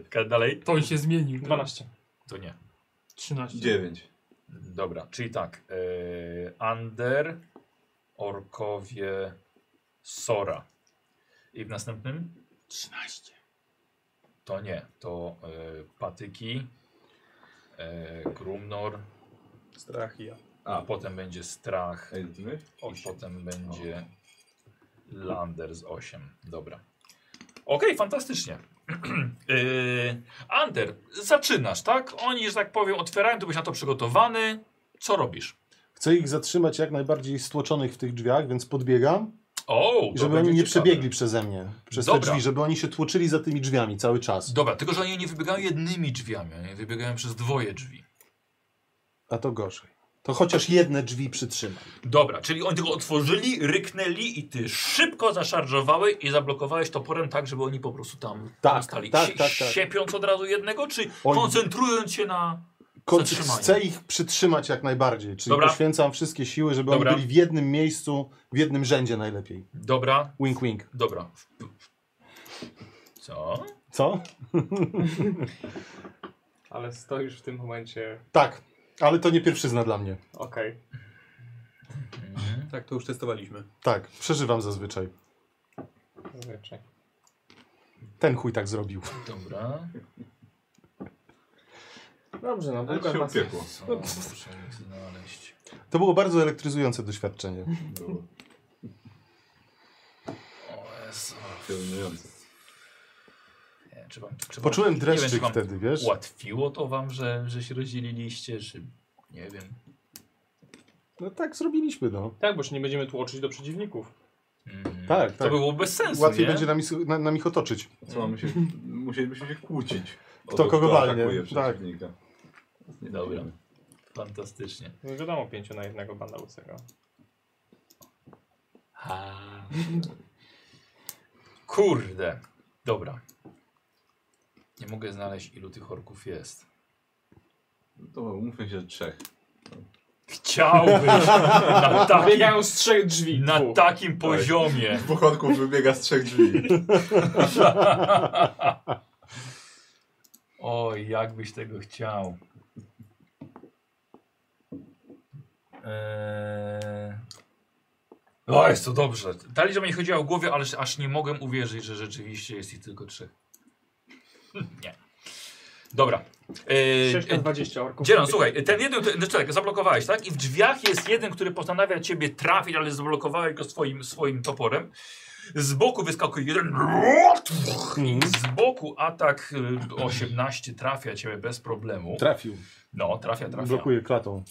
Speaker 1: Ka- Dalej?
Speaker 4: To się zmienił.
Speaker 2: 12.
Speaker 1: To nie.
Speaker 4: 13.
Speaker 6: 9.
Speaker 1: Dobra, czyli tak. Yy, Ander, Orkowie, Sora. I w następnym? 13. To nie, to yy, Patyki, yy, Grumnor,
Speaker 7: Strach i ja.
Speaker 1: a potem będzie Strach
Speaker 6: Ej, my?
Speaker 1: i potem będzie Lander z 8. Dobra. Okej, fantastycznie. yy, Ander, zaczynasz, tak? Oni, że tak powiem, otwierają, ty byłeś na to przygotowany. Co robisz?
Speaker 5: Chcę ich zatrzymać jak najbardziej stłoczonych w tych drzwiach, więc podbiegam,
Speaker 1: O,
Speaker 5: i
Speaker 1: to
Speaker 5: żeby
Speaker 1: będzie
Speaker 5: oni nie
Speaker 1: ciekawe.
Speaker 5: przebiegli przeze mnie, przez te
Speaker 1: Dobra.
Speaker 5: drzwi, żeby oni się tłoczyli za tymi drzwiami cały czas.
Speaker 1: Dobra, tylko że oni nie wybiegają jednymi drzwiami, oni wybiegają przez dwoje drzwi.
Speaker 5: A to gorzej. To chociaż jedne drzwi przytrzymam.
Speaker 1: Dobra, czyli oni tylko otworzyli, ryknęli i ty szybko zaszarżowałeś i zablokowałeś toporem tak, żeby oni po prostu tam
Speaker 5: Tak,
Speaker 1: stali.
Speaker 5: tak,
Speaker 1: Sie-
Speaker 5: tak, tak.
Speaker 1: Siepiąc od razu jednego, czy
Speaker 5: Oj.
Speaker 1: koncentrując się na...
Speaker 5: Ko-
Speaker 1: Zatrzymanie.
Speaker 5: Chcę ich przytrzymać jak najbardziej, czyli
Speaker 1: Dobra.
Speaker 5: poświęcam wszystkie siły, żeby
Speaker 1: Dobra.
Speaker 5: oni byli w jednym miejscu, w jednym rzędzie najlepiej.
Speaker 1: Dobra,
Speaker 5: Wink, wink.
Speaker 1: dobra. Co?
Speaker 5: Co?
Speaker 2: Ale stoisz w tym momencie.
Speaker 5: Tak, ale to nie pierwszyzna dla mnie.
Speaker 2: Okej.
Speaker 7: Tak, to już testowaliśmy.
Speaker 5: Tak, przeżywam zazwyczaj.
Speaker 2: Zazwyczaj.
Speaker 5: Ten chuj tak zrobił.
Speaker 1: Dobra.
Speaker 2: Dobrze, no
Speaker 6: Ale
Speaker 2: długa
Speaker 6: się
Speaker 2: masa.
Speaker 6: upiekło.
Speaker 1: Co? Muszę ich znaleźć.
Speaker 5: To było bardzo elektryzujące doświadczenie.
Speaker 6: Było
Speaker 1: O Jezu.
Speaker 6: Piorunujące.
Speaker 1: Nie, czy wam, czy wam-
Speaker 5: Poczułem
Speaker 1: nie wiem, czy
Speaker 5: dreszczyk
Speaker 1: wam
Speaker 5: wtedy, wiesz?
Speaker 1: Ułatwiło to wam, że, że się rozdzieliliście, czy... Nie wiem.
Speaker 5: No tak zrobiliśmy, no.
Speaker 2: Tak, bo już nie będziemy tłoczyć do przeciwników.
Speaker 1: Mhm.
Speaker 5: Tak,
Speaker 1: To
Speaker 5: tak.
Speaker 1: było bez sensu,
Speaker 5: Łatwiej
Speaker 1: nie?
Speaker 5: będzie nam, is- na, nam ich otoczyć.
Speaker 6: Co mamy się... Musielibyśmy się kłócić. o
Speaker 5: Kto
Speaker 6: to,
Speaker 5: kogo walnie,
Speaker 6: atakuje
Speaker 5: tak.
Speaker 6: przeciwnika. Nie
Speaker 1: Dobra.
Speaker 6: musimy.
Speaker 1: Fantastycznie.
Speaker 2: Nie wiadomo, pięciu na jednego banda łysego.
Speaker 1: Kurde. Dobra. Nie mogę znaleźć ilu tych orków jest.
Speaker 6: To umówmy się, że trzech.
Speaker 1: Chciałbym na takim,
Speaker 2: Biegają z trzech drzwi.
Speaker 1: na
Speaker 2: dwóch.
Speaker 1: takim poziomie.
Speaker 6: Dwóch orków wybiega z trzech drzwi.
Speaker 1: Oj, jakbyś tego chciał. Eee... O, jest to dobrze. Dalej, że mi chodziło o głowie, ale aż nie mogłem uwierzyć, że rzeczywiście jest ich tylko trzech. nie. Dobra. Eee,
Speaker 2: 6 na 20 orków.
Speaker 1: Dzielan, słuchaj, ten jeden, ten, znaczy tak, zablokowałeś, tak? I w drzwiach jest jeden, który postanawia ciebie trafić, ale zablokowałeś go swoim, swoim toporem. Z boku wyskakuje jeden. Z boku atak y, 18 trafia ciebie bez problemu.
Speaker 5: Trafił.
Speaker 1: No, trafia, trafia.
Speaker 5: Blokuje klatą.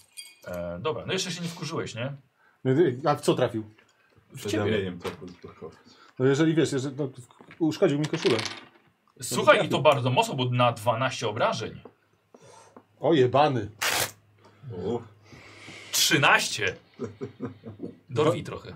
Speaker 1: E, dobra, no jeszcze się nie wkurzyłeś, nie?
Speaker 5: No ty- A w co trafił?
Speaker 1: W
Speaker 6: Z
Speaker 1: ciebie.
Speaker 6: ramieniem to blokować.
Speaker 5: No jeżeli wiesz, jeżeli, no, uszkodził mi koszulę.
Speaker 1: Słuchaj, i to bardzo mocno, bo na 12 obrażeń.
Speaker 5: O jebany.
Speaker 6: Uff,
Speaker 1: 13! Dorwij trochę.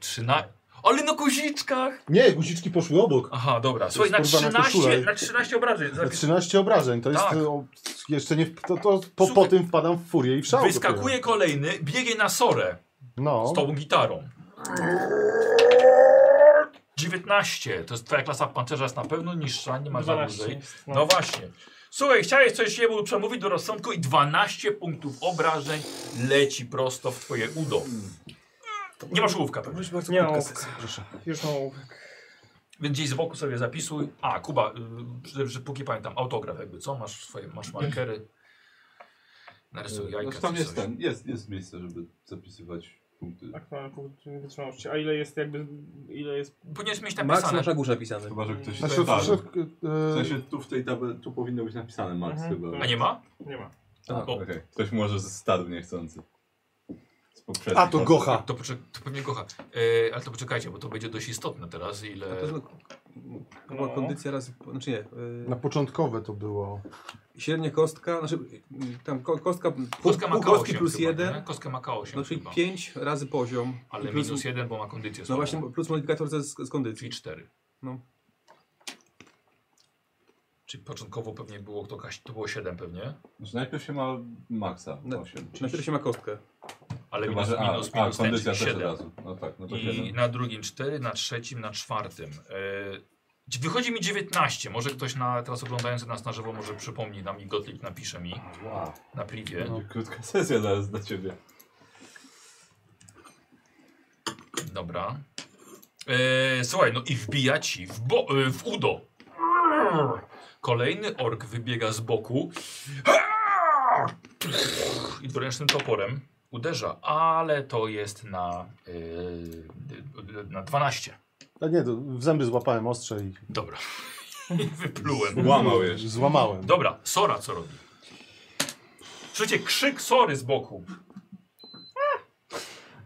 Speaker 1: 13. Ale na guziczkach!
Speaker 5: Nie, guziczki poszły obok.
Speaker 1: Aha, dobra. Słuchaj, na
Speaker 5: kurwa na
Speaker 1: 13,
Speaker 5: koszulę.
Speaker 1: na 13 obrażeń.
Speaker 5: Za 13 obrażeń, to jest
Speaker 1: Tak.
Speaker 5: o, jeszcze nie, w- to, to po, po
Speaker 1: Słuchaj.
Speaker 5: tym wpadam w furię i w szał.
Speaker 1: Wyskakuje kolejny, biegnie na sorę
Speaker 5: dopiero. No,
Speaker 1: z tą gitarą. 19. To jest twoja klasa pancerza jest na pewno niższa, nie ma za
Speaker 2: 12.
Speaker 1: dłużej.
Speaker 2: jest,
Speaker 1: No właśnie. Słuchaj, chciałeś coś jemu przemówić do rozsądku i 12 punktów obrażeń leci prosto w twoje udo. Nie masz łówka pewnie.
Speaker 7: bardzo
Speaker 2: Nie
Speaker 7: nie
Speaker 2: ma
Speaker 7: krótka
Speaker 2: łówka.
Speaker 7: sesja, proszę.
Speaker 2: Już mam ołówek.
Speaker 1: Więc gdzieś z boku sobie zapisuj. A, Kuba, y, że- że póki pamiętam, autograf jakby, co? Masz swoje, masz markery. Narysuj jajka.
Speaker 6: Znaczy, tam
Speaker 1: coś,
Speaker 6: jest
Speaker 1: coś.
Speaker 6: ten, jest, jest miejsce, żeby zapisywać punkty.
Speaker 2: Tak, mamy punkt wytrzymałości. A ile jest jakby, ile jest...
Speaker 1: Powinieneś mieć
Speaker 7: Max
Speaker 1: napisane.
Speaker 7: na górze pisany.
Speaker 6: Chyba, że ktoś
Speaker 5: na
Speaker 2: Na
Speaker 6: się
Speaker 5: środku,
Speaker 6: tak.
Speaker 5: Znaczy, w środku,
Speaker 6: W
Speaker 5: e,
Speaker 6: sensie tu w tej tabeli, tu powinno być napisane Max
Speaker 2: Mhm.
Speaker 6: chyba.
Speaker 1: A nie ma?
Speaker 2: Nie ma.
Speaker 7: Tak.
Speaker 1: O,
Speaker 6: Okej, ktoś może zstarł niechcący. Z poprzednich
Speaker 5: a to
Speaker 6: osób.
Speaker 5: gocha.
Speaker 1: To, poczek- to pewnie kocha. E, ale to poczekajcie, bo to będzie dość istotne teraz,
Speaker 7: A
Speaker 1: ile...
Speaker 7: to zle- Była
Speaker 2: No.
Speaker 7: kondycja raz, znaczy nie, yy,
Speaker 5: Na początkowe to było.
Speaker 7: średnia kostka, znaczy yy, tam ko- kostka,
Speaker 1: Kostka
Speaker 7: pół
Speaker 1: ma
Speaker 7: kostki
Speaker 1: K8
Speaker 7: plus
Speaker 1: chyba,
Speaker 7: jeden,
Speaker 1: Nie? Kostka ma K8
Speaker 7: no czyli
Speaker 1: chyba.
Speaker 7: 5 razy poziom, i
Speaker 1: Ale
Speaker 7: plus,
Speaker 1: minus jeden, bo ma kondycję
Speaker 7: no
Speaker 1: słabą.
Speaker 7: właśnie plus modyfikator z, z kondycji.
Speaker 1: Czyli cztery.
Speaker 7: No.
Speaker 1: Czyli początkowo pewnie było to, kaś- to było 7 pewnie,
Speaker 6: Znaczy, najpierw się ma Maxa,
Speaker 7: Na-
Speaker 6: 8.
Speaker 7: Najpierw się ma kostkę.
Speaker 1: ale
Speaker 6: Chyba,
Speaker 1: minus,
Speaker 6: że a,
Speaker 1: minus,
Speaker 6: a,
Speaker 1: minus ten,
Speaker 6: kondycja
Speaker 1: czyli
Speaker 6: też od
Speaker 1: 7.
Speaker 6: razu. No tak, no to
Speaker 1: I
Speaker 6: jeden.
Speaker 1: na drugim 4, na trzecim, na czwartym. E, Wychodzi mi 19. Może ktoś na, teraz oglądający nas na żywo może przypomni nam i Gottlieb napisze mi
Speaker 6: Wow.
Speaker 1: na pliwie.
Speaker 7: No.
Speaker 6: Krótka sesja zaraz dla ciebie.
Speaker 1: Dobra. Eee, słuchaj, no i wbija ci w, bo, e, w udo. Kolejny ork wybiega z boku. I dworęcznym toporem uderza, ale to jest na, e, na 12.
Speaker 5: A nie, to w zęby złapałem ostrze i
Speaker 1: Dobra. I Wyplułem.
Speaker 6: Łamał jeszcze.
Speaker 5: złamałem.
Speaker 1: Dobra, Sora co robi? Słyszycie krzyk Sory z boku.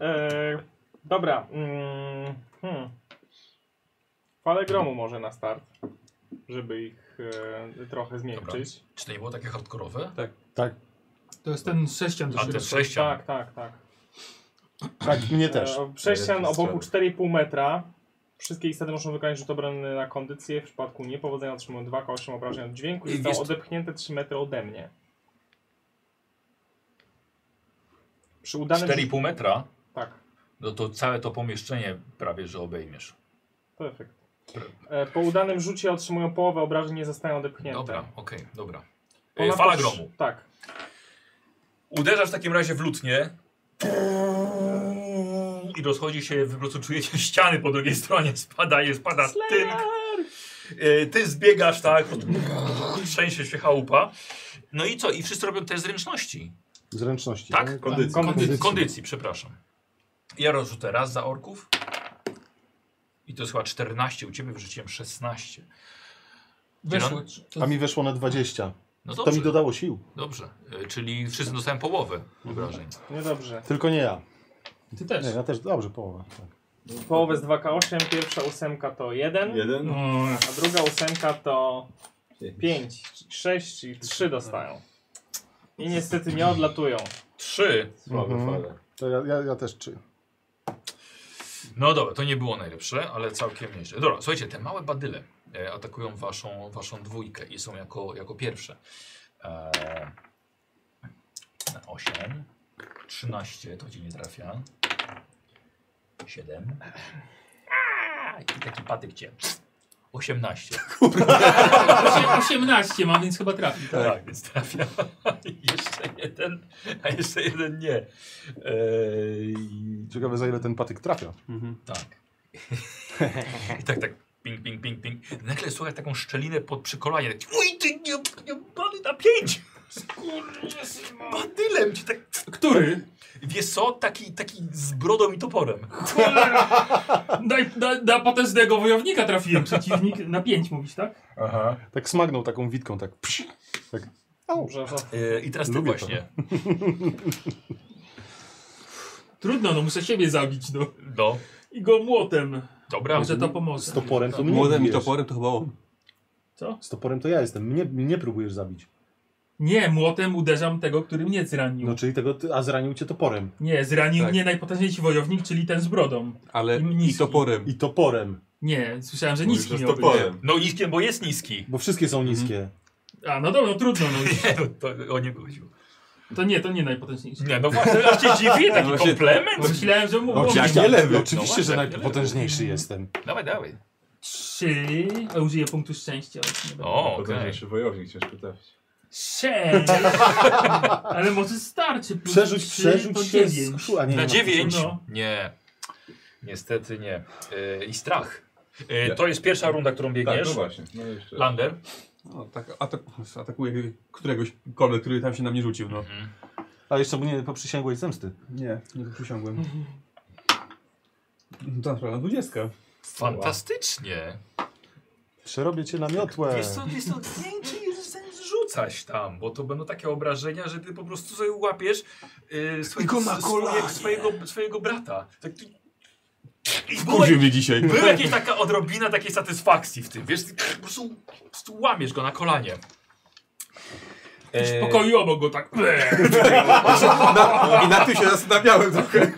Speaker 2: E, dobra. Mm, hmm. Fale gromu może na start, żeby ich e, trochę zmiękczyć.
Speaker 1: Czy to nie było takie hardkorowe?
Speaker 4: To jest ten sześcian do
Speaker 1: A te
Speaker 4: szybko.
Speaker 1: sześcian.
Speaker 2: Tak, tak, tak.
Speaker 5: Tak, mnie też.
Speaker 2: E, Prześcian
Speaker 6: E,
Speaker 2: o boku
Speaker 6: strzelę.
Speaker 2: 4,5 metra. Wszystkie istoty muszą wykonać rzut obronny na kondycję. W przypadku niepowodzenia otrzymują 2 k obrażeń od dźwięku
Speaker 1: I
Speaker 2: i zostaną
Speaker 1: jest-
Speaker 2: odepchnięte 3 metry ode mnie. Przy udanym...
Speaker 1: 4,5 metra,
Speaker 2: Tak,
Speaker 1: no to całe to pomieszczenie prawie że obejmiesz.
Speaker 2: to efekt. E, Po udanym rzucie otrzymują połowę obrażeń, nie tak. zostają odepchnięte.
Speaker 1: Dobra, okej, dobra. E,
Speaker 2: Ponadto
Speaker 1: fala
Speaker 2: przy-
Speaker 1: gromu.
Speaker 2: Tak.
Speaker 1: Uderzasz w takim razie w lutnię. I rozchodzi się, po prostu czujecie ściany po drugiej stronie, spadaje, spada tynk. E, Ty zbiegasz tak, trzęsie się chałupa. No i co? I wszyscy robią te zręczności.
Speaker 5: Zręczności.
Speaker 1: Tak?
Speaker 5: nie?
Speaker 6: Kondycja.
Speaker 2: Kondycja.
Speaker 1: Kondycji, kondycji przepraszam. Ja rozrzucę raz za orków. I to jest chyba 14, u ciebie wrzuciłem 16.
Speaker 4: Weszło. To,
Speaker 5: A mi weszło na 20.
Speaker 1: No
Speaker 5: To mi
Speaker 1: dobrze,
Speaker 5: dodało sił.
Speaker 1: dobrze. E, Czyli wszyscy dostają połowę obrażeń.
Speaker 2: Niedobrze.
Speaker 5: Tylko nie ja.
Speaker 4: Ty też.
Speaker 5: Nie, ja też dobrze, połowa. Tak.
Speaker 2: Połowę z 2K8, pierwsza ósemka to 1,
Speaker 6: Jeden?
Speaker 4: No,
Speaker 2: a druga ósemka to
Speaker 6: Pięć.
Speaker 2: 5, 6 i 3 dostają. I niestety nie odlatują.
Speaker 1: Trzy.
Speaker 6: Słabe
Speaker 5: Mhm.
Speaker 6: fale.
Speaker 5: To ja, ja, ja też czy.
Speaker 1: No dobra, to nie było najlepsze, ale całkiem nieźle. Dobra, słuchajcie, te małe badyle e, atakują waszą, waszą dwójkę i są jako, jako pierwsze. Eee, 8, 13, to gdzie nie trafia. 7. I taki patyk cię. 18.
Speaker 4: 18 mam, więc chyba trafi. Tak?
Speaker 1: Tak, więc trafia. I jeszcze jeden, a jeszcze jeden nie. Eee,
Speaker 5: Ciekawe za ile ten patyk trafia.
Speaker 1: Tak. I tak, tak. Ping, ping, ping, ping. Nagle słuchaj taką szczelinę pod przykolanie. Taki, Uj, ty nie, nie bany na pięć! Badylem ci tak.
Speaker 4: Który?
Speaker 1: Wiesz co? Taki, taki z brodą i toporem.
Speaker 4: Daj, da, da potężnego wojownika trafiłem. Przeciwnik na 5 mówisz, tak?
Speaker 1: Aha.
Speaker 5: Tak smagnął taką witką, tak. Psz, tak. Au.
Speaker 2: Dobrze, to
Speaker 1: E, I teraz ty
Speaker 5: Lubię to.
Speaker 1: właśnie.
Speaker 4: Trudno, no muszę siebie zabić, no.
Speaker 1: No,
Speaker 4: I go młotem.
Speaker 1: dobra.
Speaker 4: Może to pomoże.
Speaker 5: Z toporem to mnie
Speaker 7: Młodem i
Speaker 5: bijesz.
Speaker 7: toporem to chyba on.
Speaker 5: Z toporem to ja jestem. Mnie, mnie próbujesz zabić.
Speaker 4: Nie, młotem uderzam tego, który mnie zranił.
Speaker 5: No czyli tego, ty, a zranił cię toporem.
Speaker 4: Nie, zranił
Speaker 7: Tak.
Speaker 4: mnie najpotężniejszy wojownik, czyli ten z brodą.
Speaker 7: Ale
Speaker 4: Im
Speaker 7: i
Speaker 4: niski.
Speaker 7: toporem.
Speaker 5: I toporem.
Speaker 4: Nie, słyszałem, że
Speaker 6: Mówisz,
Speaker 4: niski
Speaker 6: że z
Speaker 4: miał być.
Speaker 6: toporem.
Speaker 1: No niskie, bo jest niski.
Speaker 5: Bo wszystkie są niskie.
Speaker 4: A, no dobra, no trudno, no.
Speaker 1: Nie, no, to o nie chodziło.
Speaker 4: To nie, to nie najpotężniejszy.
Speaker 1: Nie, no właśnie, aż się dziwię, taki
Speaker 7: No właśnie-
Speaker 1: komplement.
Speaker 4: Myślałem, że mu...
Speaker 5: No,
Speaker 4: mówi-
Speaker 5: jak nie lewy,
Speaker 1: No
Speaker 5: oczywiście,
Speaker 1: właśnie,
Speaker 5: że
Speaker 1: nie
Speaker 5: najpotężniejszy jestem.
Speaker 1: Dawaj, dawaj.
Speaker 4: Trzy... A, użyję punktu szczęścia. ale nie będę.
Speaker 1: O, okej.
Speaker 6: Potężniejszy wojownik, ciężko trafić.
Speaker 4: Sześć! Ale może starczy. plus
Speaker 5: Przerzuć,
Speaker 4: trzy
Speaker 5: przerzuć
Speaker 4: to
Speaker 5: się z
Speaker 4: dziewięć.
Speaker 5: szu- a nie,
Speaker 1: Na
Speaker 5: nie ma.
Speaker 1: dziewięć?
Speaker 4: No.
Speaker 1: Nie. Niestety nie. Yy, I strach. Yy, to jest pierwsza runda, którą
Speaker 6: Tak,
Speaker 1: biegniesz.
Speaker 6: no właśnie. No jeszcze.
Speaker 1: Lander.
Speaker 7: No, tak, atak, atakuje któregoś kolę, który tam się na mnie rzucił. No.
Speaker 1: Mhm.
Speaker 5: A jeszcze mu nie poprzysięgłeś zemsty.
Speaker 7: Nie, nie przysiągłem. No, to naprawdę dwudziestka.
Speaker 1: Fantastycznie.
Speaker 5: Przerobię cię na miotłę.
Speaker 1: Jest to, jest to pięknie rzucać tam, bo to będą takie obrażenia, że ty po prostu sobie łapiesz yy, swojego,
Speaker 7: na
Speaker 1: swojego,
Speaker 7: kolanie.
Speaker 1: swojego, swojego brata. Tak, ty... I była,
Speaker 7: Kurzył mnie dzisiaj.
Speaker 1: była jakaś taka odrobina takiej satysfakcji w tym, wiesz, ty po prostu, po prostu łamiesz go na kolanie. Eee,
Speaker 4: Spokoiło go tak.
Speaker 7: I na tym się zastanawiałem trochę.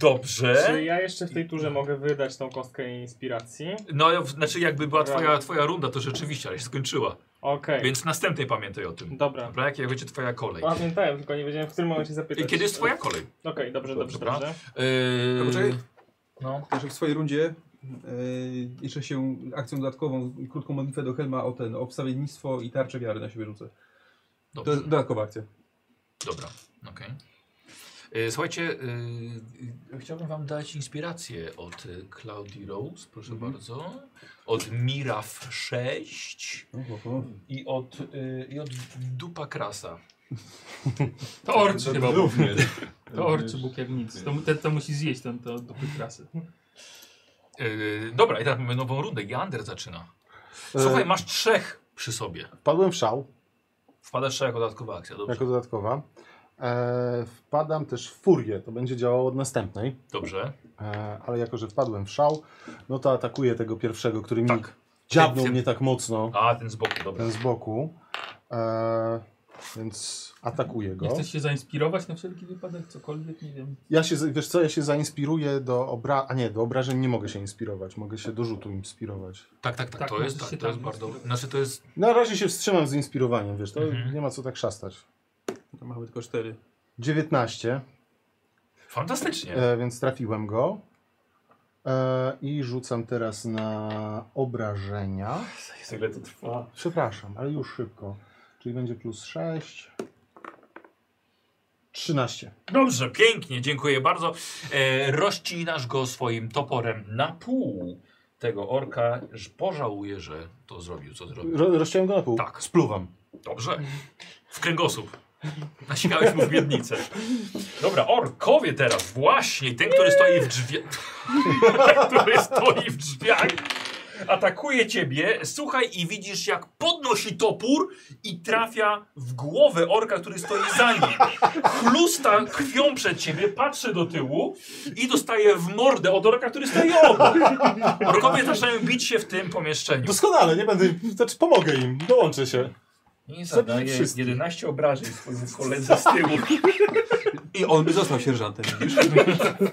Speaker 1: dobrze.
Speaker 2: Czy ja jeszcze w tej turze mogę wydać tą kostkę inspiracji?
Speaker 1: No, w- znaczy jakby była twoja, twoja runda, to rzeczywiście, ale się skończyła.
Speaker 2: Okej,
Speaker 1: Więc następnej pamiętaj o tym.
Speaker 2: dobra.
Speaker 1: Dobra, jak będzie twoja kolej.
Speaker 2: Pamiętałem, tylko nie wiedziałem w którym momencie
Speaker 1: I
Speaker 2: zapytać.
Speaker 1: kiedy jest twoja kolej?
Speaker 2: Okej, dobrze, dobrze,
Speaker 1: Dobra.
Speaker 2: dobrze.
Speaker 1: Yy,
Speaker 7: Poczekaj.
Speaker 1: no.
Speaker 7: Znaczy w swojej rundzie E, jeszcze się akcją dodatkową, krótką modlitwę do Helma o ten, o wstawiennictwo i tarczę wiary na siebie rzucę. To
Speaker 1: Dobrze.
Speaker 7: jest dodatkowa akcja.
Speaker 1: Dobra, okej. Y, Słuchajcie, y, y, chciałbym wam dać inspirację od y, Claudii Rose, proszę
Speaker 7: Mhm.
Speaker 1: bardzo, od Miraw 6 i od, y, i od Dupa Krasa.
Speaker 4: To orczy chyba. był.
Speaker 6: Również.
Speaker 4: To orczy bukiewnicy. To, mu- te, to musi zjeść ten to dupy krasy.
Speaker 1: Y, dobra, i teraz mamy nową rundę. Gander zaczyna.
Speaker 7: Yy.
Speaker 1: Słuchaj, masz trzech przy sobie.
Speaker 5: E, Wpadłem w szał
Speaker 1: Wpadasz trzech jako dodatkowa akcja, dobrze.
Speaker 5: jako dodatkowa. E, wpadam też w furię, to będzie działało od następnej.
Speaker 1: Dobrze.
Speaker 5: E, ale jako, że wpadłem w szał, no to atakuję tego pierwszego, który mi
Speaker 1: Tak.
Speaker 5: dziabnął
Speaker 1: Tym-
Speaker 5: mnie tak mocno,
Speaker 1: A, ten z boku, dobra.
Speaker 5: ten z boku. E, więc atakuję go.
Speaker 4: Nie chcesz się zainspirować na wszelki wypadek? Cokolwiek, nie wiem.
Speaker 5: Ja się, z- wiesz co, ja się zainspiruję do obra... A nie, do obrażeń nie mogę się inspirować, mogę się do rzutu inspirować.
Speaker 1: Tak, tak, tak,
Speaker 4: Tak,
Speaker 1: to
Speaker 4: możesz
Speaker 1: jest, tak,
Speaker 4: się
Speaker 1: to
Speaker 4: tam
Speaker 1: jest bardzo...
Speaker 4: inspirować.
Speaker 1: Znaczy to jest...
Speaker 5: Na razie się wstrzymam z inspirowaniem, wiesz, to
Speaker 1: Mhm.
Speaker 5: nie ma co tak szastać.
Speaker 7: To Mamy tylko cztery.
Speaker 5: 19,
Speaker 1: Fantastycznie.
Speaker 5: e, więc trafiłem go. E, I rzucam teraz na obrażenia.
Speaker 6: Jezu, ile to trwa.
Speaker 5: Przepraszam, ale już szybko. Czyli będzie plus 6. 13.
Speaker 1: Dobrze, pięknie, dziękuję bardzo. E, rozcinasz go swoim toporem na pół tego orka. że Pożałuje, że to zrobił, co zrobił.
Speaker 5: Ro rozciąłem go na pół.
Speaker 1: Tak.
Speaker 5: Spluwam.
Speaker 1: Dobrze. W kręgosłup. Nasikałeś mu w miednicę. Dobra, orkowie teraz. Właśnie, ten, który stoi w drzwiach. ten, który stoi w drzwiach. Atakuje ciebie, słuchaj i widzisz jak podnosi topór i trafia w głowę orka, który stoi za nim. Chlusta krwią przed ciebie, patrzy do tyłu i dostaje w mordę od orka, który stoi obok. Orkowie zaczynają bić się w tym pomieszczeniu.
Speaker 5: Doskonale, nie będę. Znaczy, pomogę im, dołączę się.
Speaker 1: I
Speaker 5: zadaje
Speaker 1: zadaje 11 obrażeń swojemu koledze z tyłu.
Speaker 7: I on by został sierżantem, widzisz?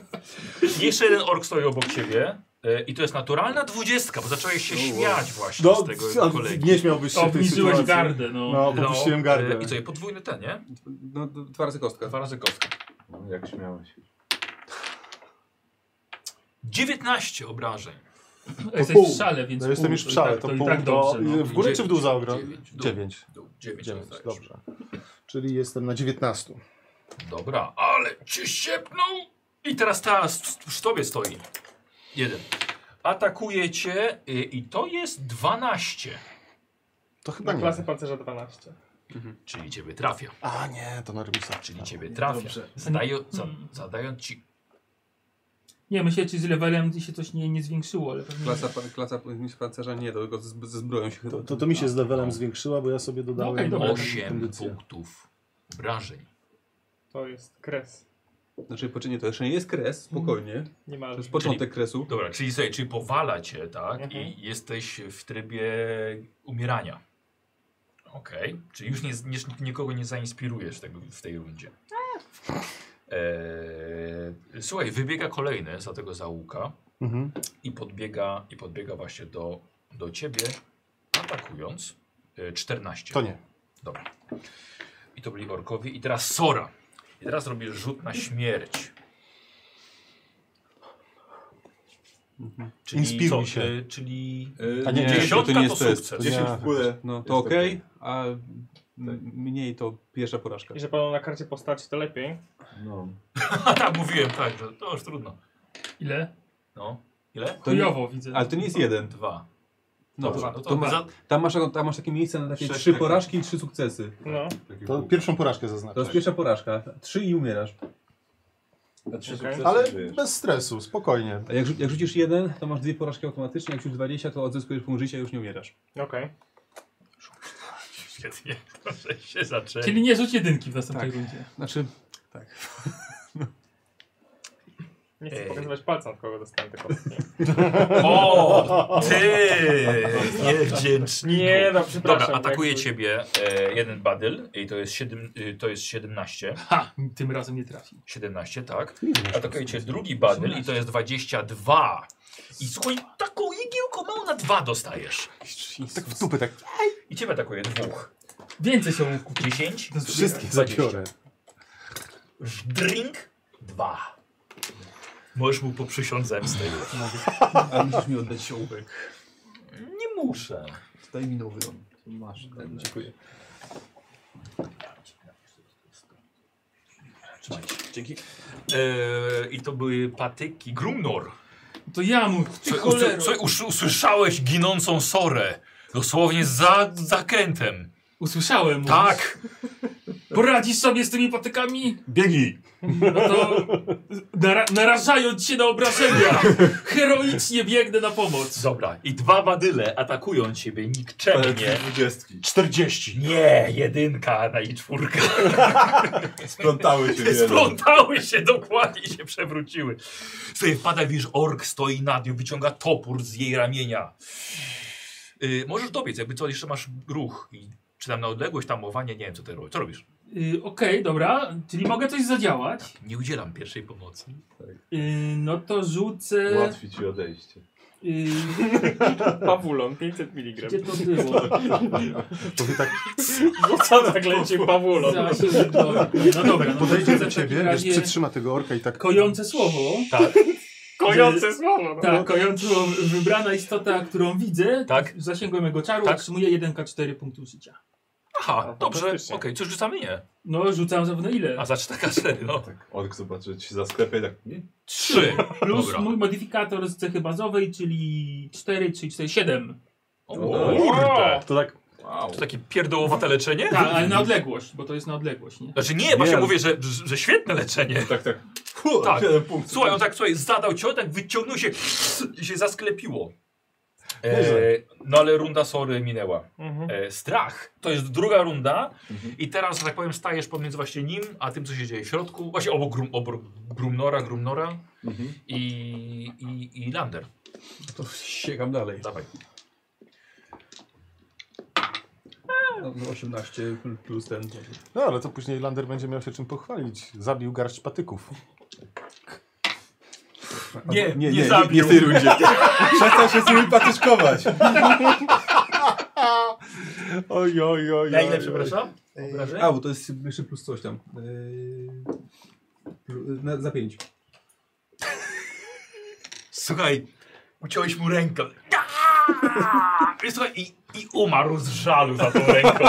Speaker 1: Jeszcze jeden ork stoi obok ciebie. e, I to jest naturalna dwudziestka, bo zacząłeś się śmiać właśnie
Speaker 5: No,
Speaker 1: z tego jego
Speaker 5: a
Speaker 1: kolegi.
Speaker 5: nie śmiałbyś się w tej
Speaker 4: Obniżyłeś
Speaker 5: sytuacji.
Speaker 4: gardę, no.
Speaker 5: No, popuściłem gardę.
Speaker 1: e, I co, i podwójny ten, nie?
Speaker 7: No, d- dwa razy kostka.
Speaker 1: Dwa razy kostka.
Speaker 6: No, jak śmiałeś.
Speaker 1: 19 obrażeń.
Speaker 4: Jesteś
Speaker 5: pół.
Speaker 4: w szale, więc
Speaker 5: No, jestem
Speaker 4: pół,
Speaker 5: już
Speaker 4: to
Speaker 5: w
Speaker 4: i
Speaker 5: szale,
Speaker 4: tak-
Speaker 5: to,
Speaker 4: to i
Speaker 5: pół
Speaker 4: tak
Speaker 5: do...
Speaker 4: dobrze. No.
Speaker 5: W górę czy w dół za ogrom?
Speaker 1: Dziewięć. Dół.
Speaker 5: 9.
Speaker 1: Dół, 9
Speaker 5: 9, dobrze. Czyli jestem na 19.
Speaker 1: Dobra, ale cię siepnął! I teraz ta s- przy tobie stoi. Jeden. Atakuje cię e, i to jest 12.
Speaker 5: To chyba
Speaker 2: Na
Speaker 5: No nie.
Speaker 2: klasę pancerza 12.
Speaker 1: Czyli ciebie trafia.
Speaker 5: A nie, to na rybusa.
Speaker 1: Czyli ciebie trafia. Zadają, za,
Speaker 5: Mm.
Speaker 1: zadając ci
Speaker 4: Nie, myślę, czy z levelem się coś nie, nie zwiększyło, ale pewnie...
Speaker 7: Klasa, pa- klasa pancerza nie, to tylko z- ze zbroją się chyba.
Speaker 5: To, to, to mi się z levelem zwiększyła, bo ja sobie dodałem
Speaker 4: No okej, dobra.
Speaker 1: No. osiem
Speaker 5: kondycję.
Speaker 1: punktów obrażeń.
Speaker 2: To jest kres.
Speaker 7: Znaczy poczynie to jeszcze nie jest kres, spokojnie. To
Speaker 2: Niemalże.
Speaker 7: jest początek kresu.
Speaker 1: Dobra, czyli sobie, czyli powala cię, tak?
Speaker 2: Mhm.
Speaker 1: I jesteś w trybie umierania. Okej, czyli już nie, nie, nikogo nie zainspirujesz tego, w tej rundzie. Eee, słuchaj, wybiega kolejny za tego załuka
Speaker 5: Mhm.
Speaker 1: i podbiega, i podbiega właśnie do, do ciebie, atakując. E, 14.
Speaker 5: To nie.
Speaker 1: Dobra. I to byli orkowie. I teraz Sora. I teraz robisz rzut na śmierć. Czyli
Speaker 5: Inspiruj
Speaker 1: co,
Speaker 5: się.
Speaker 1: y, Czyli
Speaker 6: Yy,
Speaker 5: A nie,
Speaker 7: nie,
Speaker 1: dziesiątka
Speaker 7: to
Speaker 1: to,
Speaker 7: nie jest test.
Speaker 1: sukces.
Speaker 6: 10
Speaker 5: Nie.
Speaker 6: w górę.
Speaker 7: No
Speaker 6: Jest
Speaker 7: to okej,
Speaker 6: okej.
Speaker 7: a m- Tak. mniej to pierwsza porażka.
Speaker 2: I że panu na karcie postaci to lepiej.
Speaker 6: No.
Speaker 1: A tak, mówiłem, tak, że to już trudno.
Speaker 4: Ile?
Speaker 1: No. Ile?
Speaker 7: To nie-
Speaker 4: Chujowo widzę.
Speaker 7: Ale to nie jest jeden.
Speaker 1: Dwa.
Speaker 7: No,
Speaker 1: Dobra,
Speaker 7: to,
Speaker 1: no
Speaker 7: to,
Speaker 1: to
Speaker 7: ma,
Speaker 1: za-
Speaker 7: tam, masz, tam masz takie miejsce na takie
Speaker 6: Sześć
Speaker 7: trzy
Speaker 6: tego.
Speaker 7: porażki i trzy sukcesy.
Speaker 2: No.
Speaker 5: To pierwszą porażkę zaznaczę.
Speaker 7: To jest pierwsza porażka. Trzy i umierasz.
Speaker 6: A trzy
Speaker 2: Okej.
Speaker 6: sukcesy
Speaker 5: Ale
Speaker 6: żyjesz.
Speaker 5: bez stresu, spokojnie.
Speaker 7: A jak, rzu- jak rzucisz jeden, to masz dwie porażki automatycznie, jak rzucisz 20, to odzyskujesz punkt życia i już nie umierasz.
Speaker 2: Okej.
Speaker 1: Świetnie, dobrze się zaczęli.
Speaker 4: Czyli nie rzuć jedynki w następnej
Speaker 7: Tak.
Speaker 4: rundzie.
Speaker 7: Znaczy,
Speaker 2: Nie chcę
Speaker 1: Ej.
Speaker 2: pokazywać palca, od kogo dostałem te kostki.
Speaker 1: O, ty! Niewdzięczniku.
Speaker 2: Nie, no
Speaker 1: Dobra,
Speaker 2: przepraszam.
Speaker 1: atakuje
Speaker 2: jakby-
Speaker 1: ciebie e, jeden badyl i to jest, siedem, y, to jest 17.
Speaker 4: Ha! Tym razem nie trafi.
Speaker 1: 17, tak. Atakuje cię drugi badyl i to jest 22. I słuchaj, taką igiełką mało na dwa dostajesz.
Speaker 5: Tak w tupy, tak
Speaker 1: I ciebie atakuje dwóch.
Speaker 4: Więcej się kupi.
Speaker 1: 10, 20.
Speaker 5: wszystkie zabiorę.
Speaker 1: drink, dwa. Możesz mu poprzysiąc zemstę.
Speaker 7: A musisz mi oddać siołbek.
Speaker 1: Nie muszę.
Speaker 7: Daj mi nowy.
Speaker 6: Masz.
Speaker 7: Ten, dziękuję.
Speaker 1: Dzięki. Eee, I to były patyki. Grumnor.
Speaker 4: To ja mu, ty
Speaker 1: Co, co,
Speaker 4: cholero.
Speaker 1: co us, usłyszałeś ginącą sorę? Dosłownie za zakrętem.
Speaker 4: Usłyszałem mu.
Speaker 1: Tak.
Speaker 4: Poradzisz sobie z tymi patykami?
Speaker 1: Biegnij.
Speaker 4: No to nara narażając się na obrażenia, heroicznie biegnę na pomoc.
Speaker 1: Dobra. I dwa badyle atakują ciebie nikczemnie.
Speaker 6: Dwudziestki.
Speaker 5: 40.
Speaker 1: Nie, jedynka na i czwórka.
Speaker 6: Splątały się jeden.
Speaker 1: Splątały się dokładnie i się przewróciły. Sobie wpada, widzisz, ork stoi nad nią, wyciąga topór z jej ramienia. Yy, możesz dobiec, jakby co, jeszcze masz ruch. I, czy tam na odległość, tamowanie, nie wiem co ty robisz. Co robisz?
Speaker 4: Y, Okej, dobra, czyli mogę coś zadziałać.
Speaker 1: Nie udzielam pierwszej pomocy.
Speaker 4: Y, no to rzucę.
Speaker 6: Łatwi ci odejście.
Speaker 4: Y,
Speaker 2: Pawulon 500 mg.
Speaker 4: gdzie to było?
Speaker 5: To wy tak
Speaker 2: Rzuca tak leci Pawulon.
Speaker 4: Zaraz się zgadzam. No dobra, no to
Speaker 5: podejdzie
Speaker 4: rzucę
Speaker 5: do
Speaker 4: w
Speaker 5: ciebie,
Speaker 4: takim
Speaker 5: wiesz,
Speaker 4: razie
Speaker 5: przytrzyma tego orka i tak...
Speaker 4: kojące słowo.
Speaker 1: Tak,
Speaker 2: Kojące słowo. No.
Speaker 4: Tak, kojące słowo. Wybrana istota, którą widzę,
Speaker 1: tak.
Speaker 4: zasięgłem jego czaru,
Speaker 1: Tak.
Speaker 4: otrzymuje 1k4 punktu życia.
Speaker 1: Aha,
Speaker 2: A,
Speaker 1: dobrze, okej,
Speaker 2: fantastycznie.
Speaker 1: coś rzucamy? Nie.
Speaker 4: No, rzucam zapewne ile?
Speaker 1: A za 4 no.
Speaker 6: Tak, Ork zobaczy ci za sklepie tak. nie?
Speaker 1: Trzy.
Speaker 4: Plus
Speaker 1: Dobra.
Speaker 4: mój modyfikator z cechy bazowej, czyli 4, czyli 4, 7.
Speaker 1: O,
Speaker 6: O,
Speaker 1: kurde.
Speaker 5: To tak...
Speaker 6: Wow.
Speaker 1: To takie pierdołowate leczenie?
Speaker 4: Tak, ale na odległość, bo to jest na odległość, nie?
Speaker 1: Znaczy nie, właśnie
Speaker 5: Nie.
Speaker 1: mówię, że, że świetne leczenie.
Speaker 6: Tak, tak.
Speaker 1: Tak.
Speaker 6: 7 punktów.
Speaker 1: Słuchaj, on tak słuchaj, zadał cię, tak wyciągnął się i się zasklepiło. E, no ale runda sorry minęła.
Speaker 2: Mhm.
Speaker 1: E, strach. To jest druga runda
Speaker 6: Mhm.
Speaker 1: i teraz, że tak powiem, stajesz pomiędzy właśnie nim, a tym, co się dzieje w środku. Właśnie obok, grum, obok Grumnora, Grumnora
Speaker 6: Mhm.
Speaker 1: i, i, i Lander.
Speaker 7: To sięgam dalej.
Speaker 1: Dawaj.
Speaker 7: No, 18 plus ten.
Speaker 5: No, ale to później Lander będzie miał się czym pochwalić. Zabił garść patyków.
Speaker 1: Nie, nie, nie,
Speaker 7: nie
Speaker 1: zabił.
Speaker 7: w tej rundzie.
Speaker 6: Przestań się z nimi patyczkować.
Speaker 5: Oj, oj, oj,
Speaker 1: Na ile, przepraszam? Obrażeń?
Speaker 7: A, bo to jest jeszcze plus coś tam. Yy, plu- na, za 5.
Speaker 1: Słuchaj, uciąłeś mu rękę. I, słuchaj, i, I umarł z żalu za tą ręką.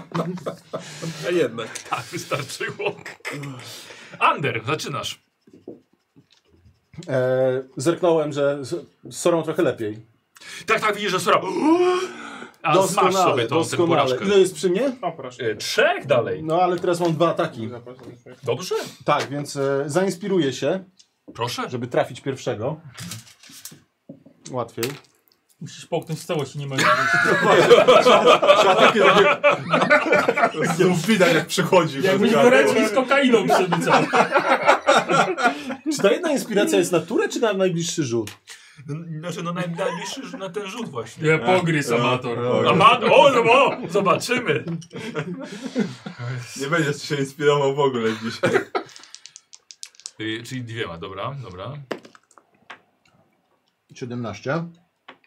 Speaker 7: A jednak.
Speaker 1: Tak, wystarczyło. Ander, zaczynasz.
Speaker 5: E, zerknąłem, że z, z Sorą trochę lepiej.
Speaker 1: Tak, tak, widzisz, że Sora. A
Speaker 5: Doskonale,
Speaker 1: smasz sobie tą, tę
Speaker 5: doskonale. No
Speaker 1: porażkę.
Speaker 5: Ile jest przy mnie?
Speaker 2: O proszę.
Speaker 1: E, Trzech dalej.
Speaker 5: No, ale teraz mam dwa ataki.
Speaker 2: Zapraszam.
Speaker 1: Dobrze?
Speaker 5: Tak, więc e, zainspiruję się,
Speaker 1: Proszę.
Speaker 5: żeby trafić pierwszego. Łatwiej.
Speaker 4: Musisz połknąć w całości, nie ma nic.
Speaker 6: Znów widać jak przychodzi.
Speaker 4: Jakbyś
Speaker 6: Bez
Speaker 4: woreczki
Speaker 6: gardła.
Speaker 4: z kokainą przebycał.
Speaker 5: Czy ta jedna inspiracja jest na turę, czy na najbliższy rzut?
Speaker 1: N- Znaczy, no naj- najbliższy że na ten rzut właśnie.
Speaker 4: Ja pogryz,
Speaker 1: No,
Speaker 4: amator.
Speaker 1: A
Speaker 6: Oj,
Speaker 1: ma... O, no, o, zobaczymy.
Speaker 6: Nie będziesz się inspirował w ogóle dzisiaj.
Speaker 1: Y, Czyli dwiema, dobra, dobra.
Speaker 5: 17.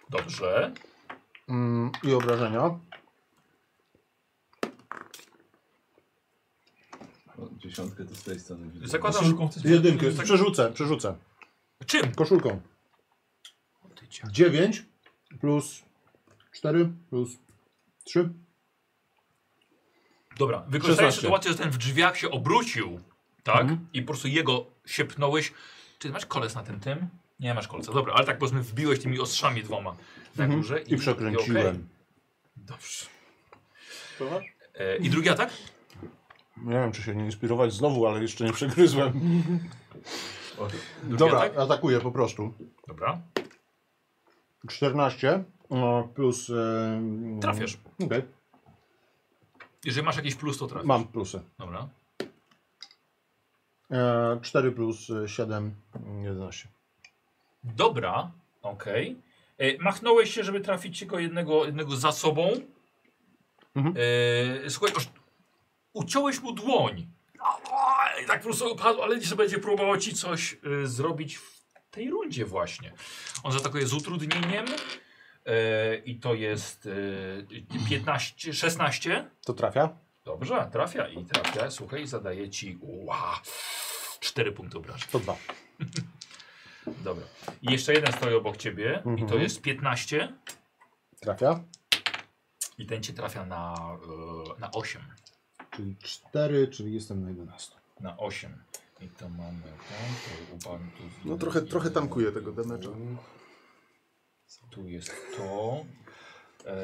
Speaker 1: Dobrze.
Speaker 5: Mm, I obrażenia.
Speaker 6: O, Dziesiątkę to z tej strony widzę.
Speaker 1: Zakładam, że...
Speaker 4: Koszulką chcesz-
Speaker 5: Jedynkę. Mm, tak- Przerzucę, przerzucę.
Speaker 1: Czym?
Speaker 5: Koszulką. 9 plus 4 plus 3.
Speaker 1: Dobra, wykorzystałeś
Speaker 5: 16.
Speaker 1: sytuację, że ten w drzwiach się obrócił, tak?
Speaker 5: Mhm.
Speaker 1: I po prostu jego siepnąłeś. Czy masz koles na tym tym? Nie masz kolca, dobra, ale tak powiedzmy wbiłeś tymi ostrzami dwoma na górze.
Speaker 5: Mhm. I
Speaker 1: i
Speaker 5: przekręciłem.
Speaker 1: okej. Dobrze. E, I drugi atak?
Speaker 5: Nie wiem, czy się nie inspirować znowu, ale jeszcze nie przegryzłem.
Speaker 1: Drugi
Speaker 5: Dobra,
Speaker 1: atak?
Speaker 5: atakuję po prostu.
Speaker 1: Dobra,
Speaker 5: 14 no, plus. em,
Speaker 1: trafiasz.
Speaker 5: Okej,
Speaker 1: Jeżeli masz jakiś plus, to trafisz.
Speaker 5: mam plusy.
Speaker 1: Dobra.
Speaker 5: E, 4 plus 7, 11.
Speaker 1: Dobra, okej. E, Machnąłeś się, żeby trafić tylko jednego, jednego za sobą.
Speaker 5: Mhm.
Speaker 1: E, słuchaj, aż uciąłeś mu dłoń. I tak po prostu opadł, ale jeszcze będzie próbował ci coś e, zrobić w tej rundzie właśnie. On zaatakuje z utrudnieniem. E, I to jest e, 15, 16.
Speaker 5: To trafia?
Speaker 1: Dobrze, trafia i trafia. Słuchaj, zadaje ci ła, 4 punkty obrażeń.
Speaker 5: To 2.
Speaker 1: Dobra. I jeszcze jeden stoi obok ciebie i to
Speaker 5: Mhm.
Speaker 1: jest 15
Speaker 5: Trafia?
Speaker 1: i ten cię trafia na, e, na 8.
Speaker 5: Czyli 4, czyli jestem na 11.
Speaker 1: Na 8. I to mamy... tak, to u pan tu
Speaker 9: No trochę, trochę tankuję tego demecza.
Speaker 1: Tu jest to. E,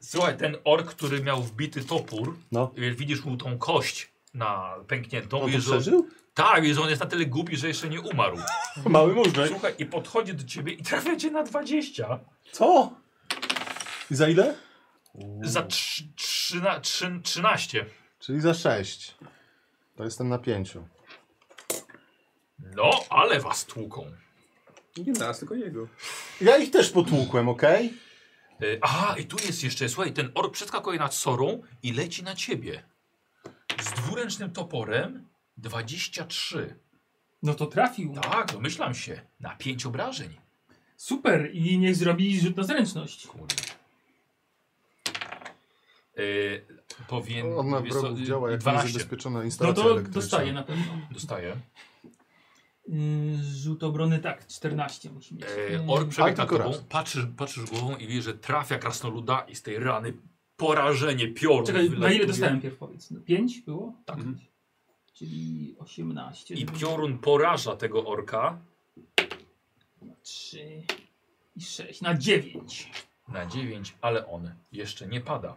Speaker 1: Słuchaj, ten ork, który miał wbity topór,
Speaker 5: No.
Speaker 1: wiesz, widzisz mu tą kość na pękniętą.
Speaker 5: On to
Speaker 1: wiesz, że on,
Speaker 5: przeżył?
Speaker 1: tak, wiesz, że on jest na tyle głupi, że jeszcze nie umarł.
Speaker 5: Mały móżdżek.
Speaker 1: Słuchaj, i podchodzi do ciebie i trafia cię na 20.
Speaker 5: Co? I za ile?
Speaker 1: Za trz- trzyna- trzyn- 13.
Speaker 5: Czyli za 6. To jestem na 5.
Speaker 1: No, ale was tłuką.
Speaker 7: Nie nas, tylko jego.
Speaker 5: Ja ich też potłukłem, okej?
Speaker 1: E, aha, i tu jest jeszcze, słuchaj, ten ork przeskakuje nad sorą i leci na ciebie. Z dwuręcznym toporem 23.
Speaker 4: No to trafił.
Speaker 1: Tak, domyślam się. Na 5 obrażeń.
Speaker 4: Super i niech zrobi rzut na zręczność. No
Speaker 1: Kurde. Yy, powiem.
Speaker 9: On na
Speaker 1: wiesz co,
Speaker 9: wrogów
Speaker 1: y,
Speaker 9: działa jak
Speaker 1: 12
Speaker 9: niezabezpieczona
Speaker 4: No
Speaker 9: instalacja
Speaker 4: to
Speaker 9: elektryczna.
Speaker 4: dostaje na pewno.
Speaker 1: dostaje.
Speaker 4: Yy, rzut obrony tak, 14 musi mieć.
Speaker 1: Yy,
Speaker 4: Yy,
Speaker 1: ork przebiegł nad
Speaker 5: tylko
Speaker 1: tobą,
Speaker 5: raz.
Speaker 1: patrzysz, patrzysz głową i widzisz, że trafia krasnoluda i z tej rany porażenie piorun.
Speaker 4: Czekaj, na ile
Speaker 1: wylatuje.
Speaker 4: dostałem pierw powiedz? No, 5 było?
Speaker 1: Tak.
Speaker 4: Pięć. Czyli 18.
Speaker 1: I piorun poraża tego orka
Speaker 4: 3 i 6. Na 9.
Speaker 1: na 9, ale on jeszcze nie pada.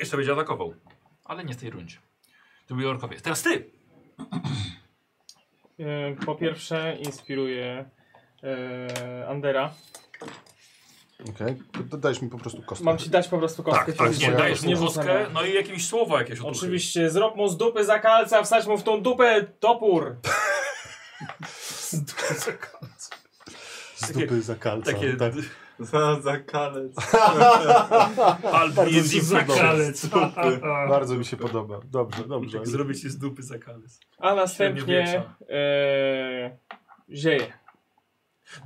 Speaker 1: Jeszcze będzie atakował, ale nie w tej rundzie. To byli orkowie. Teraz ty!
Speaker 2: E, Po pierwsze inspiruje e, Andera.
Speaker 5: Okej. Okay. Dajesz mi po prostu kostkę.
Speaker 2: Mam ci dać po prostu kostkę.
Speaker 1: Tak, tak, nie,
Speaker 2: fizyczną.
Speaker 1: dajesz mu
Speaker 2: Nie rzucam
Speaker 1: kostkę,
Speaker 2: ją.
Speaker 1: no i jakieś słowa jakieś otuchy.
Speaker 2: Oczywiście, zrób mu z dupy zakalca, wsadź mu w tą dupę topór.
Speaker 5: Z dupy za kalca.
Speaker 1: Takie
Speaker 5: tak.
Speaker 6: Za, za kalec.
Speaker 1: Albo
Speaker 5: Bardzo mi
Speaker 1: jest
Speaker 5: się
Speaker 1: zimna
Speaker 5: podoba.
Speaker 1: kalec. Tak.
Speaker 5: Bardzo mi się podoba. Dobrze, dobrze.
Speaker 8: Zrobię ci z dupy zakalec.
Speaker 2: A następnie
Speaker 8: Średniowiecza.
Speaker 2: e, zieje.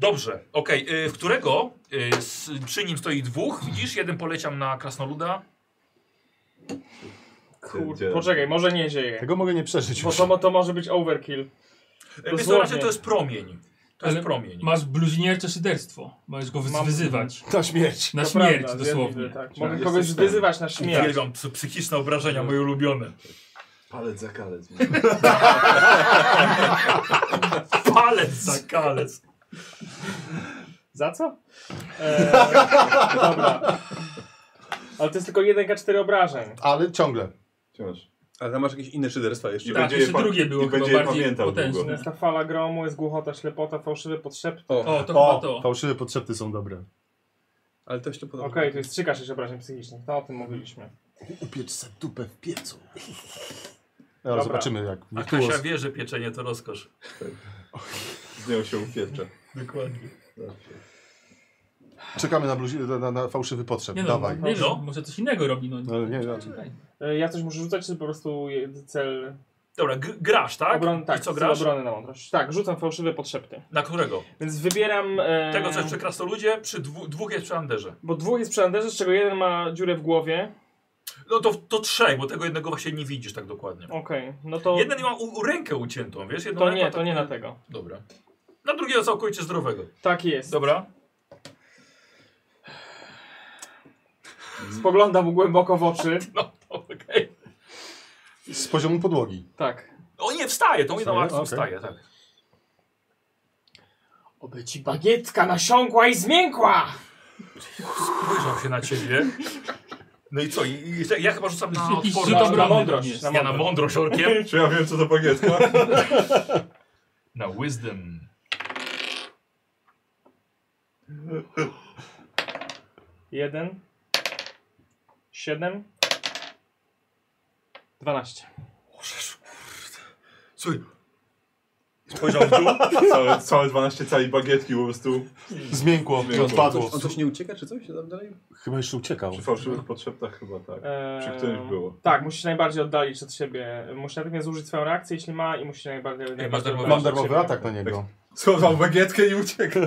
Speaker 1: Dobrze, okej. y, W którego? y, s- Przy nim stoi dwóch. Widzisz, jeden poleciał na krasnoluda. Y,
Speaker 2: Kurde,
Speaker 6: Gdzie?
Speaker 2: poczekaj, może nie zieje.
Speaker 5: Tego mogę nie przeżyć
Speaker 2: Bo
Speaker 5: już.
Speaker 2: to, to może być overkill.
Speaker 1: Y, Wiesz co,
Speaker 2: Dosłownie.
Speaker 1: raczej to jest promień. To jest
Speaker 4: Ale
Speaker 1: promień.
Speaker 4: Masz bluźniercze szyderstwo. Możesz go
Speaker 2: Mam-
Speaker 4: Mam... wyzywać.
Speaker 5: Ta śmierć.
Speaker 4: Na
Speaker 2: To
Speaker 4: śmierć
Speaker 2: prawda,
Speaker 4: dosłownie.
Speaker 2: zjadliwe, tak. Mogę
Speaker 6: Jesteś
Speaker 2: kogoś
Speaker 6: ten.
Speaker 2: wyzywać na śmierć.
Speaker 1: Uwielbiam psy- psychiczne obrażenia, moje ulubione.
Speaker 6: Palec za kalec. no.
Speaker 1: Palec za kalec.
Speaker 2: Za co? E, dobra. Ale to jest tylko 1k4 obrażeń.
Speaker 5: Ale ciągle.
Speaker 6: Wciąż.
Speaker 7: Ale tam masz jakieś inne szyderstwa jeszcze.
Speaker 6: Nie
Speaker 4: Tak,
Speaker 6: będzie je
Speaker 4: jeszcze
Speaker 6: pa-
Speaker 4: drugie było
Speaker 6: nie
Speaker 4: chyba
Speaker 6: będzie je
Speaker 4: bardziej
Speaker 6: pamiętał długo.
Speaker 4: potężne.
Speaker 2: Jest ta fala gromu, jest głuchota, ślepota, fałszywy podszep.
Speaker 7: O,
Speaker 4: O, to
Speaker 5: O,
Speaker 4: chyba to.
Speaker 5: fałszywe potrzeby są dobre.
Speaker 7: ale to jeszcze
Speaker 2: Okej,
Speaker 7: podoba.
Speaker 2: to jest 3k6 obrażeń psychicznych, to o tym mówiliśmy.
Speaker 9: Upiecz se dupę w piecu.
Speaker 5: No, Ale
Speaker 2: Dobra.
Speaker 5: zobaczymy jak.
Speaker 8: A Kasia wie, że pieczenie to rozkosz.
Speaker 6: Z nią się upiecze.
Speaker 8: Dokładnie.
Speaker 5: Czekamy na, bluzi... na, na, na fałszywy potrzeb.
Speaker 4: Nie no,
Speaker 5: Dawaj.
Speaker 4: nie no,
Speaker 1: No.
Speaker 4: może coś innego robi. No.
Speaker 5: No, nie, no.
Speaker 4: Czekaj.
Speaker 2: E, Ja coś muszę rzucać, czy po prostu je- cel
Speaker 1: Dobra, gr- grasz, tak?
Speaker 2: obron... tak
Speaker 1: I co
Speaker 2: cel
Speaker 1: grasz?
Speaker 2: obrony na mądrość. Tak, rzucam fałszywe podszepty.
Speaker 1: Na którego?
Speaker 2: Więc wybieram... E...
Speaker 1: Tego, co jest przy krasnoludzie, przy dwu, dwóch jest przy Anderze.
Speaker 2: Bo dwóch jest przy Anderze, z czego jeden ma dziurę w głowie.
Speaker 1: No to, to trzech, bo tego jednego właśnie nie widzisz tak dokładnie.
Speaker 2: Okej, no to...
Speaker 1: Jeden ma u, u rękę uciętą, wiesz? Jedną
Speaker 2: To
Speaker 1: ręką
Speaker 2: nie, to
Speaker 1: taką-
Speaker 2: nie na tego.
Speaker 1: Dobra. Na drugiego całkowicie zdrowego.
Speaker 2: Tak jest.
Speaker 1: Dobra.
Speaker 2: Spoglądam mu głęboko w oczy.
Speaker 1: No, okej.
Speaker 5: Z poziomu podłogi.
Speaker 2: Tak.
Speaker 1: O nie, wstaje, tą jedną
Speaker 5: Wstaje?
Speaker 1: akcją
Speaker 5: Okej.
Speaker 1: wstaje, tak.
Speaker 2: Oby ci bagietka nasiąkła i zmiękła!
Speaker 1: Spojrzał się na ciebie. No i co? I, i, ja chyba rzucam
Speaker 2: No,
Speaker 1: na
Speaker 4: Jakiś
Speaker 1: odporność.
Speaker 4: rzut
Speaker 2: Na- na
Speaker 4: obrony
Speaker 2: mądrość,
Speaker 4: tam jest.
Speaker 2: na
Speaker 1: Ja na mądrość orkiem.
Speaker 6: Czy ja wiem, co to bagietka?
Speaker 1: Na wisdom.
Speaker 2: Jeden. Siedem. Dwanaście.
Speaker 1: Słuchaj. Spojrzał w dół.
Speaker 6: Całe, całe 12 cali bagietki po prostu.
Speaker 5: Zmiękło,
Speaker 6: Zmiękło.
Speaker 5: odpadło.
Speaker 7: Coś, on coś nie ucieka, czy coś tam dalej?
Speaker 5: Chyba jeszcze uciekał.
Speaker 6: Przy fałszywych podszeptach chyba tak.
Speaker 2: Eee,
Speaker 6: Przy którymś było.
Speaker 2: Tak, musi się najbardziej oddalić od siebie. Musi natychmiast zużyć swoją reakcję, jeśli ma, i musi się najbardziej
Speaker 1: masz
Speaker 2: najbardziej
Speaker 1: darmowy-
Speaker 5: Mam
Speaker 2: oddalić od
Speaker 5: darmowy
Speaker 2: siebie.
Speaker 5: atak na niego.
Speaker 6: Schował bagietkę i uciekł.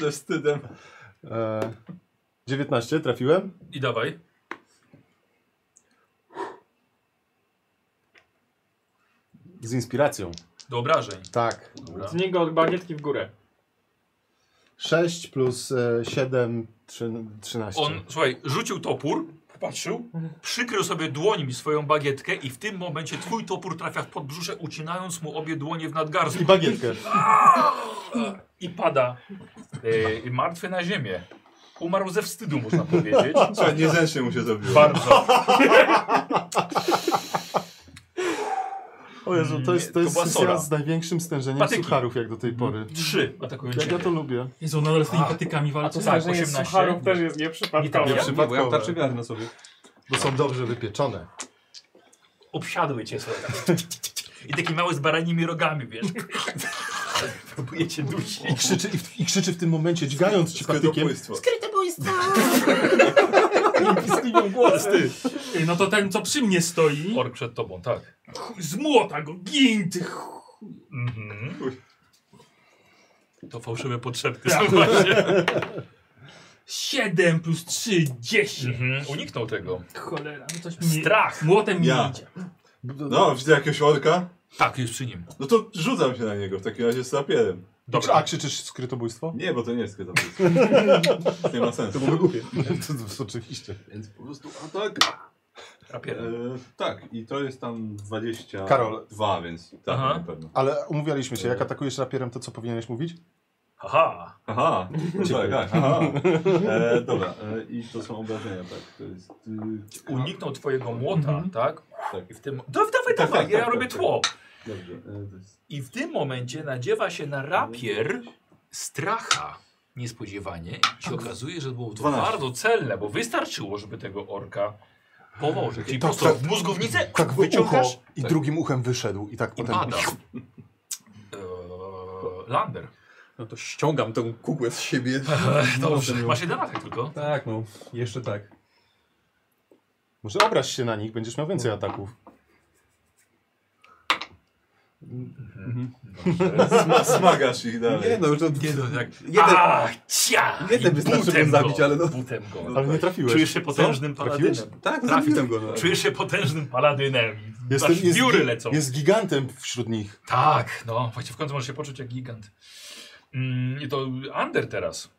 Speaker 6: Ze wstydem.
Speaker 5: E, 19, trafiłem.
Speaker 1: I dawaj.
Speaker 5: Z inspiracją.
Speaker 1: Do obrażeń.
Speaker 5: Tak.
Speaker 1: Dobra.
Speaker 2: Z niego od bagietki w górę.
Speaker 5: 6 plus e, 7, 13.
Speaker 1: On, słuchaj, rzucił topór, popatrzył, przykrył sobie dłońmi swoją bagietkę i w tym momencie twój topór trafia w podbrzusze, ucinając mu obie dłonie w nadgarstku.
Speaker 5: I bagietkę.
Speaker 1: I pada e, martwy na ziemię. Umarł ze wstydu, można powiedzieć.
Speaker 6: Słuchaj, niezręcznie mu się zrobiło.
Speaker 1: Bardzo.
Speaker 5: O Jezu, to jest, to jest
Speaker 1: To była
Speaker 5: sesja
Speaker 1: Sora.
Speaker 5: z największym stężeniem
Speaker 1: Patyki. Mm.
Speaker 5: sucharów jak do tej pory.
Speaker 1: Trzy atakują
Speaker 5: Jak ja
Speaker 1: ciebie.
Speaker 5: to lubię.
Speaker 4: Jezu, nadal z tymi
Speaker 1: A.
Speaker 4: patykami
Speaker 2: A to
Speaker 4: walczy.
Speaker 1: tak,
Speaker 2: tak, że
Speaker 1: 18.
Speaker 2: sucharów też tak jest nieprzypadkowe.
Speaker 1: Nie, nie,
Speaker 7: Bo ja mam
Speaker 5: Przypadkowe.
Speaker 7: tarczę wiary na sobie.
Speaker 5: Bo są dobrze wypieczone.
Speaker 1: Obsiadły cię sobie tak. I taki mały z baranimi rogami, wiesz. Próbuje cię dusić.
Speaker 5: I krzyczy, i, i krzyczy w tym momencie, dźgając ci patykiem.
Speaker 6: Skrytobójstwo.
Speaker 4: Ej, No to ten, co przy mnie stoi,
Speaker 1: Ork przed tobą, tak.
Speaker 4: chuj, z młota go, gin, ty chuj.
Speaker 1: Mhm.
Speaker 6: Uj.
Speaker 1: To fałszywe potrzebki są właśnie.
Speaker 4: 7 plus 3, 10.
Speaker 1: Mhm. Uniknął tego.
Speaker 4: Cholera, no coś mi
Speaker 1: Strach.
Speaker 4: Młotem mi
Speaker 6: Ja.
Speaker 4: idzie.
Speaker 6: No, widzę jakiegoś orka.
Speaker 1: Tak, jest przy nim.
Speaker 6: No to rzucam się na niego w takim razie z rapierem.
Speaker 1: Dobra.
Speaker 6: Tak.
Speaker 5: A krzyczysz skrytobójstwo?
Speaker 6: Nie, bo to nie jest skrytobójstwo. nie ma sensu.
Speaker 5: No, To, to, oczywiście.
Speaker 6: Więc po prostu atak. E,
Speaker 1: Rapierem.
Speaker 6: tak, i to jest tam 20.
Speaker 5: Karol.
Speaker 6: Dwa, więc tak,
Speaker 1: Aha.
Speaker 6: na pewno.
Speaker 5: Ale umówialiśmy się, jak atakujesz rapierem, to co powinieneś mówić?
Speaker 1: Aha.
Speaker 6: Aha, no tak, tak, aha. E, dobra, e, i to są obrażenia, tak. To jest. Y,
Speaker 1: Uniknął twojego młota,
Speaker 4: Mhm.
Speaker 1: tak?
Speaker 6: Tak.
Speaker 1: I w tym... Dawaj, dawaj,
Speaker 6: Tak,
Speaker 1: dawaj,
Speaker 6: tak,
Speaker 1: ja
Speaker 6: tak,
Speaker 1: robię
Speaker 6: tak,
Speaker 1: tło.
Speaker 6: Dobrze, e, to jest.
Speaker 1: I w tym momencie nadziewa się na rapier stracha niespodziewanie i się okazuje, że było to
Speaker 6: 12.
Speaker 1: bardzo celne, bo wystarczyło, żeby tego orka położyć. Czyli
Speaker 7: Tak,
Speaker 1: po prostu w mózgownicę tak, wyciągasz
Speaker 5: i drugim uchem wyszedł i tak
Speaker 1: i
Speaker 5: potem...
Speaker 1: pada. Eee, Lander.
Speaker 7: No to ściągam tą kugłę z siebie.
Speaker 1: Dobrze, masz jeden atak tylko.
Speaker 7: Tak, no. Jeszcze tak.
Speaker 5: Może obraź się na nich, będziesz miał więcej ataków.
Speaker 6: Sma- Smagasz ich dalej.
Speaker 7: Nie no, już to...
Speaker 1: Tak.
Speaker 7: Jeden-
Speaker 1: A, cia!
Speaker 7: jeden
Speaker 1: I
Speaker 7: wystarczy, żeby
Speaker 1: butem
Speaker 7: zabić,
Speaker 1: go,
Speaker 7: ale no.
Speaker 1: Butem go.
Speaker 5: Ale nie trafiłeś.
Speaker 1: tak. Czujesz się potężnym
Speaker 5: Trafiłeś?
Speaker 1: paladynem.
Speaker 7: Tak, no
Speaker 1: Trafił.
Speaker 7: zabiłem go. No.
Speaker 1: Czujesz się potężnym paladynem. Jestem,
Speaker 5: Jestem,
Speaker 1: Masz
Speaker 5: jest,
Speaker 1: biury lecą.
Speaker 5: jest gigantem wśród nich.
Speaker 1: Tak, no. Właśnie w końcu możesz się poczuć jak gigant. Mm, I to Ander teraz.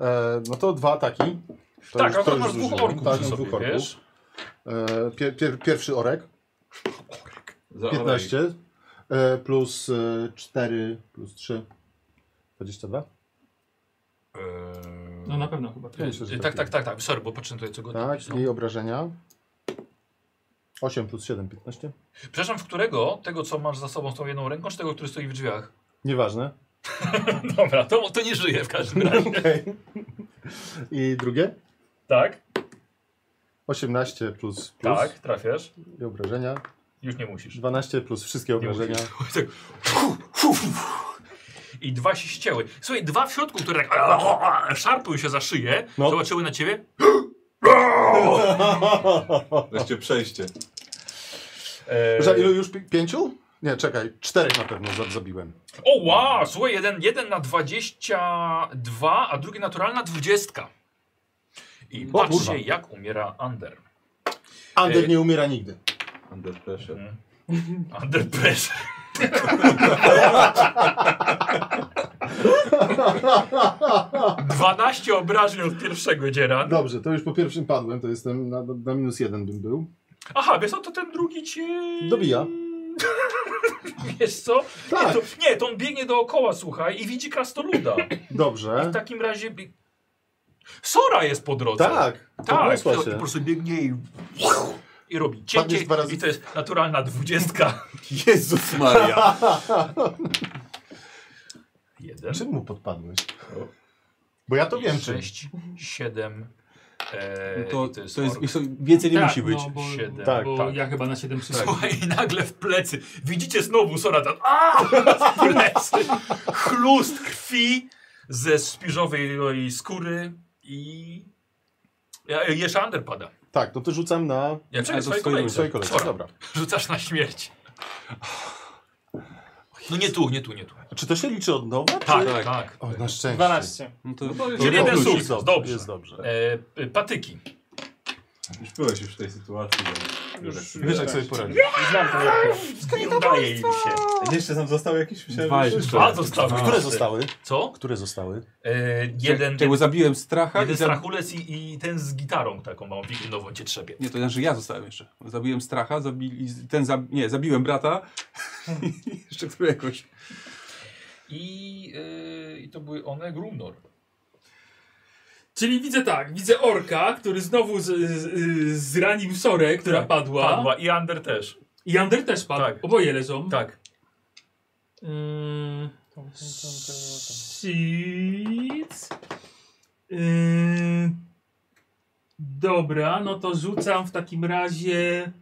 Speaker 5: E, no to dwa ataki. To
Speaker 1: tak,
Speaker 5: już-
Speaker 1: a
Speaker 5: to
Speaker 1: to
Speaker 5: już
Speaker 1: masz dwóch
Speaker 5: zużyłem.
Speaker 1: orków
Speaker 5: Tak,
Speaker 1: przy
Speaker 5: mam
Speaker 1: sobie,
Speaker 5: dwóch orków.
Speaker 1: wiesz?
Speaker 5: E, pier, pier, pierwszy orek,
Speaker 6: Za orek.
Speaker 5: 15, e, plus e, 4, plus 3, 22.
Speaker 1: Eee,
Speaker 4: No na pewno chyba.
Speaker 5: Pięć, że
Speaker 1: y, tak,
Speaker 5: trafiłem.
Speaker 1: tak, tak, tak. Sorry, bo patrzę tutaj co go
Speaker 5: Tak,
Speaker 1: napisał.
Speaker 5: i obrażenia. 8 plus 7, 15.
Speaker 1: Przepraszam, w którego? Tego, co masz za sobą z tą jedną ręką, czy tego, który stoi w drzwiach?
Speaker 5: Nieważne.
Speaker 1: Dobra, to, to nie żyje w każdym razie.
Speaker 5: Okej. I drugie?
Speaker 1: tak,
Speaker 5: 18 plus, plus
Speaker 1: tak, trafiasz.
Speaker 5: i obrażenia.
Speaker 1: Już nie musisz.
Speaker 5: 12 plus wszystkie obrażenia.
Speaker 1: Tak. Fu, fu, fu. I dwa się ścięły. Słuchaj, dwa w środku, które tak szarpią się za szyję,
Speaker 5: No.
Speaker 1: zobaczyły na ciebie.
Speaker 6: Wreszcie przejście.
Speaker 1: Eee,
Speaker 5: Za ilu już? Pi- Pięciu? Nie, czekaj, czterech na pewno za- zabiłem.
Speaker 1: O, wow! Słuchaj, jeden, jeden na 22, a drugi naturalna 20. I
Speaker 5: O,
Speaker 1: patrzcie,
Speaker 5: kurwa.
Speaker 1: jak umiera Under.
Speaker 5: Ander
Speaker 1: Ej.
Speaker 5: nie umiera nigdy.
Speaker 6: Under pressure.
Speaker 1: Under pressure. Dwanaście obrażeń od pierwszego dziera.
Speaker 5: Dobrze, to już po pierwszym padłem, to jestem na, na minus jeden bym był.
Speaker 1: Aha, wiesz co, to ten drugi cię...
Speaker 5: Dobija.
Speaker 1: Wiesz co?
Speaker 5: Tak.
Speaker 1: Nie, to, nie, to on biegnie dookoła, słuchaj, i widzi krastoluda.
Speaker 5: Dobrze.
Speaker 1: W takim razie... bi- Sora jest po drodze.
Speaker 5: Tak,
Speaker 1: Tak,
Speaker 5: podniosła
Speaker 1: to
Speaker 5: się.
Speaker 1: po prostu biegnie i... I robi
Speaker 5: Padniesz
Speaker 1: cięcie
Speaker 5: dwa razy.
Speaker 1: i to jest naturalna dwudziestka.
Speaker 10: Jezus Maria.
Speaker 1: Jeden,
Speaker 5: Czym mu podpadłeś? Bo ja to wiem czym.
Speaker 1: sześć, siedem...
Speaker 7: No
Speaker 1: E,
Speaker 7: to,
Speaker 1: i
Speaker 7: to jest, to jest,
Speaker 1: ork.
Speaker 7: więcej nie
Speaker 4: tak,
Speaker 7: musi być.
Speaker 4: No, bo,
Speaker 1: Siedem.
Speaker 4: tak,
Speaker 5: Tak,
Speaker 4: bo
Speaker 1: tak.
Speaker 4: ja chyba na 7 przyszedłem.
Speaker 1: Słuchaj, i nagle w plecy. Widzicie znowu Sora tam. A! W plecy. Chlust krwi ze spiżowej skóry i. Ja- Jeszcze Ander pada.
Speaker 5: Tak, no to rzucam na
Speaker 1: Ja czekaj, swojej
Speaker 7: to w swojej
Speaker 1: kolejce.
Speaker 5: swojej kolejce.
Speaker 1: Sora,
Speaker 5: Dobra.
Speaker 1: Rzucasz na śmierć. No nie tu, nie tu, nie tu.
Speaker 5: Czy to się liczy od nowa?
Speaker 1: Tak,
Speaker 5: Czy...
Speaker 1: tak. tak.
Speaker 5: O, na szczęście.
Speaker 2: 12.
Speaker 7: No to,
Speaker 1: Czyli
Speaker 5: dobrze,
Speaker 1: jeden
Speaker 5: jest
Speaker 1: sukces,
Speaker 5: dobrze,
Speaker 1: dobrze.
Speaker 5: Jest dobrze.
Speaker 1: E, patyki.
Speaker 6: Już byłeś już w tej sytuacji. bo-
Speaker 2: Już-
Speaker 5: Wiesz jak sobie poradzić.
Speaker 2: Znam to jak
Speaker 1: Nie udaje im się.
Speaker 6: Jeszcze nam został jakiś
Speaker 11: Dwa
Speaker 6: myślałem, że
Speaker 11: jeszcze.
Speaker 1: Dwa zostały.
Speaker 12: Które zostały?
Speaker 1: Co?
Speaker 12: Które zostały?
Speaker 1: E, jeden
Speaker 7: Czego zabiłem stracha
Speaker 1: jeden
Speaker 7: i za...
Speaker 1: strachulec i, i ten z gitarą taką małą wigilnową cię trzepie.
Speaker 7: Nie, to znaczy ja zostałem jeszcze. Zabiłem stracha, zabili, ten za, nie, zabiłem brata i jeszcze któregoś.
Speaker 1: I, e, I to były one Grumnor.
Speaker 4: Czyli widzę tak, widzę orka, który znowu z, z, zranił Sorę, która
Speaker 1: Tak,
Speaker 4: padła.
Speaker 1: Padła i Ander też.
Speaker 4: I Ander też padł.
Speaker 1: Tak.
Speaker 4: Oboje leżą.
Speaker 1: Tak.
Speaker 4: Ym, Shit. Ym, Eee, Dobra, no to rzucam w takim razie.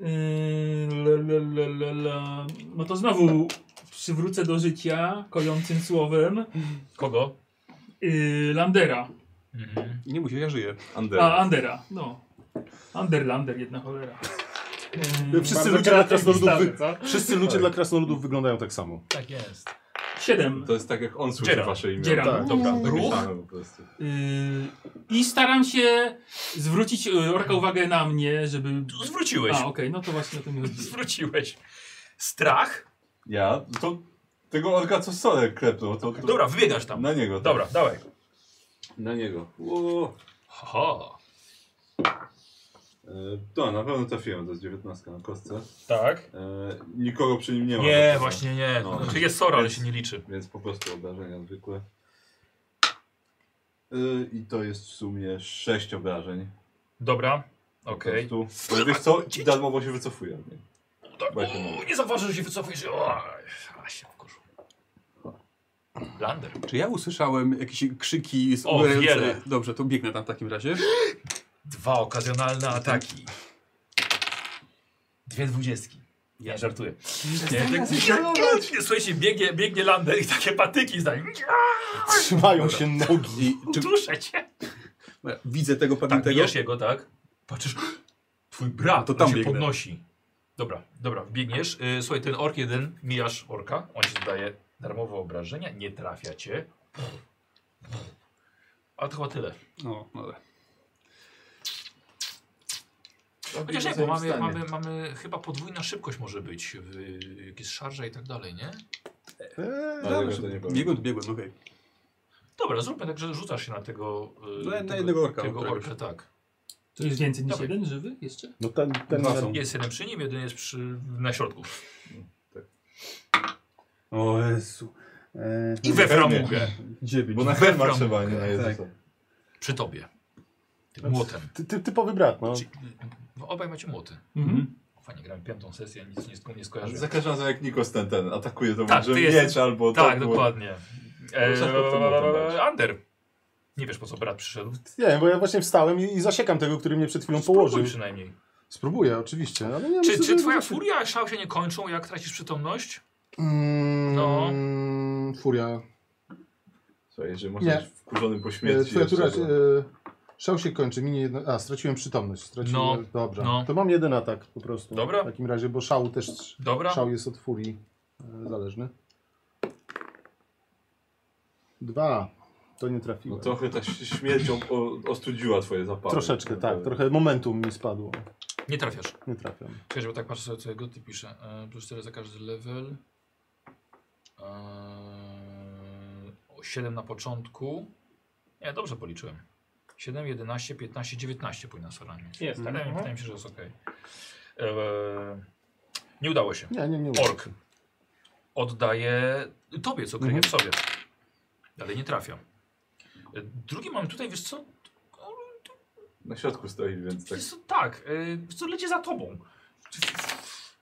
Speaker 4: ym, la, la, la, la, la. No to znowu przywrócę do życia kojącym słowem
Speaker 1: Kogo?
Speaker 4: yy, Landera.
Speaker 1: Mhm.
Speaker 7: I nie musi, ja żyję.
Speaker 6: Ander.
Speaker 4: A, Andera, no. Ander, Lander, jedna cholera. Ehm, Ym,
Speaker 5: Wszyscy
Speaker 2: bardzo
Speaker 5: ludzie, dla
Speaker 2: kreatywny
Speaker 5: krasnoludów, wy...
Speaker 2: stary, co?
Speaker 5: Wszyscy ludzie dla krasnoludów wyglądają tak samo.
Speaker 1: Tak jest.
Speaker 4: Siedem.
Speaker 6: To jest tak jak on słyszy
Speaker 1: Dzieram.
Speaker 6: wasze imię.
Speaker 4: Dzieram.
Speaker 6: Tak, Dobra, takie
Speaker 1: Ruch?
Speaker 6: same po prostu.
Speaker 4: Yy, I staram się zwrócić yy, orka uwagę na mnie, żeby
Speaker 1: Zwróciłeś.
Speaker 4: A, okej, no to właśnie o tym chodzi.
Speaker 1: Zwróciłeś. Strach?
Speaker 6: Ja? No To tego orka co stole klepnął. To, to...
Speaker 1: Dobra, wybiegasz tam.
Speaker 6: Na niego. tak.
Speaker 1: Dobra, dawaj.
Speaker 6: Na niego. Ło.
Speaker 1: Ho.
Speaker 6: E, To na pewno trafiłem, to jest 19 na kostce.
Speaker 1: Tak.
Speaker 6: E, nikogo przy nim nie ma.
Speaker 1: Nie, właśnie nie.
Speaker 6: No.
Speaker 1: Znaczy jest Sora, ale się nie liczy.
Speaker 6: Więc po prostu obrażenia zwykłe. E, I to jest w sumie 6 obrażeń.
Speaker 1: Dobra. Okej.
Speaker 6: Po prostu. Ale Wiesz co? Darmowo się wycofuję. od niej.
Speaker 1: Tak,
Speaker 6: Właśnie mówię.
Speaker 1: uuu, Nie zauważył, że się wycofujesz. Oj, A się wkurzył. Lander.
Speaker 7: Czy ja usłyszałem jakieś krzyki z
Speaker 1: O, wiele.
Speaker 7: Dobrze, to biegnę tam w takim razie.
Speaker 1: Dwa okazjonalne ataki. Dwie dwudziestki. Ja żartuję. Nie, tak, nie, słuchajcie, biegnie, biegnie Lander i takie patyki za nim.
Speaker 5: Trzymają się nogi.
Speaker 7: I czy,
Speaker 1: Duszę cię.
Speaker 7: widzę tego
Speaker 1: Tak,
Speaker 7: pamiętnego.
Speaker 1: bijesz jego, tak? Patrzysz, twój brat
Speaker 7: To
Speaker 1: to
Speaker 7: tam
Speaker 1: tam się
Speaker 7: biegnę.
Speaker 1: podnosi. Dobra, dobra, biegniesz. Yy, słuchaj, ten ork jeden, mijasz orka, on ci zadaje darmowe obrażenia, nie trafia cię. A to chyba tyle.
Speaker 7: no, dobra.
Speaker 6: Tak,
Speaker 1: Chociaż nie, bo
Speaker 11: Jestem w
Speaker 1: mamy,
Speaker 11: stanie.
Speaker 1: mamy, mamy chyba podwójna szybkość może być, w, jak jest szarża i tak dalej, nie? E,
Speaker 6: Ale tego to nie powiem.
Speaker 7: Biegłem, to biegłem, okej.
Speaker 1: Dobra, zróbmy tak, że rzucasz się na tego... y,
Speaker 7: Na- na
Speaker 1: tego,
Speaker 7: jednego orka,
Speaker 1: Tego
Speaker 7: któregoś.
Speaker 1: orka, tak.
Speaker 4: To jest więcej niż
Speaker 1: Dawaj.
Speaker 4: jeden żywy jeszcze?
Speaker 5: No ten, ten
Speaker 7: Dwa są.
Speaker 1: Jest jeden przy nim, jeden jest przy, na środku.
Speaker 7: O Jezu. E,
Speaker 1: I we framugę.
Speaker 7: dziewięć.
Speaker 6: Bo na
Speaker 1: We
Speaker 6: Herma
Speaker 1: framugę.
Speaker 6: trzeba, nie na Jezusa.
Speaker 1: Przy tobie. Tym młotem.
Speaker 5: ty, ty, typowy brat, no.
Speaker 1: Czyli, no, obaj macie młoty.
Speaker 4: Mhm.
Speaker 1: Fajnie, grałem piątą sesję, nic nie, sko- nie skojarzyłem.
Speaker 6: Za każdym razem jak Nikos ten, ten atakuje, to
Speaker 1: Tak,
Speaker 6: może
Speaker 1: ty
Speaker 6: miecz
Speaker 1: jesteś-
Speaker 6: albo
Speaker 1: tak,
Speaker 6: Tak. to
Speaker 1: dokładnie.
Speaker 6: Bo za chłopcem młotem dałeś.
Speaker 1: Eee, Ander. Nie wiesz po co brat przyszedł.
Speaker 5: Nie, bo ja właśnie wstałem i, i zasiekam tego, który mnie przed chwilą
Speaker 1: Spróbuj
Speaker 5: położył.
Speaker 1: przynajmniej.
Speaker 5: Spróbuję, oczywiście. Ale nie,
Speaker 1: Czy,
Speaker 5: myślę,
Speaker 1: czy
Speaker 5: że-
Speaker 1: twoja furia i szał się nie kończą, jak tracisz przytomność?
Speaker 5: Mm,
Speaker 1: No.
Speaker 5: Furia.
Speaker 6: Słuchaj, jeżeli
Speaker 5: Nie.
Speaker 6: możesz wkurzonym po
Speaker 5: E,
Speaker 6: śmierci.
Speaker 5: Twoja tura...
Speaker 6: jeszcze, to-
Speaker 5: E, szał się kończy, minie jedno... A, straciłem przytomność. Straciłem...
Speaker 1: No,
Speaker 5: Dobra.
Speaker 1: no.
Speaker 5: To mam jeden atak po prostu.
Speaker 1: Dobra.
Speaker 5: W takim razie, bo szał też...
Speaker 1: Dobra.
Speaker 5: Szał jest od furii e, zależny. Dwa. To nie
Speaker 6: No
Speaker 5: trafiłem.
Speaker 6: trochę ta ś- śmierć o, o, ostudziła twoje zapachy.
Speaker 5: Troszeczkę, tak.
Speaker 6: Trochę.
Speaker 5: Trochę momentum mi spadło.
Speaker 1: Nie trafiasz.
Speaker 5: Nie trafiam.
Speaker 1: Czekaj, bo tak patrzę sobie, co jego ty pisze. E, Plus 4 za każdy level. E, o, 7 na początku. Nie, dobrze policzyłem. 7, 11, 15, 19 powinna Sora mieć.
Speaker 2: Jest, tak.
Speaker 1: Wydaje, mi-
Speaker 2: Mhm.
Speaker 1: wydaje mi się, że jest ok. nie udało się.
Speaker 5: Nie, nie, nie.
Speaker 1: Ork. Oddaję tobie, co kryje w sobie. Dalej nie trafia. E, Drugi mamy tutaj, wiesz co?
Speaker 6: Na środku stoi, więc tak.
Speaker 1: Wiesz co? Tak, e, wiesz co leci za tobą.
Speaker 5: I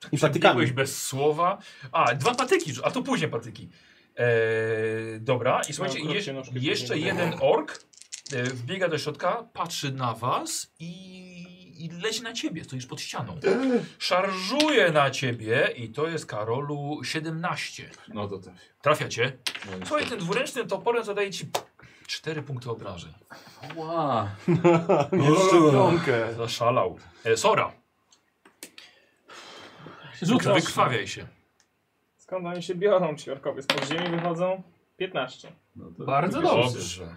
Speaker 1: Biegłeś
Speaker 5: patykami.
Speaker 1: bez słowa. A, dwa patyki, a to później patyki. Eee, dobra,
Speaker 5: Tak,
Speaker 1: i słuchajcie,
Speaker 2: krótkie
Speaker 1: jeż-
Speaker 2: nóżki
Speaker 1: jeszcze
Speaker 2: później.
Speaker 1: jeden ork e, wbiega do środka, patrzy na was i, i leci na ciebie, stoisz pod ścianą. Szarżuje na ciebie i to jest Karolu 17.
Speaker 6: No to też.
Speaker 1: Trafia cię.
Speaker 6: No, niestety.
Speaker 1: Słuchaj, tym dwuręcznym toporem zadaje ci 4 punkty obrażeń.
Speaker 6: Ła.
Speaker 5: Jeszcze
Speaker 1: Zaszalał. E, Sora,
Speaker 4: Rzucasz.
Speaker 1: wykrwawiaj się.
Speaker 2: Skąd oni się biorą? Ci orkowie z podziemi wychodzą? 15.
Speaker 6: No to-
Speaker 4: Bardzo
Speaker 6: to-
Speaker 4: dobrze.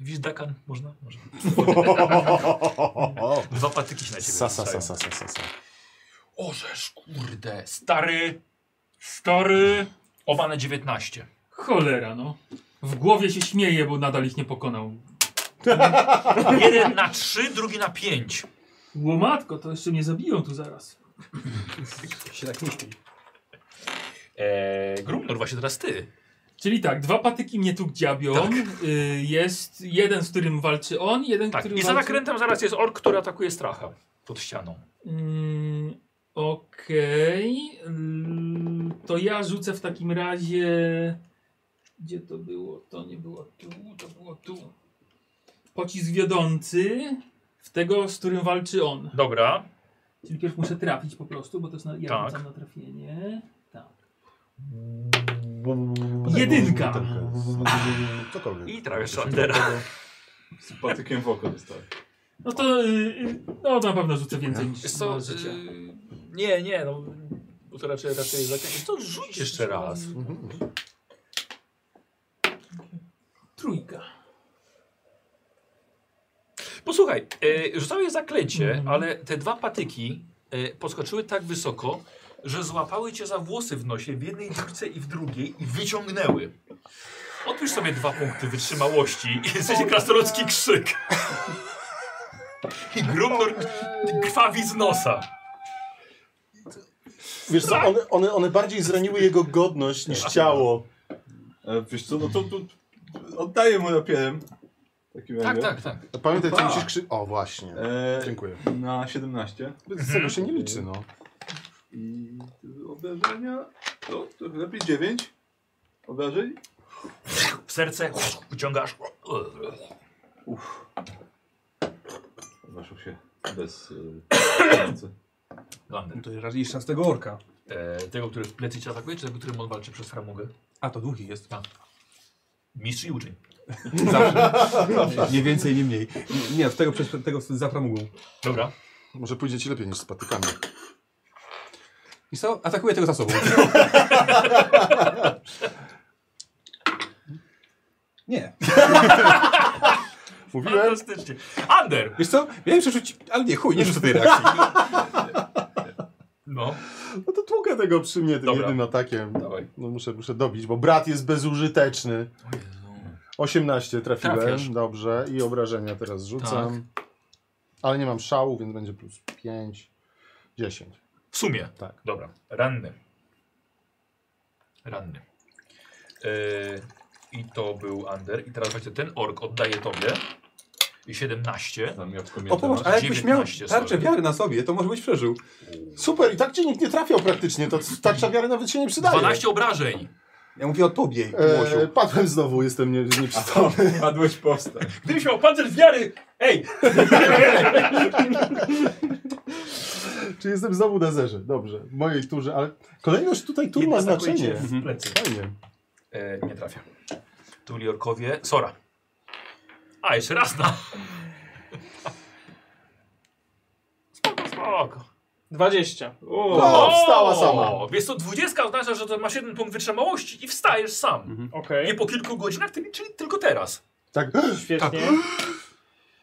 Speaker 1: Widzisz Dakan? Można? Można. patyki się na ciebie
Speaker 5: Sa, sa, sa,
Speaker 1: rzucają.
Speaker 5: sa, sa, sa, sa.
Speaker 1: Orzesz, kurde. Stary. Stary. Oba na 19.
Speaker 4: Cholera, no. W głowie się śmieje, bo nadal ich nie pokonał.
Speaker 1: Jeden na 3, drugi na 5.
Speaker 4: Łomatko, to jeszcze mnie zabiją tu zaraz.
Speaker 7: Się tak myśli.
Speaker 1: Eee, Grumnor, właśnie teraz ty.
Speaker 4: Czyli tak, dwa patyki mnie tu gdziabią.
Speaker 1: Tak.
Speaker 4: Y, jest jeden, z którym walczy on, jeden,
Speaker 1: Tak.
Speaker 4: który
Speaker 1: I za
Speaker 4: walczy...
Speaker 1: nakrętem zaraz jest ork, który atakuje stracha pod ścianą.
Speaker 4: Mm, Okej. Mm, To ja rzucę w takim razie. Gdzie to było? To nie było tu, to było tu. Pocisk wiodący w tego, z którym walczy on.
Speaker 1: Dobra.
Speaker 4: Czyli pierw muszę trafić po prostu, bo to jest na, ja
Speaker 1: Tak.
Speaker 4: rzucam na trafienie. Tak. Jedynka.
Speaker 5: Cokolwiek.
Speaker 1: I trafiasz Sandera.
Speaker 6: Z patykiem w oko dostałem.
Speaker 4: No to y, y, no, na pewno rzucę więcej niż
Speaker 1: Wiesz co,
Speaker 4: na życie.
Speaker 1: y, nie, nie, no. Bo to raczej, raczej zakręt. To rzuć jeszcze raz.
Speaker 4: Trójka.
Speaker 1: Posłuchaj, e, rzucałeś zaklęcie,
Speaker 4: Mhm.
Speaker 1: ale te dwa patyki e, podskoczyły tak wysoko, że złapały cię za włosy w nosie w jednej dyrce i w drugiej i wyciągnęły. Odpisz sobie dwa punkty wytrzymałości i jesteś krasnoludzki krzyk. I grumnor krwawi z nosa.
Speaker 5: Wiesz co, one, one, one bardziej zraniły jego godność niż ciało.
Speaker 6: E, wiesz co, no to, to oddaję mu napierem. W takim
Speaker 1: Tak,
Speaker 6: razie.
Speaker 1: tak, tak.
Speaker 5: Pamiętaj, ty
Speaker 6: Opa.
Speaker 5: musisz krzy... O, właśnie.
Speaker 6: E,
Speaker 5: Dziękuję.
Speaker 6: Na 17.
Speaker 5: Z tego się nie liczy, no.
Speaker 6: I obrażenia. To, to lepiej 9 obrażeń.
Speaker 1: W serce uciągasz.
Speaker 6: Waszł się bez y,
Speaker 1: Lander.
Speaker 7: No To raz jeszcze z tego orka.
Speaker 1: E, tego, który w plecy cię atakuje, czy tego, którym on walczy przez framugę?
Speaker 7: A to długi jest.
Speaker 1: Mistrz i uczeń.
Speaker 7: Nie więcej, nie mniej. Nie, Nie, w tego, przez, tego za framugą.
Speaker 1: Dobra.
Speaker 5: Może pójdzie ci lepiej niż z patykami.
Speaker 7: I co? Atakuje tego za sobą. nie.
Speaker 5: Mówiłem?
Speaker 1: Fantastycznie. Ander!
Speaker 7: Wiesz co? Miałem przerzucić, ale nie, chuj, nie rzucę tej reakcji.
Speaker 1: No,
Speaker 5: No to tłukę tego przy mnie tym
Speaker 1: Dobra.
Speaker 5: jednym atakiem.
Speaker 1: dawaj.
Speaker 5: No muszę, muszę dobić, bo brat jest bezużyteczny. 18 trafiłem,
Speaker 1: Trafiasz.
Speaker 5: dobrze. I obrażenia teraz rzucam. Ale nie mam szału, więc będzie plus 5, 10.
Speaker 1: W sumie.
Speaker 5: Tak.
Speaker 1: Dobra. Ranny. Ranny. Yy, I to był Ander. I teraz właśnie ten ork oddaje tobie. I 17.
Speaker 6: zamiotką
Speaker 7: O popatrz, a jakbyś miał
Speaker 1: 19
Speaker 7: tarczę
Speaker 1: sorry.
Speaker 7: wiary na sobie, to może byś przeżył.
Speaker 5: Super, i tak cię nikt nie trafiał praktycznie, to tarcza wiary nawet się nie przydaje.
Speaker 1: 12 obrażeń.
Speaker 7: Ja mówię o tobie,
Speaker 5: E,
Speaker 7: Łosiu.
Speaker 5: padłem znowu, jestem nie, nieprzytomny.
Speaker 6: Padłeś powstań.
Speaker 1: Gdybyś miał pancerz wiary! Ej!
Speaker 5: Czy jestem znowu na zerze? Dobrze, w mojej turze, ale kolejność tutaj tur ma
Speaker 1: Atakuje cię
Speaker 5: znaczenie.
Speaker 7: Mhm.
Speaker 1: W plecy.
Speaker 5: Fajnie.
Speaker 1: E, nie trafia. Tuli orkowie. Sora. A, jeszcze raz no. na. Spoko, spoko.
Speaker 2: 20.
Speaker 5: O, wstała sama.
Speaker 1: Wiesz co, 20 oznacza, że to masz jeden punkt wytrzymałości i wstajesz sam.
Speaker 5: Mhm.
Speaker 2: Okej,
Speaker 1: Nie po kilku godzinach, ty- czyli tylko teraz.
Speaker 5: Tak,
Speaker 1: Tak.
Speaker 2: świetnie.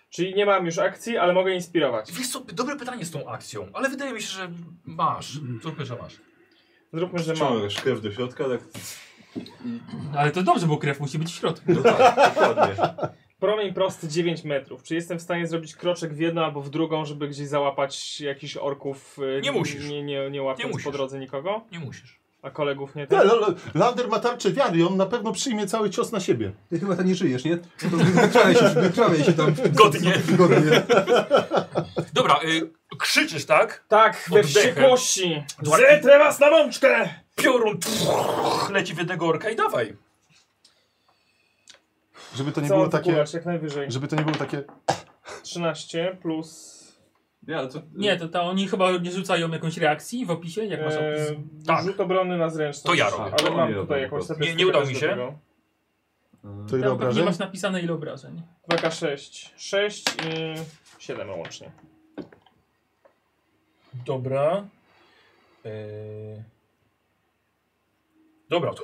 Speaker 2: Czyli nie mam już akcji, ale mogę inspirować.
Speaker 1: Wiesz co, dobre pytanie z tą akcją, ale wydaje mi się, że masz.
Speaker 5: Mhm.
Speaker 1: Zróbmy, że masz.
Speaker 2: Zróbmy, że mam.
Speaker 6: Ciągasz krew do środka, tak
Speaker 4: Ale to dobrze, bo krew musi być w środku.
Speaker 6: no tak, dokładnie.
Speaker 2: Promień prosty 9 metrów. Czy jestem w stanie zrobić kroczek w jedną albo w drugą, żeby gdzieś załapać jakichś orków? y,
Speaker 1: Nie musisz.
Speaker 2: Nie, nie, nie łapiąc
Speaker 1: Nie musisz.
Speaker 2: po drodze nikogo?
Speaker 1: Nie musisz.
Speaker 2: A kolegów nie
Speaker 5: Nie,
Speaker 2: tak?
Speaker 5: L- L- Lander ma tarczę wiary, on na pewno przyjmie cały cios na siebie.
Speaker 7: Ty chyba tam nie żyjesz, nie? To Wykrwawiaj się, wykrwawiaj się tam.
Speaker 1: Godnie.
Speaker 7: Godnie.
Speaker 1: Dobra, y, krzyczysz, tak?
Speaker 2: Tak, we
Speaker 1: Oddechem.
Speaker 2: wściekłości!
Speaker 1: Dwa-
Speaker 2: Zetrę was na mączkę!
Speaker 1: Piorun pff, leci w jednego orka i dawaj.
Speaker 5: Żeby to nie
Speaker 2: Co
Speaker 5: było
Speaker 2: mam
Speaker 5: takie...
Speaker 2: wpływać, jak najwyżej.
Speaker 5: Żeby to nie było takie...
Speaker 2: 13 plus...
Speaker 6: Nie, ale to,
Speaker 4: Nie, to, to oni chyba nie rzucają jakąś reakcji w opisie, jak masz opis.
Speaker 2: E,
Speaker 1: Tak.
Speaker 2: Rzut obronny na zręczność.
Speaker 1: To ja robię.
Speaker 2: Ale
Speaker 6: To
Speaker 2: mam
Speaker 6: nie
Speaker 2: tutaj
Speaker 6: robię
Speaker 2: jakąś
Speaker 6: po prostu.
Speaker 1: Nie- nie udało mi się.
Speaker 6: No,
Speaker 5: To ile
Speaker 4: Tam pewnie
Speaker 5: obrażeń?
Speaker 4: masz napisane ile obrażeń.
Speaker 2: 2K6. 6 i 7 łącznie.
Speaker 1: Dobra.
Speaker 4: E,
Speaker 1: Y... Dobra, to...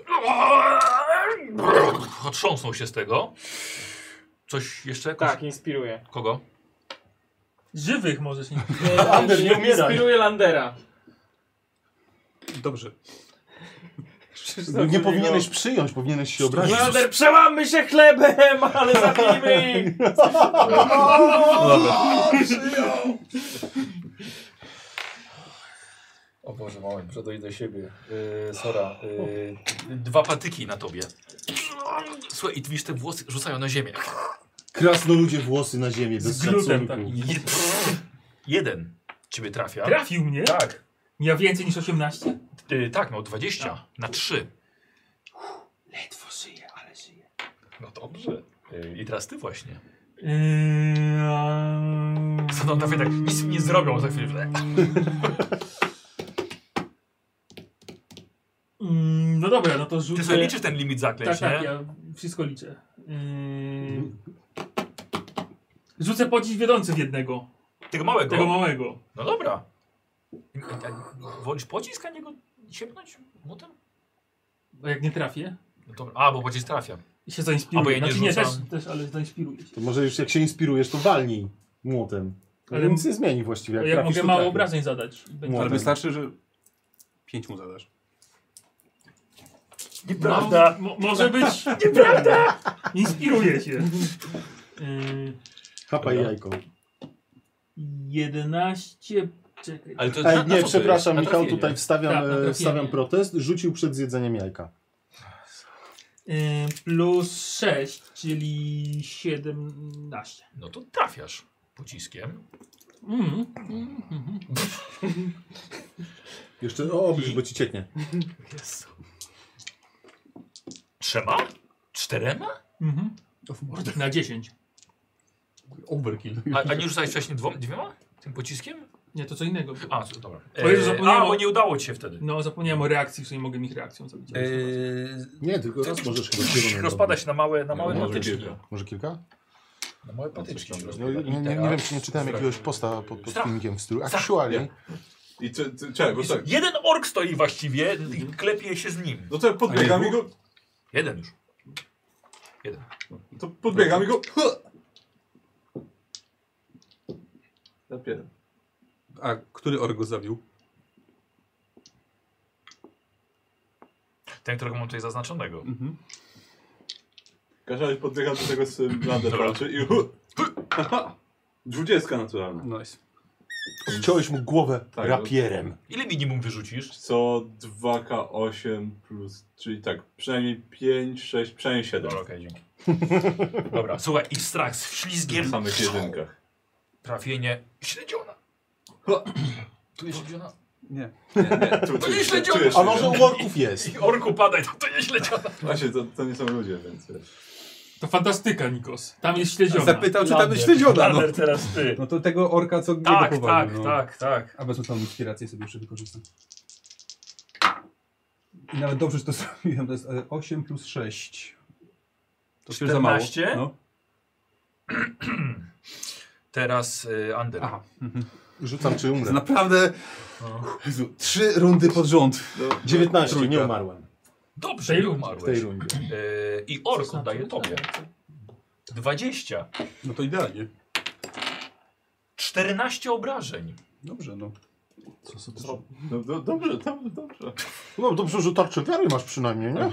Speaker 1: Otrząsnął się z tego. Coś jeszcze? Jakoś...
Speaker 2: Tak, inspiruje.
Speaker 1: Kogo?
Speaker 4: Żywych możesz nie.
Speaker 3: Ander, nie umieraj.
Speaker 2: Inspiruje Landera.
Speaker 7: Dobrze.
Speaker 5: Nie powinieneś przyjąć, powinieneś się obrazić.
Speaker 4: No.
Speaker 2: Lander, przełamy się chlebem, ale zabijmy ich.
Speaker 1: O Boże, moment, przedoj do siebie. Yy, Sora, yy, dwa patyki na tobie. Słuchaj, i widzisz te włosy rzucają na ziemię.
Speaker 5: Krasno ludzie włosy na ziemię, bez
Speaker 4: Z glutem
Speaker 5: szacunku.
Speaker 4: takim.
Speaker 1: Je- Jeden ciebie trafia.
Speaker 4: Trafił mnie?
Speaker 1: Tak,
Speaker 4: Ja więcej niż 18?
Speaker 1: yy, tak, no 20 na 3.
Speaker 4: Ledwo żyję, ale żyję.
Speaker 1: No dobrze. Yy, I teraz ty właśnie. Co
Speaker 4: E, Yy,
Speaker 1: tam tak, nic mi nie zrobią za chwilę.
Speaker 4: mm, no dobra, no to rzucę.
Speaker 1: Ty sobie liczysz ten limit
Speaker 4: Tak,
Speaker 1: zaklęć,
Speaker 4: tak,
Speaker 1: nie?
Speaker 4: ja wszystko liczę. Yy, Rzucę pocisk wiodący w jednego.
Speaker 1: Tego małego.
Speaker 4: Tego małego.
Speaker 1: No dobra. Wolisz pocisk, a nie go siepnąć młotem?
Speaker 4: Bo jak nie trafię,
Speaker 1: No dobra. A, bo pocisk trafia.
Speaker 4: i się zainspiruję.
Speaker 1: Albo ja nie
Speaker 4: znaczy, nie też,
Speaker 1: rzucam.
Speaker 4: też, ale zainspiruję się.
Speaker 5: To może już jak się inspirujesz, to walnij młotem. Ale
Speaker 4: Ale-
Speaker 5: nic nie zmieni właściwie.
Speaker 4: No Jak,
Speaker 5: Jak
Speaker 4: jak
Speaker 5: trafisz,
Speaker 4: mogę
Speaker 5: to
Speaker 4: mało
Speaker 5: trafisz.
Speaker 4: obrażeń zadać. Będzie-
Speaker 7: Ale
Speaker 5: Młotem.
Speaker 7: wystarczy, że pięć mu zadasz.
Speaker 4: Nieprawda. Mo, może być. Nieprawda! Inspiruję się. Yy,
Speaker 5: Chapa i jajko.
Speaker 4: 11. Czekaj.
Speaker 1: Ale to na- na co to
Speaker 5: Ej, E, nie,
Speaker 1: jest?
Speaker 5: przepraszam,
Speaker 1: Na
Speaker 5: Michał,
Speaker 1: trafienie.
Speaker 5: tutaj wstawiam,
Speaker 4: Tak, na
Speaker 5: e,
Speaker 4: trafienie.
Speaker 5: wstawiam protest. Rzucił przed zjedzeniem jajka.
Speaker 4: Yy, plus 6, czyli 17.
Speaker 1: No to trafiasz pociskiem.
Speaker 4: Mm, mm, mm.
Speaker 5: Jeszcze o, oblicz, bo ci cieknie.
Speaker 1: Jezu. Trzema? Czterema?
Speaker 4: Mhm. Na 10.
Speaker 5: Overkill.
Speaker 1: A, a nie rzucałeś wcześniej dwoma, dwiema? Tym pociskiem?
Speaker 4: Nie, to co innego. było.
Speaker 1: A, co- dobra.
Speaker 4: O Jezu,
Speaker 1: E,
Speaker 4: zapomniałem
Speaker 1: a,
Speaker 4: o-
Speaker 1: bo nie udało ci się wtedy.
Speaker 4: No, zapomniałem o reakcji, że nie mogę ich reakcją zabić.
Speaker 7: E,
Speaker 1: Y,
Speaker 5: Nie, tylko raz możesz chyba kierunek
Speaker 1: Rozpada się na małe, na małe
Speaker 5: No, może
Speaker 1: patyczki.
Speaker 5: kilka. Może kilka?
Speaker 1: Na małe patyczki się
Speaker 5: No, Nie,
Speaker 1: rozpada.
Speaker 5: nie, nie, nie wiem, czy nie czytałem jakiegoś posta pod, pod
Speaker 1: Strach.
Speaker 5: filmikiem w stylu. Actually.
Speaker 6: I czy, czy, czekaj, bo
Speaker 1: Jezu,
Speaker 6: tak.
Speaker 1: Jeden ork stoi właściwie i klepie się z nim.
Speaker 6: No to ja podbiegam i go.
Speaker 1: Jeden już. Jeden.
Speaker 6: To podbiegam i go. Zapieram.
Speaker 7: A który ork go zabił?
Speaker 1: Ten, którego mam tutaj zaznaczonego.
Speaker 6: Każdy razie podbiegam do tego z Lander walczy i. Dwudziestka naturalna.
Speaker 7: Nice.
Speaker 5: Wciąłeś mu głowę
Speaker 6: Tak.
Speaker 5: rapierem.
Speaker 1: Ile minimum wyrzucisz?
Speaker 6: Co 2K8 plus, czyli tak, przynajmniej 5, 6, przynajmniej 7.
Speaker 1: Dobra, okej, dzięki. Dobra, słuchaj, i strach z ślizgiem.
Speaker 6: W samych jedynkach.
Speaker 1: Trafienie śledziona. Tu jest śledziona.
Speaker 7: Nie.
Speaker 6: Tu, tu,
Speaker 1: nie
Speaker 6: tu,
Speaker 1: śledziony.
Speaker 6: tu jest
Speaker 5: A może
Speaker 6: śledziony.
Speaker 5: u orków jest?
Speaker 1: I orku padaj, to, to nie śledziona.
Speaker 6: Właśnie, to, to nie są ludzie, więc wiesz.
Speaker 4: To fantastyka, Nikos. Tam
Speaker 1: y,
Speaker 4: jest śledziona.
Speaker 7: Zapytał, czy tam jest śledziona. No.
Speaker 8: Lander teraz ty.
Speaker 7: no to tego orka, co go
Speaker 1: Tak,
Speaker 7: powalił,
Speaker 1: tak,
Speaker 7: no.
Speaker 1: tak, tak.
Speaker 7: A wezmę tą inspirację sobie jeszcze wykorzystam. I nawet dobrze, że to zrobiłem. To jest e, 8 plus 6. To przecież za mało.
Speaker 8: 14?
Speaker 7: No.
Speaker 1: Teraz y, Ander.
Speaker 7: Aha.
Speaker 5: Rzucam czy
Speaker 7: To
Speaker 5: umrę.
Speaker 7: naprawdę
Speaker 1: No.
Speaker 7: Jezu, trzy rundy pod rząd.
Speaker 5: 19, nie umarłem
Speaker 1: Dobrze,
Speaker 4: tej
Speaker 1: nie
Speaker 4: rundzie.
Speaker 5: w tej
Speaker 1: umarłeś.
Speaker 5: rundzie.
Speaker 1: Y, I ork oddaje tobie. 20.
Speaker 7: No to idealnie.
Speaker 1: 14 obrażeń.
Speaker 7: Dobrze, no.
Speaker 6: No, do, dobrze, dobrze, dobrze.
Speaker 5: No dobrze, że tarczę wiary masz przynajmniej, nie?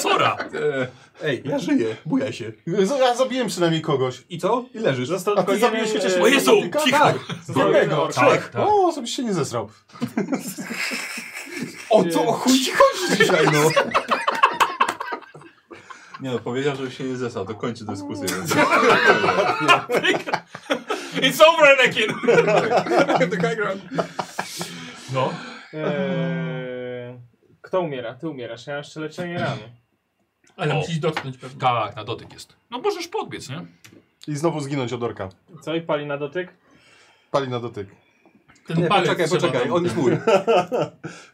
Speaker 1: Sora!
Speaker 7: E, ej, ja żyję, bujaj się.
Speaker 5: Ja zabiłem przynajmniej kogoś.
Speaker 7: I co? I leżysz.
Speaker 5: A ty zabiłeś chociaż
Speaker 1: O Jezu,
Speaker 5: jednego
Speaker 1: cicho!
Speaker 5: Tak, jednego,
Speaker 1: Tak,
Speaker 5: trzech.
Speaker 1: tak.
Speaker 5: O, żebyś się nie zesrał.
Speaker 7: O co o chuj ci chodzi dzisiaj, no?
Speaker 6: Nie no, powiedział, że się nie zesał, to kończy dyskusję. więc-
Speaker 1: It's over, Anakin! No.
Speaker 2: Eee, kto umiera? Ty umierasz, ja mam jeszcze leczenie rany.
Speaker 4: Ale
Speaker 1: O.
Speaker 4: musisz dotknąć pewnie.
Speaker 1: Tak, na dotyk jest. No możesz podbiec, nie?
Speaker 5: I znowu zginąć od orka.
Speaker 2: Co i pali na dotyk?
Speaker 5: Pali na dotyk.
Speaker 4: Ten
Speaker 7: Nie,
Speaker 4: palec
Speaker 7: poczekaj,
Speaker 4: trzeba
Speaker 7: poczekaj,
Speaker 4: tam-
Speaker 7: on jest mój.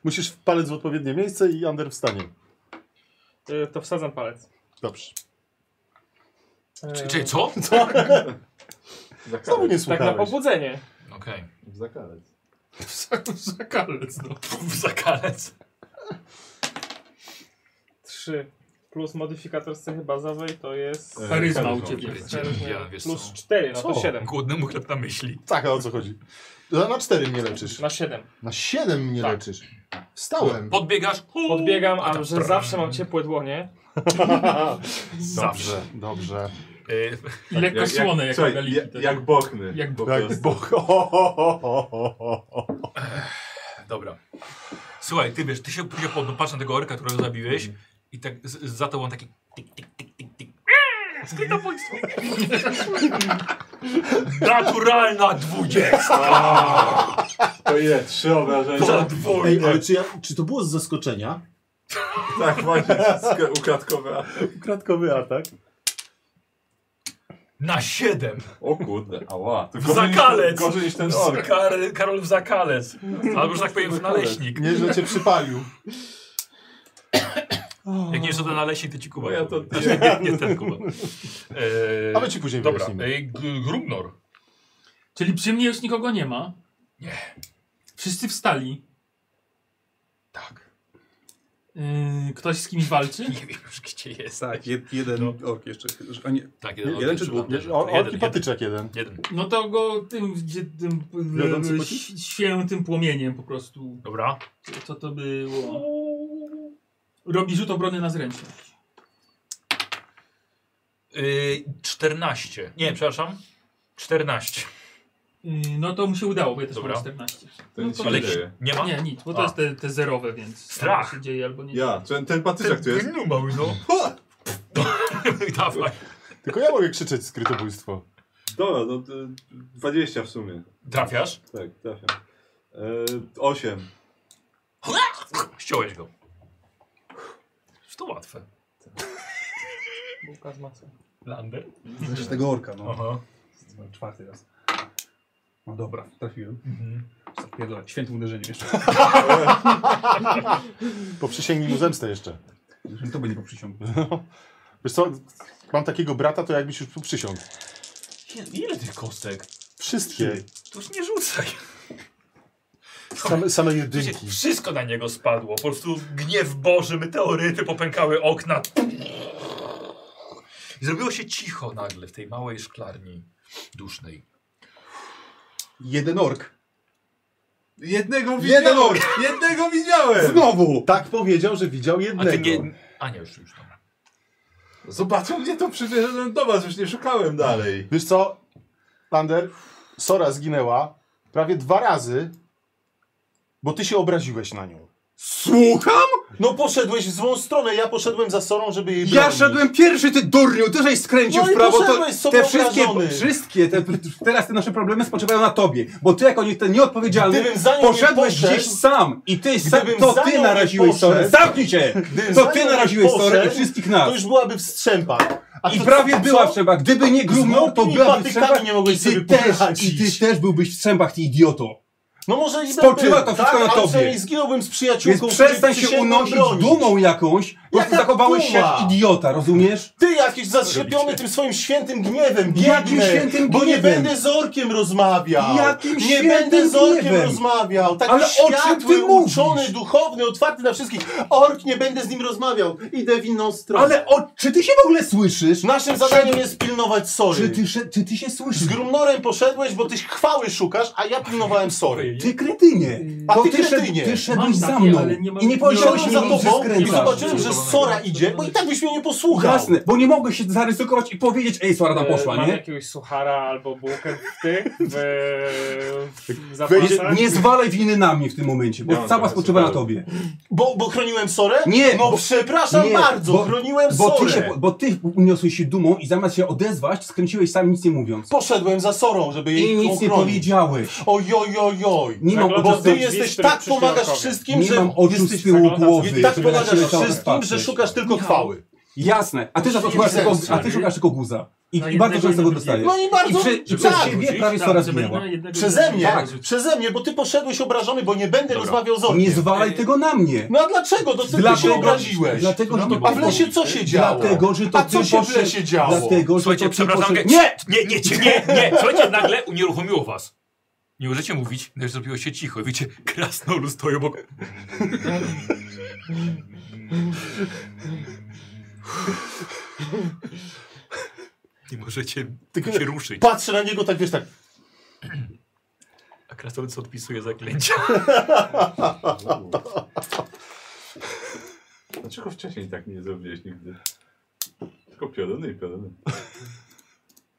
Speaker 5: Musisz w palec w odpowiednie miejsce i Ander wstanie.
Speaker 2: Eee, to wsadzam palec.
Speaker 5: Dobrze.
Speaker 2: Eee,
Speaker 1: Czy, czy co?
Speaker 6: Za
Speaker 5: Znowu nie
Speaker 6: karec.
Speaker 2: tak na
Speaker 5: słuchałeś.
Speaker 2: pobudzenie.
Speaker 1: Okej.
Speaker 6: Za karec.
Speaker 4: Za
Speaker 6: Tak,
Speaker 4: kalec, no.
Speaker 1: Pff, Zakalec.
Speaker 2: Trzy. plus modyfikator z cechy bazowej to jest
Speaker 6: E,
Speaker 4: Charyzma u
Speaker 6: charyzma.
Speaker 4: ciebie.
Speaker 1: Eee, Ja, wiesz
Speaker 2: plus
Speaker 1: co?
Speaker 2: 4, no to
Speaker 5: Co?
Speaker 2: 7.
Speaker 1: Głodnemu chleb na myśli.
Speaker 5: Tak, a o co chodzi? Na na cztery mnie leczysz.
Speaker 2: Na 7.
Speaker 5: Na siedem mnie
Speaker 2: Tak.
Speaker 5: leczysz. Wstałem.
Speaker 1: Podbiegasz. huu,
Speaker 2: Podbiegam,
Speaker 1: a
Speaker 2: a
Speaker 1: tam
Speaker 2: że
Speaker 1: stran.
Speaker 2: zawsze mam ciepłe dłonie.
Speaker 5: Dobrze, dobrze.
Speaker 1: Y,
Speaker 4: I lekko słone jak
Speaker 6: słuchaj,
Speaker 4: galiki.
Speaker 6: jak,
Speaker 4: tak.
Speaker 6: jak bochny.
Speaker 4: Jak
Speaker 6: po
Speaker 5: Tak,
Speaker 6: prostu.
Speaker 5: bo... ho, ho, ho, ho, ho, ho.
Speaker 1: Dobra. Słuchaj, ty wiesz, ty się później pod- patrz na tego orka, którego zabiłeś
Speaker 5: Mm.
Speaker 1: i tak z, z- za tobą taki tik, tik, tik, tik, tik. Eee, Skryto państwo. Naturalna dwudziesta.
Speaker 6: To ile? Trzy obrażenia?
Speaker 5: Ej, ale czy, ja, czy to było z zaskoczenia?
Speaker 6: Tak, właśnie, sk- ukradkowe.
Speaker 5: Kratkowy atak.
Speaker 1: Na siedem.
Speaker 6: O kurde, ała. To
Speaker 1: W
Speaker 6: gorzej niż-
Speaker 1: zakalec.
Speaker 6: Gorzej niż ten ork.
Speaker 1: Kar Karol w zakalec. Albo, że tak powiem, w naleśnik.
Speaker 5: Nie, że cię przypalił.
Speaker 1: Jak nie żaden naleśnik, to ci kuba.
Speaker 6: Bo
Speaker 5: No
Speaker 6: ja to-
Speaker 1: Znaczy, nie, nie ten kuba. Eee,
Speaker 5: A my ci później
Speaker 1: Dobra,
Speaker 5: wyjaśnimy.
Speaker 1: eee, G- Grubnor.
Speaker 4: Czyli przy mnie już nikogo nie ma?
Speaker 1: Nie.
Speaker 4: Wszyscy wstali.
Speaker 1: Tak.
Speaker 4: Yy, ktoś z kimś walczy?
Speaker 1: Nie wiem już gdzie jest.
Speaker 13: Tak, jed, jeden
Speaker 4: No.
Speaker 13: ork jeszcze. A nie,
Speaker 1: Tak,
Speaker 13: Nie, jeden czy
Speaker 1: przy
Speaker 13: dwóch?
Speaker 1: panterze.
Speaker 5: O,
Speaker 1: Jeden,
Speaker 5: orki
Speaker 1: jeden,
Speaker 5: patyczek jeden.
Speaker 1: jeden.
Speaker 4: No to go tym, gdzie, tym
Speaker 13: Wiodący
Speaker 4: e,
Speaker 13: pocisk?
Speaker 4: świętym płomieniem po prostu.
Speaker 1: Dobra.
Speaker 4: Co to było? Robi rzut obrony na zręczność.
Speaker 1: Yy, 14. Nie, przepraszam. 14.
Speaker 4: Yy, no to mu się udało, bo ja też
Speaker 1: Dobra.
Speaker 4: mam 14.
Speaker 6: To
Speaker 4: No
Speaker 6: nic
Speaker 4: to
Speaker 6: się
Speaker 1: Ale
Speaker 6: nie dzieje.
Speaker 1: nie ma?
Speaker 4: Nie, nic, bo
Speaker 1: A.
Speaker 4: to jest te, te zerowe, więc
Speaker 1: Strach.
Speaker 4: albo się dzieje albo nie.
Speaker 6: Ja, ten, ten patyczek tu jest.
Speaker 1: Gnu mały, no. Dawaj.
Speaker 5: Tylko ja mogę krzyczeć skrytobójstwo.
Speaker 6: Dobra, no to 20 w sumie.
Speaker 1: Trafiasz?
Speaker 6: Tak, trafiam. E, 8.
Speaker 1: Ściąłeś go. Już to łatwe.
Speaker 2: Bułka z masłem.
Speaker 1: Lander?
Speaker 13: znaczy tego orka, no.
Speaker 1: Aha.
Speaker 13: Czwarty raz. No dobra, trafiłem.
Speaker 1: Mhm.
Speaker 13: Zapierdolę, świętym uderzeniem jeszcze.
Speaker 5: Bo przysięgnij mu zemstę jeszcze.
Speaker 13: To będzie po przysiągu.
Speaker 5: Wiesz co, mam takiego brata, to jakbyś już tu przysiągł.
Speaker 1: Je- Ile tych kostek?
Speaker 5: Wszystkie.
Speaker 1: To już nie rzucaj.
Speaker 5: Same, same
Speaker 1: Wiecie,
Speaker 5: jedynki.
Speaker 1: Wszystko na niego spadło. Po prostu gniew Boży, meteoryty popękały okna. I zrobiło się cicho nagle w tej małej szklarni dusznej.
Speaker 13: Jeden ork.
Speaker 6: Jednego
Speaker 13: Jeden
Speaker 6: widziałem! Jednego widziałem!
Speaker 13: Znowu!
Speaker 5: Tak powiedział, że widział
Speaker 1: A ty
Speaker 5: jednego.
Speaker 1: nie... A nie, już, już tam.
Speaker 6: Zobaczą mnie to, przyszedłem do was, już nie szukałem dalej.
Speaker 5: Wiesz co, Lander, Sora zginęła prawie dwa razy, bo ty się obraziłeś na nią.
Speaker 7: Słucham?
Speaker 5: No poszedłeś w złą stronę, ja poszedłem za Sorą, żeby jej
Speaker 7: Ja
Speaker 5: bronić.
Speaker 7: szedłem pierwszy, ty durniu, ty żeś skręcił
Speaker 5: No i
Speaker 7: w prawo.
Speaker 5: poszedłeś sobie
Speaker 7: te wszystkie,
Speaker 5: obrażony.
Speaker 7: wszystkie te, teraz te nasze problemy spoczywają na tobie, bo ty jako nie, ten nieodpowiedzialny
Speaker 5: Gdybym za nią nie
Speaker 7: poszedłeś
Speaker 5: poszedł,
Speaker 7: gdzieś sam i ty sam,
Speaker 5: gdybym
Speaker 7: to
Speaker 5: za nią
Speaker 7: ty
Speaker 5: nie
Speaker 7: naraziłeś
Speaker 5: poszedł,
Speaker 7: Sorę. Zamknij się!
Speaker 5: Gdybym
Speaker 7: To
Speaker 5: za
Speaker 7: ty
Speaker 5: nią
Speaker 7: naraziłeś Sorę i
Speaker 5: poszedł,
Speaker 7: wszystkich
Speaker 5: To
Speaker 7: nas.
Speaker 5: już byłaby wstrzępa. A
Speaker 7: I
Speaker 5: to
Speaker 7: prawie
Speaker 5: co?
Speaker 7: była trzeba. Gdyby nie grumno, to
Speaker 5: małpymi
Speaker 7: byłaby
Speaker 5: patykami
Speaker 7: trzeba.
Speaker 5: nie mogłeś
Speaker 7: I ty
Speaker 5: sobie
Speaker 7: też,
Speaker 5: poradzić.
Speaker 7: I ty też byłbyś w strzębach, ty idioto.
Speaker 5: No może i
Speaker 7: Spoczywa
Speaker 5: byłbym,
Speaker 7: to wszystko na
Speaker 5: ale
Speaker 7: tobie.
Speaker 5: przynajmniej zginąłbym z przyjaciółką,
Speaker 7: Więc przestań
Speaker 5: której
Speaker 7: się
Speaker 5: przysięgłem
Speaker 7: unosić
Speaker 5: bronić.
Speaker 7: dumą jakąś, bo
Speaker 5: Jaka
Speaker 7: zachowałeś się
Speaker 5: duma?
Speaker 7: jak idiota, rozumiesz?
Speaker 5: Ty jakiś zaślepiony tym swoim świętym gniewem, biegnę,
Speaker 7: Jakim świętym
Speaker 5: bo nie
Speaker 7: gniewem?
Speaker 5: będę z orkiem rozmawiał.
Speaker 7: Jakim
Speaker 5: nie
Speaker 7: świętym
Speaker 5: będę z orkiem
Speaker 7: gniewem?
Speaker 5: rozmawiał. Taki
Speaker 7: Ale o czym
Speaker 5: światły,
Speaker 7: ty mówisz?
Speaker 5: uczony, duchowny, otwarty na wszystkich. Ork, nie będę z nim rozmawiał. Idę w inną stronę.
Speaker 7: Ale o, czy ty się w ogóle słyszysz? No,
Speaker 5: Naszym zadaniem jest pilnować
Speaker 7: Czy
Speaker 5: sory.
Speaker 7: ty, sze- czy ty się słyszysz?
Speaker 5: Z Grumnorem poszedłeś, bo ty chwały szukasz, a ja pilnowałem sory.
Speaker 7: Ty kretynie!
Speaker 5: A
Speaker 7: To
Speaker 5: ty
Speaker 7: szed-
Speaker 5: kretynie.
Speaker 7: Ty
Speaker 4: Mam
Speaker 7: szedłeś za
Speaker 4: takie,
Speaker 7: mną
Speaker 4: ale nie mam-
Speaker 7: i
Speaker 5: Poszedłem
Speaker 7: nie powiedziałeś mi,
Speaker 5: za
Speaker 7: że
Speaker 5: tobą i
Speaker 7: skręcasz.
Speaker 5: zobaczyłem, że Sora idzie, bo i tak byś mnie nie posłuchał.
Speaker 7: Jasne, bo nie mogłeś się zaryzykować i powiedzieć, ej, Sora tam
Speaker 2: E,
Speaker 7: poszła,
Speaker 2: mam
Speaker 7: nie?
Speaker 2: jakiegoś suchara albo bułkę w tych, w, w
Speaker 5: Wejdzie-
Speaker 2: zapasach.
Speaker 7: Nie, nie zwalaj winy na mnie w tym momencie,
Speaker 6: Ja
Speaker 7: bo
Speaker 6: mam
Speaker 7: cała
Speaker 6: trochę
Speaker 7: spoczywa na
Speaker 6: suchego.
Speaker 7: tobie.
Speaker 5: Bo, bo chroniłem Sorę?
Speaker 7: Nie,
Speaker 5: No
Speaker 7: bo-
Speaker 5: przepraszam
Speaker 7: nie,
Speaker 5: bardzo,
Speaker 7: bo-
Speaker 5: chroniłem
Speaker 7: Bo
Speaker 5: Sorę.
Speaker 7: ty, się, bo ty uniosłeś się dumą i zamiast się odezwać, skręciłeś sam nic nie mówiąc.
Speaker 5: Poszedłem za Sorą, żeby jej
Speaker 7: I nic nie
Speaker 5: ochronić.
Speaker 7: powiedziałeś.
Speaker 5: Ojojojoj.
Speaker 7: Nie mam
Speaker 2: Zaglądasz
Speaker 5: Bo
Speaker 7: oczu,
Speaker 5: ty
Speaker 2: Drzwi,
Speaker 5: jesteś
Speaker 2: które
Speaker 5: tak
Speaker 2: przyszły
Speaker 5: pomagasz
Speaker 2: rokowi.
Speaker 5: wszystkim,
Speaker 7: nie
Speaker 5: że
Speaker 7: mam oczu z
Speaker 5: jesteś
Speaker 7: tyłu
Speaker 2: zaglądasz-
Speaker 7: głowy.
Speaker 5: tak
Speaker 7: żeby na
Speaker 5: pomagasz
Speaker 7: ciebie cały
Speaker 5: wszystkim,
Speaker 7: czas
Speaker 5: że
Speaker 7: patrzeć.
Speaker 5: szukasz tylko chwały.
Speaker 7: Jasne, a ty za to szukasz tylko, a ty szukasz tylko guza. I,
Speaker 4: Na
Speaker 7: i bardzo
Speaker 4: jednego
Speaker 7: często go
Speaker 4: i na
Speaker 7: dostajesz.
Speaker 5: No i bardzo
Speaker 7: I, przy, i przez
Speaker 5: tak.
Speaker 7: siebie prawie
Speaker 4: Tak,
Speaker 7: Sora
Speaker 4: żeby
Speaker 7: zginęła.
Speaker 4: na jednego
Speaker 5: Przeze mnie,
Speaker 4: tak.
Speaker 5: przeze mnie, bo ty poszedłeś obrażony, bo No, nie będę rozmawiał z
Speaker 7: Nie
Speaker 5: Orkiem.
Speaker 7: zwalaj tego na mnie.
Speaker 5: No a dlaczego? To ty
Speaker 7: Dlatego-
Speaker 5: się obraziłeś. No,
Speaker 7: Dlatego, że
Speaker 5: A w lesie co się działo?
Speaker 7: Dlatego, że to
Speaker 5: a co
Speaker 7: ty
Speaker 5: się w
Speaker 7: poszedł-
Speaker 5: lesie działo?
Speaker 7: Dlatego, że
Speaker 1: Słuchajcie,
Speaker 7: to ty
Speaker 1: przepraszam.
Speaker 7: poszedł...
Speaker 1: Nie! Nie, nie, nie, nie, nie! Słuchajcie, nagle unieruchomiło was. Nie możecie mówić, gdyż zrobiło się cicho. Wiecie, krasnolud stoi obok. I możecie
Speaker 5: Tylko-
Speaker 1: się ruszyć.
Speaker 5: Patrzę na niego tak, wiesz, tak.
Speaker 1: A krasnolud odpisuje zaklęcia.
Speaker 6: Dlaczego wcześniej tak nie zrobiłeś nigdy? Tylko piorony i piorony.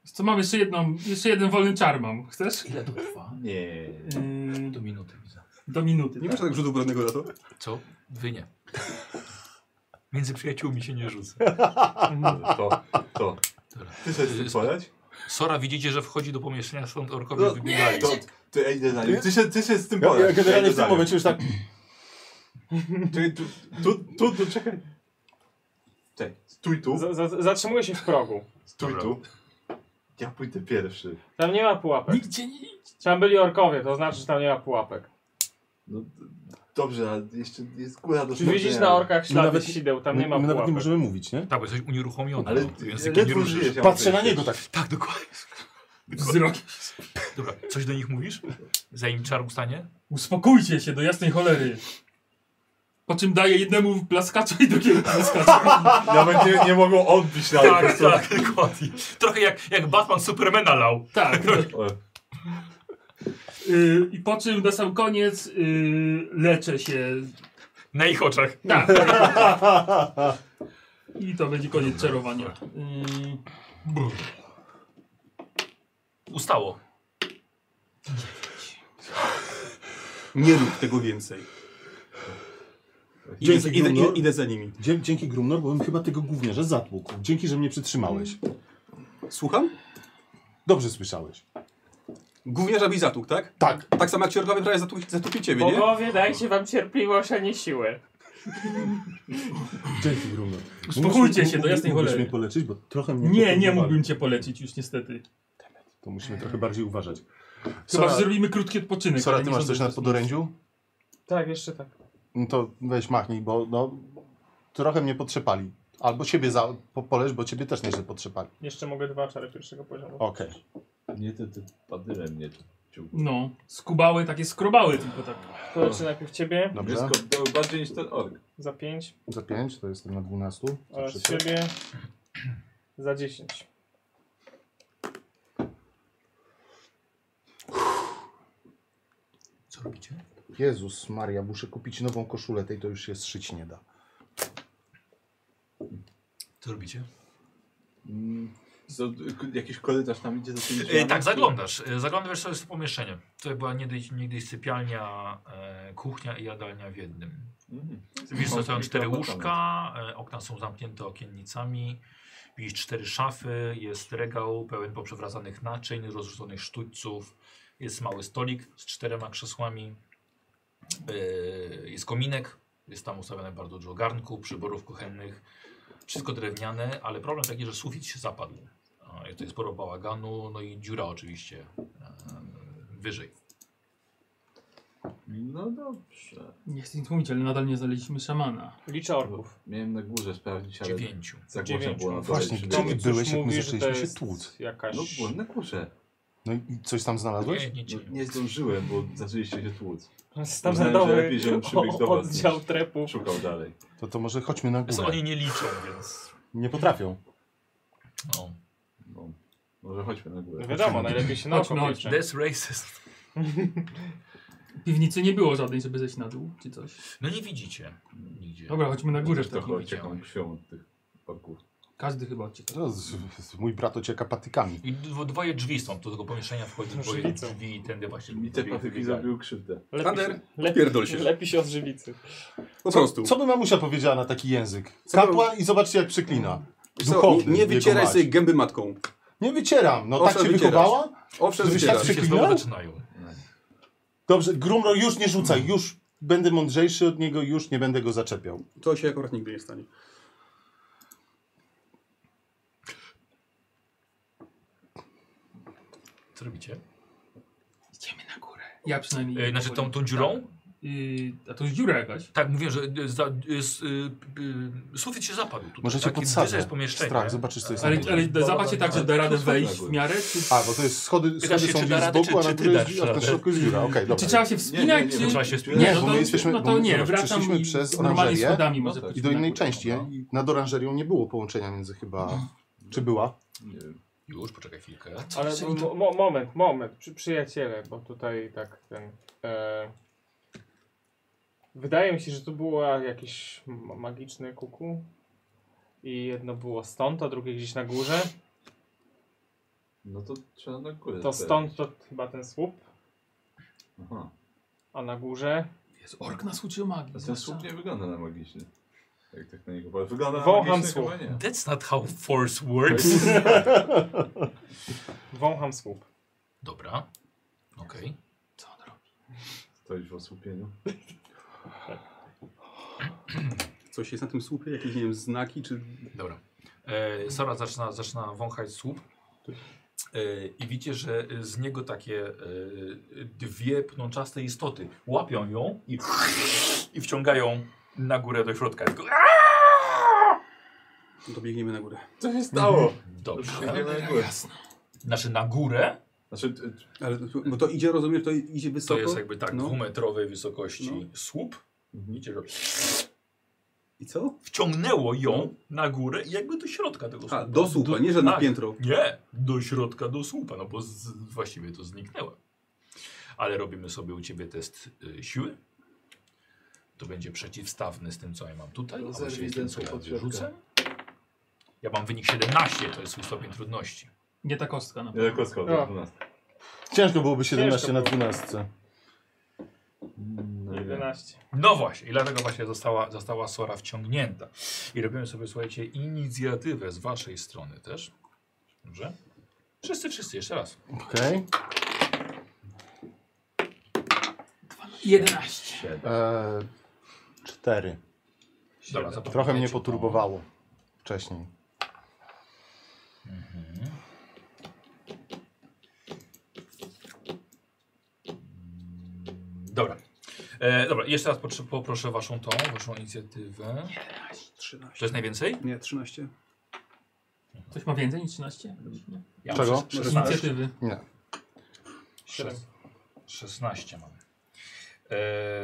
Speaker 4: Co mam jeszcze jedną, jeszcze jeden wolny czar mam. Chcesz?
Speaker 1: Ile to trwa?
Speaker 6: Nie.
Speaker 4: Ym,
Speaker 1: Do minuty widzę.
Speaker 4: do minuty.
Speaker 7: Nie
Speaker 4: tak.
Speaker 7: masz tak rzutu bronnego na to?
Speaker 1: Co? Wy nie. Między przyjaciółmi się nie rzuca.
Speaker 6: To, to. Ty chcesz z tym porać?
Speaker 1: Sora widzicie, że wchodzi do pomieszczenia, stąd orkowie wybiegali.
Speaker 6: To, ty, ja idę za nim. Ty się, ty się z tym
Speaker 5: Ja,
Speaker 6: porać.
Speaker 5: ja generalnie
Speaker 6: idę
Speaker 5: w
Speaker 6: za
Speaker 5: tym
Speaker 6: nim.
Speaker 5: momencie już tak.
Speaker 6: Czekaj, tu, tu, tu, tu, czekaj. Czekaj, stój tu,
Speaker 2: Za- za- Zatrzymuje się w progu.
Speaker 6: stój tu. Ja pójdę pierwszy.
Speaker 2: Tam nie ma pułapek.
Speaker 4: Nigdzie nie idź.
Speaker 2: Tam byli orkowie, to znaczy, że tam nie ma pułapek.
Speaker 6: No, d- dobrze, ale jeszcze jest góra do
Speaker 2: Czy widzisz
Speaker 6: sprawdzenia.
Speaker 2: na orkach
Speaker 5: My
Speaker 2: ślady
Speaker 5: nawet-
Speaker 2: sideł, tam
Speaker 5: my-
Speaker 2: nie ma
Speaker 5: my nawet nie
Speaker 2: pułapek.
Speaker 5: możemy mówić, nie?
Speaker 1: Tak, bo jesteś unieruchomiony.
Speaker 6: Ale
Speaker 1: no, językiem nie
Speaker 6: ledwo
Speaker 1: ruszysz.
Speaker 6: żyjesz. ja
Speaker 5: Patrzę
Speaker 6: mówię,
Speaker 5: na niego tak.
Speaker 1: Tak, dokładnie.
Speaker 4: Wzrok.
Speaker 1: Dobra, coś do nich mówisz? Zanim czar ustanie?
Speaker 4: Uspokójcie się do jasnej cholery. Po czym daje jednemu plaskacza i drugiemu plaskacza.
Speaker 6: Nawet nie, nie mogą odbić nawet. po
Speaker 1: Tak,
Speaker 6: prostu.
Speaker 1: tak, dokładnie. Trochę jak, jak Batman Supermana lał.
Speaker 4: tak.
Speaker 6: O,
Speaker 4: Y, I po czym na sam koniec y, leczę się.
Speaker 1: Na ich oczach.
Speaker 4: Tak. I to będzie koniec czarowania. Y,
Speaker 1: Ustało.
Speaker 7: Nie rób tego więcej. Idę,
Speaker 5: Dzięki,
Speaker 7: za- idę, idę,
Speaker 5: Grumnor.
Speaker 7: idę za nimi.
Speaker 5: Dzie- Dzięki Grumnor, bo bym chyba tego gówniarza zatłukł. Dzięki, że mnie przytrzymałeś.
Speaker 7: Słucham?
Speaker 5: Dobrze słyszałeś.
Speaker 7: Głównie żabi zatłuk, tak?
Speaker 5: Tak.
Speaker 7: Tak samo jak ci orkowie prawie zatłuk, zatłukli ciebie, nie?
Speaker 2: Bogowie, dajcie wam cierpliwość, a nie siłę.
Speaker 5: Dzięki Grumnor.
Speaker 4: Uspokójcie
Speaker 5: Mógłbyś-
Speaker 4: się, do jasnej
Speaker 5: mógłbyś
Speaker 4: cholery.
Speaker 5: mnie poleczyć, bo trochę mnie...
Speaker 4: Nie, nie
Speaker 5: pokonywali.
Speaker 4: mógłbym cię polecić już niestety.
Speaker 5: To musimy trochę bardziej uważać.
Speaker 4: Chyba,
Speaker 5: Sora,
Speaker 4: że zrobimy krótki odpoczynek.
Speaker 5: Sora,
Speaker 4: ale
Speaker 5: ty
Speaker 4: nie
Speaker 5: masz
Speaker 4: sądzę,
Speaker 5: coś
Speaker 4: że
Speaker 5: na
Speaker 4: to-
Speaker 5: podorędziu?
Speaker 2: Tak, jeszcze tak.
Speaker 5: No to weź machnij, bo no... Trochę mnie potrzepali. Albo siebie za, po, polesz, bo ciebie też nieźle potrzepali.
Speaker 2: Jeszcze mogę dwa czary pierwszego poziomu.
Speaker 5: Okej.
Speaker 6: Nie, ty, ty padyle mnie ciął.
Speaker 4: No, skubały, takie skrobały tylko tak.
Speaker 2: To leczy najpierw ciebie,
Speaker 5: Dobrze.
Speaker 6: Wszystko to no, bardziej niż ten ork.
Speaker 2: za pięć,
Speaker 5: Za 5, to jestem na 12. Za
Speaker 2: oraz
Speaker 5: przypał.
Speaker 2: ciebie za dziesięć.
Speaker 1: Co robicie?
Speaker 5: Jezus Maria, muszę kupić nową koszulę, tej to już się zszyć nie da.
Speaker 1: Co robicie?
Speaker 6: Mm, co, k- jakiś korytarz tam idzie za tymi
Speaker 1: E,
Speaker 6: drzwiami?
Speaker 1: tak, zaglądasz. E, zaglądasz sobie w to pomieszczenie. Tutaj była niegdyś, niegdyś sypialnia, e, kuchnia i jadalnia w jednym.
Speaker 6: Mm.
Speaker 1: Widzisz,
Speaker 6: Są
Speaker 1: są tam cztery
Speaker 6: mikrofontany.
Speaker 1: łóżka, e, okna są zamknięte okiennicami, widzisz cztery szafy, jest regał pełen poprzewracanych naczyń, rozrzuconych sztućców, jest mały stolik z czterema krzesłami, e, jest kominek, jest tam ustawione bardzo dużo garnków, przyborów kuchennych, wszystko drewniane, ale problem taki, że sufit się zapadł. E, To jest sporo bałaganu, no i dziura oczywiście e, wyżej.
Speaker 6: No dobrze.
Speaker 4: Nie chcę nic mówić, ale nadal nie znaleźliśmy szamana.
Speaker 2: Liczę orków.
Speaker 6: Miałem na górze sprawdzić, ale
Speaker 1: Dziewięciu.
Speaker 6: za głośno
Speaker 2: Dziewięciu.
Speaker 6: było na dole,
Speaker 5: Właśnie,
Speaker 6: czy
Speaker 5: gdzie
Speaker 6: nie?
Speaker 5: ty
Speaker 2: Tomek
Speaker 5: byłeś,
Speaker 2: coś
Speaker 5: jak my
Speaker 2: mówi, że
Speaker 5: zaczęliśmy
Speaker 2: to
Speaker 5: się
Speaker 2: jest
Speaker 5: tłuc?
Speaker 2: Jakaś...
Speaker 6: No byłem na górze.
Speaker 5: No i coś tam znalazłeś?
Speaker 1: Nie, nie,
Speaker 6: No,
Speaker 1: nie.
Speaker 6: nie zdążyłem, bo zaczęliście się tłuc. Uznałem, że
Speaker 2: Standardowy
Speaker 6: lepiej, żebym przybiegł do
Speaker 2: o-
Speaker 6: was,
Speaker 2: oddział
Speaker 6: niż-
Speaker 2: trepów.
Speaker 6: Szukał dalej.
Speaker 5: To to może chodźmy na
Speaker 1: Więc
Speaker 5: górę.
Speaker 1: oni nie liczą, więc...
Speaker 5: Nie potrafią.
Speaker 1: No.
Speaker 6: No. Może chodźmy na górę.
Speaker 2: No wiadomo, najlepiej się na
Speaker 4: Chodźmy,
Speaker 2: oko
Speaker 4: chodźmy.
Speaker 2: piecze.
Speaker 1: That's racist.
Speaker 4: Piwnicy nie było żadnej, żeby zejść na dół, czy coś.
Speaker 1: No nie widzicie nigdzie.
Speaker 4: Dobra, chodźmy
Speaker 5: No
Speaker 4: na górę.
Speaker 6: Chociaż
Speaker 4: w takim
Speaker 6: trochę
Speaker 4: razie.
Speaker 6: ociekam krwią od tych orków.
Speaker 4: Każdy chyba odcieka.
Speaker 5: To z- z- Mój brat ocieka patykami.
Speaker 1: I dwo- dwoje drzwi są, do tego pomieszczenia wchodzi dwoje
Speaker 2: Żywicą.
Speaker 1: drzwi i tędy właśnie
Speaker 6: Mi te patyki zrobił krzywdę.
Speaker 2: Lepi
Speaker 7: Kader,
Speaker 2: się, lepi,
Speaker 7: pierdol się.
Speaker 2: się. lepi się od żywicy.
Speaker 7: Po prostu.
Speaker 5: Co by mamusia powiedziała na taki język?
Speaker 7: Co
Speaker 5: Kapłan i zobaczcie jak przeklina.
Speaker 7: Wiesz co,
Speaker 5: Duchowny,
Speaker 7: nie
Speaker 5: jego
Speaker 7: wycieraj
Speaker 5: mać.
Speaker 7: sobie gęby matką.
Speaker 5: Nie wycieram, no tak
Speaker 7: Owszem,
Speaker 5: cię
Speaker 7: wycierasz.
Speaker 5: wychowała?
Speaker 7: Owszem,
Speaker 5: Żebyś
Speaker 7: wycierasz.
Speaker 5: tak
Speaker 1: Się znowu
Speaker 5: Przeklinał?
Speaker 1: zaczynają.
Speaker 5: Dobrze, Grumro już nie rzucaj, już będę mądrzejszy od niego, już nie będę go zaczepiał.
Speaker 7: To się akurat nigdy nie stanie.
Speaker 1: Co robicie?
Speaker 4: Ja przynajmniej.
Speaker 1: E, znaczy tą, tą dziurą?
Speaker 4: Yy, a to jest dziura jakaś.
Speaker 1: Tak, mówię, że y, za, y, s- y, y, sufit się zapadł tutaj.
Speaker 5: Może cię
Speaker 1: Taki
Speaker 5: podsadzę.
Speaker 1: Jest pomieszczenie.
Speaker 5: Strach, zobaczysz co jest
Speaker 4: Ale,
Speaker 5: na górze.
Speaker 4: ale zapatrzcie tak, że da radę
Speaker 6: Ale-
Speaker 4: wejść w miarę? Czy,
Speaker 5: A, bo to jest schody, schody
Speaker 1: się,
Speaker 5: są
Speaker 1: czy
Speaker 5: gdzieś
Speaker 1: da
Speaker 5: z
Speaker 1: radę,
Speaker 5: boku,
Speaker 1: czy-
Speaker 5: a na
Speaker 1: czy
Speaker 5: której
Speaker 1: dasz
Speaker 5: jest- a
Speaker 1: radę?
Speaker 5: w środku jest dziura. Okej,
Speaker 4: czy
Speaker 5: dobra.
Speaker 4: trzeba się
Speaker 6: Nie,
Speaker 4: wspinać?
Speaker 6: nie, nie,
Speaker 1: Bo
Speaker 4: czy...
Speaker 1: Trzeba się
Speaker 6: Nie,
Speaker 1: wspinać.
Speaker 5: Nie,
Speaker 4: no
Speaker 5: bo
Speaker 4: to-
Speaker 5: my jesteśmy,
Speaker 4: no
Speaker 5: bo
Speaker 4: to
Speaker 5: my,
Speaker 4: nie,
Speaker 5: zobacz,
Speaker 4: wracam
Speaker 5: przeszliśmy
Speaker 4: i
Speaker 5: przez
Speaker 4: normalnie
Speaker 5: oranżerię
Speaker 4: schodami może
Speaker 6: No tak.
Speaker 5: i
Speaker 4: przejść
Speaker 5: do
Speaker 4: na
Speaker 5: innej
Speaker 4: górę.
Speaker 5: części.
Speaker 6: no.
Speaker 5: I nad oranżerią nie było połączenia między
Speaker 1: Mhm.
Speaker 5: chyba... Czy była?
Speaker 6: Nie wiem.
Speaker 1: Już, poczekaj chwilkę.
Speaker 2: Ale mo- mo- moment, moment, przy, przyjaciele, bo tutaj tak ten. E, wydaje mi się, że to było jakieś ma- magiczne kuku. I jedno było stąd, a drugie gdzieś na górze.
Speaker 6: No to trzeba na górę.
Speaker 2: To
Speaker 6: teraz.
Speaker 2: stąd to chyba ten słup,
Speaker 6: Aha.
Speaker 2: a na górze.
Speaker 4: Jest ork nas uczył magii.
Speaker 6: A ten słup nie wygląda na magiczny. Jak tak na niego patrzę. Wygląda na
Speaker 2: Wącham
Speaker 6: magiczny,
Speaker 2: słup.
Speaker 6: chyba nie.
Speaker 1: That's not how force works.
Speaker 2: Wącham słup.
Speaker 1: Dobra. Okej. Co on robi?
Speaker 6: Stoisz w osłupieniu.
Speaker 7: Coś jest na tym słupie? Jakieś, nie wiem, znaki czy...
Speaker 1: Dobra. E, Sora zaczyna, zaczyna wąchać słup. E, I widzicie, że z niego takie e, dwie pnączaste istoty łapią ją i, i wciągają na górę do środka. Tylko, "A!"
Speaker 7: To biegniemy na górę.
Speaker 6: Co się stało?
Speaker 1: Dobrze.
Speaker 6: Biegniemy na górę.
Speaker 1: Znaczy na górę
Speaker 6: Znaczy, t- t-
Speaker 7: Ale to, bo to idzie, rozumiesz, to idzie wysoko?
Speaker 1: to jest jakby tak
Speaker 7: No.
Speaker 1: dwumetrowej wysokości
Speaker 7: No.
Speaker 1: słup. Widzicie, że
Speaker 7: I co?
Speaker 1: wciągnęło ją na górę i jakby do środka tego słupa.
Speaker 7: A, do słupa, nie że na
Speaker 1: tak.
Speaker 7: piętro.
Speaker 1: Nie, do środka, do słupa, no bo z, właściwie to zniknęła. Ale robimy sobie u ciebie test y, siły. To będzie przeciwstawny z tym, co ja mam tutaj.
Speaker 6: No,
Speaker 1: a
Speaker 6: zerwij
Speaker 1: właściwie z
Speaker 6: ten
Speaker 1: tym, co
Speaker 6: słup
Speaker 1: ja
Speaker 6: od środka.
Speaker 1: wyrzucę. Ja mam wynik 17, to jest swój stopień trudności.
Speaker 4: Nie ta kostka na
Speaker 6: nie
Speaker 4: pewno.
Speaker 6: tylko schodzę.
Speaker 2: No.
Speaker 6: 12.
Speaker 5: Ciężko byłoby 17
Speaker 2: Ciężko
Speaker 5: na
Speaker 2: było.
Speaker 5: 12.
Speaker 1: Mm,
Speaker 6: No, nie.
Speaker 2: 11.
Speaker 1: No właśnie, i dlatego właśnie została, została Sora wciągnięta. I robimy sobie, słuchajcie, inicjatywę z waszej strony też. Dobrze? Wszyscy, wszyscy, jeszcze raz.
Speaker 5: Okej.
Speaker 4: 11.
Speaker 5: Eee, Cztery.
Speaker 1: Dobra, zapomnijcie
Speaker 5: Trochę mnie
Speaker 1: o-
Speaker 5: poturbowało wcześniej.
Speaker 1: Dobra. E, dobra, jeszcze raz potrze- poproszę waszą tą, waszą inicjatywę.
Speaker 7: 13.
Speaker 1: To jest najwięcej?
Speaker 7: Nie, 13.
Speaker 4: Ktoś ma więcej niż 13?
Speaker 1: Ja mam
Speaker 5: Czego?
Speaker 1: szes-
Speaker 7: Może
Speaker 4: Inicjatywy.
Speaker 5: Nie.
Speaker 1: szes- 16 mamy. E,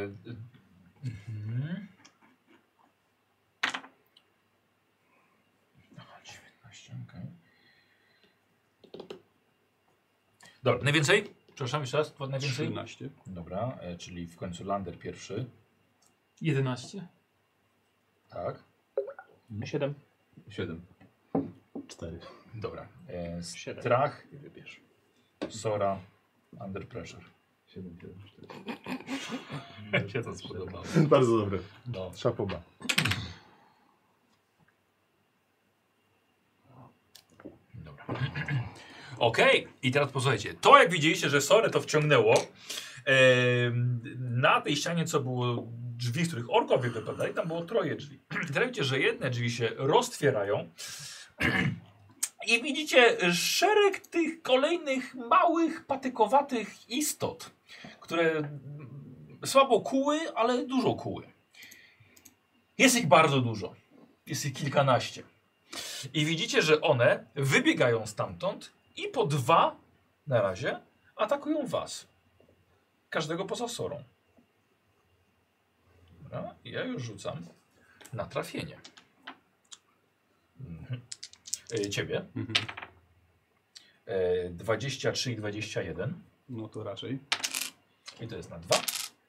Speaker 1: y, mhm. Aha, 19, okej. Dobra, najwięcej? Przepraszam, jeszcze raz, najwięcej?
Speaker 7: 13.
Speaker 1: Dobra, e, czyli w końcu Lander pierwszy,
Speaker 4: 11.
Speaker 1: tak?
Speaker 2: 7.
Speaker 6: 7.
Speaker 5: Cztery.
Speaker 1: Dobra, e,
Speaker 2: Siedem.
Speaker 1: strach, Sora, Under Pressure.
Speaker 6: 7, 7, 4.
Speaker 1: Mi się to spodobało.
Speaker 5: Bardzo dobre.
Speaker 1: No.
Speaker 5: Szapoba.
Speaker 1: Dobra. Okej, i teraz posłuchajcie. To jak widzieliście, że Sorę to wciągnęło, em, na tej ścianie co było drzwi, z których orkowie wypadali, tam było troje drzwi. I teraz widzicie, że jedne drzwi się roztwierają i widzicie szereg tych kolejnych małych, patykowatych istot, które mm, słabo kuły, ale dużo kuły. Jest ich bardzo dużo. Jest ich kilkanaście. I widzicie, że one wybiegają stamtąd i po dwa na razie atakują was. Każdego poza sorą. Dobra, i ja już rzucam na trafienie. Mhm. E, Ciebie.
Speaker 7: Mhm.
Speaker 1: E, 23 i 21.
Speaker 7: No to raczej.
Speaker 1: I to jest na dwa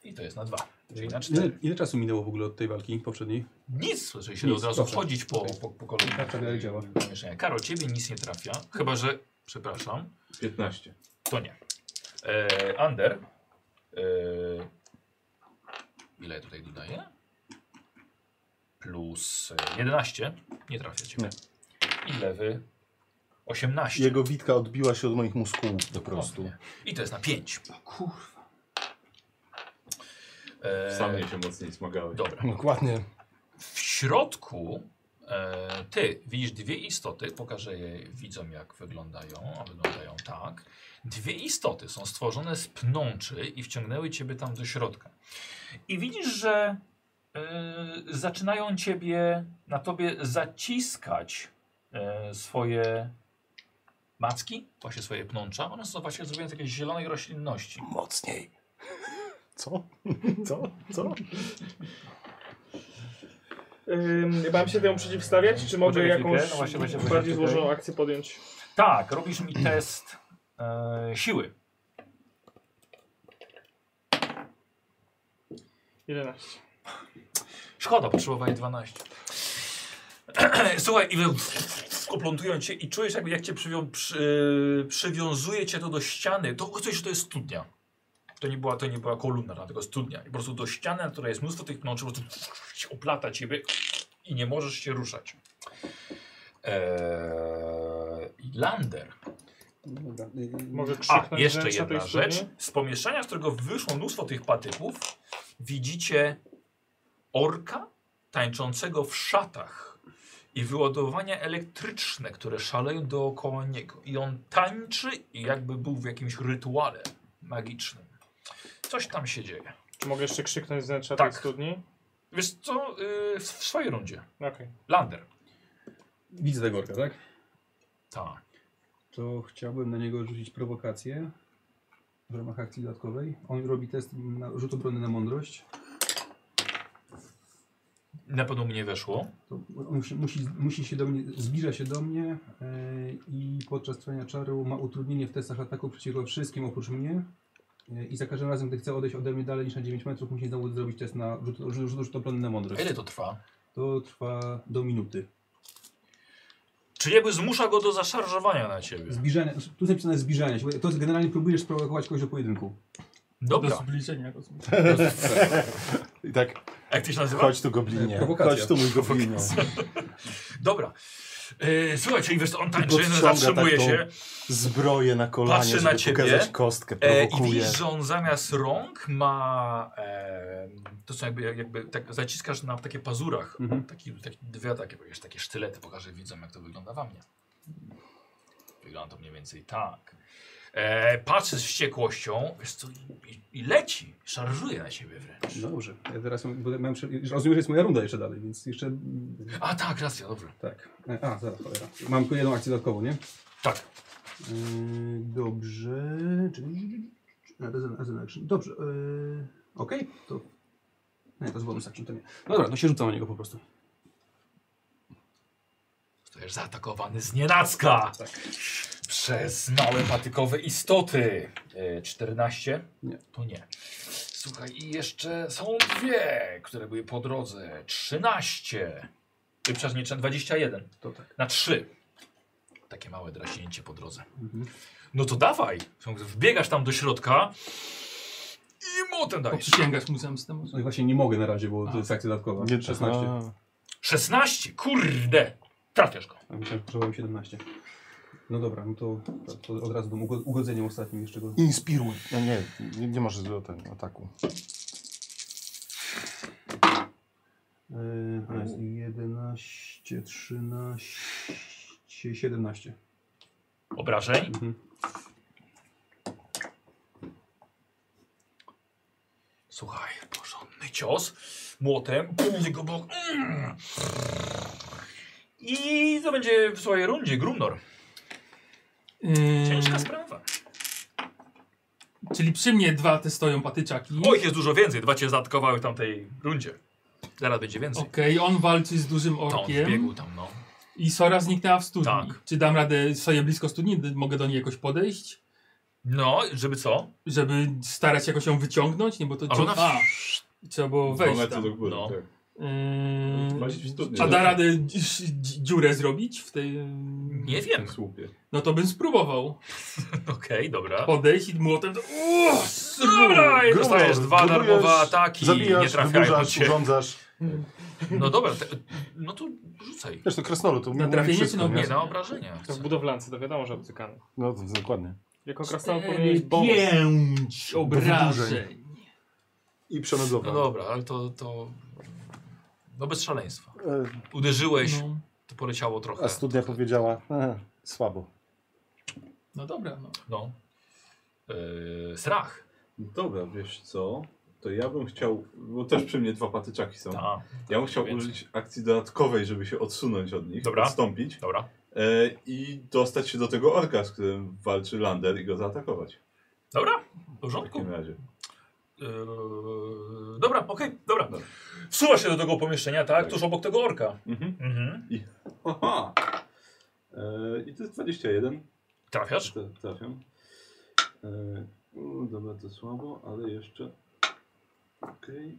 Speaker 1: I to jest na dwa Czyli na
Speaker 7: Ile,
Speaker 1: cztery
Speaker 7: ile czasu minęło w ogóle od tej walki poprzedniej?
Speaker 1: Nic, jeżeli się
Speaker 7: Nic,
Speaker 1: od razu
Speaker 7: dobrze. Tak,
Speaker 1: wchodzić po, po, po kolei.
Speaker 9: dalej działa.
Speaker 1: Pomieszczenia. Karol, ciebie nic nie trafia. Chyba, że. Przepraszam.
Speaker 6: 15.
Speaker 1: To nie. E, under. E, ile ja tutaj dodaję? Plus e, 11. Nie trafia cię. I lewy 18.
Speaker 5: Jego witka odbiła się od moich muskułów po prostu.
Speaker 1: Dokładnie. I to jest na 5. Kurwa. E,
Speaker 6: Sam mnie się mocniej smagały.
Speaker 1: Eee. Dobra.
Speaker 5: Dokładnie.
Speaker 1: W środku e, E, ty widzisz dwie istoty, pokażę je widzom jak wyglądają, a wyglądają tak. Dwie istoty są stworzone z pnączy i wciągnęły ciebie tam do środka. I widzisz, że e, zaczynają ciebie, na tobie zaciskać e, swoje macki, właśnie swoje pnącza. One są właśnie zrobione z jakiejś zielonej roślinności.
Speaker 3: Mocniej. Co? Co? Co?
Speaker 2: Ym, mam się temu przeciwstawiać, czy mogę
Speaker 1: Poczekaj chwilkę,
Speaker 2: jakąś
Speaker 1: no właśnie, właśnie, właśnie,
Speaker 2: bardziej
Speaker 1: czekaj.
Speaker 2: złożoną akcję podjąć?
Speaker 1: Tak, robisz mi test e, siły.
Speaker 2: 11.
Speaker 1: Szkoda, potrzebowałeś 12.
Speaker 8: Słuchaj, i skoplątują cię i czujesz jakby jak cię przywią, przy, y, przywiązuje cię to do ściany. To coś, że to jest studnia. To nie była, to nie była kolumna, tylko studnia. I po prostu do ściany, na której jest mnóstwo tych pnączy, po prostu oplata ciebie i nie możesz się ruszać.
Speaker 1: Eee, Lander.
Speaker 7: Dobra, y, y,
Speaker 2: Może
Speaker 1: A,
Speaker 2: krzyknąć
Speaker 1: jeszcze
Speaker 2: wnętrza tej
Speaker 1: jedna
Speaker 2: studni?
Speaker 1: rzecz. Z pomieszczenia, z którego wyszło mnóstwo tych patyków, widzicie orka tańczącego w szatach i wyładowania elektryczne, które szaleją dookoła niego. I on tańczy i jakby był w jakimś rytuale magicznym. Coś tam się dzieje.
Speaker 2: Czy mogę jeszcze krzyknąć z wnętrza
Speaker 1: Tak.
Speaker 2: tej studni?
Speaker 1: Wiesz co? Yy, w w swojej rundzie.
Speaker 2: Okej.
Speaker 1: Lander.
Speaker 7: Widzę tego orka, tak?
Speaker 1: Tak.
Speaker 7: To chciałbym na niego rzucić prowokację w ramach akcji dodatkowej. On robi test na rzut obrony na mądrość.
Speaker 1: Na pewno mnie weszło.
Speaker 7: To on musi, musi, musi się do mnie, zbliża się do mnie e, i podczas trwania czaru ma utrudnienie w testach ataku przeciwko wszystkim oprócz mnie. E, I za każdym razem, gdy chce odejść ode mnie dalej niż na 9 metrów, musi znowu zrobić test na rzut, rzut, rzut, rzut obrony na
Speaker 1: A
Speaker 7: mądrość.
Speaker 1: ile to trwa?
Speaker 7: To trwa do minuty.
Speaker 1: Czyli jakby zmusza go do zaszarżowania na ciebie.
Speaker 7: Zbliżanie, tu jest napisane zbliżanie się. bo To jest generalnie próbujesz sprowokować kogoś do pojedynku.
Speaker 4: Do
Speaker 1: Dobra. Tak.
Speaker 4: zbliżenia go zbliżenia.
Speaker 5: I tak,
Speaker 1: A Jak ty się nazywa?
Speaker 5: chodź tu goblinie,
Speaker 7: Prowokacja.
Speaker 5: chodź tu mój goblinie.
Speaker 1: Dobra. Yy, słuchaj, czyli wiesz, to on tańczy,
Speaker 5: podciąga tak,
Speaker 1: zatrzymuje
Speaker 5: taką-
Speaker 1: się
Speaker 5: Zbroję na kolanie,
Speaker 1: Patrzy
Speaker 5: żeby
Speaker 1: na ciebie,
Speaker 5: pokazać kostkę,
Speaker 1: e, i
Speaker 5: prowokuje.
Speaker 1: widzisz, że on zamiast rąk ma, e, to są jakby, jakby tak zaciskasz na takie pazurach,
Speaker 7: Mhm.
Speaker 1: taki, taki, dwie takie, wiesz, takie sztylety, pokażę widzom jak to wygląda na mnie. Wygląda to mniej więcej tak. E, patrzy z wściekłością, wiesz co, i- i, i leci, szarżuje na ciebie wręcz.
Speaker 5: No.
Speaker 7: Dobrze. Ja teraz mam, bo mam, prze- rozumiem, że jest moja runda jeszcze dalej, więc jeszcze... mm,
Speaker 1: A tak, racja, dobra.
Speaker 7: Tak. E, A, zaraz, cholera. Mam tylko jedną akcję dodatkową, nie?
Speaker 1: Tak.
Speaker 7: Yy, dobrze. Czy- As an- as an action. Dobrze. Yy, Okej, to. Nie, to z bonus action to nie. No dobra, to się rzucam na niego po prostu.
Speaker 1: Zostajesz zaatakowany z nienacka przez małe patykowe istoty. E, 14?
Speaker 7: Nie.
Speaker 1: To nie. Słuchaj, i jeszcze są dwie, które były po drodze. 13. E, Przepraszam, nie 21.
Speaker 7: To tak.
Speaker 1: Na 3. Takie małe draśnięcie po drodze.
Speaker 7: Mhm.
Speaker 1: No to dawaj. Wbiegasz tam do środka i motem dajesz.
Speaker 4: Przysięgasz mu zemstę może?
Speaker 7: No i właśnie nie mogę na razie, bo to jest akcja dodatkowa.
Speaker 5: Nie,
Speaker 7: 16.
Speaker 1: 16. Kurde. Trafiasz go.
Speaker 7: A myślałem, że potrzebowałem 17. No dobra, no to, to od razu bym ugo- ugodzeniem ostatnim jeszcze go.
Speaker 5: Inspiruj. No nie, nie, nie możesz do ten ataku.
Speaker 7: Yy, a jest 11, 13, 17.
Speaker 1: Obrażeń.
Speaker 7: Mhm.
Speaker 1: Słuchaj, porządny cios. Młotem, pum, w jego bok. Mm. I to będzie w swojej rundzie Grumnor. Ciężka sprawa.
Speaker 4: Yy,
Speaker 5: Mm.
Speaker 4: Czyli przy mnie dwa te stoją patyczaki.
Speaker 1: Oj, jest dużo więcej. Dwa cię zaatakowały w tamtej rundzie. Zaraz będzie więcej.
Speaker 4: Okej, on walczy z dużym
Speaker 1: To on
Speaker 4: orkiem.
Speaker 1: wbiegł tam, no.
Speaker 4: I Sora zniknęła w studni.
Speaker 1: Tak.
Speaker 4: Czy dam radę, stoję blisko studni, d- mogę do niej jakoś podejść?
Speaker 1: No, żeby co?
Speaker 4: Żeby starać się jakoś ją wyciągnąć? Nie, bo to...
Speaker 1: A ona-
Speaker 4: A, trzeba było
Speaker 6: Dwa
Speaker 4: wejść
Speaker 6: metry
Speaker 4: tam.
Speaker 6: do góry,
Speaker 1: No.
Speaker 6: tak.
Speaker 4: Ym,
Speaker 6: Właśnie w studni.
Speaker 4: A da radę dzi- dzi- dziurę zrobić w tej...
Speaker 1: Nie wiem.
Speaker 6: W słupie.
Speaker 4: No to bym spróbował
Speaker 1: Okej, dobra.
Speaker 4: podejść i młotem... To... Uuu,
Speaker 1: Dobra, i
Speaker 5: Grumnor,
Speaker 1: dostajesz dwa
Speaker 5: próbujesz,
Speaker 1: darmowe ataki. nie
Speaker 5: Zabijasz,
Speaker 1: trafiają od
Speaker 5: wyburzasz,
Speaker 1: ciebie.
Speaker 5: urządzasz.
Speaker 1: No dobra, te, no to rzucaj.
Speaker 5: Wiesz, to krasnolu, to
Speaker 4: Na
Speaker 5: mówi
Speaker 4: trafienie
Speaker 5: wszystko,
Speaker 4: czy na
Speaker 1: Nie, na obrażenia.
Speaker 2: To w budowlance, to wiadomo, że obcykamy.
Speaker 5: No, to dokładnie.
Speaker 2: Jako krasnolud powinien mieć bonus.
Speaker 4: E, Pięć obrażeń.
Speaker 5: I przenadzowa.
Speaker 1: No dobra, ale to, to... No bez szaleństwa.
Speaker 5: E,
Speaker 1: Uderzyłeś,
Speaker 4: No,
Speaker 1: to poleciało trochę.
Speaker 5: a studnia powiedziała, e, słabo.
Speaker 4: no dobra, no.
Speaker 1: No. Yy, strach.
Speaker 6: Dobra, wiesz co? To ja bym chciał, bo też przy mnie dwa patyczaki są.
Speaker 1: Ta,
Speaker 6: Ja bym chciał
Speaker 1: więcej.
Speaker 6: użyć akcji dodatkowej, żeby się odsunąć od nich,
Speaker 1: Dobra.
Speaker 6: odstąpić
Speaker 1: Dobra.
Speaker 6: e, i dostać się do tego orka, z którym walczy Lander i go zaatakować.
Speaker 1: Dobra, w
Speaker 6: W
Speaker 1: porządku.
Speaker 6: takim razie.
Speaker 1: Yy, dobra, okej, dobra. Wsuwa się do tego pomieszczenia, tak?
Speaker 6: Tak.
Speaker 1: Tuż obok tego orka.
Speaker 6: Mhm.
Speaker 1: Mhm.
Speaker 6: Aha. E, I to jest 21.
Speaker 1: Trafiasz?
Speaker 6: Te- Trafiam. E, u, dobra, to słabo, ale jeszcze. Okej.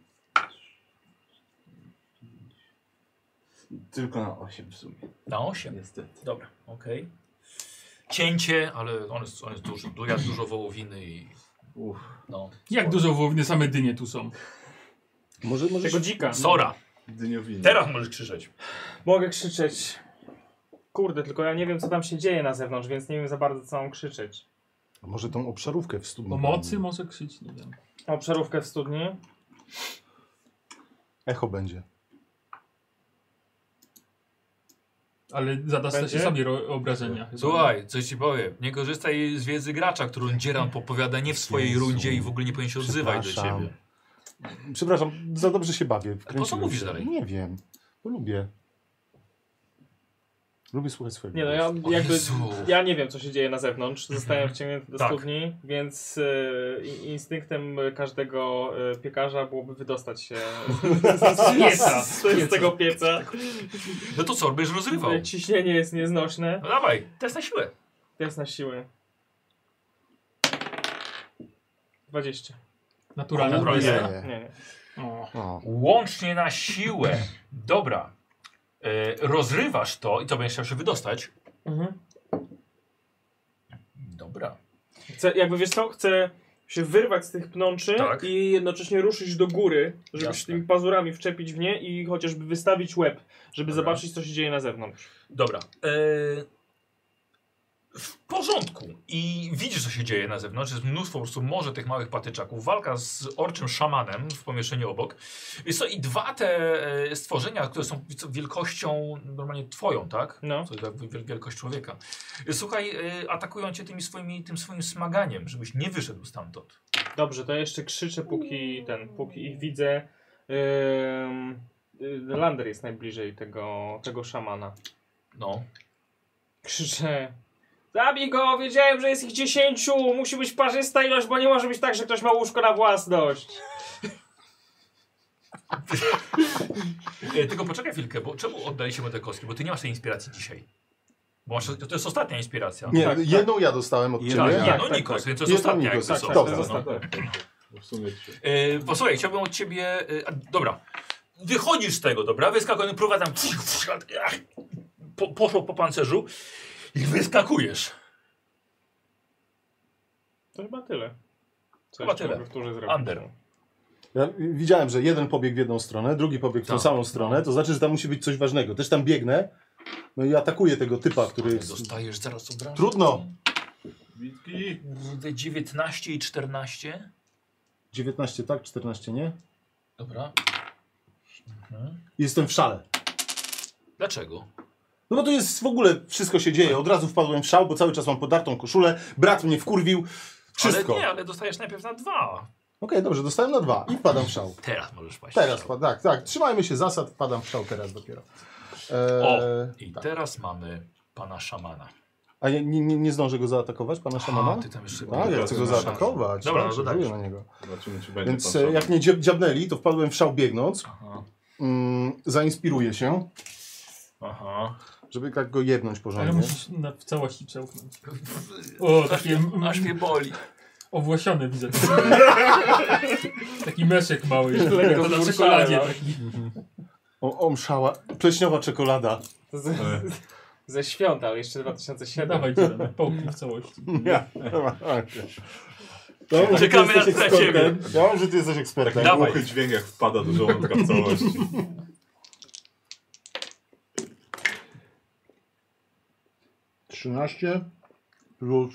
Speaker 6: Tylko na 8 w sumie.
Speaker 1: Na 8.
Speaker 6: Niestety.
Speaker 1: Dobra, okej. Cięcie, ale on jest, on jest duży. Du- Ja dużo wołowiny i
Speaker 6: Uff.
Speaker 1: no.
Speaker 4: Jak dużo wołowiny same dynie tu są.
Speaker 5: Może, może
Speaker 2: Tego dzika.
Speaker 1: Sora,
Speaker 6: Dyniowiny.
Speaker 1: teraz możesz krzyczeć.
Speaker 2: Mogę krzyczeć. Kurde, tylko ja nie wiem, co tam się dzieje na zewnątrz, więc nie wiem za bardzo, co mam krzyczeć.
Speaker 5: A Może tą obszarówkę w studni.
Speaker 1: Mm.
Speaker 4: Pomocy może krzyczeć, nie wiem.
Speaker 2: Obszarówkę w studni.
Speaker 5: Echo będzie.
Speaker 4: Ale zadasz
Speaker 2: Będzie?
Speaker 4: się sobie ro- obrażenia. chyba.
Speaker 1: Słuchaj, coś ci powiem. Nie korzystaj z wiedzy gracza, którą dzieran popowiada nie w swojej
Speaker 5: Jezu.
Speaker 1: rundzie i w ogóle nie powinien się odzywać do
Speaker 5: Przepraszam.
Speaker 1: ciebie.
Speaker 5: Przepraszam, za dobrze się bawię.
Speaker 1: Po co
Speaker 5: wkręciłem
Speaker 1: mówisz
Speaker 5: się.
Speaker 1: dalej?
Speaker 5: Nie wiem, bo lubię. Lubię słuchać swojego
Speaker 2: Nie no, ja
Speaker 5: głosu.
Speaker 1: O
Speaker 2: jakby...
Speaker 1: Jezu.
Speaker 2: Ja nie wiem, co się dzieje na zewnątrz. Zostałem wciągnięty do
Speaker 1: Tak.
Speaker 2: studni, więc y, i- instynktem każdego y, piekarza byłoby wydostać się z, pieca, z tego pieca.
Speaker 1: No to co, będziesz rozrywał?
Speaker 2: Ciśnienie jest nieznośne.
Speaker 1: No dawaj, test na siłę.
Speaker 2: Test na siłę. 20.
Speaker 4: Naturalna
Speaker 1: Naturalna.
Speaker 4: dwadzieścia.
Speaker 2: Nie, nie.
Speaker 4: O,
Speaker 5: O,
Speaker 1: Łącznie na siłę. Dobra. E, rozrywasz to i to będziesz chciał się wydostać.
Speaker 2: Mhm.
Speaker 1: Dobra.
Speaker 2: Chcę, jakby wiesz co, chcę się wyrwać z tych pnączy
Speaker 1: Tak.
Speaker 2: i jednocześnie ruszyć do góry, żeby się
Speaker 1: Jasne.
Speaker 2: tymi pazurami wczepić w nie i chociażby wystawić łeb, żeby
Speaker 1: Dobra.
Speaker 2: zobaczyć, co się dzieje na zewnątrz.
Speaker 1: Dobra. E, w porządku. I widzisz, co się dzieje na zewnątrz. Jest mnóstwo po prostu morze tych małych patyczaków. Walka z orczym szamanem w pomieszczeniu obok. Wiesz co, I dwa te e, stworzenia, które są wiesz co, wielkością normalnie twoją, tak?
Speaker 2: No.
Speaker 1: To jest jakby wiel- wielkość człowieka. Słuchaj, e, atakują cię tymi swoimi, tym swoim smaganiem, żebyś nie wyszedł stamtąd.
Speaker 2: Dobrze, to jeszcze krzyczę, póki ten, póki ich widzę. Ym, y, Lander jest najbliżej tego, tego szamana.
Speaker 1: No.
Speaker 2: Krzyczę. Zabij go, wiedziałem, że jest ich dziesięciu. Musi być parzysta ilość, bo nie może być tak, że ktoś ma łóżko na własność.
Speaker 1: E, tylko poczekaj chwilkę, bo czemu oddaliśmy te kostki? Bo ty nie masz tej inspiracji dzisiaj. Bo masz, to jest ostatnia inspiracja.
Speaker 5: Nie,
Speaker 2: Tak, tak.
Speaker 5: jedną ja dostałem od
Speaker 1: tak,
Speaker 5: ciebie.
Speaker 1: nie,
Speaker 2: tak,
Speaker 1: no
Speaker 2: tak,
Speaker 1: Nikos,
Speaker 2: tak.
Speaker 1: więc to jest
Speaker 5: Jedną
Speaker 1: ostatnia.
Speaker 5: Nikos,
Speaker 1: jakby co.
Speaker 5: tak, tak.
Speaker 6: No,
Speaker 5: Dobra.
Speaker 6: tak, tak. Bo W sumie trzy.
Speaker 1: E, posłuchaj, chciałbym od ciebie. E, a, dobra. Wychodzisz z tego, dobra? Wyskakujesz, próba tam. ach, Po, poszło po pancerzu i wyskakujesz.
Speaker 2: To chyba tyle. Co
Speaker 1: Chyba
Speaker 2: jeszcze
Speaker 1: tyle.
Speaker 2: mogę wtórze zrobić?
Speaker 1: Ander.
Speaker 5: Ja widziałem, że jeden pobiegł w jedną stronę, drugi pobiegł w tą
Speaker 1: Tak.
Speaker 5: samą stronę, to znaczy, że tam musi być coś ważnego. Też tam biegnę, no i atakuję tego typa, który...
Speaker 1: Dostajesz zaraz od razu.
Speaker 5: Trudno.
Speaker 6: Bitki.
Speaker 1: 19 i 14.
Speaker 5: 19 tak, 14 nie.
Speaker 1: Dobra. Mhm.
Speaker 5: I Jestem w szale.
Speaker 1: Dlaczego?
Speaker 5: No bo tu jest w ogóle, wszystko się dzieje. Od razu wpadłem w szał, bo cały czas mam podartą koszulę, brat mnie wkurwił, wszystko.
Speaker 1: Ale nie,
Speaker 5: Okej,
Speaker 1: ale dostajesz najpierw na dwa.
Speaker 5: dobrze, dostałem na dwa i wpadam w szał.
Speaker 1: Teraz możesz paść.
Speaker 5: Teraz, wpa- tak, tak, trzymajmy się zasad, wpadam w szał teraz dopiero.
Speaker 1: O,
Speaker 5: Eee,
Speaker 1: I
Speaker 5: tak.
Speaker 1: teraz mamy pana szamana.
Speaker 5: A ja nie, nie, nie zdążę go zaatakować, pana szamana?
Speaker 1: A, ty tam jeszcze
Speaker 5: A, ja chcę go
Speaker 6: Szamana.
Speaker 5: zaatakować.
Speaker 1: Dobra,
Speaker 5: tak,
Speaker 1: no to
Speaker 5: żeruję
Speaker 1: dajesz.
Speaker 5: na niego.
Speaker 6: Zobaczymy, czy będzie
Speaker 5: Więc
Speaker 6: pan
Speaker 5: e,
Speaker 6: sam.
Speaker 5: jak mnie dziab- dziabnęli, to wpadłem w szał biegnąc.
Speaker 1: Aha.
Speaker 5: Mm, zainspiruję się,
Speaker 1: Aha.
Speaker 5: żeby tak go jednąć
Speaker 4: Ale
Speaker 5: porządnie.
Speaker 4: musisz na, w całości przełknąć. O, takie m-
Speaker 1: Aż mnie boli.
Speaker 4: owłosione widzę. Taki meszek mały. To na
Speaker 2: Lekko
Speaker 4: czekoladzie.
Speaker 2: zmurszałem,
Speaker 4: Taki.
Speaker 5: O, omszała, pleśniowa czekolada.
Speaker 2: To z- Ze świąt, ale jeszcze 2007.
Speaker 4: Dawaj, Dzieran, połknij w całości.
Speaker 5: Ja. Ja mam, że ty
Speaker 1: Czekamy
Speaker 5: jesteś
Speaker 1: na- na ciebie.
Speaker 5: ekspertem. Ja mam, że ty jesteś ekspertem.
Speaker 1: Dawaj.
Speaker 6: Głuchy dźwięk jak wpada do żołądka w całości.
Speaker 5: Trzynaście plus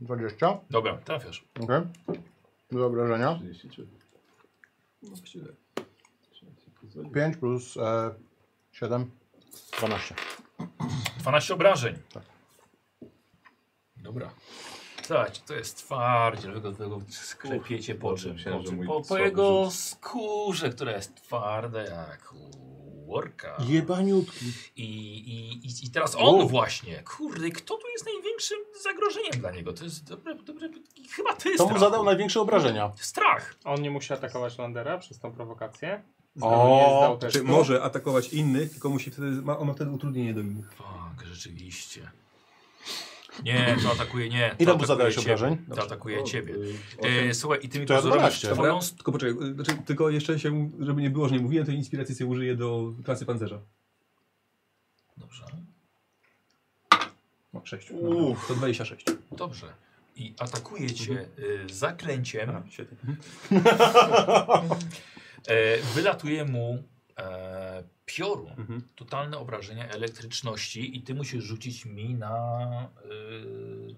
Speaker 5: 20.
Speaker 1: Dobra, trafiasz.
Speaker 5: Okej. Do obrażenia.
Speaker 6: No właściwie tak. Trzeba się pozwolić.
Speaker 5: 5 plus e, 7. 12.
Speaker 1: 12 obrażeń.
Speaker 5: Tak.
Speaker 1: Dobra. Tak, to jest twardziel. Wy go, wy go sklepiecie po
Speaker 6: dobrze,
Speaker 1: czym?
Speaker 6: myślałem,
Speaker 1: Po,
Speaker 6: że
Speaker 1: czym?
Speaker 6: mój
Speaker 1: po, po
Speaker 6: słaby
Speaker 1: jego
Speaker 6: rzut.
Speaker 1: skórze, która jest twarda jak u worka.
Speaker 5: Jebaniutki.
Speaker 1: I, i, i- I teraz on
Speaker 5: O.
Speaker 1: właśnie. Kurde, kto tu jest największym zagrożeniem dla niego? To jest dobre, dobre chyba ty
Speaker 5: To
Speaker 1: strach.
Speaker 5: mu zadał największe obrażenia.
Speaker 1: Strach.
Speaker 2: A On nie musi atakować Landera przez tą prowokację.
Speaker 5: O,
Speaker 2: nie zdał
Speaker 9: Czy
Speaker 2: testu.
Speaker 9: Znaczy, może atakować innych, tylko musi wtedy, ma, on ma wtedy utrudnienie do innych.
Speaker 1: Tak, rzeczywiście. Nie, to atakuje, nie. To
Speaker 5: Ile mu
Speaker 1: atakuje
Speaker 5: zadałeś
Speaker 1: ciebie.
Speaker 5: obrażeń?
Speaker 1: To atakuje
Speaker 6: O,
Speaker 1: ciebie.
Speaker 6: y, osiem.
Speaker 1: E, słuchaj, i ty mi
Speaker 5: To ja
Speaker 1: to zrobisz
Speaker 5: 12.
Speaker 1: twoją...
Speaker 9: Dobra, tylko poczekaj, y, znaczy, tylko jeszcze się, żeby nie było, że nie mówiłem, to inspiracji sobie użyję do klasy pancerza.
Speaker 1: Dobrze.
Speaker 9: No, 6. Dobra, to 26.
Speaker 1: Dobrze. I atakuje cię y,
Speaker 7: Tak.
Speaker 1: zaklęciem.
Speaker 9: Świetnie.
Speaker 1: E, wylatuje mu e, piorun.
Speaker 9: Mhm.
Speaker 1: Totalne obrażenia elektryczności i ty musisz rzucić mi na y,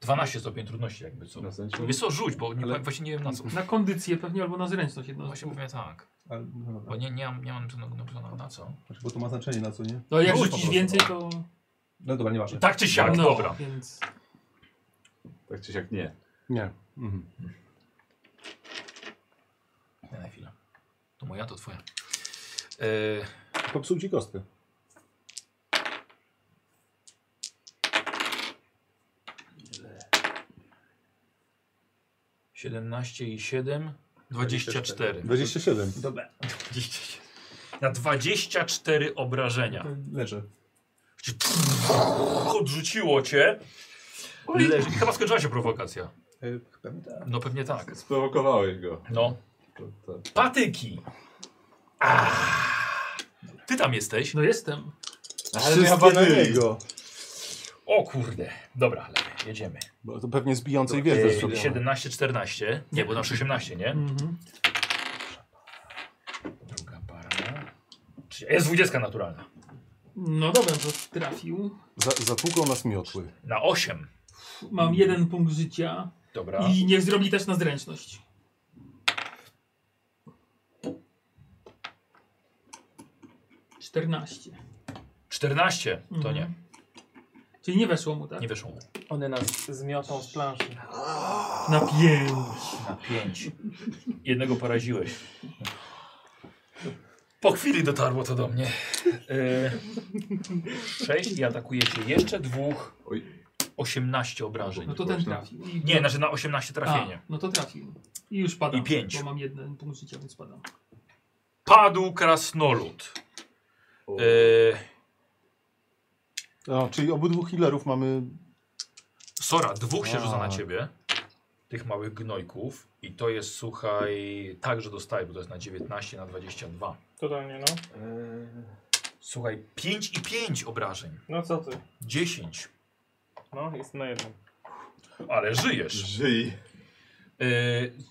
Speaker 1: 12 stopień trudności jakby co.
Speaker 6: Na sensie?
Speaker 1: Wiesz co, rzuć, bo nie,
Speaker 9: Ale-
Speaker 1: pa- właśnie nie wiem na co.
Speaker 4: Na kondycję pewnie albo na zręczność
Speaker 1: No
Speaker 4: jedno.
Speaker 1: właśnie mówię tak,
Speaker 9: Ale, no, dobra.
Speaker 1: bo nie, nie, mam- nie mam żadnego napisane na co.
Speaker 9: Znaczy, bo to ma znaczenie na co, nie?
Speaker 4: No jak
Speaker 1: Rzuć po
Speaker 4: rzucisz
Speaker 1: prostu.
Speaker 4: więcej to...
Speaker 9: No dobra, nieważne.
Speaker 1: Tak czy siak,
Speaker 4: no,
Speaker 1: dobra.
Speaker 4: Więc...
Speaker 6: Tak czy siak nie.
Speaker 5: Nie.
Speaker 1: Nie, na chwilę. To moja, to twoja. E,
Speaker 5: Popsuł ci kostkę.
Speaker 1: siedemnaście i siedem, dwadzieścia cztery.
Speaker 5: 27.
Speaker 9: Dobra.
Speaker 1: 27. Na 24 obrażenia.
Speaker 9: To
Speaker 5: No,
Speaker 9: Leżę.
Speaker 1: Cię Odrzuciło cię. Leży. I chyba skończyła się prowokacja.
Speaker 9: Y, Pewnie tak.
Speaker 1: No pewnie tak.
Speaker 6: e, Sprowokowałeś go.
Speaker 1: No.
Speaker 6: To, to,
Speaker 1: Patyki. Ah. Ty tam jesteś.
Speaker 4: No jestem.
Speaker 5: Wszystkie na niego.
Speaker 1: O kurde. Dobra, lepiej, jedziemy.
Speaker 5: Bo to pewnie z bijącej
Speaker 1: Yy,
Speaker 5: wieży. zrobione.
Speaker 1: 17, 14. Nie, bo nasz 18, nie?
Speaker 4: Mhm.
Speaker 1: Druga para. Czy- Jest 20 naturalna.
Speaker 4: No dobra, to trafił.
Speaker 5: Za- Zatłukał nas miotły.
Speaker 1: Na 8. Mhm.
Speaker 4: Mam jeden punkt życia
Speaker 1: Dobra.
Speaker 4: i niech zrobi też na zręczność. Czternaście.
Speaker 1: 14. To
Speaker 4: Mhm.
Speaker 1: nie.
Speaker 4: Czyli nie weszło mu, tak?
Speaker 1: Nie wyszło mu.
Speaker 2: One nas zmiotą z planszy.
Speaker 4: Na pięć.
Speaker 1: Na 5. Jednego poraziłeś. Po chwili dotarło to do mnie. 6 i atakujecie jeszcze dwóch.
Speaker 6: Oj.
Speaker 1: 18 obrażeń.
Speaker 4: No to ten trafił. I...
Speaker 1: Nie, znaczy na 18 trafienie.
Speaker 4: A, no to trafił. I już padam.
Speaker 1: I pięć.
Speaker 4: Bo mam jeden punkt życia, więc padam.
Speaker 1: Padł krasnolud. Yy,
Speaker 5: No, czyli obydwu healerów mamy.
Speaker 1: Sora, dwóch się rzuca na
Speaker 5: A.
Speaker 1: ciebie. Tych małych gnojków. I to jest, słuchaj, tak, że dostaje, bo to jest na 19, na 22.
Speaker 2: Totalnie, no.
Speaker 1: Słuchaj, 5 i 5 obrażeń.
Speaker 2: No co ty?
Speaker 1: 10.
Speaker 2: No, jest na jednym.
Speaker 1: Ale żyjesz.
Speaker 6: Żyj.
Speaker 1: E,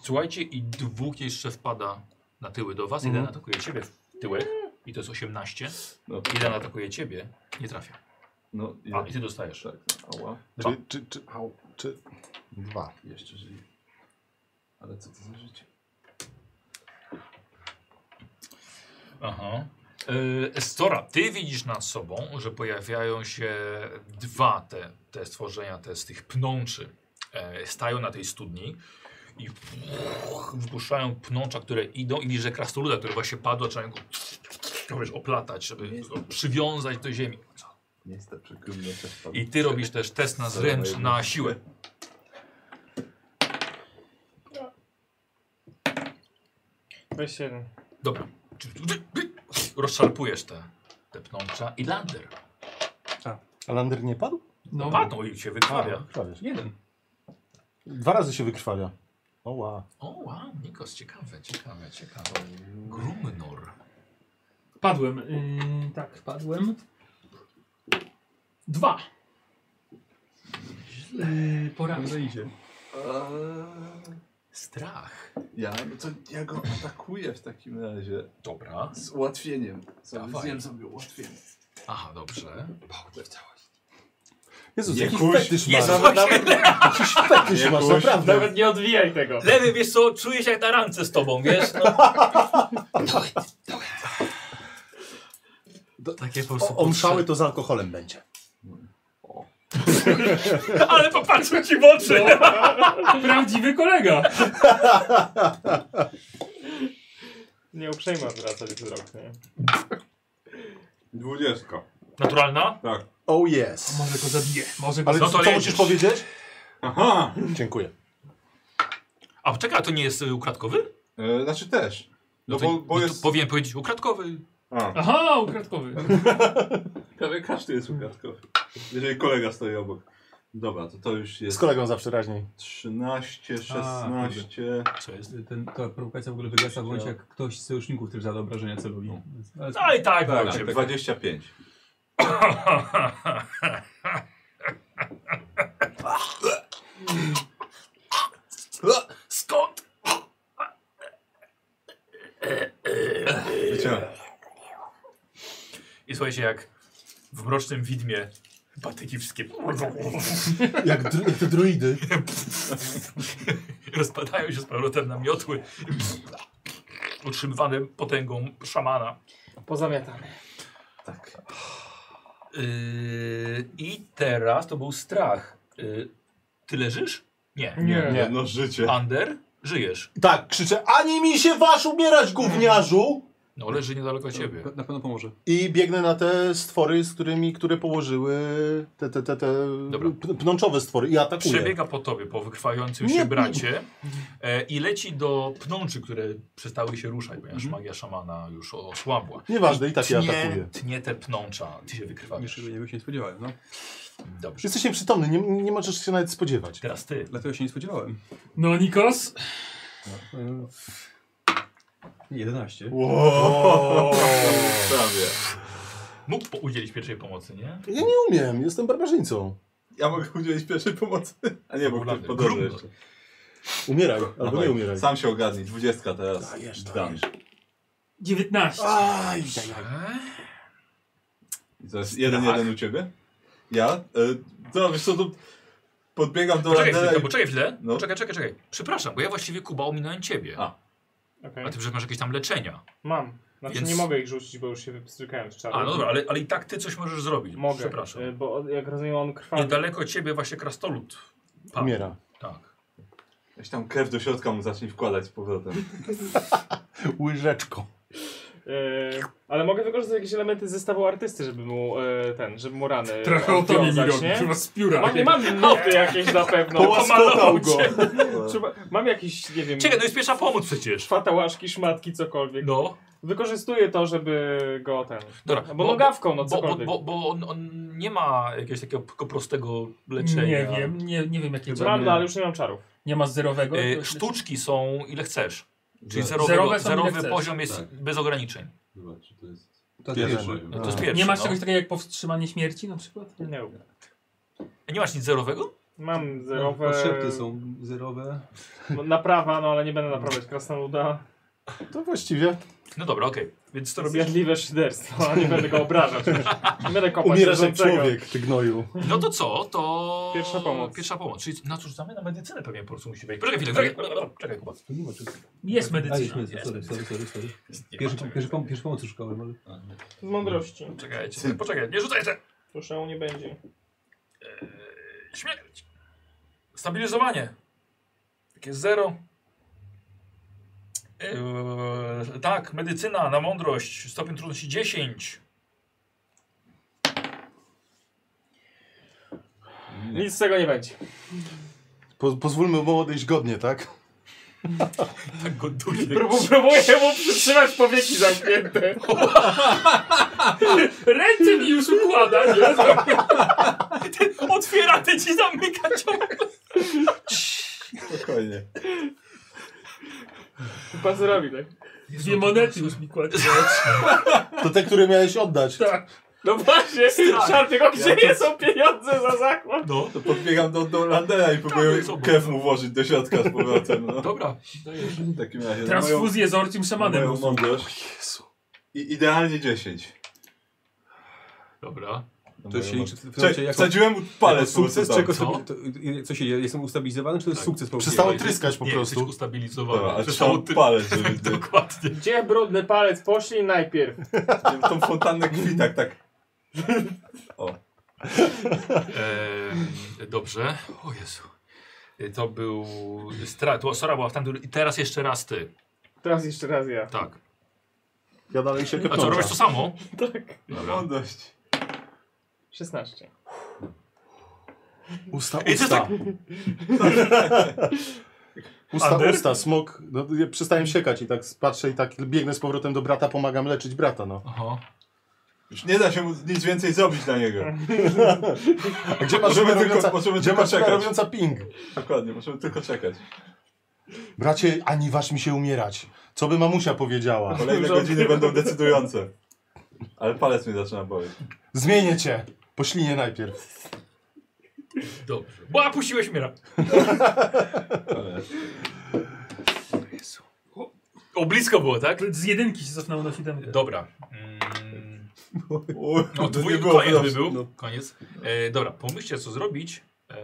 Speaker 1: słuchajcie, i dwóch jeszcze wpada na tyły do was. Jeden atakuje ciebie w tyłek i to jest 18.
Speaker 6: No, to-
Speaker 1: Jeden atakuje ciebie, nie trafia.
Speaker 6: no i
Speaker 1: A, i ty dostajesz.
Speaker 6: tak. Ała.
Speaker 5: Czy, czy, czy, czy... Dwa.
Speaker 6: Jeszcze żyje. Ale co to za życie?
Speaker 1: Aha. E, Stora, ty widzisz nad sobą, że pojawiają się dwa te, te stworzenia, te z tych pnączy. E, stają na tej studni i wypuszczają pnącza, które idą i widzisz, że krasnoluda, który właśnie padł, zaczynają go wiesz, oplatać, żeby go przywiązać do ziemi.
Speaker 6: Nie jest to przekrymne też pan.
Speaker 1: I ty robisz też test na zręcz, na siłę.
Speaker 2: Weź jeden.
Speaker 1: Dobra. Rozszarpujesz te, te pnącza i lander.
Speaker 5: A Lander nie padł?
Speaker 4: No,
Speaker 1: Padną i cię wykrwawia.
Speaker 5: Wykrwawiasz.
Speaker 9: Jeden.
Speaker 5: Dwa razy się wykrwawia. Oła.
Speaker 1: O wow, Nikos, ciekawe, ciekawe, ciekawe. Grumnor.
Speaker 4: padłem. Yy, tak, padłem. Dwa. Yy, porażę.
Speaker 9: idzie.
Speaker 1: Strach.
Speaker 6: Ja, no to ja go atakuję w takim razie.
Speaker 1: Dobra.
Speaker 6: Z ułatwieniem. Sobie,
Speaker 1: Dawaj.
Speaker 6: zjem sobie ułatwienie.
Speaker 1: Aha, dobrze. Pałki w całości.
Speaker 5: Jezus, jaki
Speaker 6: Jakuś.
Speaker 5: fetysz masz.
Speaker 1: Jezus,
Speaker 5: Nawet,
Speaker 1: właśnie,
Speaker 5: nawet, jakiś fetysz masz,
Speaker 6: Jakuś.
Speaker 5: naprawdę.
Speaker 2: Nawet nie odwijaj tego.
Speaker 1: lewy, wiesz co, czuję się jak na randce z tobą, wiesz? No. Takie po prostu
Speaker 5: Omszały to z alkoholem będzie.
Speaker 1: potrzeby. Ale popatrzył ci w oczy.
Speaker 4: Prawdziwy kolega.
Speaker 2: Nie uprzejma zwracać wzrok, nie?
Speaker 6: Dwudziestka.
Speaker 1: Naturalna?
Speaker 6: Tak.
Speaker 5: Oh yes.
Speaker 4: Może go zabiję. Może go
Speaker 5: Ale
Speaker 1: No
Speaker 4: zabiję.
Speaker 1: to
Speaker 5: co
Speaker 1: jedziesz.
Speaker 5: musisz powiedzieć?
Speaker 6: Aha!
Speaker 5: Dziękuję.
Speaker 1: A czekaj, a to nie jest y, ukradkowy?
Speaker 6: E, znaczy też. No,
Speaker 1: to-
Speaker 6: bo, bo
Speaker 1: to
Speaker 6: jest...
Speaker 1: Powinien powiedzieć ukradkowy.
Speaker 6: A,
Speaker 4: Aha, ukradkowy.
Speaker 6: prawie każdy jest ukradkowy. Jeżeli kolega stoi obok. Dobra, to to już
Speaker 5: Z
Speaker 6: jest
Speaker 5: kolegą zawsze raźniej.
Speaker 6: 13, 16...
Speaker 1: Co jest?
Speaker 7: Ten, ta prowokacja w ogóle wygasa w momencie, jak ktoś z sojuszników też zada obrażenia celowi. Ale
Speaker 1: No i tak, tak,
Speaker 6: Tak,
Speaker 1: tak,
Speaker 6: 25.
Speaker 1: Skąd?
Speaker 6: Wyciągnę.
Speaker 1: I słuchajcie, jak w mrocznym widmie batyki wszystkie
Speaker 5: Jak, dru- jak te druidy.
Speaker 1: rozpadają się z powrotem na miotły. Utrzymywane potęgą szamana.
Speaker 2: Pozamiatamy.
Speaker 1: Yy, I teraz to był strach. Yy, ty leżysz? Nie.
Speaker 2: Nie.
Speaker 5: Nie.
Speaker 6: Jedno życie.
Speaker 1: Ander, żyjesz.
Speaker 5: Tak, krzyczę, ani mi się wasz umierać, gówniarzu!
Speaker 1: No, leży niedaleko ciebie.
Speaker 7: Na pewno pomoże.
Speaker 5: I biegnę na te stwory, z którymi, które położyły te, te, te, te
Speaker 1: Dobra.
Speaker 5: p- pnączowe stwory i atakuję.
Speaker 1: Przebiega po tobie, po wykrwającym
Speaker 5: Nie.
Speaker 1: się bracie e, i leci do pnączy, które przestały się ruszać, ponieważ magia szamana już osłabła.
Speaker 5: Mhm. Nieważne, i tak je
Speaker 1: Tnie,
Speaker 5: atakuję.
Speaker 1: tnie te pnącza, ty się wykrywasz.
Speaker 7: Niczego nie bym się nie spodziewałem, no.
Speaker 1: Dobrze.
Speaker 5: Jesteś nieprzytomny, nie, nie możesz się nawet spodziewać.
Speaker 1: Teraz ty.
Speaker 7: Dlatego się nie spodziewałem.
Speaker 4: No, Nikos.
Speaker 7: E, 11.
Speaker 5: Wow.
Speaker 6: Prawie.
Speaker 1: Mógł po- udzielić pierwszej pomocy, nie?
Speaker 5: Ja nie umiem, jestem barbarzyńcą.
Speaker 6: Ja mogę udzielić pierwszej pomocy. A nie, bo ktoś
Speaker 1: Urlany.
Speaker 6: podobny
Speaker 1: Grumno.
Speaker 6: jeszcze.
Speaker 5: Umieraj, albo
Speaker 6: Dawaj,
Speaker 5: nie umieraj.
Speaker 6: Sam się ogarnij. Dwudziestka teraz.
Speaker 5: Dajesz,
Speaker 6: Dan.
Speaker 4: 19.
Speaker 5: Aj, aj, aj.
Speaker 1: E?
Speaker 6: I to jest jeden, jeden u ciebie. Ja? E, to wiesz co, to podbiegam do
Speaker 1: Poczekaj
Speaker 6: Randera
Speaker 1: chwilę,
Speaker 6: i...
Speaker 1: poczekaj chwilę.
Speaker 6: No.
Speaker 1: Poczekaj, czekaj, czekaj. Przepraszam, bo ja właściwie Kuba ominąłem ciebie.
Speaker 6: A.
Speaker 1: A,
Speaker 2: Okej.
Speaker 1: ty przecież masz jakieś tam leczenia.
Speaker 2: Mam. Znaczy
Speaker 1: Więc-
Speaker 2: nie mogę ich rzucić, bo już się wypstrykałem z czaru.
Speaker 1: A, no dobra, ale, ale i tak ty coś możesz zrobić.
Speaker 2: Mogę,
Speaker 1: Przepraszam.
Speaker 4: E,
Speaker 1: No tak.
Speaker 2: y, bo on- jak rozumiem on krwawi.
Speaker 1: Niedaleko ciebie właśnie krastolud. padł.
Speaker 5: Umiera.
Speaker 1: Tak.
Speaker 6: Weź tam krew do środka mu zacznij wkładać z powrotem.
Speaker 5: Łyżeczko.
Speaker 2: Y, ale mogę wykorzystać jakieś elementy zestawu artysty, żeby mu y, ten, żeby mu rany
Speaker 4: Trochę o tobie mi
Speaker 2: odwiązać,
Speaker 4: robi.
Speaker 2: nie?
Speaker 4: Chyba z pióra.
Speaker 2: Mam, nie mam noty jakieś na pewno.
Speaker 5: Połaskotał go.
Speaker 2: Trzeba, mam jakieś, nie wiem,
Speaker 1: Czekaj, no jest pierwsza pomoc przecież.
Speaker 2: fatałaszki, szmatki, cokolwiek.
Speaker 1: No,
Speaker 2: Wykorzystuję to, żeby go ten...
Speaker 1: dobra.
Speaker 2: Bo, nogawką, no
Speaker 1: bo, bo,
Speaker 2: cokolwiek.
Speaker 1: bo, bo on, on nie ma jakiegoś takiego tylko prostego leczenia.
Speaker 4: Nie wiem, nie, nie wiem jakiego.
Speaker 2: Co prawda, ale już nie mam czarów.
Speaker 4: Nie masz zerowego?
Speaker 1: Y, sztuczki są ile chcesz. Czyli
Speaker 6: Za-
Speaker 1: zerowy,
Speaker 4: Zerowe są, ile
Speaker 1: zerowy
Speaker 4: chcesz.
Speaker 1: poziom jest
Speaker 6: Tak.
Speaker 1: bez ograniczeń.
Speaker 6: Zobacz, czy to jest...
Speaker 7: To
Speaker 5: Jeden.
Speaker 7: pierwszy.
Speaker 1: To jest
Speaker 5: A.
Speaker 1: pierwszy.
Speaker 4: Nie masz
Speaker 1: no.
Speaker 4: czegoś takiego jak powstrzymanie śmierci na przykład?
Speaker 2: Nie.
Speaker 1: E, nie masz nic zerowego?
Speaker 2: Mam zerowe...
Speaker 7: Podszepty są zerowe.
Speaker 2: No, Naprawa, no ale nie będę naprawiać krasnoluda.
Speaker 5: To właściwie.
Speaker 1: No dobra, okej. Więc to robisz.
Speaker 2: Zjadliwe szyderstwo, a nie będę go obrażać już. Nie będę kopać
Speaker 5: Umierasz jak
Speaker 2: leżącego.
Speaker 5: człowiek, ty gnoju.
Speaker 1: No to co? To.
Speaker 2: Pierwsza pomoc.
Speaker 1: Pierwsza pomoc. Czyli na cóż rzucamy? Na medycynę pewnie po prostu musi wejść. Poczekaj chwilę, no czekaj, czekaj Kuba.
Speaker 7: To nie ma czy...
Speaker 4: Jest
Speaker 7: A, jest,
Speaker 4: medycyna.
Speaker 7: jest, sorry, sorry, sorry, sorry.
Speaker 1: Nie,
Speaker 7: Pierwszy,
Speaker 1: czekaj,
Speaker 7: pierwszy, pom- pierwszy pomoc już szkoły może.
Speaker 2: Z mądrości.
Speaker 1: Czekajcie, poczekaj, nie rzucajcie!
Speaker 2: Proszę, nie będzie.
Speaker 1: Śmierć! Stabilizowanie! Takie zero. Eee, tak, medycyna na mądrość. Stopień trudności 10.
Speaker 2: Nic z tego nie będzie.
Speaker 5: Po, pozwólmy mu odejść godnie, tak?
Speaker 1: Tak go duje.
Speaker 2: Prób- Próbuję mu przytrzymać powieki zamknięte.
Speaker 4: Ręce mi już układa, nie?
Speaker 1: Otwiera ty ci zamyka ciągle.
Speaker 6: Spokojnie.
Speaker 2: Pan zrobi, tak?
Speaker 4: Dwie monety już mi kładzie.
Speaker 5: To te, które miałeś oddać.
Speaker 4: Tak.
Speaker 2: No właśnie, Szarpie, go, gdzie
Speaker 6: Ja to-
Speaker 2: są pieniądze za zakład?
Speaker 1: No.
Speaker 6: To podbiegam do, do Randera i próbuję
Speaker 9: Tak,
Speaker 1: jest obok,
Speaker 6: krew
Speaker 1: no.
Speaker 6: mu włożyć do środka z powrotem. No.
Speaker 1: Dobra.
Speaker 6: W takim razie. na moją-
Speaker 4: Transfuzję z orcim szamanem.
Speaker 6: Moją mądrość. I idealnie 10.
Speaker 1: Dobra.
Speaker 9: To się liczy w tym
Speaker 7: znaczy,
Speaker 9: momencie
Speaker 6: No Cze-
Speaker 9: jako,
Speaker 6: Wsadziłem mu
Speaker 9: jako
Speaker 6: palec.
Speaker 9: sukces, czy
Speaker 6: po
Speaker 9: jako
Speaker 6: prostu,
Speaker 1: Co?
Speaker 9: sobie, to, y, co się dzieje? Jestem ustabilizowany, czy to jest
Speaker 1: Tak.
Speaker 9: sukces po prostu?
Speaker 5: Przestało tryskać po
Speaker 1: nie,
Speaker 5: prostu.
Speaker 1: jesteś
Speaker 6: tak. Dobra,
Speaker 1: ustabilizowany.
Speaker 6: a
Speaker 1: Przestało
Speaker 6: trzymał
Speaker 1: ty...
Speaker 6: palec, żeby
Speaker 1: Dokładnie.
Speaker 2: Gdzie brudny palec? Poślij najpierw.
Speaker 6: żeby tą fontannę krwi tak, tak.
Speaker 1: Ehm, dobrze. O Jezu. E, To był... Stra... To Sora była w tamtym... I teraz jeszcze raz ty.
Speaker 2: Teraz jeszcze raz ja.
Speaker 1: Tak.
Speaker 5: Ja dalej się
Speaker 1: A co, robisz to samo?
Speaker 2: Tak.
Speaker 1: Dobra.
Speaker 6: Mądrość.
Speaker 2: 16.
Speaker 5: Usta,
Speaker 1: I ty
Speaker 5: usta.
Speaker 1: tak...
Speaker 5: Usta,
Speaker 1: Ander?
Speaker 5: usta, smok. No, ja przestałem siekać i tak patrzę i tak biegnę z powrotem do brata, pomagam leczyć brata, no.
Speaker 1: Aha.
Speaker 6: Już nie da się mu nic więcej zrobić na niego.
Speaker 5: A gdzie
Speaker 6: Możemy
Speaker 5: maszyna
Speaker 6: tylko-
Speaker 5: robiąca,
Speaker 6: możemy
Speaker 5: gdzie
Speaker 6: tylko
Speaker 5: maszyna
Speaker 6: czekać.
Speaker 5: robiąca ping?
Speaker 6: Dokładnie, możemy tylko czekać.
Speaker 5: Bracie, ani wasz mi się umierać. Co by mamusia powiedziała?
Speaker 6: Kolejne godziny będą decydujące. Ale palec mnie zaczyna boleć.
Speaker 5: Zmienię cię. Poślinie najpierw.
Speaker 1: Dobrze. Bo puściłeś mnie. ra-
Speaker 6: Ale
Speaker 1: O, blisko było, tak?
Speaker 4: Z jedynki się cofnął na siódemkę.
Speaker 1: Dobra. Mm.
Speaker 6: U,
Speaker 1: No,
Speaker 6: to
Speaker 1: twój
Speaker 6: nie było
Speaker 1: koniec by
Speaker 6: dobrze.
Speaker 1: był. Koniec. E, dobra, pomyślcie, co zrobić. E,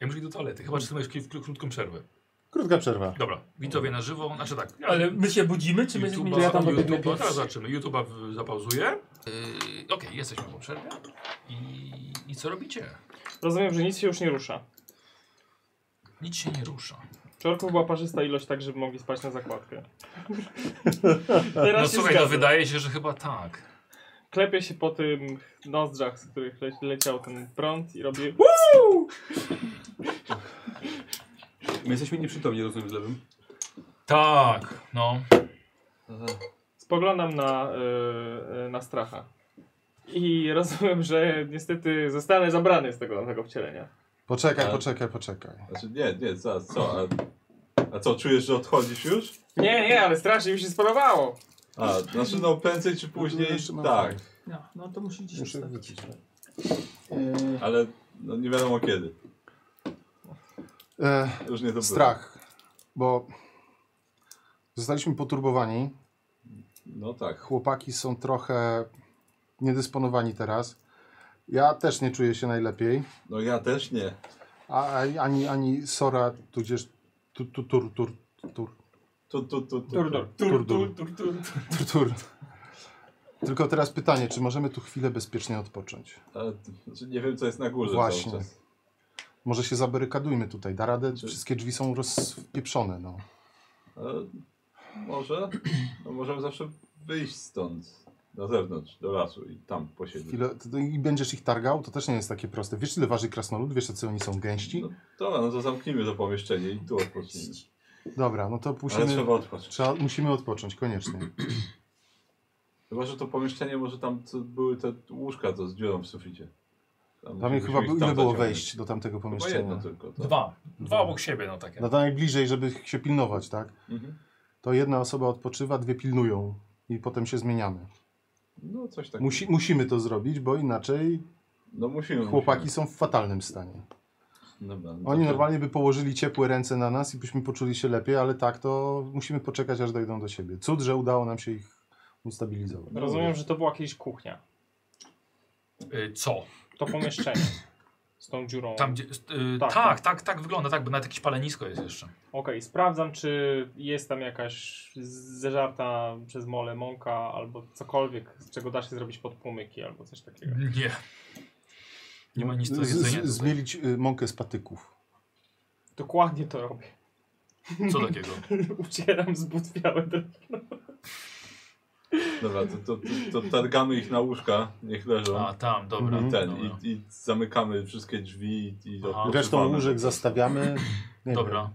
Speaker 1: ja muszę iść do toalety. Chyba, że ty masz krótką, krótką przerwę.
Speaker 5: Krótka przerwa.
Speaker 1: Dobra, widzowie na żywo. Znaczy tak.
Speaker 4: Ale my się budzimy, czy my jesteśmy...
Speaker 1: YouTube'a,
Speaker 2: ja tam będę
Speaker 1: YouTube'a,
Speaker 2: pić.
Speaker 1: teraz
Speaker 6: Tak.
Speaker 1: zobaczymy. YouTube'a w- zapauzuję. E, Okej, jesteśmy po przerwie. I, I co robicie?
Speaker 2: Rozumiem, że nic się już nie rusza.
Speaker 1: Nic się nie rusza.
Speaker 2: Czy orków była parzysta ilość tak, żeby mogli spać na zakładkę?
Speaker 1: No
Speaker 2: Teraz się
Speaker 1: słuchaj, no
Speaker 2: zgadza.
Speaker 1: wydaje się, że chyba tak.
Speaker 2: Klepie się po tym nozdrzach, z których le leciał ten prąd i robię
Speaker 9: My jesteśmy nieprzytomni, rozumiem, z lewym.
Speaker 1: Tak, no.
Speaker 2: Spoglądam na, y, y, na stracha. I rozumiem, że niestety zostanę zabrany z tego nowego wcielenia.
Speaker 5: Poczekaj,
Speaker 1: Tak.
Speaker 6: A.
Speaker 5: poczekaj, poczekaj.
Speaker 6: Znaczy nie, nie, zaraz, co? A, a co, czujesz, że odchodzisz już?
Speaker 2: Nie, nie, ale strasznie mi się spodobało.
Speaker 6: A, znaczy no prędzej czy później,
Speaker 5: Jeszcze mam
Speaker 6: tak.
Speaker 4: No, no to musi gdzieś
Speaker 5: Muszę
Speaker 4: ustawić.
Speaker 5: wypić.
Speaker 6: Ale no, nie wiadomo kiedy.
Speaker 5: E,
Speaker 6: Już nie to było.
Speaker 5: strach. Bo zostaliśmy poturbowani.
Speaker 6: No tak.
Speaker 5: Chłopaki są trochę niedysponowani teraz. Ja też nie czuję się najlepiej.
Speaker 6: No ja też nie.
Speaker 5: A, a- ani, ani Sora, tudzież tu, tu, tur, tur, tur,
Speaker 6: Tu, tu, tu, tu.
Speaker 2: Dur, dur.
Speaker 5: tur, tur, tur, tur. Tylko teraz pytanie, czy możemy tu chwilę bezpiecznie odpocząć?
Speaker 6: Ale, t- znaczy, nie wiem co jest na górze
Speaker 5: Właśnie.
Speaker 6: cały czas.
Speaker 5: Może się zabarykadujmy tutaj, da radę? Wszystkie drzwi są rozpieprzone, no.
Speaker 6: Ale, E, może? No możemy zawsze wyjść stąd. Na zewnątrz, do lasu i tam posiedzieć.
Speaker 5: Chwilę, to- to- I będziesz ich targał? To też nie jest takie proste. Wiesz, ile waży krasnolud? Wiesz, jacy oni są gęści?
Speaker 6: No, dobra, no to zamknijmy to pomieszczenie i tu odpocznijmy.
Speaker 5: Dobra, no to
Speaker 6: Ale
Speaker 5: musimy,
Speaker 6: trzeba odpocząć.
Speaker 5: trzeba, musimy odpocząć, koniecznie.
Speaker 6: Chyba, że to pomieszczenie, może tam co, były te łóżka co z dziurą w suficie. Tam,
Speaker 5: Tam
Speaker 6: musimy
Speaker 5: chyba
Speaker 6: ich
Speaker 5: był,
Speaker 6: tam
Speaker 5: ile było
Speaker 6: zaciągnąć.
Speaker 5: wejść do tamtego
Speaker 6: Chyba jedno
Speaker 5: pomieszczenia?
Speaker 6: tylko. tak. To.
Speaker 1: Dwa. Dwa obok siebie, no takie.
Speaker 5: No to najbliżej, żeby się pilnować, tak?
Speaker 6: Mhm.
Speaker 5: To jedna osoba odpoczywa, dwie pilnują i potem się zmieniamy.
Speaker 6: No coś takiego.
Speaker 5: Musi, musimy to zrobić, bo inaczej
Speaker 6: No musimy.
Speaker 5: chłopaki
Speaker 6: musimy.
Speaker 5: są w fatalnym stanie.
Speaker 6: Dobra, no to
Speaker 5: Oni
Speaker 6: to-
Speaker 5: normalnie by położyli ciepłe ręce na nas i byśmy poczuli się lepiej, ale tak to musimy poczekać, aż dojdą do siebie. Cud, że udało nam się ich ustabilizować.
Speaker 2: Rozumiem, że to była kiedyś kuchnia.
Speaker 1: Y, Co?
Speaker 2: To pomieszczenie. Z tą dziurą.
Speaker 1: Tam gdzie. y,
Speaker 2: Tak.
Speaker 1: tak, tak, tak wygląda, tak, bo nawet jakieś palenisko jest jeszcze.
Speaker 2: Okej, sprawdzam, czy jest tam jakaś z- zeżarta przez mole mąka albo cokolwiek, z czego da się zrobić podpłomyki albo coś takiego.
Speaker 1: Nie. Nie ma nic do
Speaker 5: Z- z-
Speaker 1: jedzenia. tutaj.
Speaker 5: Zmielić y, mąkę z patyków.
Speaker 2: Dokładnie to robię.
Speaker 1: Co takiego?
Speaker 2: Ucieram z but białe drewno.
Speaker 6: Dobra, to, to, to, to targamy ich na łóżka, niech leżą.
Speaker 1: A, tam, dobra.
Speaker 5: Mhm.
Speaker 6: Ten,
Speaker 1: dobra.
Speaker 6: i, I zamykamy wszystkie drzwi i, i
Speaker 1: Aha.
Speaker 6: odpoczywamy.
Speaker 5: Resztą łóżek zastawiamy. Nie
Speaker 1: Dobra.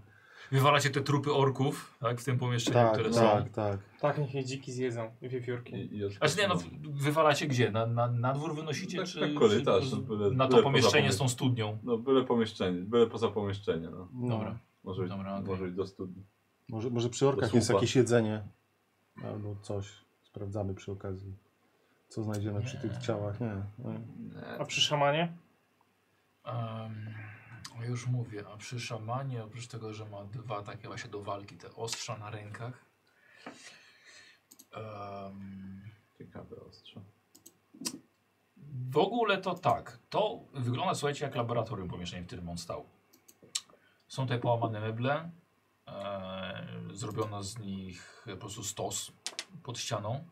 Speaker 1: Wywalacie te trupy orków, tak, w tym
Speaker 5: Wiem.
Speaker 1: pomieszczeniu,
Speaker 5: Tak,
Speaker 1: które są.
Speaker 5: tak, tak.
Speaker 2: Tak, niech je dziki zjedzą, wiewiórki.
Speaker 6: I, i
Speaker 1: Znaczy nie, no,
Speaker 6: odpoczywamy.
Speaker 1: wywalacie gdzie? Na, na, na dwór wynosicie,
Speaker 6: Tak,
Speaker 1: czy,
Speaker 6: tak, korytarz,
Speaker 1: czy na
Speaker 6: byle- byle
Speaker 1: to
Speaker 6: poza
Speaker 1: pomieszczenie
Speaker 6: pomiesz-
Speaker 1: z tą studnią?
Speaker 6: No byle pomieszczenie, byle poza pomieszczenie, no.
Speaker 5: No.
Speaker 1: Dobra.
Speaker 6: Może być,
Speaker 1: Dobra, okej.
Speaker 6: może być do studni.
Speaker 5: Może, może przy orkach
Speaker 6: słupa.
Speaker 5: jest jakieś jedzenie. Albo coś. Sprawdzamy przy okazji. Co znajdziemy przy tych ciałach. Nie. no nie.
Speaker 2: A przy szamanie?
Speaker 1: Em, o, już mówię, a przy szamanie, oprócz tego, że ma dwa takie właśnie do walki, te ostrza na rękach. em,
Speaker 6: Ciekawe ostrze.
Speaker 1: W ogóle to tak. To wygląda, słuchajcie, jak laboratorium pomieszczenie, w którym on stał. Są tutaj połamane meble. E, zrobiono z nich po prostu stos pod ścianą.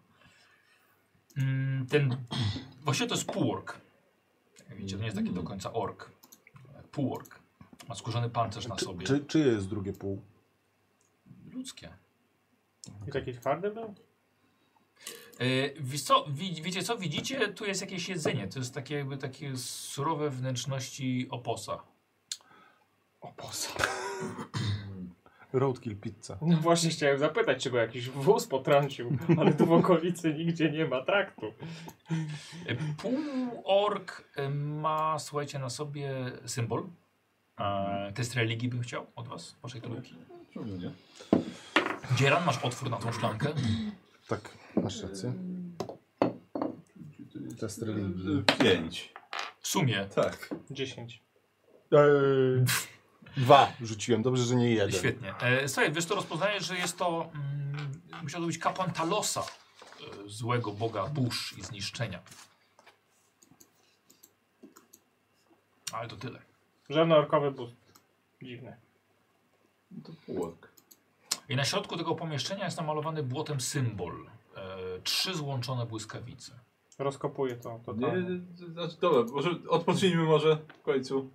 Speaker 1: Mm, ten, właśnie to jest półork. Jak widzicie, to nie jest taki do końca ork. Półork. Ma skórzany pancerz na
Speaker 5: Czy,
Speaker 1: sobie.
Speaker 5: czy, czy jest drugie pół?
Speaker 1: Ludzkie.
Speaker 2: I taki twardy był?
Speaker 1: E, Wiesz co, wi- wiecie co, widzicie, tu jest jakieś jedzenie, to jest takie jakby takie surowe wnętrzności oposa.
Speaker 5: Roadkill pizza.
Speaker 2: No właśnie chciałem zapytać, czy go jakiś wóz potrącił, ale tu w okolicy nigdzie nie ma traktu.
Speaker 1: E, Półork e, ma, słuchajcie, na sobie symbol. E, test religii bym chciał od was, waszej trójki.
Speaker 6: Czemu nie?
Speaker 1: Dzieran, masz otwór na tą szklankę.
Speaker 5: Tak, masz rację. Test religii.
Speaker 6: Y, Pięć.
Speaker 1: W sumie,
Speaker 6: Tak.
Speaker 2: 10.
Speaker 5: Eee, dwa rzuciłem, dobrze, że nie jeden.
Speaker 1: świetnie. E, słuchaj, wiesz, to rozpoznajesz, że jest to, mm, musiał to być kapłan Talosa, e, złego boga burz i zniszczenia. Ale to tyle.
Speaker 2: Żadny orkowy bus. Dziwne.
Speaker 6: To półork.
Speaker 1: I na środku tego pomieszczenia jest namalowany błotem symbol. E, trzy złączone błyskawice.
Speaker 2: Rozkopuję to. to
Speaker 6: Nie,
Speaker 2: tam.
Speaker 6: y, y, znaczy, dobra, może odpocznijmy może w końcu.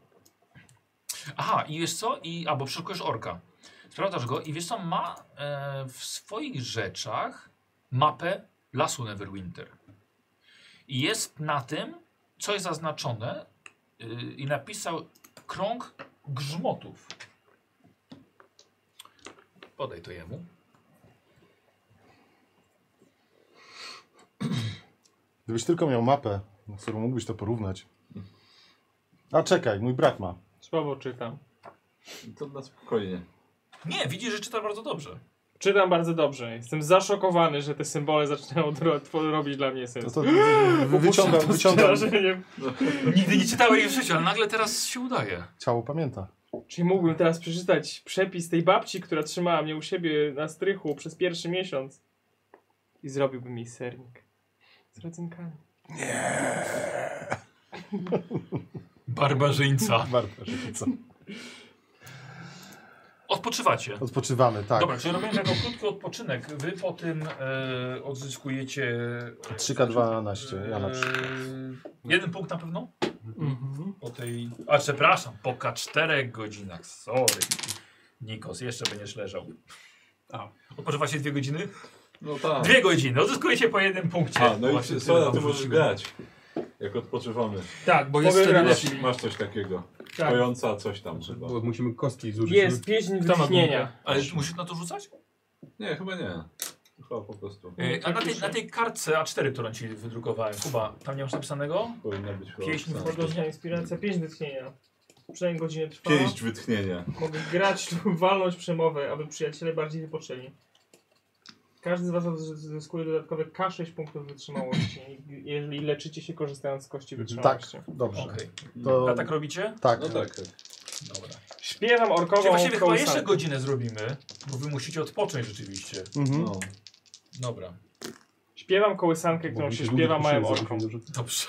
Speaker 1: Aha, i wiesz co? I, albo przeszukujesz orka. Sprawdzasz go i wiesz co? Ma e, w swoich rzeczach mapę lasu Neverwinter. I jest na tym, co jest zaznaczone y, i napisał krąg grzmotów. Podaj to jemu.
Speaker 5: Gdybyś tylko miał mapę, na którą mógłbyś to porównać. A czekaj, mój brat ma.
Speaker 2: Słabo czytam.
Speaker 6: To na spokojnie.
Speaker 1: Nie, widzisz, że czyta bardzo dobrze.
Speaker 2: Czytam bardzo dobrze. Jestem zaszokowany, że te symbole zaczynają dro- tw- robić dla mnie
Speaker 5: To,
Speaker 2: sens.
Speaker 5: No to wy- wyciągam, wyciągam.
Speaker 2: Przerażeniem.
Speaker 1: Nigdy nie czytałeś w życiu, ale nagle teraz się udaje.
Speaker 5: Ciało pamięta.
Speaker 2: Czy mógłbym teraz przeczytać przepis tej babci, która trzymała mnie u siebie na strychu przez pierwszy miesiąc? I zrobiłbym jej sernik. Z rodzynkami.
Speaker 1: Barbarzyńca.
Speaker 5: Warto, że co.
Speaker 1: Odpoczywacie.
Speaker 5: Odpoczywamy, tak.
Speaker 8: Dobra,
Speaker 1: Czy robimy jako krótki odpoczynek? Wy po tym e, odzyskujecie.
Speaker 5: 3K12, ja na przykład.
Speaker 8: e, Jeden punkt na pewno?
Speaker 6: Mhm.
Speaker 8: Po tej... A przepraszam, po K4 godzinach, sorry. Nikos, jeszcze będziesz leżał. A, odpoczywacie dwie godziny?
Speaker 6: No tak.
Speaker 8: Dwie godziny, odzyskujecie po jednym punkcie.
Speaker 6: A, no i
Speaker 8: Właśnie
Speaker 6: ty,
Speaker 8: tyle
Speaker 6: Sora,
Speaker 8: wam
Speaker 6: ty możesz
Speaker 8: wróciło.
Speaker 6: grać. Jak odpoczywamy.
Speaker 4: Tak, bo jest
Speaker 2: Powiem
Speaker 4: wtedy
Speaker 2: raczej.
Speaker 4: lepiej.
Speaker 6: Masz coś takiego.
Speaker 4: Tak.
Speaker 6: Kojąca coś tam chyba.
Speaker 7: Bo musimy kostki zużyć.
Speaker 2: Jest pieśń
Speaker 4: Kto ma
Speaker 2: wytchnienia.
Speaker 1: Ale musisz na to rzucać?
Speaker 6: No, Nie, chyba nie. Chyba po prostu.
Speaker 8: E, a na tej, na tej kartce A4, którą ci wydrukowałem, Kuba, tam nie masz napisanego?
Speaker 6: Powinna być chyba
Speaker 8: Pieśń
Speaker 6: napisane.
Speaker 2: Podróżna inspiracja, pieśń wytchnienia. Przynajmniej godzinę trwała.
Speaker 6: Pięść wytchnienia.
Speaker 2: Mogę grać lub walnąć przemowę, aby przyjaciele bardziej wypoczęli. Każdy z Was odzy- zyskuje dodatkowe K6 punktów wytrzymałości, jeżeli leczycie się korzystając z
Speaker 5: Tak.
Speaker 2: kości wytrzymałości.
Speaker 5: Dobrze.
Speaker 8: Okej.
Speaker 5: To,
Speaker 8: A tak robicie?
Speaker 5: tak,
Speaker 6: No tak, tak.
Speaker 8: Dobra.
Speaker 2: Śpiewam orkową
Speaker 8: Czyli właściwie chyba
Speaker 2: kołysankę.
Speaker 8: jeszcze godzinę zrobimy, bo wy musicie odpocząć rzeczywiście.
Speaker 5: Mhm.
Speaker 6: No.
Speaker 8: Dobra.
Speaker 2: Śpiewam kołysankę, którą się śpiewa małym orką.
Speaker 8: Dobrze.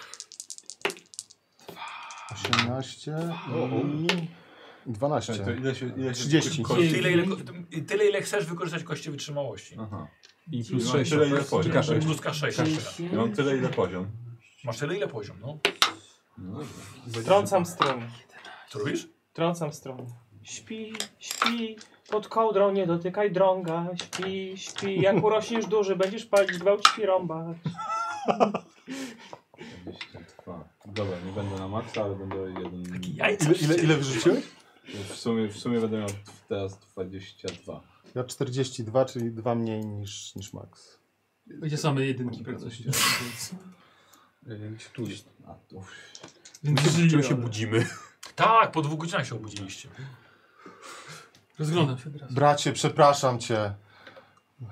Speaker 5: 18 i 12.
Speaker 6: Czekaj, to ile się... Ile się
Speaker 5: 30.
Speaker 6: kości-
Speaker 8: Tyle ile, tyle, ile chcesz wykorzystać kości wytrzymałości.
Speaker 6: Aha.
Speaker 7: I plus
Speaker 4: No,
Speaker 7: tak?
Speaker 6: Mam
Speaker 7: 6.
Speaker 6: tyle, ile poziom.
Speaker 7: K6.
Speaker 4: tak.
Speaker 8: Pluska 6.
Speaker 6: Ja mam No, tyle, ile poziom.
Speaker 8: Masz tyle ile poziom, no.
Speaker 2: Trącam strun.
Speaker 8: Co robisz?
Speaker 2: Trącam strun. Śpi, śpi, pod kołdrą nie dotykaj drąga. Śpi, śpi, jak urośniesz duży, będziesz palić gwałt śpirąba.
Speaker 6: 22. Dobra, nie będę na maksa, ale będę jeden...
Speaker 8: Jajca.
Speaker 5: Ile, ile, ile wyrzuciłeś?
Speaker 6: W sumie, w sumie będę miał teraz 22.
Speaker 5: Ja 42, czyli dwa mniej niż, niż max.
Speaker 4: Będzie same jedynki
Speaker 6: Coś
Speaker 4: praktycznie.
Speaker 6: się-
Speaker 7: Yy, Tu jest.
Speaker 6: A, tu.
Speaker 4: Więc
Speaker 9: Czym
Speaker 4: żyję,
Speaker 9: się
Speaker 4: ale-
Speaker 9: budzimy?
Speaker 8: Tak, po dwóch godzinach się obudziliście.
Speaker 4: Rozglądam się teraz.
Speaker 5: Bracie, przepraszam cię.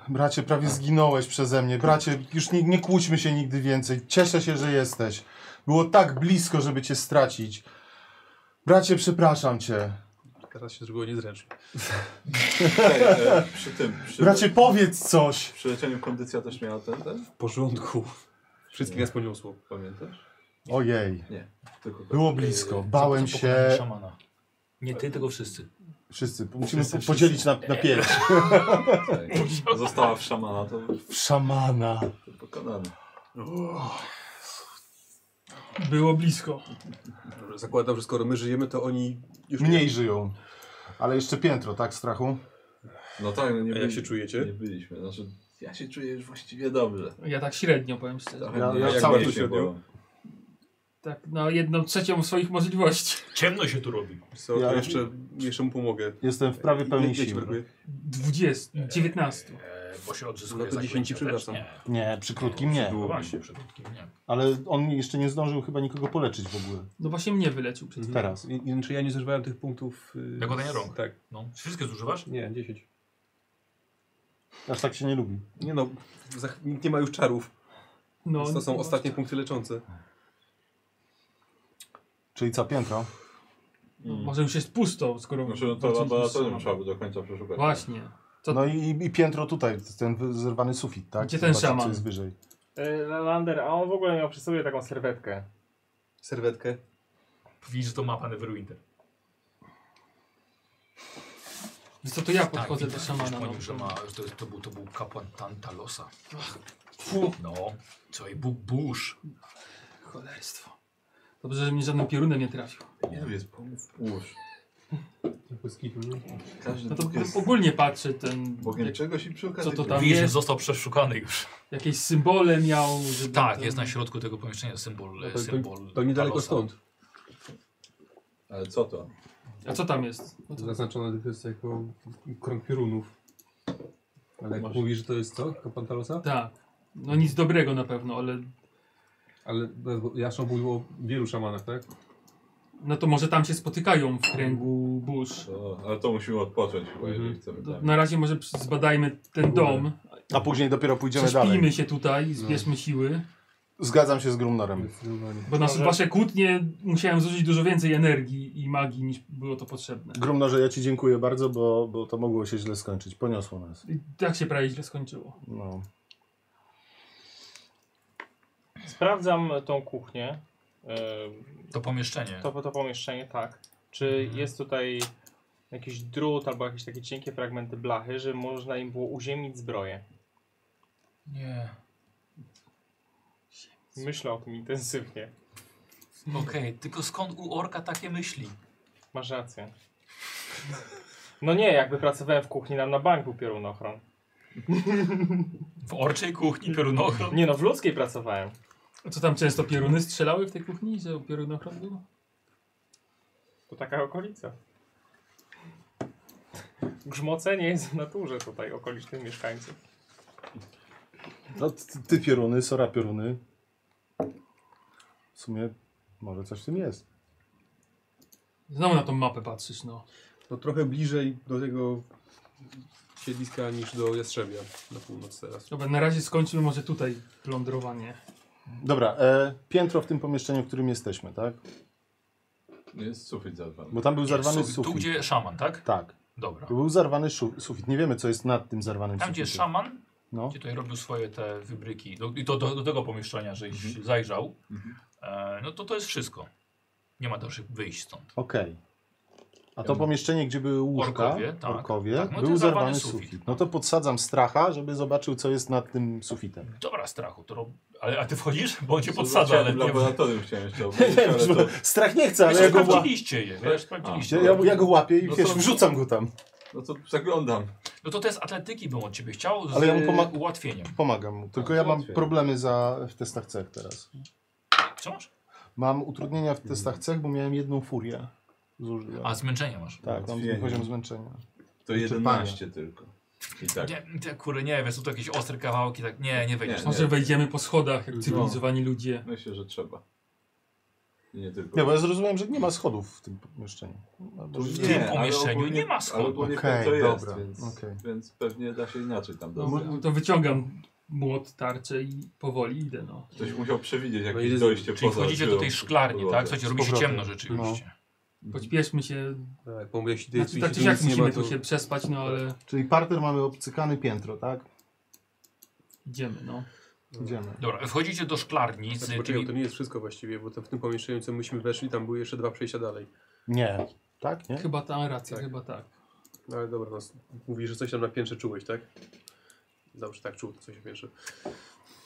Speaker 5: Bracie, prawie zginąłeś przeze mnie. Bracie, już nie, nie kłóćmy się nigdy więcej. Cieszę się, że jesteś. Było tak blisko, żeby cię stracić. Bracie, przepraszam cię.
Speaker 9: Teraz się zrobiło niezręcznie.
Speaker 6: Ej, e, przy tym, przy,
Speaker 5: Bracie, powiedz coś.
Speaker 6: przy leczeniu kondycja też miała ten, ten?
Speaker 9: W porządku. Wszystkich nas poniosło.
Speaker 6: Pamiętasz?
Speaker 5: Ojej,
Speaker 6: Tylko
Speaker 5: było blisko. Bałem
Speaker 14: Co- co pokonanie
Speaker 5: się.
Speaker 14: szamana. Nie ty, tylko wszyscy.
Speaker 5: Wszyscy, musimy
Speaker 6: Wszyscy,
Speaker 5: po- podzielić na, na pięć.
Speaker 6: Tutaj. tak. Została w szamana, to
Speaker 5: Szamana.
Speaker 6: pokonany.
Speaker 4: Było blisko.
Speaker 7: Dobrze, Zakładam, że skoro my żyjemy, to oni już nie.
Speaker 5: Mniej żyją. Ale jeszcze piętro, tak, strachu?
Speaker 6: No tak, no nie
Speaker 7: A jak się czujecie?
Speaker 6: Nie byliśmy, znaczy ja się czuję już właściwie dobrze.
Speaker 4: Ja tak średnio powiem szczerze.
Speaker 6: Trochę
Speaker 5: Ja-
Speaker 6: mnie-
Speaker 5: ja
Speaker 6: jak
Speaker 5: cały
Speaker 6: bardzo
Speaker 7: średnio.
Speaker 6: bałem.
Speaker 4: Tak, no jedną trzecią swoich możliwości.
Speaker 1: Ciemno się tu robi.
Speaker 7: Co,
Speaker 5: Ja-
Speaker 7: to jeszcze, jeszcze mu pomogę.
Speaker 5: Jestem w prawie pełni
Speaker 7: Ile ci
Speaker 5: sił.
Speaker 7: brakuje?
Speaker 4: 20, 19.
Speaker 1: E, bo się odzyskuje
Speaker 7: No to
Speaker 1: za
Speaker 7: 10,
Speaker 1: głębia też,
Speaker 7: przepraszam.
Speaker 1: nie.
Speaker 5: Nie, przy krótkim nie.
Speaker 1: No Właśnie, przed krótkim, nie.
Speaker 5: Ale on jeszcze nie zdążył chyba nikogo poleczyć w ogóle.
Speaker 4: No właśnie mnie wyleczył
Speaker 7: Mhm.
Speaker 4: przed chwilą.
Speaker 5: Teraz.
Speaker 7: I- i- Czy ja nie zużywałem tych punktów? y,
Speaker 1: Nakładania
Speaker 7: z-
Speaker 1: rąk.
Speaker 7: Tak.
Speaker 1: No, wszystkie zużywasz?
Speaker 7: Nie, 10.
Speaker 5: Aż tak się nie lubi.
Speaker 7: Nie no, zach- nikt nie ma już czarów.
Speaker 4: No,
Speaker 7: Więc to są ostatnie punkty leczące.
Speaker 5: Czyli co, piętro?
Speaker 4: No, może już jest pusto, skoro...
Speaker 6: Znaczy no to
Speaker 4: walczyliśmy z
Speaker 6: laboratorium
Speaker 4: sobą.
Speaker 6: trzeba by do końca przeszukać.
Speaker 4: Właśnie. To-
Speaker 5: No i, i piętro tutaj, ten wy- zerwany sufit, tak?
Speaker 4: Gdzie ten
Speaker 5: Zobaczyć,
Speaker 4: szaman?
Speaker 5: Co jest wyżej.
Speaker 2: E, Lander, a on w ogóle miał przy sobie taką serwetkę.
Speaker 7: Serwetkę.
Speaker 1: Widzisz, że to mapa Neverwinter.
Speaker 4: Wiesz No co, to ja podchodzę do
Speaker 1: widać,
Speaker 4: szamana.
Speaker 1: po
Speaker 4: No.
Speaker 1: nim, że ma, Tak, że to, jest- to, był, to był kapłan Tantalosa.
Speaker 4: Fu,
Speaker 1: No, co i Bóg burz.
Speaker 4: cholerstwo. Dobrze, że mnie żadnym piorunem nie trafił.
Speaker 6: Ilu no jest pomów burz?
Speaker 15: Tylko skitu, nie?
Speaker 6: Każdy
Speaker 4: No to
Speaker 6: Bóg jest
Speaker 4: ogólnie patrzę ten...
Speaker 6: Bogiem
Speaker 4: jak-
Speaker 6: czegoś i przy okazji...
Speaker 4: Co to
Speaker 6: burz.
Speaker 4: Tam
Speaker 1: Widzisz, że
Speaker 4: jest-
Speaker 1: został przeszukany już.
Speaker 4: jakieś symbole miał. Żeby
Speaker 1: Tak,
Speaker 4: ten-
Speaker 1: jest na środku tego pomieszczenia symbol,
Speaker 7: To,
Speaker 1: e,
Speaker 7: to,
Speaker 1: symbol
Speaker 7: to niedaleko
Speaker 1: Talosa.
Speaker 7: stąd.
Speaker 6: Ale co to?
Speaker 4: A co tam jest? No to...
Speaker 15: Zaznaczone to jest jako krąg piorunów. Ale jak
Speaker 6: Masz-
Speaker 15: mówisz, że to jest co? Kapłan Talosa?
Speaker 4: Tak. No nic dobrego na pewno, ale
Speaker 15: Ale no, bo Jaszo mówił o wielu szamanach, tak?
Speaker 4: no to może tam się spotykają w kręgu burz.
Speaker 6: to? Ale to musimy odpocząć chyba, jeżeli
Speaker 15: Mhm.
Speaker 6: chcemy
Speaker 4: To
Speaker 6: tam.
Speaker 4: na razie może przy- zbadajmy ten dom,
Speaker 5: A później dopiero pójdziemy
Speaker 4: prześpijmy
Speaker 5: dalej.
Speaker 4: się tutaj, zbierzmy siły,
Speaker 5: Zgadzam się z Grumnorem.
Speaker 15: Zdecydowanie.
Speaker 4: bo na
Speaker 14: Może-
Speaker 4: wasze kłótnie musiałem zużyć dużo więcej energii i magii niż było to potrzebne.
Speaker 5: Grumnorze, ja ci dziękuję bardzo, bo, bo to mogło się źle skończyć. Poniosło nas.
Speaker 4: I tak się prawie źle skończyło.
Speaker 5: No.
Speaker 2: Sprawdzam tą kuchnię, e,
Speaker 1: To pomieszczenie.
Speaker 2: to, to pomieszczenie, tak. Czy jest tutaj jakiś drut albo jakieś takie cienkie fragmenty blachy, że można im było uziemić zbroję?
Speaker 1: Nie.
Speaker 2: Myślę o tym intensywnie.
Speaker 1: Okej, tylko skąd u orka takie myśli?
Speaker 2: Masz rację. No nie, jakby pracowałem w kuchni, nam na bank był piorunochron.
Speaker 1: W orczej kuchni piorunochron?
Speaker 2: Nie no, w ludzkiej pracowałem.
Speaker 4: A Co tam często pioruny strzelały w tej kuchni, że piorunochron był?
Speaker 2: To taka okolica. Grzmocenie jest w naturze tutaj okolicznych mieszkańców.
Speaker 5: No, ty, ty pioruny, sora pioruny. W sumie może coś w tym jest.
Speaker 4: Znowu na tą mapę patrzysz, no.
Speaker 7: No trochę bliżej do tego siedliska niż do Jastrzębia na północ teraz.
Speaker 4: Dobra, na razie skończmy może tutaj plądrowanie.
Speaker 5: Dobra, e, piętro w tym pomieszczeniu, w którym jesteśmy, tak?
Speaker 6: Jest sufit zadbany.
Speaker 5: Bo tam był zarwany
Speaker 1: Sufit.
Speaker 5: sufit.
Speaker 1: Tu gdzie szaman, tak?
Speaker 5: Tak,
Speaker 1: Dobra.
Speaker 5: tu był zarwany szu- sufit. Nie wiemy, co jest nad tym zarwanym
Speaker 1: Tam gdzie
Speaker 5: sufitem.
Speaker 1: szaman,
Speaker 5: No.
Speaker 1: gdzie tutaj robił swoje te wybryki, do, i to do, do tego pomieszczenia, żeś
Speaker 5: Mhm.
Speaker 1: zajrzał, e, no to to jest wszystko. Nie ma dalszych wyjść stąd.
Speaker 5: Okej. A to pomieszczenie, gdzie były łóżka,
Speaker 1: Orkowie, tak.
Speaker 5: orkowie,
Speaker 1: Tak, no to
Speaker 5: był
Speaker 1: jest
Speaker 5: zarwany
Speaker 1: zarwany
Speaker 5: sufit.
Speaker 1: sufit.
Speaker 5: No to podsadzam stracha, żeby zobaczył, co jest nad tym sufitem.
Speaker 1: Dobra, strachu, to rob... ale, a ty wchodzisz? Bo on cię podsadza, ale
Speaker 6: Zobaczyłem
Speaker 1: nie
Speaker 6: laboratorium chciałem jeszcze obejrzeć, ale to...
Speaker 5: Strach nie chce, ale
Speaker 1: Wiesz,
Speaker 5: ja go, łap...
Speaker 1: sprawdziliście je, wiesz, sprawdziliście.
Speaker 5: ja, ja go łapię i
Speaker 6: No to-
Speaker 5: wiesz, wrzucam go tam.
Speaker 6: No to przeglądam.
Speaker 1: No to test atletyki bym od ciebie chciał z
Speaker 5: Ale ja mu pomag-
Speaker 1: ułatwieniem.
Speaker 5: Pomagam mu. Tylko
Speaker 6: A,
Speaker 5: ja mam
Speaker 6: łatwiej.
Speaker 5: problemy za, w testach cech teraz.
Speaker 1: Co masz?
Speaker 5: Mam utrudnienia w testach cech, bo miałem jedną furię. Zużyłem.
Speaker 1: A, zmęczenie masz.
Speaker 5: Tak, mam
Speaker 6: Łatwiej.
Speaker 5: poziom zmęczenia.
Speaker 6: To
Speaker 5: Wyczerpanie.
Speaker 6: 11 tylko. I tak.
Speaker 1: Nie, te kurde, nie, wiesz, są to jakieś ostre kawałki, tak, nie, nie wejdziesz.
Speaker 6: Nie,
Speaker 4: Może wejdziemy po schodach,
Speaker 7: No.
Speaker 4: jak cywilizowani ludzie.
Speaker 6: Myślę, że trzeba. I nie tylko.
Speaker 5: Nie, bo ja zrozumiałem, że nie ma schodów w tym pomieszczeniu. No, Albo, że-
Speaker 1: tym pomieszczeniu nie ma
Speaker 6: Ale
Speaker 1: schodu.
Speaker 6: ogólnie
Speaker 5: Okej,
Speaker 6: to jest,
Speaker 5: dobra,
Speaker 6: więc,
Speaker 5: okej.
Speaker 6: więc pewnie da się inaczej tam dojść.
Speaker 4: No, to wyciągam młot, tarczę i powoli idę, no.
Speaker 7: Mhm.
Speaker 6: Ktoś musiał przewidzieć
Speaker 7: No
Speaker 6: jakieś
Speaker 7: i-
Speaker 6: dojście
Speaker 1: Czyli
Speaker 6: poza
Speaker 1: wchodzicie do
Speaker 6: dziurą
Speaker 1: tej
Speaker 6: w
Speaker 1: szklarni,
Speaker 6: podłodze.
Speaker 1: tak? Słuchajcie, robi się
Speaker 5: powrotem.
Speaker 1: ciemno rzeczywiście.
Speaker 4: Pośpieszmy się.
Speaker 7: Tak, bo jeśli tutaj
Speaker 4: Znaczy, tak
Speaker 7: jeśli
Speaker 4: czy
Speaker 7: tu
Speaker 4: siak
Speaker 7: nic nie ma,
Speaker 4: musimy
Speaker 7: to
Speaker 4: tu się przespać, no ale
Speaker 5: Czyli parter mamy obcykany piętro, tak?
Speaker 4: idziemy, no.
Speaker 5: Idziemy.
Speaker 1: Dobra, wchodzicie do szklarni
Speaker 9: Znaczy,
Speaker 1: z
Speaker 9: poczekaj,
Speaker 1: tymi...
Speaker 9: to nie jest wszystko właściwie, bo to w tym pomieszczeniu, co myśmy weszli, tam były jeszcze dwa przejścia dalej.
Speaker 5: Nie. Tak, nie?
Speaker 4: Chyba ta racja, chyba tak.
Speaker 9: No ale dobra, no, s- mówisz, że coś tam na piętrze czułeś, tak? Zawsze tak czuł, to coś na piętrze. Mhm.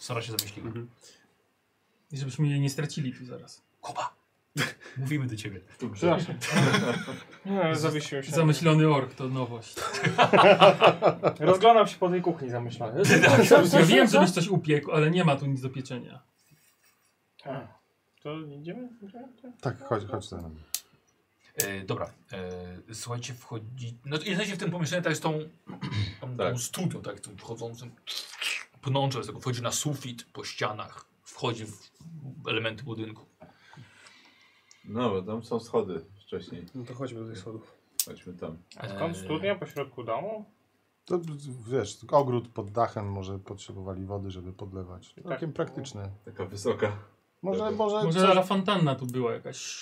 Speaker 1: Sara się zamyśliła.
Speaker 4: I żebyśmy jej nie stracili tu zaraz.
Speaker 1: Kuba, mówimy do ciebie.
Speaker 2: Przepraszam. No, zawiesiłem
Speaker 7: Tak.
Speaker 2: się.
Speaker 4: Zamyślony ork to nowość.
Speaker 2: Rozglądam się po tej kuchni zamyślony.
Speaker 4: Ja wiem, żebyś coś upiekł, ale nie ma tu nic do pieczenia.
Speaker 2: A, To idziemy? Idziemy?
Speaker 5: Tak, chodź, chodź za nami.
Speaker 1: E, dobra, e, słuchajcie, wchodzi... No to jesteście w tym pomieszczeniu, tak jest tą, tą, tą
Speaker 6: Tak.
Speaker 1: studnią, tak, tą wchodzącym pnączem, z tego wchodzi na sufit, po ścianach, wchodzi w elementy budynku.
Speaker 6: No, bo tam są schody wcześniej.
Speaker 9: No to chodźmy do tych schodów.
Speaker 6: Chodźmy tam.
Speaker 2: A skąd studnia pośrodku domu?
Speaker 5: To wiesz, ogród pod dachem może potrzebowali wody, żeby podlewać. Takiem praktyczne.
Speaker 6: Taka wysoka.
Speaker 5: Może,
Speaker 6: Dobra.
Speaker 7: Tak,
Speaker 5: może,
Speaker 4: Może la fontanna tu była jakaś.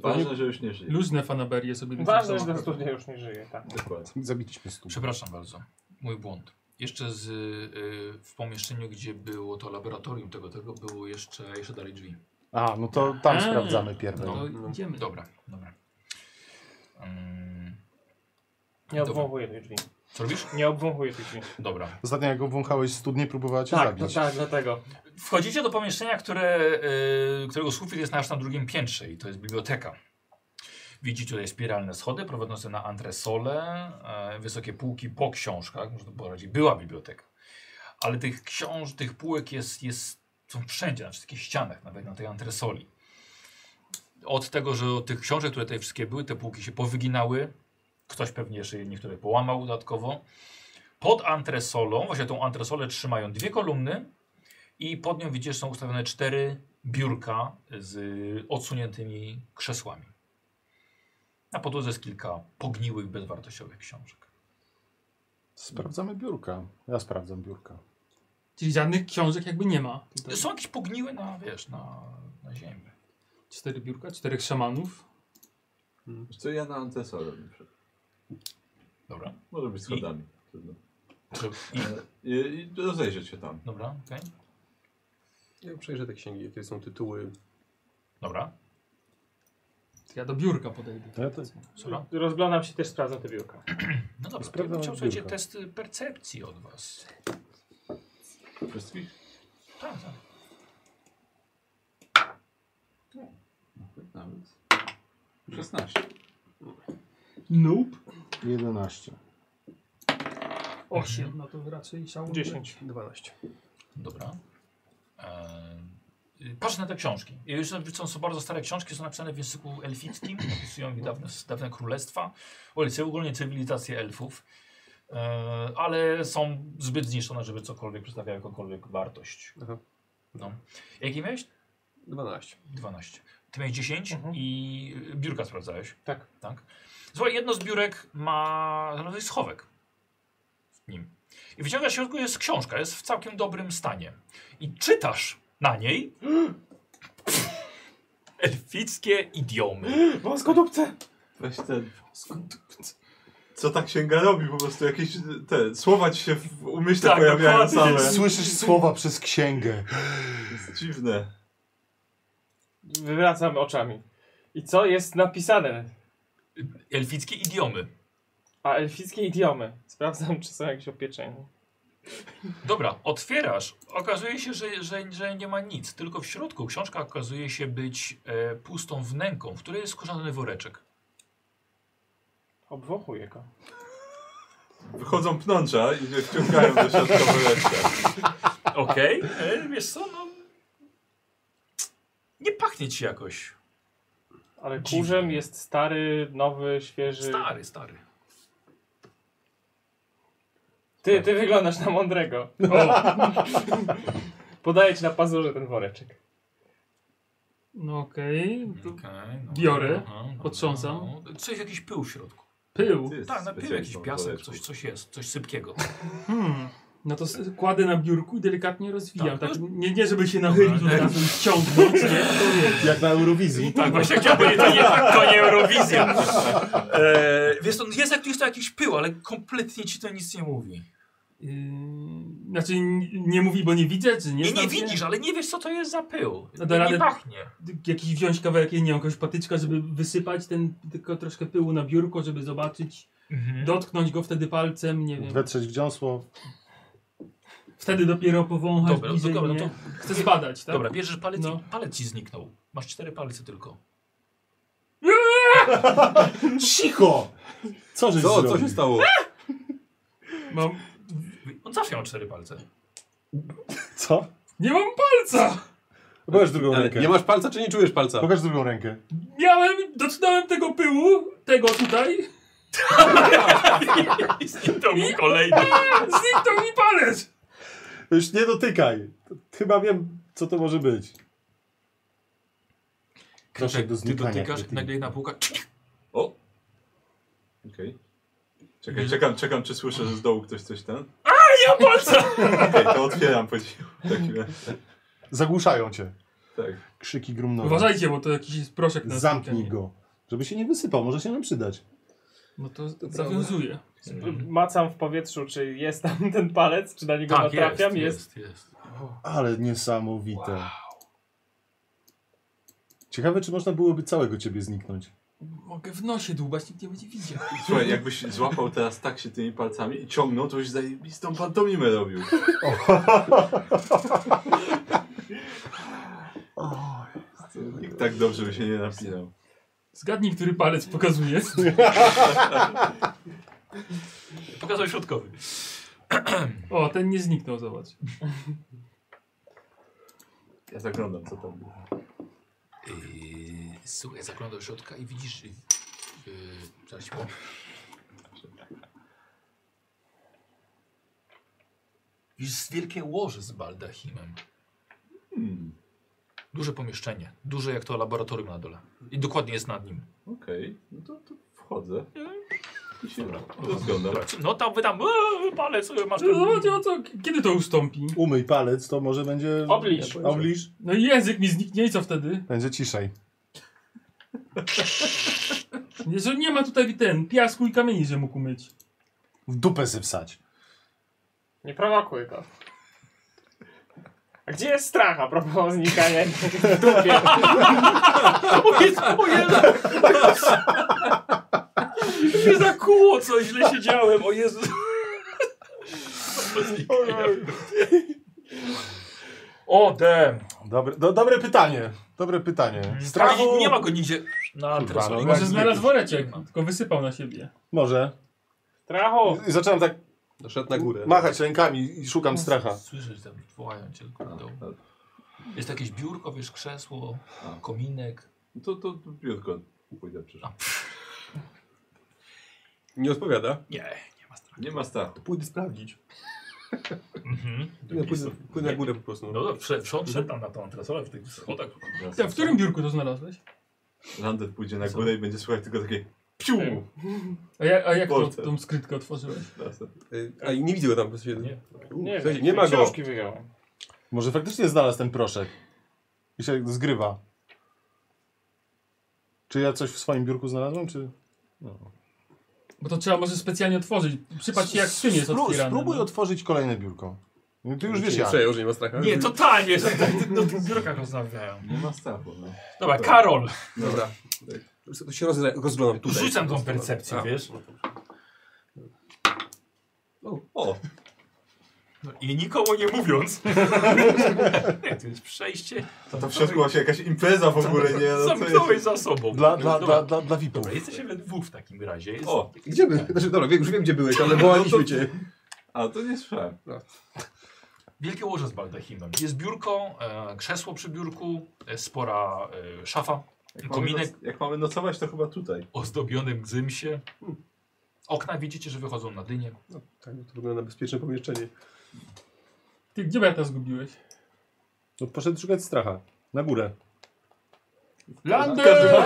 Speaker 6: Ważne, że już nie żyje.
Speaker 4: Luźne fanaberie sobie
Speaker 2: Ważne, że
Speaker 4: wyciągnęła.
Speaker 2: ta studnia już nie żyje, tak.
Speaker 6: Dokładnie.
Speaker 5: Zabiliśmy stół.
Speaker 1: Przepraszam bardzo, mój błąd. Jeszcze z, y, w pomieszczeniu, gdzie było to laboratorium tego, tego było jeszcze, jeszcze dalej drzwi.
Speaker 5: A, no to tam
Speaker 4: A,
Speaker 5: sprawdzamy pierwej.
Speaker 1: No,
Speaker 4: No, idziemy.
Speaker 1: dobra, dobra. Ym,
Speaker 2: Nie
Speaker 1: dobra. Tak,
Speaker 2: obwąchuję tych drzwi.
Speaker 1: Co robisz?
Speaker 2: Nie obwąchuję tych drzwi.
Speaker 1: Dobra.
Speaker 5: Ostatnio jak obwąchałeś studnie, próbowała cię
Speaker 2: Tak, no
Speaker 5: zabić.
Speaker 2: tak, dlatego.
Speaker 1: Wchodzicie do pomieszczenia, które, y, którego sufit jest aż na drugim piętrze i to jest biblioteka. Widzicie tutaj spiralne schody prowadzące na antresolę, e, wysokie półki po książkach, można poradzić, była biblioteka. Ale tych książ, tych półek jest, jest, są wszędzie, na wszystkich ścianach, nawet na tej antresoli. Od tego, że od tych książek, które tutaj wszystkie były, te półki się powyginały, ktoś pewnie jeszcze niektóre połamał dodatkowo. Pod antresolą, właśnie tą antresolę trzymają dwie kolumny, i pod nią widzisz, są ustawione cztery biurka z y, odsuniętymi krzesłami. Na podłodze jest kilka pogniłych, bezwartościowych książek.
Speaker 5: Sprawdzamy biurka. Ja sprawdzam biurka.
Speaker 4: Czyli żadnych książek jakby nie ma. Tutaj.
Speaker 1: Są jakieś pogniłe na, wiesz, na, na ziemi.
Speaker 4: Cztery biurka, czterech szamanów.
Speaker 6: Wiesz Co ja na antesorę bym wszedł.
Speaker 1: Dobra.
Speaker 6: Może być schodami. Trudno.
Speaker 1: I,
Speaker 6: I, I rozejrzeć się tam.
Speaker 1: dobra, okej.
Speaker 9: Ja przejrzę te księgi, jakie są tytuły.
Speaker 1: Dobra,
Speaker 4: To Ja do biurka podejdę.
Speaker 5: Ja to-
Speaker 1: Sora.
Speaker 2: Rozglądam się, też sprawdzam te biurka.
Speaker 1: No dobra, to ja bym
Speaker 5: Sprawdzam
Speaker 1: chciał, słuchajcie,
Speaker 5: biurka.
Speaker 1: test y, percepcji od was.
Speaker 6: Wszystkich?
Speaker 1: Tak, tak.
Speaker 6: Nawet. 16.
Speaker 4: Nope.
Speaker 5: 11.
Speaker 4: Osiem, no to raczej szału.
Speaker 2: 10.
Speaker 9: 12.
Speaker 1: Dobra. Eee, patrz na te książki. I już są, są bardzo stare książki, są napisane w języku elfickim, opisują ich dawne, dawne królestwa, ulicy, ogólnie cywilizację elfów, eee, ale są zbyt zniszczone, żeby cokolwiek przedstawiały jakąkolwiek wartość.
Speaker 9: Aha.
Speaker 1: No. Jakie miałeś?
Speaker 9: 12.
Speaker 1: 12. Ty miałeś 10
Speaker 2: Mhm.
Speaker 1: i y, biurka sprawdzałeś.
Speaker 2: Tak.
Speaker 1: tak. Słuchaj, jedno z biurek ma no to jest schowek w nim. I wyciągasz w środku jest książka, jest w całkiem dobrym stanie. I czytasz na niej elfickie idiomy.
Speaker 2: Wąskodupce!
Speaker 6: Weź ten. Co ta księga robi? Po prostu jakieś te słowa ci się w umyśle
Speaker 1: Tak,
Speaker 6: pojawiają
Speaker 1: dokładnie.
Speaker 6: same.
Speaker 5: Słyszysz słowa przez księgę.
Speaker 6: To jest dziwne.
Speaker 2: Wywracam oczami. I co jest napisane?
Speaker 1: Elfickie idiomy.
Speaker 2: A elfickie idiomy. Sprawdzam, czy są jakieś opieczenia.
Speaker 1: Dobra, otwierasz. Okazuje się, że, że, że nie ma nic. Tylko w środku książka okazuje się być e, pustą wnęką, w której jest skorzony woreczek.
Speaker 2: Obwąchuję go.
Speaker 6: Wychodzą pnącza i mnie wciągają do środka woreczka.
Speaker 1: Okej, e, wiesz co, no... Nie pachnie ci jakoś.
Speaker 2: Ale
Speaker 1: Dziwne.
Speaker 2: kurzem jest stary, nowy, świeży.
Speaker 1: Stary, stary.
Speaker 2: Ty, ty wyglądasz na mądrego. Podaję ci na pazurze ten woreczek.
Speaker 4: No okej. to
Speaker 1: Okay,
Speaker 4: Biorę, no, potrząsam.
Speaker 1: no, Coś, jakiś pył w środku.
Speaker 4: Pył.
Speaker 6: Ty jest
Speaker 1: Tak, na pył jakiś
Speaker 6: specjalistą w
Speaker 1: piasek,
Speaker 6: woreczku.
Speaker 1: coś, coś jest, coś sypkiego.
Speaker 4: Hmm. No to s- kładę na biurku i delikatnie rozwijam.
Speaker 1: Tak.
Speaker 4: Tak, nie, nie żeby się nachylić od razu i ściągnąć, nie? To wiesz.
Speaker 5: Jak na Eurowizji.
Speaker 1: Tak, właśnie chciałem powiedzieć, to nie, to nie Eurowizja. E, wiesz, to jest, jak- jest to jakiś pył, ale kompletnie ci to nic nie mówi.
Speaker 4: Yy, znaczy n- nie mówi, bo nie widzę, czy nie
Speaker 1: Nie,
Speaker 4: znam
Speaker 1: nie
Speaker 4: się.
Speaker 1: widzisz, ale nie wiesz co to jest za pył.
Speaker 4: No to
Speaker 1: nie,
Speaker 4: radę-
Speaker 1: nie pachnie.
Speaker 4: Jakiś wziąć kawałek, nie wiem, jakąś patyczka, żeby wysypać ten tylko troszkę pyłu na biurko, żeby zobaczyć, dotknąć go wtedy palcem, nie wiem.
Speaker 5: Wetrzeć w dziąsło.
Speaker 4: Wtedy dopiero powąchać
Speaker 1: Dobra,
Speaker 4: bliżej,
Speaker 1: dobra, no
Speaker 4: nie?
Speaker 1: to-
Speaker 4: Chcę zbadać, tak?
Speaker 1: Dobra, bierzesz palec
Speaker 4: No.
Speaker 1: i palec ci zniknął. Masz cztery palce tylko.
Speaker 5: Cicho! Co żeś
Speaker 7: Co,
Speaker 5: zrobił?
Speaker 7: co się stało?
Speaker 4: Mam...
Speaker 1: On zawsze miał cztery palce.
Speaker 5: Co?
Speaker 4: Nie mam palca!
Speaker 5: Pokaż drugą
Speaker 7: Ale
Speaker 5: rękę.
Speaker 7: nie masz palca, czy nie czujesz palca?
Speaker 5: Pokaż drugą rękę.
Speaker 4: Miałem, dotknąłem tego pyłu, tego tutaj,
Speaker 1: I zniknął mu kolejny.
Speaker 4: zniknął mi palec!
Speaker 5: Już nie dotykaj. Chyba wiem, co to może być. Proszę
Speaker 1: Kraczek,
Speaker 5: do
Speaker 1: ty
Speaker 5: znikania.
Speaker 1: dotykasz,
Speaker 5: kretynie.
Speaker 1: nagle jedna półka.
Speaker 6: O! Okej. Czekaj, czekam, czekam, czy słyszę, że z dołu ktoś coś ten.
Speaker 1: Ja palca!
Speaker 6: Okej, to otwieram po cichu. w takim razie.
Speaker 5: Zagłuszają cię.
Speaker 6: Tak.
Speaker 5: Krzyki grumnowe.
Speaker 4: Uważajcie, bo to jakiś jest proszek na
Speaker 5: Zamknij
Speaker 4: znikanie.
Speaker 5: go. Żeby się nie wysypał, może się nam przydać.
Speaker 4: No to zawiązuje.
Speaker 2: Macam w powietrzu, czy jest tam ten palec, czy na niego
Speaker 1: Mhm. Tak, jest,
Speaker 2: natrafiam.
Speaker 1: jest,
Speaker 2: Jest,
Speaker 1: jest,
Speaker 5: Ale niesamowite. Ciekawe, czy można byłoby całego ciebie zniknąć.
Speaker 4: Mogę w nosie dłubać, nikt nie będzie widział.
Speaker 6: Słuchaj, jakbyś złapał teraz tak się tymi palcami i ciągnął, to byś zajebistą pantomimę robił. Nikt tak dobrze by się nie napinał.
Speaker 4: Zgadnij, który palec pokazuje.
Speaker 1: Pokazał środkowy.
Speaker 4: O, ten nie zniknął, zobacz.
Speaker 6: Ja zaglądam, co tam było.
Speaker 1: Yy, słuchaj, zagląda do środka i widzisz. Yy, yy, zaraz ci powiem. Widzisz wielkie łoże z baldachimem.
Speaker 6: Hmm,
Speaker 1: Duże pomieszczenie. Duże jak to laboratorium na dole. I dokładnie jest nad nim.
Speaker 6: okej. No to, to wchodzę. I się
Speaker 1: Dobra.
Speaker 6: rozglądam.
Speaker 1: Dobra, No tam wydam eee, palec, eee, masz
Speaker 4: No,
Speaker 1: ten...
Speaker 4: Zobacz, o co, kiedy to ustąpi?
Speaker 5: Umyj palec, to może będzie...
Speaker 2: Obliż.
Speaker 5: Obliż.
Speaker 4: No i język mi zniknie i co wtedy?
Speaker 5: Będzie ciszej.
Speaker 4: Nie, że nie ma tutaj ten piasku i kamieni, że mógł myć.
Speaker 5: W dupę sypsać.
Speaker 2: Nie prowokuj go. A gdzie jest strach a propos znikania? W dupie.
Speaker 1: O Jezu, o Jezu! Mnie zakuło coś, źle siedziałem, o Jezu. O dem.
Speaker 5: Dobre, do, dobre pytanie. Dobre pytanie. Strachu...
Speaker 1: Mm. Nie ma go nigdzie na
Speaker 5: Kurwa, no,
Speaker 1: antresolach.
Speaker 5: jak
Speaker 4: Może znalazł woreczek, tylko wysypał na siebie.
Speaker 5: Może.
Speaker 2: Strachu!
Speaker 5: I zacząłem tak
Speaker 7: Szedł na górę.
Speaker 5: machać rękami i szukam stracha.
Speaker 1: Słyszysz tam, wołają cię tylko
Speaker 6: A,
Speaker 1: na dół.
Speaker 6: a,
Speaker 1: Jest jakieś biurko, wiesz, krzesło,
Speaker 6: A.
Speaker 1: kominek.
Speaker 6: No To, to, to biurko pójdę przecież.
Speaker 7: Nie odpowiada.
Speaker 1: Nie.
Speaker 6: Nie ma strachu.
Speaker 7: Pójdę sprawdzić.
Speaker 1: Mhm.
Speaker 7: Ja pójdę, pójdę na górę po prostu.
Speaker 1: No dobrze, wszedł- wszedł wszedł tam na tą antresolę w tych schodach.
Speaker 4: Ty, a w którym biurku to znalazłeś?
Speaker 6: Lander pójdzie na górę i będzie słuchać tylko takie piu!
Speaker 4: A, ja, a jak to,
Speaker 6: Wolce.
Speaker 4: tą skrytkę otworzyłeś?
Speaker 7: Y, A i nie widzę go tam bezpośrednio.
Speaker 1: Nie.
Speaker 7: U,
Speaker 2: Nie,
Speaker 7: słuchajcie,
Speaker 2: wiem,
Speaker 7: nie ma go.
Speaker 2: książki wyjąłem.
Speaker 5: Może faktycznie znalazł ten proszek. I się zgrywa. Czy ja coś w swoim biurku znalazłem, czy...
Speaker 4: Bo to trzeba może specjalnie otworzyć. Przypatrz się jak skrzynie jest
Speaker 5: Spró-
Speaker 4: otwierane.
Speaker 5: Spróbuj
Speaker 4: no.
Speaker 5: otworzyć kolejne biurko. No, ty już wiesz
Speaker 7: Nie
Speaker 5: jak.
Speaker 7: przejął, że nie ma stracha.
Speaker 1: Nie, totalnie, że tak, o tych biurkach rozmawiają.
Speaker 6: Nie ma strachu, no.
Speaker 1: Dobra, Karol,
Speaker 7: Dobra. To się rozle- rozglądam tutaj.
Speaker 1: rzucam tą percepcję,
Speaker 7: A.
Speaker 1: wiesz?
Speaker 7: O,
Speaker 6: O,
Speaker 1: No I nikomu nie mówiąc. nie, to jest przejście.
Speaker 6: to tam w środku była się jakaś impreza w ogóle, nie? No, co
Speaker 1: Zamknąłeś
Speaker 6: jest?
Speaker 1: za sobą.
Speaker 5: Dla, dla,
Speaker 1: Dobra,
Speaker 5: dla, dla, dla VIP-u.
Speaker 1: Dobra, jesteśmy we dwóch w takim razie. Jest...
Speaker 6: O,
Speaker 7: Gdzie by? Znaczy, dobra, wiem, już wiem gdzie byłeś, ale wołaliśmy cię.
Speaker 6: a to nie słyszałem.
Speaker 1: Wielkie łoże z baldachimem. Jest biurko, e, krzesło przy biurku, e, spora e, szafa,
Speaker 6: Jak
Speaker 1: Kominek.
Speaker 6: Mamy noc, jak mamy nocować, to chyba tutaj.
Speaker 1: ozdobionym gzymsie. Okna widzicie, że wychodzą na dynię.
Speaker 7: Tak, to wygląda na bezpieczne pomieszczenie.
Speaker 4: Ty, gdzie Berta zgubiłeś?
Speaker 5: No, poszedł szukać stracha. Na górę.
Speaker 4: Lander!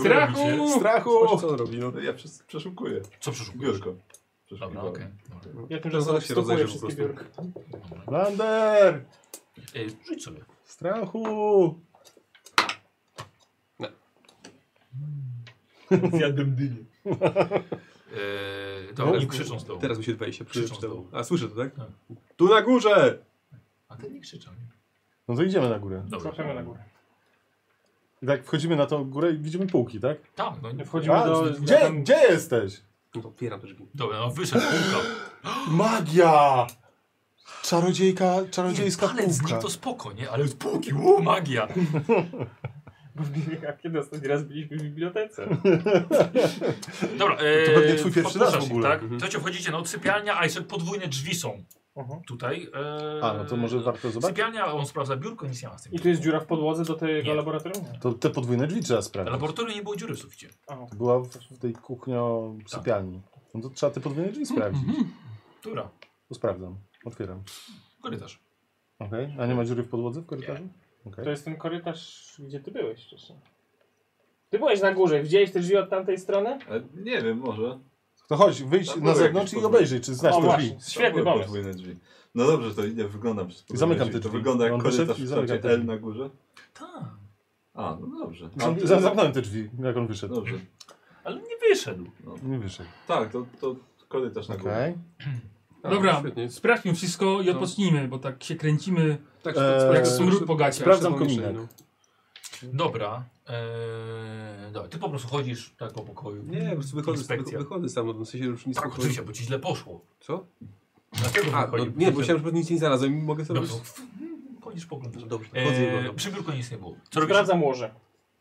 Speaker 4: Strachu!
Speaker 5: Strachu!
Speaker 7: Patrz, co on robi, no.
Speaker 6: No ja przes- przeszukuję.
Speaker 1: Co przeszukujesz?
Speaker 6: Biurko.
Speaker 1: Dobra,
Speaker 6: Przeszukiwałem.
Speaker 1: okej. dobra.
Speaker 2: Ja tym
Speaker 7: Teraz
Speaker 2: razem
Speaker 7: zaraz się rozejrzę
Speaker 2: stopuję
Speaker 7: po
Speaker 2: wszystkie
Speaker 7: prostu.
Speaker 2: biurka.
Speaker 1: Dobra.
Speaker 5: Lander!
Speaker 1: E, Rzuć sobie.
Speaker 5: Strachu!
Speaker 1: E, to
Speaker 5: No,
Speaker 1: oni
Speaker 5: no,
Speaker 1: krzyczą z dołu.
Speaker 9: Teraz mi się 20
Speaker 1: Krzyczą z
Speaker 9: przeczytał.
Speaker 1: dołu.
Speaker 9: A słyszę to, tak?
Speaker 1: Tak.
Speaker 9: Tu na górze!
Speaker 1: A ten nie krzyczał, nie?
Speaker 5: No to idziemy na górę.
Speaker 1: Dobra.
Speaker 2: Trafiamy na górę.
Speaker 5: I tak wchodzimy na tą górę i widzimy półki, tak?
Speaker 1: Tam, no nie.
Speaker 2: Wchodzimy
Speaker 5: A,
Speaker 2: do...
Speaker 5: gdzie,
Speaker 2: tam-
Speaker 5: gdzie jesteś?
Speaker 9: No to otwieram te drzwi.
Speaker 1: Dobra, no wyszedł półka.
Speaker 5: Magia! Czarodziejka, czarodziejska
Speaker 1: Palec z
Speaker 5: półka.
Speaker 1: nich to spoko, nie? Ale z półki, uuu, magia.
Speaker 2: Jak kiedy ostatni raz byliśmy w bibliotece?
Speaker 1: Dobra, e,
Speaker 5: To pewnie twój pierwszy raz
Speaker 1: podpuszczasz
Speaker 5: w
Speaker 1: ich,
Speaker 5: ogóle.
Speaker 1: Tak?
Speaker 5: Mhm.
Speaker 1: Słuchajcie, wchodzicie, no sypialnia, a jeszcze podwójne drzwi są
Speaker 2: Mhm.
Speaker 1: tutaj. E,
Speaker 5: A, no to może warto zobaczyć.
Speaker 1: Sypialnia, on sprawdza biurko, nic nie ma z tym.
Speaker 2: I tu jest dziura w podłodze do tego
Speaker 1: Nie.
Speaker 2: laboratorium? Nie.
Speaker 5: To te podwójne drzwi trzeba sprawdzić.
Speaker 1: Laboratorium nie było dziury w suficie.
Speaker 2: O,
Speaker 5: Była w, w tej kuchnio sypialni. No to trzeba te podwójne drzwi sprawdzić.
Speaker 1: Która?
Speaker 5: To sprawdzam. Otwieram.
Speaker 1: Korytarz.
Speaker 5: Okej. A nie ma dziury w podłodze w korytarzu? Okej.
Speaker 2: to jest ten korytarz, gdzie ty byłeś wcześniej. Ty byłeś na górze, widziałeś te drzwi od tamtej strony?
Speaker 6: E, nie wiem, może.
Speaker 5: To chodź, wyjdź
Speaker 6: Tam
Speaker 5: na
Speaker 6: były
Speaker 5: zewnątrz
Speaker 6: jakieś
Speaker 5: i
Speaker 6: podwójne.
Speaker 5: obejrzyj, czy znasz
Speaker 2: O,
Speaker 5: te
Speaker 2: właśnie,
Speaker 5: drzwi.
Speaker 2: świetny
Speaker 6: były
Speaker 2: pomysł.
Speaker 6: podwójne drzwi. No dobrze, to idę, wyglądam przez podwójne
Speaker 5: Zamykam te
Speaker 6: To
Speaker 5: drzwi.
Speaker 6: wygląda jak
Speaker 5: Mam
Speaker 6: korytarz
Speaker 5: wyszedł i
Speaker 6: w
Speaker 5: zamykam
Speaker 6: kształcie
Speaker 5: te
Speaker 6: L
Speaker 5: drzwi.
Speaker 6: na górze.
Speaker 1: Tak,
Speaker 6: A, no dobrze. A,
Speaker 5: Zam-
Speaker 6: to-
Speaker 5: zam- Zamknąłem te drzwi, jak on wyszedł.
Speaker 6: Dobrze.
Speaker 1: ale nie wyszedł.
Speaker 5: Nie wyszedł.
Speaker 6: Tak, to, to korytarz na górę.
Speaker 5: Okej.
Speaker 9: A,
Speaker 4: Dobra,
Speaker 9: Świetnie.
Speaker 4: sprawdźmy wszystko i odpocznijmy, bo tak się kręcimy
Speaker 9: Tak,
Speaker 5: Eee,
Speaker 4: jak
Speaker 9: tak,
Speaker 4: smród po gaciach.
Speaker 5: sprawdzam
Speaker 9: Szymon
Speaker 5: kominek.
Speaker 9: jeszcze, no.
Speaker 1: Dobra. E, dobra. Ty po prostu chodzisz tak po pokoju.
Speaker 4: no.
Speaker 9: Nie, po prostu wychodzę,
Speaker 1: Inspekcja.
Speaker 9: wychodzę sam, w sensie już nic
Speaker 1: Tak,
Speaker 9: nie
Speaker 1: oczywiście, bo ci źle poszło.
Speaker 9: Co?
Speaker 1: Dlaczego
Speaker 9: A, no,
Speaker 1: wychodzi- No
Speaker 9: nie, bo myślałem, że nic nie znalazłem i mogę sobie...
Speaker 1: Dobra, to- hmm, Chodzisz po oglądasz.
Speaker 9: Dobrze,
Speaker 7: Eee,
Speaker 9: to chodzę i
Speaker 1: E,
Speaker 9: oglądam.
Speaker 1: przy biurku nic nie było. Co robisz?
Speaker 2: Sprawdzam łoże.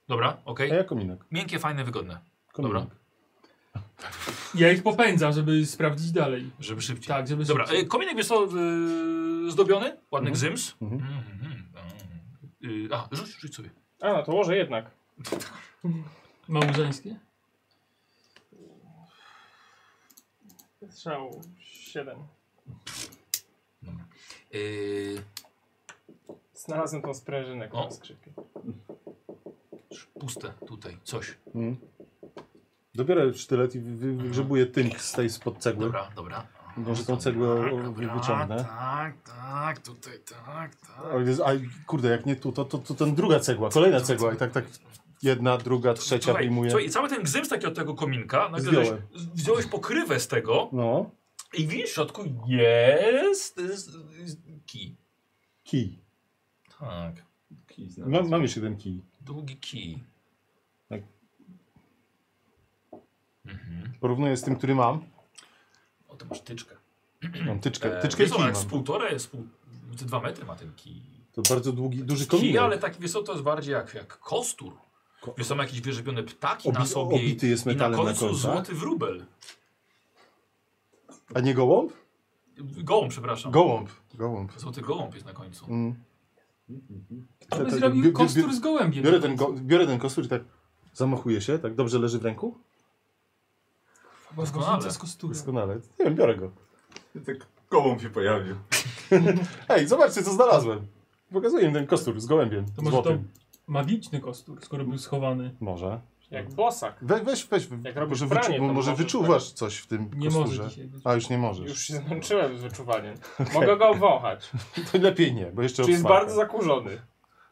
Speaker 1: Dobra, okej.
Speaker 9: E?
Speaker 5: A ja kominek.
Speaker 1: Miękkie, fajne, wygodne.
Speaker 5: kominek.
Speaker 1: Dobra.
Speaker 4: Ja ich popędzam, żeby sprawdzić dalej.
Speaker 1: Żeby szybciej.
Speaker 4: Tak, żeby
Speaker 1: Dobra, e,
Speaker 4: szybciej.
Speaker 1: kominek jest to e, zdobiony, ładny gzyms.
Speaker 5: Mhm.
Speaker 1: Mhm. E, a, rzuć, rzuć sobie.
Speaker 2: A, no to łoże jednak.
Speaker 4: Małżeńskie?
Speaker 2: Strzał 7.
Speaker 1: E,
Speaker 2: Znalazłem tą sprężynę, która
Speaker 1: O.
Speaker 2: jest skrzypie.
Speaker 1: puste tutaj, coś.
Speaker 5: Mhm. Dobiorę sztylet i wy- wy- wygrzebuję tynk z tej spod cegły.
Speaker 1: Dobra, dobra.
Speaker 5: Może tą cegłę o- o-
Speaker 1: Dobra,
Speaker 5: wyciągnę.
Speaker 1: Tak, tak, tutaj, tak, tak.
Speaker 5: Ale jest- A kurde, jak nie tu, to, to, to ten druga cegła, kolejna cegła i tak, tak jedna, druga, trzecia
Speaker 1: Słuchaj,
Speaker 5: wyjmuję.
Speaker 1: słuchaj, i cały ten gzyms taki od tego kominka, nagle
Speaker 5: Zdjąłem.
Speaker 1: żeś, z- wziąłeś pokrywę z tego
Speaker 5: No,
Speaker 1: i widzisz w środku jest, jest, jest kij.
Speaker 5: kij.
Speaker 1: Tak,
Speaker 6: Kij znalazł.
Speaker 5: Mam, mam już jeden kij.
Speaker 1: długi kij.
Speaker 5: Tak.
Speaker 1: Mhm.
Speaker 5: Porównuję z tym, który mam.
Speaker 1: O, to masz tyczkę.
Speaker 5: Mam tyczkę,
Speaker 1: E,
Speaker 5: tyczkę i
Speaker 1: wiesz,
Speaker 5: kij
Speaker 1: ona
Speaker 5: mam.
Speaker 1: jest z półtora, jest z pół, z dwa metry ma ten kij.
Speaker 5: To bardzo długi, duży
Speaker 1: Kij, ale
Speaker 5: kominek.
Speaker 1: taki, wiesz co, to jest bardziej jak, jak kostur.
Speaker 5: Ko-
Speaker 1: Wiesz, są jakieś wyżywione ptaki na
Speaker 5: Obi-
Speaker 1: sobie
Speaker 5: obity jest
Speaker 1: i na
Speaker 5: metalem na
Speaker 1: końcu
Speaker 5: końcu, tak?
Speaker 1: złoty wróbel.
Speaker 5: A nie gołąb?
Speaker 1: Gołąb, przepraszam.
Speaker 5: Gołąb. Gołąb.
Speaker 1: Złoty gołąb jest na końcu.
Speaker 5: Mm.
Speaker 4: To by
Speaker 5: Te- te-
Speaker 4: zrobił
Speaker 5: bi- bi-
Speaker 4: kostur
Speaker 5: bi-
Speaker 4: z gołębiem.
Speaker 5: Biorę ten, go, biorę ten kostur i tak zamachuje się, tak dobrze leży w ręku?
Speaker 4: Bo z gołębca z kosturem.
Speaker 5: Doskonale. Nie wiem, biorę go.
Speaker 6: Tak kołą się pojawił.
Speaker 5: Ej, zobaczcie, co znalazłem. Pokazuję im ten kostur z gołębiem.
Speaker 4: To może to
Speaker 5: złotym.
Speaker 4: magiczny kostur, skoro był schowany.
Speaker 5: Może.
Speaker 2: Jak bosak.
Speaker 5: We, weź, weź.
Speaker 2: Jak robisz
Speaker 5: może
Speaker 2: pranie,
Speaker 5: wyczu,
Speaker 2: to
Speaker 5: może,
Speaker 2: możesz
Speaker 5: wyczuwasz coś w tym
Speaker 4: Nie
Speaker 5: kosturze.
Speaker 4: może dzisiaj być.
Speaker 5: A, już nie możesz.
Speaker 2: Już się zmęczyłem z wyczuwaniem. Mogę go obwąchać.
Speaker 5: To lepiej nie, bo jeszcze
Speaker 2: Czy jest
Speaker 5: obsmarka.
Speaker 2: bardzo zakurzony.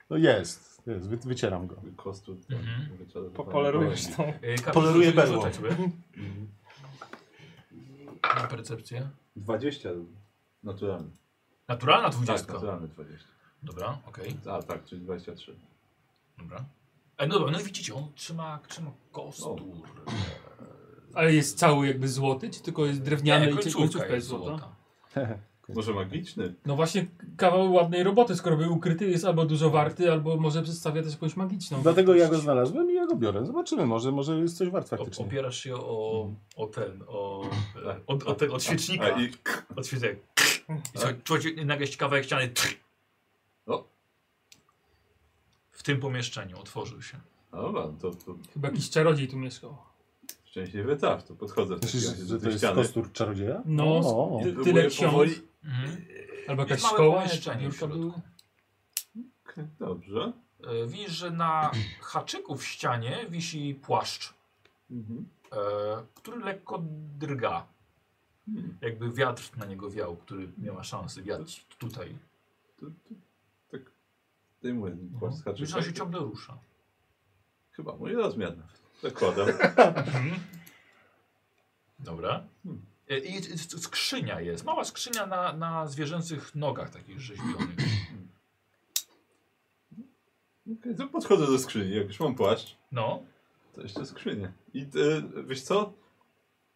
Speaker 5: No jest, jest wy, wycieram go.
Speaker 6: Kostu.
Speaker 1: Mhm.
Speaker 2: Popolerujesz tą.
Speaker 1: Yy, Kamil,
Speaker 5: Poleruje
Speaker 1: rzucaj-
Speaker 5: berło.
Speaker 1: rzucaj sobie. Na percepcję.
Speaker 6: 20 naturalny.
Speaker 1: Naturalna
Speaker 6: Tak,
Speaker 1: dwudziestka.
Speaker 6: naturalny 20.
Speaker 1: Dobra, okej,
Speaker 6: A tak, czyli 23.
Speaker 1: dobra. E, no dobra, no i widzicie, on trzyma, trzyma kostur.
Speaker 4: Ale jest cały jakby złoty, czy tylko jest drewniany i czy- końcówka jest złota?
Speaker 1: E, złota.
Speaker 6: Może magiczny?
Speaker 4: No właśnie kawał ładnej roboty, skoro był ukryty, jest albo dużo warty, albo może przedstawia też jakąś magiczną.
Speaker 5: Dlatego ja
Speaker 4: wartość.
Speaker 5: go znalazłem i ja go biorę. Zobaczymy, może, może jest coś wart
Speaker 1: O,
Speaker 5: faktycznie.
Speaker 1: opierasz się o, o ten, o, e, od, od, tego- od świecznika.
Speaker 6: Mhm. Tak. A i Tak.
Speaker 1: Od świecek. I co, czuć nagle kawałek ściany.
Speaker 6: O.
Speaker 1: W tym pomieszczeniu otworzył się.
Speaker 6: No Dobra, to, to
Speaker 4: Chyba jakiś czarodziej tu mieszkał.
Speaker 6: szczęśliwy tak, to podchodzę w takim
Speaker 5: Myślisz,
Speaker 6: razie do
Speaker 5: że to
Speaker 6: tej
Speaker 5: jest
Speaker 6: ściany.
Speaker 5: kostur czarodzieja?
Speaker 4: No,
Speaker 5: O,
Speaker 4: ty- tyle
Speaker 6: Próbuję
Speaker 4: ksiąg,
Speaker 6: powoli-
Speaker 1: Mhm.
Speaker 4: albo jakaś
Speaker 1: Jest małe
Speaker 4: szkoła,
Speaker 1: pomieszczenie
Speaker 4: biurka
Speaker 1: w środku.
Speaker 4: były.
Speaker 6: Okej, Dobrze.
Speaker 1: E, Widzisz, że na haczyku w ścianie wisi płaszcz,
Speaker 6: Mhm.
Speaker 1: e, który lekko drga.
Speaker 6: Hmm.
Speaker 1: Jakby wiatr na niego wiał, który nie ma szansy wiać tutaj.
Speaker 6: To, to, tak. Zdejmuję płaszcz z
Speaker 1: No. Widzisz, Mhm. że on się
Speaker 6: haczyka.
Speaker 1: ciągle rusza.
Speaker 6: Chyba mój rozmiar. Zakładam.
Speaker 1: Dobra. E, I c- c- skrzynia jest, mała skrzynia na, na zwierzęcych nogach takich rzeźbionych.
Speaker 6: Okej, to podchodzę do skrzyni. Jak już mam płaszcz,
Speaker 1: No,
Speaker 6: to jeszcze skrzynię. I e, wiesz co?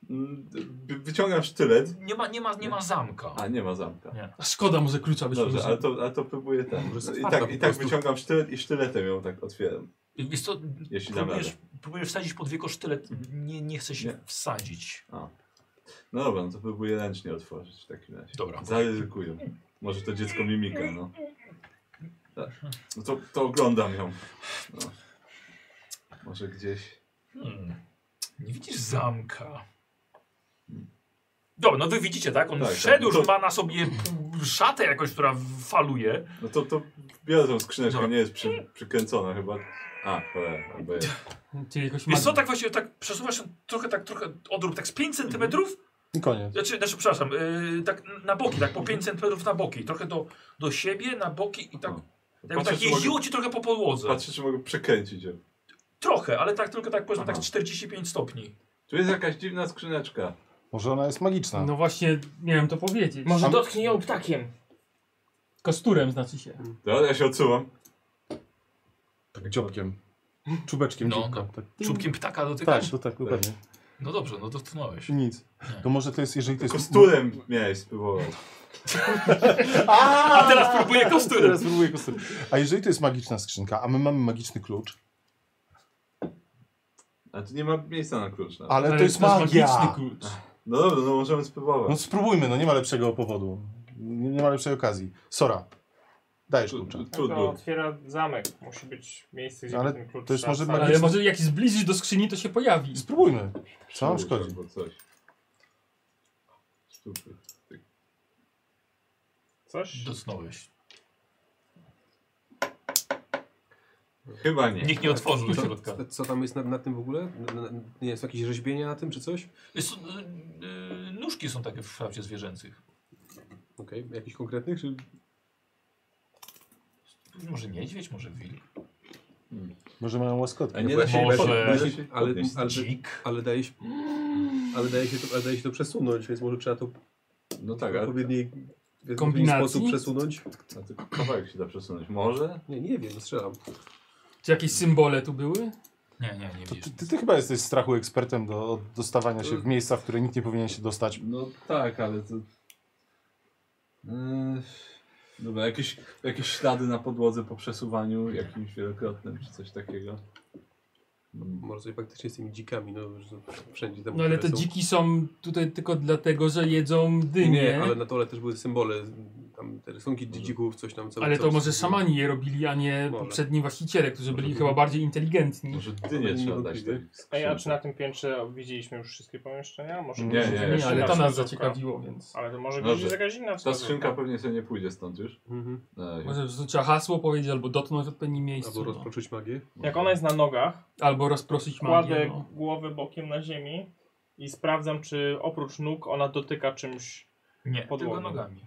Speaker 6: Mm, wy- Wyciągam sztylet.
Speaker 1: nie ma, nie ma, nie ma zamka.
Speaker 6: A, nie ma zamka.
Speaker 7: Szkoda, może klucza byśmy
Speaker 6: Dobrze, ale
Speaker 7: użyli.
Speaker 6: to, ale to próbuję ten.
Speaker 7: Może jest
Speaker 6: I
Speaker 7: otwarta
Speaker 6: tak,
Speaker 7: po
Speaker 6: i tak
Speaker 7: prostu.
Speaker 6: wyciągam sztylet i sztyletem ją tak otwieram.
Speaker 1: I Wiesz co,
Speaker 6: Jeśli dam radę.
Speaker 1: próbujesz, próbujesz wsadzić pod wieko sztylet, nie, nie chce się
Speaker 6: Nie.
Speaker 1: wsadzić.
Speaker 6: No dobra, no to próbuję ręcznie otworzyć w takim razie.
Speaker 1: Dobra.
Speaker 6: Zaryzykuję. Może to dziecko mimika, no. Tak. No to, to oglądam ją. No. Może gdzieś.
Speaker 1: Hmm. Nie widzisz
Speaker 6: Hmm.
Speaker 1: zamka. Dobra, no wy widzicie, tak? On
Speaker 6: Tak,
Speaker 1: wszedł,
Speaker 6: tak.
Speaker 1: już ma na sobie p- szatę jakoś, która faluje.
Speaker 6: No to, to biorę tą skrzyneczkę,
Speaker 1: Dobra.
Speaker 6: nie jest przy, przykręcona chyba. A, cholera, albo jest.
Speaker 4: Ty jakoś
Speaker 1: Wiesz co,
Speaker 4: mag-
Speaker 1: tak właśnie tak przesuwasz się trochę, tak trochę odrób, tak z 5 centymetrów?
Speaker 5: I koniec.
Speaker 1: Znaczy, znaczy przepraszam, yy, tak na boki, tak po 5 centymetrów na boki. Trochę do, do siebie, na boki i tak...
Speaker 6: No.
Speaker 1: Jakby
Speaker 6: Patrzę,
Speaker 1: tak
Speaker 6: czy mogę-
Speaker 1: jeździło ci trochę po podłodze.
Speaker 6: Patrzę, czy mogę przekręcić ją.
Speaker 1: Trochę, ale tak tylko tak powiedzmy
Speaker 6: Aha.
Speaker 1: tak z 45 stopni.
Speaker 6: Tu jest jakaś dziwna skrzyneczka.
Speaker 5: Może ona jest
Speaker 1: tak.
Speaker 5: magiczna.
Speaker 4: No właśnie, miałem to powiedzieć.
Speaker 2: Może dotknij ją ptakiem.
Speaker 4: Kosturem znaczy się.
Speaker 6: Dobra, ja się odsuwam.
Speaker 5: Tak dziobkiem. Czubeczkiem
Speaker 1: No,
Speaker 5: dzióbka.
Speaker 1: no.
Speaker 5: Tak,
Speaker 1: Czubkiem ptaka dotykasz?
Speaker 5: tak, Mm. to tak, dokładnie.
Speaker 1: No dobrze, no dotknąłeś.
Speaker 5: Nic. To może to jest, jeżeli to jest...
Speaker 6: Kosturem miałeś spróbować.
Speaker 1: A teraz próbuję kosturem.
Speaker 5: Teraz próbuję kostur. A jeżeli to jest magiczna skrzynka, a my mamy magiczny klucz,
Speaker 6: A tu nie ma miejsca na klucz. nawet.
Speaker 5: ale, to jest magia. Tak.
Speaker 4: magiczny klucz.
Speaker 6: No dobra, no możemy
Speaker 5: No
Speaker 6: spróbować.
Speaker 5: spróbujmy, no nie ma lepszego powodu. Nie, nie ma lepszej okazji. Sora, dajesz
Speaker 6: Tu-
Speaker 5: klucza.
Speaker 6: tu-
Speaker 2: no To
Speaker 6: Trudno.
Speaker 2: otwiera zamek. Musi być miejsce, gdzie
Speaker 5: Ale
Speaker 2: ten klucz
Speaker 5: to jest
Speaker 2: trzeba
Speaker 5: może
Speaker 2: wsadzić.
Speaker 4: Ale może jak zbliżysz do skrzyni, to się pojawi.
Speaker 5: Spróbujmy. Co nam
Speaker 6: Spróbuj tak.
Speaker 5: szkodzi?
Speaker 6: albo coś. Spróbuj.
Speaker 2: Coś?
Speaker 1: Dotknąłeś.
Speaker 6: Chyba nie.
Speaker 1: Nikt nie otworzył do środka.
Speaker 7: Co, co tam jest na, na tym w ogóle? Na, na, nie jest jakieś rzeźbienia na tym czy coś?
Speaker 1: Wiesz co, y, y, nóżki są takie w szafcie zwierzęcych.
Speaker 7: Okej, jakichś konkretnych? Czy...
Speaker 1: Może niedźwiedź, może wilk.
Speaker 5: Może mają łaskotkę.
Speaker 6: A nie da się,
Speaker 1: Może-
Speaker 6: da się, da się
Speaker 7: Ale,
Speaker 6: podnieść.
Speaker 7: ale,
Speaker 1: Dzik.
Speaker 7: ale, daje się, ale, daje się to, ale daje się to przesunąć, więc może trzeba to
Speaker 6: No tak,
Speaker 7: w
Speaker 6: ale
Speaker 7: odpowiedniej w odpowiedni
Speaker 4: Kombinacji?
Speaker 7: sposób przesunąć.
Speaker 6: a tylko kawałek się da przesunąć. Może?
Speaker 7: Nie, nie wiem, strzelam.
Speaker 4: Czy jakieś symbole tu były?
Speaker 1: Nie, nie, nie
Speaker 5: To
Speaker 1: widzisz.
Speaker 5: ty, ty, ty chyba jesteś strachu ekspertem do dostawania się w miejsca, w które nikt nie powinien się dostać.
Speaker 6: No tak, ale to... Yy, Dobra, jakieś, jakieś ślady na podłodze po przesuwaniu jakimś wielokrotnym czy coś takiego. Mm,
Speaker 7: Może coś faktycznie z tymi dzikami, no że wszędzie tam.
Speaker 4: No ale
Speaker 7: które
Speaker 4: te
Speaker 7: są.
Speaker 4: dziki są tutaj tylko dlatego, że jedzą
Speaker 7: Nie,
Speaker 4: dynie.
Speaker 7: nie, ale
Speaker 4: ale,
Speaker 7: na dole też były symbole, tam te rysunki dzi- dzików, coś tam. Co,
Speaker 4: to
Speaker 7: co-
Speaker 4: może szamani je robili, a nie
Speaker 7: Może.
Speaker 4: poprzedni właściciele, którzy byli
Speaker 6: Może.
Speaker 4: chyba bardziej inteligentni.
Speaker 6: Może dynie trzeba dać
Speaker 7: Niewątpliwie.
Speaker 6: tak. w
Speaker 2: Ej, a
Speaker 6: skrzynce.
Speaker 2: czy na tym piętrze widzieliśmy już wszystkie pomieszczenia? Może
Speaker 5: Nie,
Speaker 2: gdzieś
Speaker 6: nie,
Speaker 2: jest
Speaker 6: jeszcze
Speaker 4: Nie, ale
Speaker 2: inna
Speaker 4: to nas
Speaker 2: wskazówka.
Speaker 4: zaciekawiło, więc...
Speaker 2: Ale to może
Speaker 6: Dobrze.
Speaker 2: gdzieś jest jakaś inna
Speaker 6: Ta
Speaker 2: wskazówka.
Speaker 6: skrzynka pewnie sobie nie pójdzie stąd już.
Speaker 7: Mhm.
Speaker 6: Na razie.
Speaker 4: Może trzeba hasło powiedzieć, albo dotknąć w odpowiednim
Speaker 7: Albo
Speaker 4: miejscu. no.
Speaker 7: rozproszyć magię.
Speaker 2: Jak ona jest na nogach,
Speaker 4: Albo rozproszyć
Speaker 2: kładę
Speaker 4: magię. No.
Speaker 2: głowę bokiem na ziemi i sprawdzam, czy oprócz nóg ona dotyka czymś.
Speaker 1: Nie, tylko
Speaker 2: podłogą.
Speaker 1: nogami.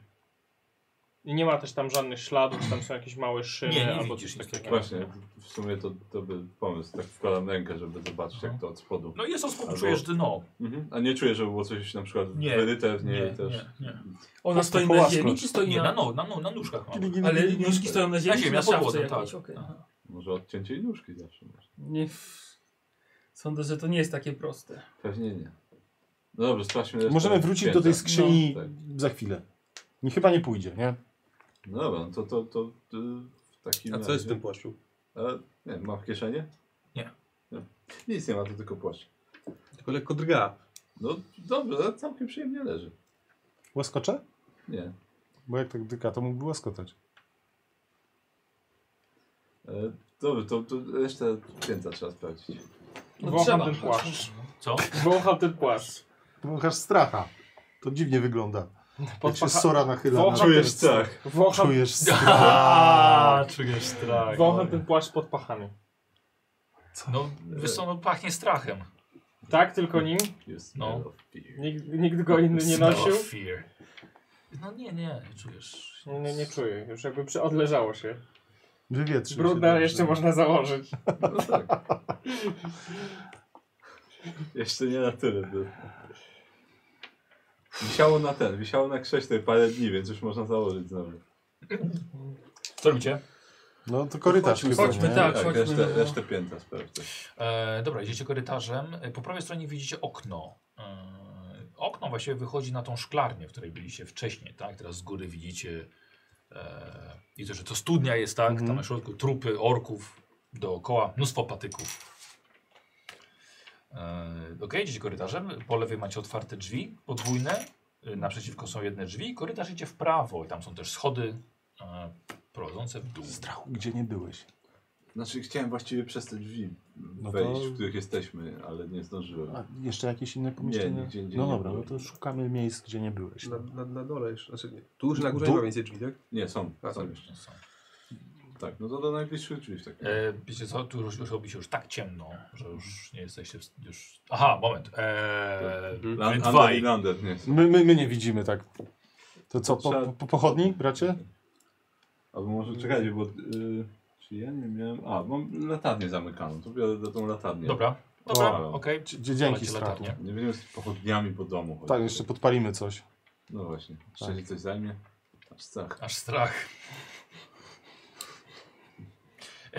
Speaker 2: I nie ma też tam żadnych śladów, czy tam są jakieś małe szyny
Speaker 1: Nie, nie
Speaker 2: albo
Speaker 1: widzisz
Speaker 2: coś
Speaker 1: nic
Speaker 2: takiego.
Speaker 6: Właśnie, w sumie to dobry pomysł. Tak wkładam rękę, żeby zobaczyć jak to od spodu.
Speaker 1: No i jest ospół,
Speaker 6: Albo-
Speaker 1: czujesz dno.
Speaker 6: Mhm. A nie czuję, żeby było coś na przykład
Speaker 1: Nie,
Speaker 6: wyryte w niej
Speaker 1: Nie,
Speaker 6: też.
Speaker 1: nie, nie.
Speaker 4: Ona
Speaker 5: Pusto
Speaker 4: stoi na
Speaker 5: połaskać.
Speaker 4: ziemi, czy stoi
Speaker 1: Nie, na,
Speaker 4: na...
Speaker 1: no, na, no, na nóżkach mam.
Speaker 4: Ale nóżki stoją na ziemi,
Speaker 1: Na
Speaker 4: czy
Speaker 1: ziemi,
Speaker 4: na
Speaker 1: na podłodze,
Speaker 4: szafce
Speaker 1: tak.
Speaker 4: jakiejś? Okej.
Speaker 1: Aha.
Speaker 6: Może odcięcie i nóżki zawsze masz.
Speaker 4: Nie... w- Sądzę, że to nie jest takie proste.
Speaker 6: Pewnie nie. No dobrze, sprawdźmy. resztę
Speaker 5: Możemy wrócić do tej
Speaker 6: piętra.
Speaker 5: skrzyni
Speaker 6: No, tak.
Speaker 5: za chwilę. Nie, Chyba nie pójdzie, nie?
Speaker 6: No dobra, to, to, to, to y, w takim
Speaker 7: A co jest w
Speaker 6: razie-
Speaker 7: tym płaszczu?
Speaker 6: E, nie, wiem, ma w kieszenie?
Speaker 1: Nie.
Speaker 6: nie. Nic nie ma, to tylko płaszcz.
Speaker 7: Tylko lekko drga.
Speaker 6: No dobrze, ale całkiem przyjemnie leży.
Speaker 5: Łaskocze?
Speaker 6: Nie.
Speaker 5: Bo jak tak dyka, to mógłby łaskotać.
Speaker 6: E, dobrze, to, to resztę pięta trzeba sprawdzić.
Speaker 4: No
Speaker 2: Wącham
Speaker 4: trzeba.
Speaker 2: ten płaszcz.
Speaker 1: Co?
Speaker 2: Wącham ten płaszcz.
Speaker 5: Trochaż stracha. To dziwnie wygląda. Jak się
Speaker 2: Podpacha-
Speaker 5: sora nachyla.
Speaker 2: Wącha-
Speaker 5: na-
Speaker 6: Czujesz strach.
Speaker 2: Wącham,
Speaker 5: Czujesz strach.
Speaker 2: Aaa,
Speaker 1: czujesz strach.
Speaker 2: wącham ten płaszcz pod pachami.
Speaker 1: No, wiesz co, no pachnie strachem.
Speaker 2: Tak, tylko nim?
Speaker 6: You smell
Speaker 1: No.
Speaker 6: of fear.
Speaker 2: Nikt, nikt go inny nie
Speaker 1: Smell
Speaker 2: nosił?
Speaker 1: of fear. No nie, nie, nie czujesz.
Speaker 2: Nie, nie, nie czuję. Już jakby przy- odleżało się.
Speaker 5: Wywietrzy.
Speaker 2: Brudne, ale jeszcze można założyć.
Speaker 6: No tak. Jeszcze nie na tyle. By. Wisiało na ten, wisiało na krześle parę dni, więc już można założyć znowu.
Speaker 1: Co robicie?
Speaker 5: No to korytarz
Speaker 6: Chodźmy,
Speaker 5: chyba,
Speaker 4: chodźmy,
Speaker 5: nie?
Speaker 4: tak.
Speaker 6: Tak,
Speaker 4: chodźmy,
Speaker 6: resztę,
Speaker 4: no.
Speaker 6: resztę piętra sprawdźcie.
Speaker 1: E, dobra, idziecie korytarzem. E, Po prawej stronie widzicie okno. E, okno właściwie wychodzi na tą szklarnię, w której byliście wcześniej, tak? Teraz z góry widzicie e, i to, że to studnia jest, tak? Tam na środku trupy orków dookoła, mnóstwo patyków. E, ok, idziecie korytarzem. Po lewej macie otwarte drzwi, podwójne. E, Naprzeciwko są jedne drzwi. Korytarz idzie w prawo i tam są też schody e, prowadzące w dół.
Speaker 5: Strachu, gdzie nie byłeś.
Speaker 6: Znaczy chciałem właściwie przez te drzwi
Speaker 5: No to-
Speaker 6: wejść, w których jesteśmy, ale nie zdążyłem.
Speaker 5: A jeszcze jakieś inne pomieszczenia?
Speaker 6: nigdzie indziej
Speaker 5: no
Speaker 6: nie
Speaker 5: dobra, no
Speaker 6: byłem.
Speaker 5: to szukamy miejsc, gdzie nie byłeś.
Speaker 9: Na, na, na dole jeszcze, znaczy nie. Tu już na górze
Speaker 5: Tu?
Speaker 9: nie ma więcej drzwi, tak?
Speaker 6: Nie, są,
Speaker 9: A,
Speaker 6: są
Speaker 9: są.
Speaker 6: jeszcze. Tak, no to do najbliższych drzwi w takim
Speaker 1: E, wiecie co, tu już, już robi się już tak ciemno, że już nie jesteście w, już... Aha, moment. E,
Speaker 9: Mhm.
Speaker 1: wy
Speaker 6: Land- Under
Speaker 1: dwaj.
Speaker 6: i Lander, nie.
Speaker 5: My, my, my nie widzimy tak. To co, po,
Speaker 6: Trzeba-
Speaker 5: po, po pochodni, bracie?
Speaker 6: Albo może czekajcie, bo... y, czy ja nie miałem... A, mam latarnię zamykaną, to biorę do tą latarnię.
Speaker 1: Dobra, dobra,
Speaker 6: O.
Speaker 1: okej.
Speaker 5: Dzie- Dzięki
Speaker 1: Palacie
Speaker 5: strachu.
Speaker 1: latarnię.
Speaker 6: Nie będziemy z pochodniami po domu chodzić.
Speaker 5: Tak, jeszcze podpalimy coś.
Speaker 6: No właśnie, jeszcze się coś zajmie. Tak. Aż strach.
Speaker 1: Aż strach. E,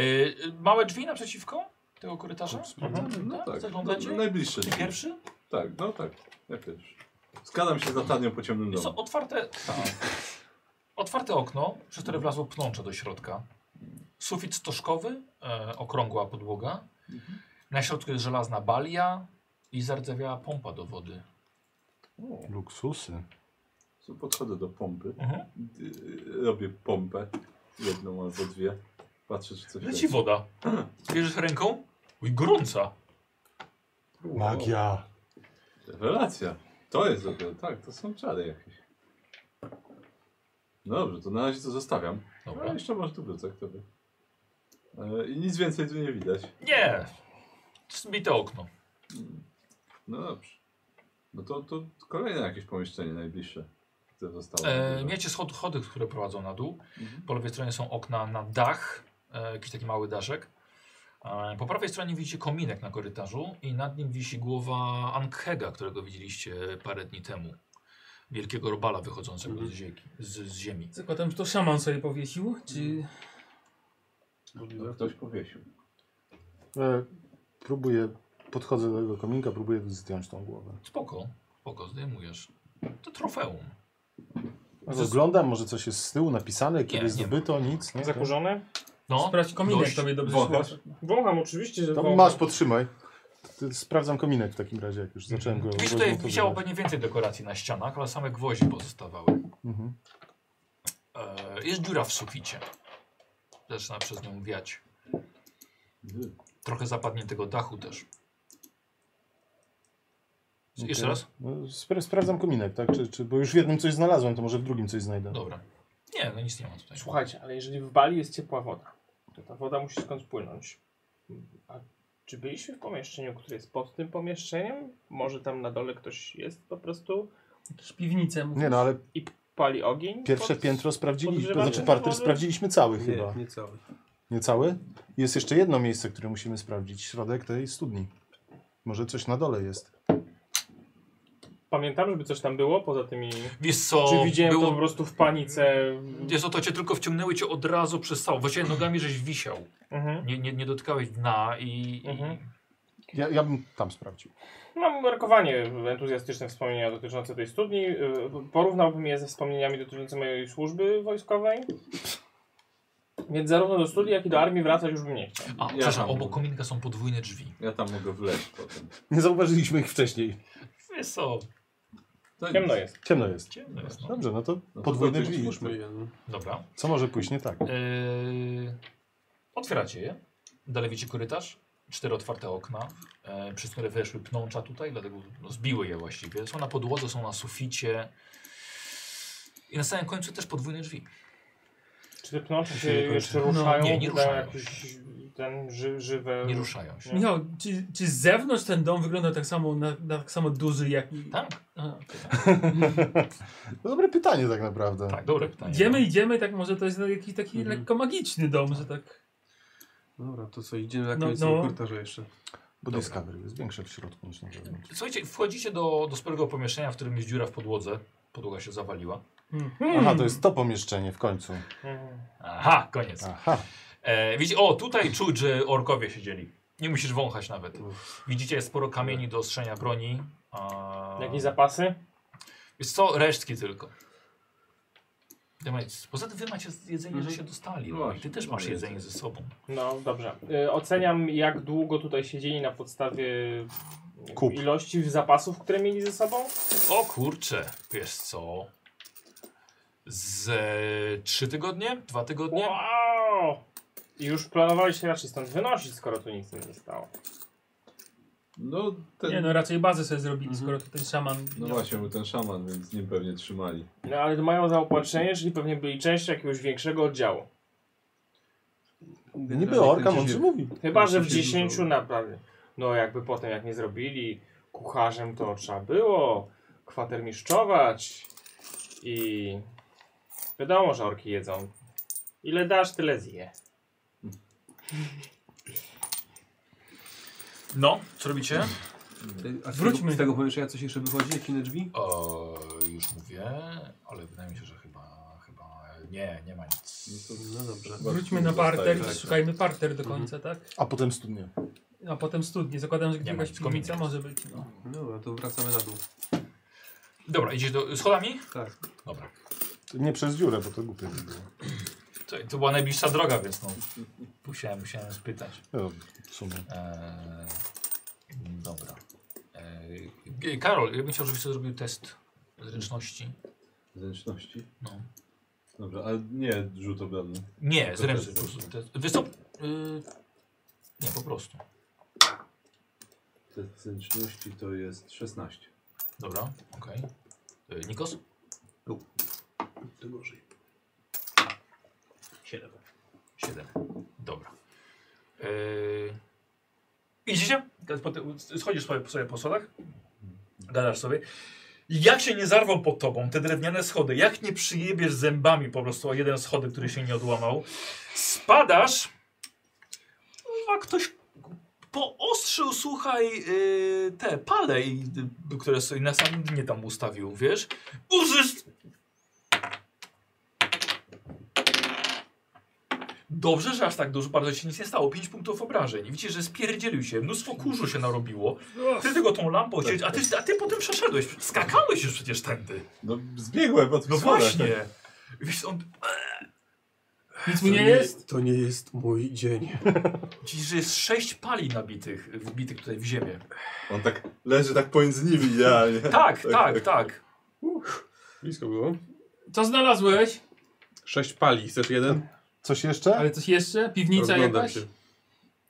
Speaker 1: małe drzwi naprzeciwko tego korytarza? Mhm,
Speaker 6: No tak,
Speaker 1: Zaglądacie?
Speaker 6: no, najbliższe
Speaker 1: Ty
Speaker 6: drzwi.
Speaker 1: pierwszy?
Speaker 6: Tak, no tak, ja pierwszy. Skadam się z latarnią po ciemnym
Speaker 1: Jest
Speaker 6: domu.
Speaker 1: to otwarte,
Speaker 6: Tak.
Speaker 1: otwarte okno, przez które wlazło pnącze do środka. Sufit stożkowy, e, okrągła podłoga.
Speaker 6: Mhm.
Speaker 1: Na środku jest żelazna balia i zardzewiała pompa do wody.
Speaker 5: Luksusy.
Speaker 6: So, podchodzę do pompy,
Speaker 1: Mhm.
Speaker 6: y, robię pompę, jedną albo dwie, patrzę czy coś
Speaker 1: Leci woda. Bierzesz ręką? Uj, gorąca.
Speaker 5: Magia.
Speaker 6: Rewelacja. To jest dopiero, tak, to są czary jakieś. No dobrze, to na razie to zostawiam.
Speaker 1: Dobra.
Speaker 6: Ale jeszcze może tu wrócę, kto wie. E, I nic więcej tu nie widać.
Speaker 1: Nie! Zbite okno.
Speaker 6: No dobrze. No to, to kolejne jakieś pomieszczenie najbliższe, które zostało.
Speaker 1: E, miecie schody, chody, które prowadzą na dół.
Speaker 6: Mhm.
Speaker 1: Po lewej stronie są okna na dach, e, jakiś taki mały daszek. E, po prawej stronie widzicie kominek na korytarzu i nad nim wisi głowa Ankhega, którego widzieliście parę dni temu. Wielkiego robala wychodzącego z, ziemi, z, z ziemi.
Speaker 4: Zakładam, że to szaman sobie powiesił, czy...
Speaker 6: No, ktoś powiesił.
Speaker 5: E, próbuję, podchodzę do tego kominka, próbuję zdjąć tą głowę.
Speaker 1: Spoko, spoko, zdejmujesz. To trofeum.
Speaker 5: Oglądam, może coś jest z tyłu napisane, kiedy
Speaker 1: nie
Speaker 5: zdobyto, nic. Nie?
Speaker 2: Zakurzone?
Speaker 1: No,
Speaker 4: Sprawdź kominek,
Speaker 1: dość-
Speaker 4: tobie dobrze
Speaker 6: wąchasz?
Speaker 4: szło.
Speaker 2: Wącham oczywiście, że
Speaker 5: To
Speaker 2: wącham.
Speaker 5: masz, potrzymaj. Ty, sprawdzam kominek w takim razie, jak już zacząłem go
Speaker 1: Widzisz,
Speaker 5: go
Speaker 1: tutaj
Speaker 5: zmontowywać.
Speaker 1: wisiało pewnie więcej dekoracji na ścianach, ale same gwoździe pozostawały.
Speaker 5: Mhm.
Speaker 1: E, jest dziura w suficie. Zaczyna przez nią wiać. Trochę zapadniętego dachu też. S-
Speaker 5: Okej.
Speaker 1: Jeszcze raz?
Speaker 5: No, spra sprawdzam kominek, tak? Czy, czy, bo już w jednym coś znalazłem, to może w drugim coś znajdę.
Speaker 1: Dobra. Nie, no nic nie ma tutaj.
Speaker 2: Słuchajcie, ale jeżeli w Bali jest ciepła woda, to ta woda musi skądś płynąć. A czy byliśmy w pomieszczeniu, które jest pod tym pomieszczeniem? Może tam na dole ktoś jest po prostu
Speaker 4: Jakieś piwnice.
Speaker 5: Nie no, ale
Speaker 2: i pali ogień?
Speaker 5: pierwsze
Speaker 2: pod...
Speaker 5: piętro sprawdziliśmy, to
Speaker 2: podgrzewanie
Speaker 5: znaczy parter
Speaker 2: może?
Speaker 5: sprawdziliśmy cały chyba.
Speaker 9: Nie, nie cały.
Speaker 5: Nie cały? Jest jeszcze jedno miejsce, które musimy sprawdzić. Środek tej studni. Może coś na dole jest.
Speaker 2: Pamiętam, żeby coś tam było poza tymi...
Speaker 1: Wiesz co,
Speaker 2: czy widziałem to
Speaker 1: było...
Speaker 2: po prostu w panice?
Speaker 1: Wiesz co, to cię tylko wciągnęły cię od razu przez całą. Właściwie nogami żeś wisiał.
Speaker 2: Mhm.
Speaker 1: Nie, nie, nie dotykałeś dna i... i...
Speaker 2: Mhm.
Speaker 5: Ja, ja bym tam sprawdził.
Speaker 2: Mam umiarkowanie entuzjastyczne wspomnienia dotyczące tej studni. Yy, Porównałbym je ze wspomnieniami dotyczącymi mojej służby wojskowej. Więc zarówno do studni, jak i do armii wracać już bym nie chciał.
Speaker 1: A, przepraszam, obok kominka są podwójne drzwi.
Speaker 6: Ja tam mogę wleźć potem.
Speaker 5: Nie zauważyliśmy ich wcześniej.
Speaker 1: Wiesz co,
Speaker 6: To
Speaker 2: Ciemno
Speaker 6: nic.
Speaker 2: jest.
Speaker 5: Ciemno jest.
Speaker 1: ciemno jest, no.
Speaker 5: Dobrze, no to
Speaker 6: No to
Speaker 5: podwójne
Speaker 6: dobrze,
Speaker 5: drzwi.
Speaker 9: Otwórzmy je, no.
Speaker 1: Dobra.
Speaker 5: Co może pójść nie tak?
Speaker 1: Yy, otwieracie je. Dalej widzicie korytarz. Cztery otwarte okna, yy, przez które weszły pnącza tutaj, dlatego no, zbiły je właściwie. Są na podłodze, są na suficie. I na samym końcu też podwójne drzwi.
Speaker 2: Czy te pnącze się
Speaker 1: nie kończy.
Speaker 2: jeszcze
Speaker 1: No,
Speaker 2: ruszają?
Speaker 1: nie, nie ruszają.
Speaker 2: Wydają Jakieś ten ży, żywe...
Speaker 1: Nie ruszają się.
Speaker 4: Michał, czy, czy z zewnątrz ten dom wygląda tak samo, na, na tak samo duży jak... i-
Speaker 1: Tak,
Speaker 4: A,
Speaker 5: To dobre pytanie tak naprawdę.
Speaker 1: tak, dobre pytanie.
Speaker 4: Idziemy, idziemy, tak może to jest jakiś taki lekko magiczny dom, że tak...
Speaker 9: Dobra, to co, idziemy na
Speaker 4: No,
Speaker 9: koniec
Speaker 4: no.
Speaker 9: no, korytarza jeszcze.
Speaker 5: Bo Discovery jest większe w środku niż na zewnątrz.
Speaker 1: Słuchajcie, wchodzicie do, do sporego pomieszczenia, w którym jest dziura w podłodze. Podłoga się zawaliła.
Speaker 4: Hmm.
Speaker 5: Aha, to jest to pomieszczenie w końcu.
Speaker 2: Mhm.
Speaker 1: Aha, koniec.
Speaker 5: Aha.
Speaker 1: E, widzicie, o, tutaj czuć, że orkowie siedzieli. Nie musisz wąchać nawet. Widzicie, jest sporo kamieni do ostrzenia broni. A...
Speaker 2: Jakieś zapasy?
Speaker 1: Jest co? Resztki tylko. Ty macie- Poza tym wy macie jedzenie, że się dostali. No, i ty też masz jedzenie ze sobą.
Speaker 2: No dobrze. Y, oceniam jak długo tutaj siedzieli na podstawie
Speaker 5: Kup.
Speaker 2: ilości zapasów, które mieli ze sobą.
Speaker 1: O kurczę, wiesz co? Z e, trzy tygodnie? Dwa tygodnie?
Speaker 2: Wow! I już planowali się raczej stąd wynosić, skoro tu nic nie zostało.
Speaker 6: No, ten,
Speaker 4: Nie no, raczej bazę sobie zrobili, skoro tutaj szaman...
Speaker 6: no właśnie, był ten szaman, więc z nim pewnie trzymali.
Speaker 2: No ale mają zaopatrzenie, czyli pewnie byli częścią jakiegoś większego oddziału.
Speaker 5: Niby orka mądrze mówi.
Speaker 2: Chyba, że w
Speaker 9: To się
Speaker 2: 10
Speaker 9: dużo-
Speaker 2: naprawdę. No jakby potem jak nie zrobili kucharzem to trzeba było kwatermistrzować i wiadomo, że orki jedzą. Ile dasz, tyle zje.
Speaker 8: No, co robicie?
Speaker 9: A z
Speaker 4: Wróćmy.
Speaker 9: Tego, z tego pomieszczenia coś jeszcze wychodzi? Jakie drzwi?
Speaker 1: O, już mówię, ale wydaje mi się, że chyba, chyba nie, nie ma nic.
Speaker 6: No, to,
Speaker 9: No dobrze.
Speaker 4: Wróćmy na parter i szukajmy parter do końca, tak?
Speaker 5: A potem studnie.
Speaker 4: A potem studnie. Zakładam, że
Speaker 1: Nie
Speaker 4: jakaś
Speaker 1: ma, kominek
Speaker 4: piwnica może być. No.
Speaker 9: Dobra, to wracamy na dół.
Speaker 1: Dobra, idziesz do, schodami?
Speaker 9: Tak.
Speaker 1: Dobra.
Speaker 5: Nie przez dziurę, bo to głupie by było.
Speaker 1: To, to była najbliższa droga, więc no, musiałem, musiałem spytać.
Speaker 5: No, w sumie.
Speaker 1: Eee, dobra. Eee, g- Karol, ja bym chciał, żebyś sobie zrobił test zręczności.
Speaker 6: Zręczności.
Speaker 1: No.
Speaker 6: Dobrze, ale nie rzut obronny.
Speaker 1: Nie,
Speaker 6: To
Speaker 1: zręczny
Speaker 6: też
Speaker 1: po prostu. Test. Wiesz co? Eee, nie, po prostu.
Speaker 6: Test zręczności to jest 16.
Speaker 1: Dobra, okej. Eee, Nikos?
Speaker 9: To gorzej.
Speaker 1: Siedem. Siedem. Dobra. Eee, idziecie? Teraz po ty- Schodzisz sobie, sobie po schodach? Gadasz sobie. Jak się nie zarwą pod tobą te drewniane schody, jak nie przyjebiesz zębami po prostu o jeden schody, który się nie odłamał, spadasz, a ktoś poostrzył, słuchaj, yy, te pale, i- y, które sobie na samym dnie tam ustawił, wiesz? Uzysk... Dobrze, że aż tak dużo, bardzo się nic nie stało. 5 punktów obrażeń. Widzicie, że spierdzielił się, mnóstwo kurzu się narobiło. Ty tylko tą lampą chciałeś, a ty, a ty potem przeszedłeś. Skakałeś już przecież tędy.
Speaker 6: No zbiegłem od
Speaker 1: No
Speaker 6: schodach,
Speaker 1: właśnie.
Speaker 6: tak.
Speaker 1: Wiesz, on
Speaker 4: Nic mu nie jest?
Speaker 9: To nie jest mój dzień.
Speaker 1: widzisz, że jest 6 pali nabitych, wbitych tutaj w ziemię.
Speaker 6: On tak leży tak pomiędzy nimi, ja nie.
Speaker 1: Tak,
Speaker 6: Tak,
Speaker 1: tak,
Speaker 6: tak.
Speaker 1: tak.
Speaker 9: Blisko było.
Speaker 4: Co znalazłeś?
Speaker 9: Sześć pali. Chcesz jeden?
Speaker 5: Coś jeszcze?
Speaker 4: Ale coś jeszcze? Piwnica
Speaker 9: Rozglądam
Speaker 4: jakaś?
Speaker 9: się.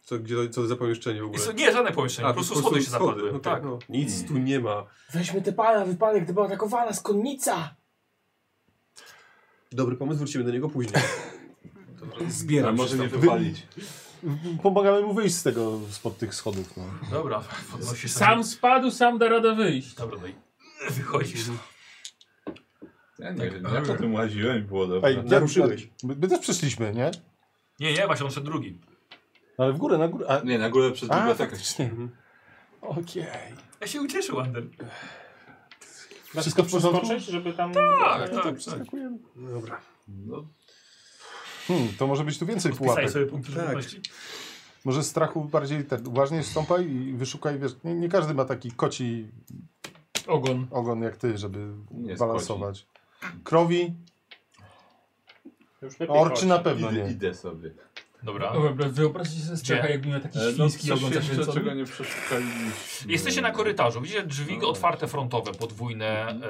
Speaker 9: Co, gdzie, co za pomieszczenie w ogóle?
Speaker 1: Jest, nie, żadne pomieszczenie,
Speaker 9: A,
Speaker 1: po prostu schody się zapadły.
Speaker 9: okej,
Speaker 1: tak.
Speaker 9: no. Nic tu nie ma.
Speaker 2: Weźmy te pana, wypadek, gdy była atakowana skądnica!
Speaker 9: Dobry pomysł, wrócimy do niego później. No,
Speaker 6: A
Speaker 5: Zbieram
Speaker 6: może
Speaker 5: się
Speaker 6: nie
Speaker 5: stąd.
Speaker 6: wypalić.
Speaker 5: Wy- Pomagamy mu wyjść z tego, spod tych schodów. No.
Speaker 1: Dobra, podnosi się.
Speaker 4: Sam spadł, sam da radę wyjść.
Speaker 1: Dobra, no i wychodzisz.
Speaker 6: Ja nie wiem, ja po tym łaziłem i było dobrze.
Speaker 5: Ej,
Speaker 9: naruszyłeś.
Speaker 5: My, my też przyszliśmy, nie? No,
Speaker 1: Nie, nie, właśnie on szedł drugi.
Speaker 5: Ale w górę, na górę. A,
Speaker 6: Nie, na górę przez
Speaker 5: a tak.
Speaker 6: bibliotekę.
Speaker 5: faktycznie.
Speaker 1: Mhm.
Speaker 5: Okej.
Speaker 1: Ja się ucieszył, Ander.
Speaker 5: Wszystko w porządku?
Speaker 2: Znaczy, Skoczyć, żeby tam...
Speaker 1: Tak,
Speaker 5: No
Speaker 1: tak, tak.
Speaker 9: Dobra.
Speaker 6: No,
Speaker 5: Hmm, to może być tu więcej
Speaker 1: Wpisaj
Speaker 5: pułapek.
Speaker 1: sobie punkty
Speaker 9: Tak.
Speaker 1: żywności.
Speaker 5: Może strachu bardziej ten, uważnie stąpaj i wyszukaj, wiesz, nie, nie każdy ma taki koci
Speaker 4: Ogon.
Speaker 5: ogon jak ty, żeby
Speaker 6: Nie,
Speaker 5: balansować. Krowi,
Speaker 2: Już lepiej
Speaker 5: orczy
Speaker 2: chodzi.
Speaker 5: na pewno
Speaker 6: idę,
Speaker 5: nie.
Speaker 6: idę sobie.
Speaker 1: Dobra.
Speaker 4: Dobra, No, wyobraźcie sobie Stracha,
Speaker 1: Gdzie?
Speaker 4: jakby miał taki
Speaker 6: E, No,
Speaker 4: świński
Speaker 6: coś
Speaker 4: ogon
Speaker 6: jeszcze, czego
Speaker 4: zakręcony.
Speaker 6: nie przeszukaliśmy.
Speaker 1: Jesteście na korytarzu. Widzicie drzwi
Speaker 6: No.
Speaker 1: otwarte frontowe, podwójne. em,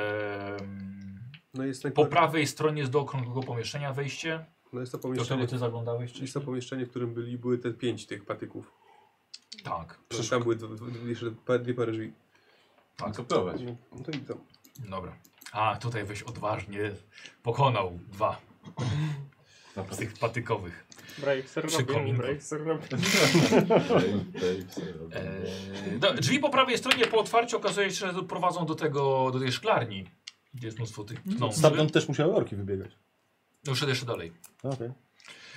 Speaker 9: No jest ten
Speaker 1: po
Speaker 9: korytarz.
Speaker 1: prawej stronie jest do okrągłego pomieszczenia wejście.
Speaker 9: No jest to
Speaker 1: Do którego
Speaker 9: pomieszczenie,
Speaker 1: ty zaglądałeś?
Speaker 9: jest to pomieszczenie, w którym byli, były te pięć tych patyków.
Speaker 1: Tak,
Speaker 9: To Tam były dwa- dwa- jeszcze pa- dwie pary drzwi.
Speaker 6: Tak, prowadź.
Speaker 9: No to i tam.
Speaker 1: dobra. A, tutaj weź odważnie pokonał dwa z tych patykowych.
Speaker 2: Bracer
Speaker 1: Przy
Speaker 2: Robin,
Speaker 1: kominku.
Speaker 2: Bracer Robin.
Speaker 1: Eee, do, drzwi po prawej stronie po otwarciu okazuje się, że prowadzą do tego, do tej szklarni. Gdzie jest mnóstwo tych pląsów.
Speaker 5: Stamtąd też musiały orki wybiegać.
Speaker 1: No już jeszcze dalej. Eee,
Speaker 5: Okej.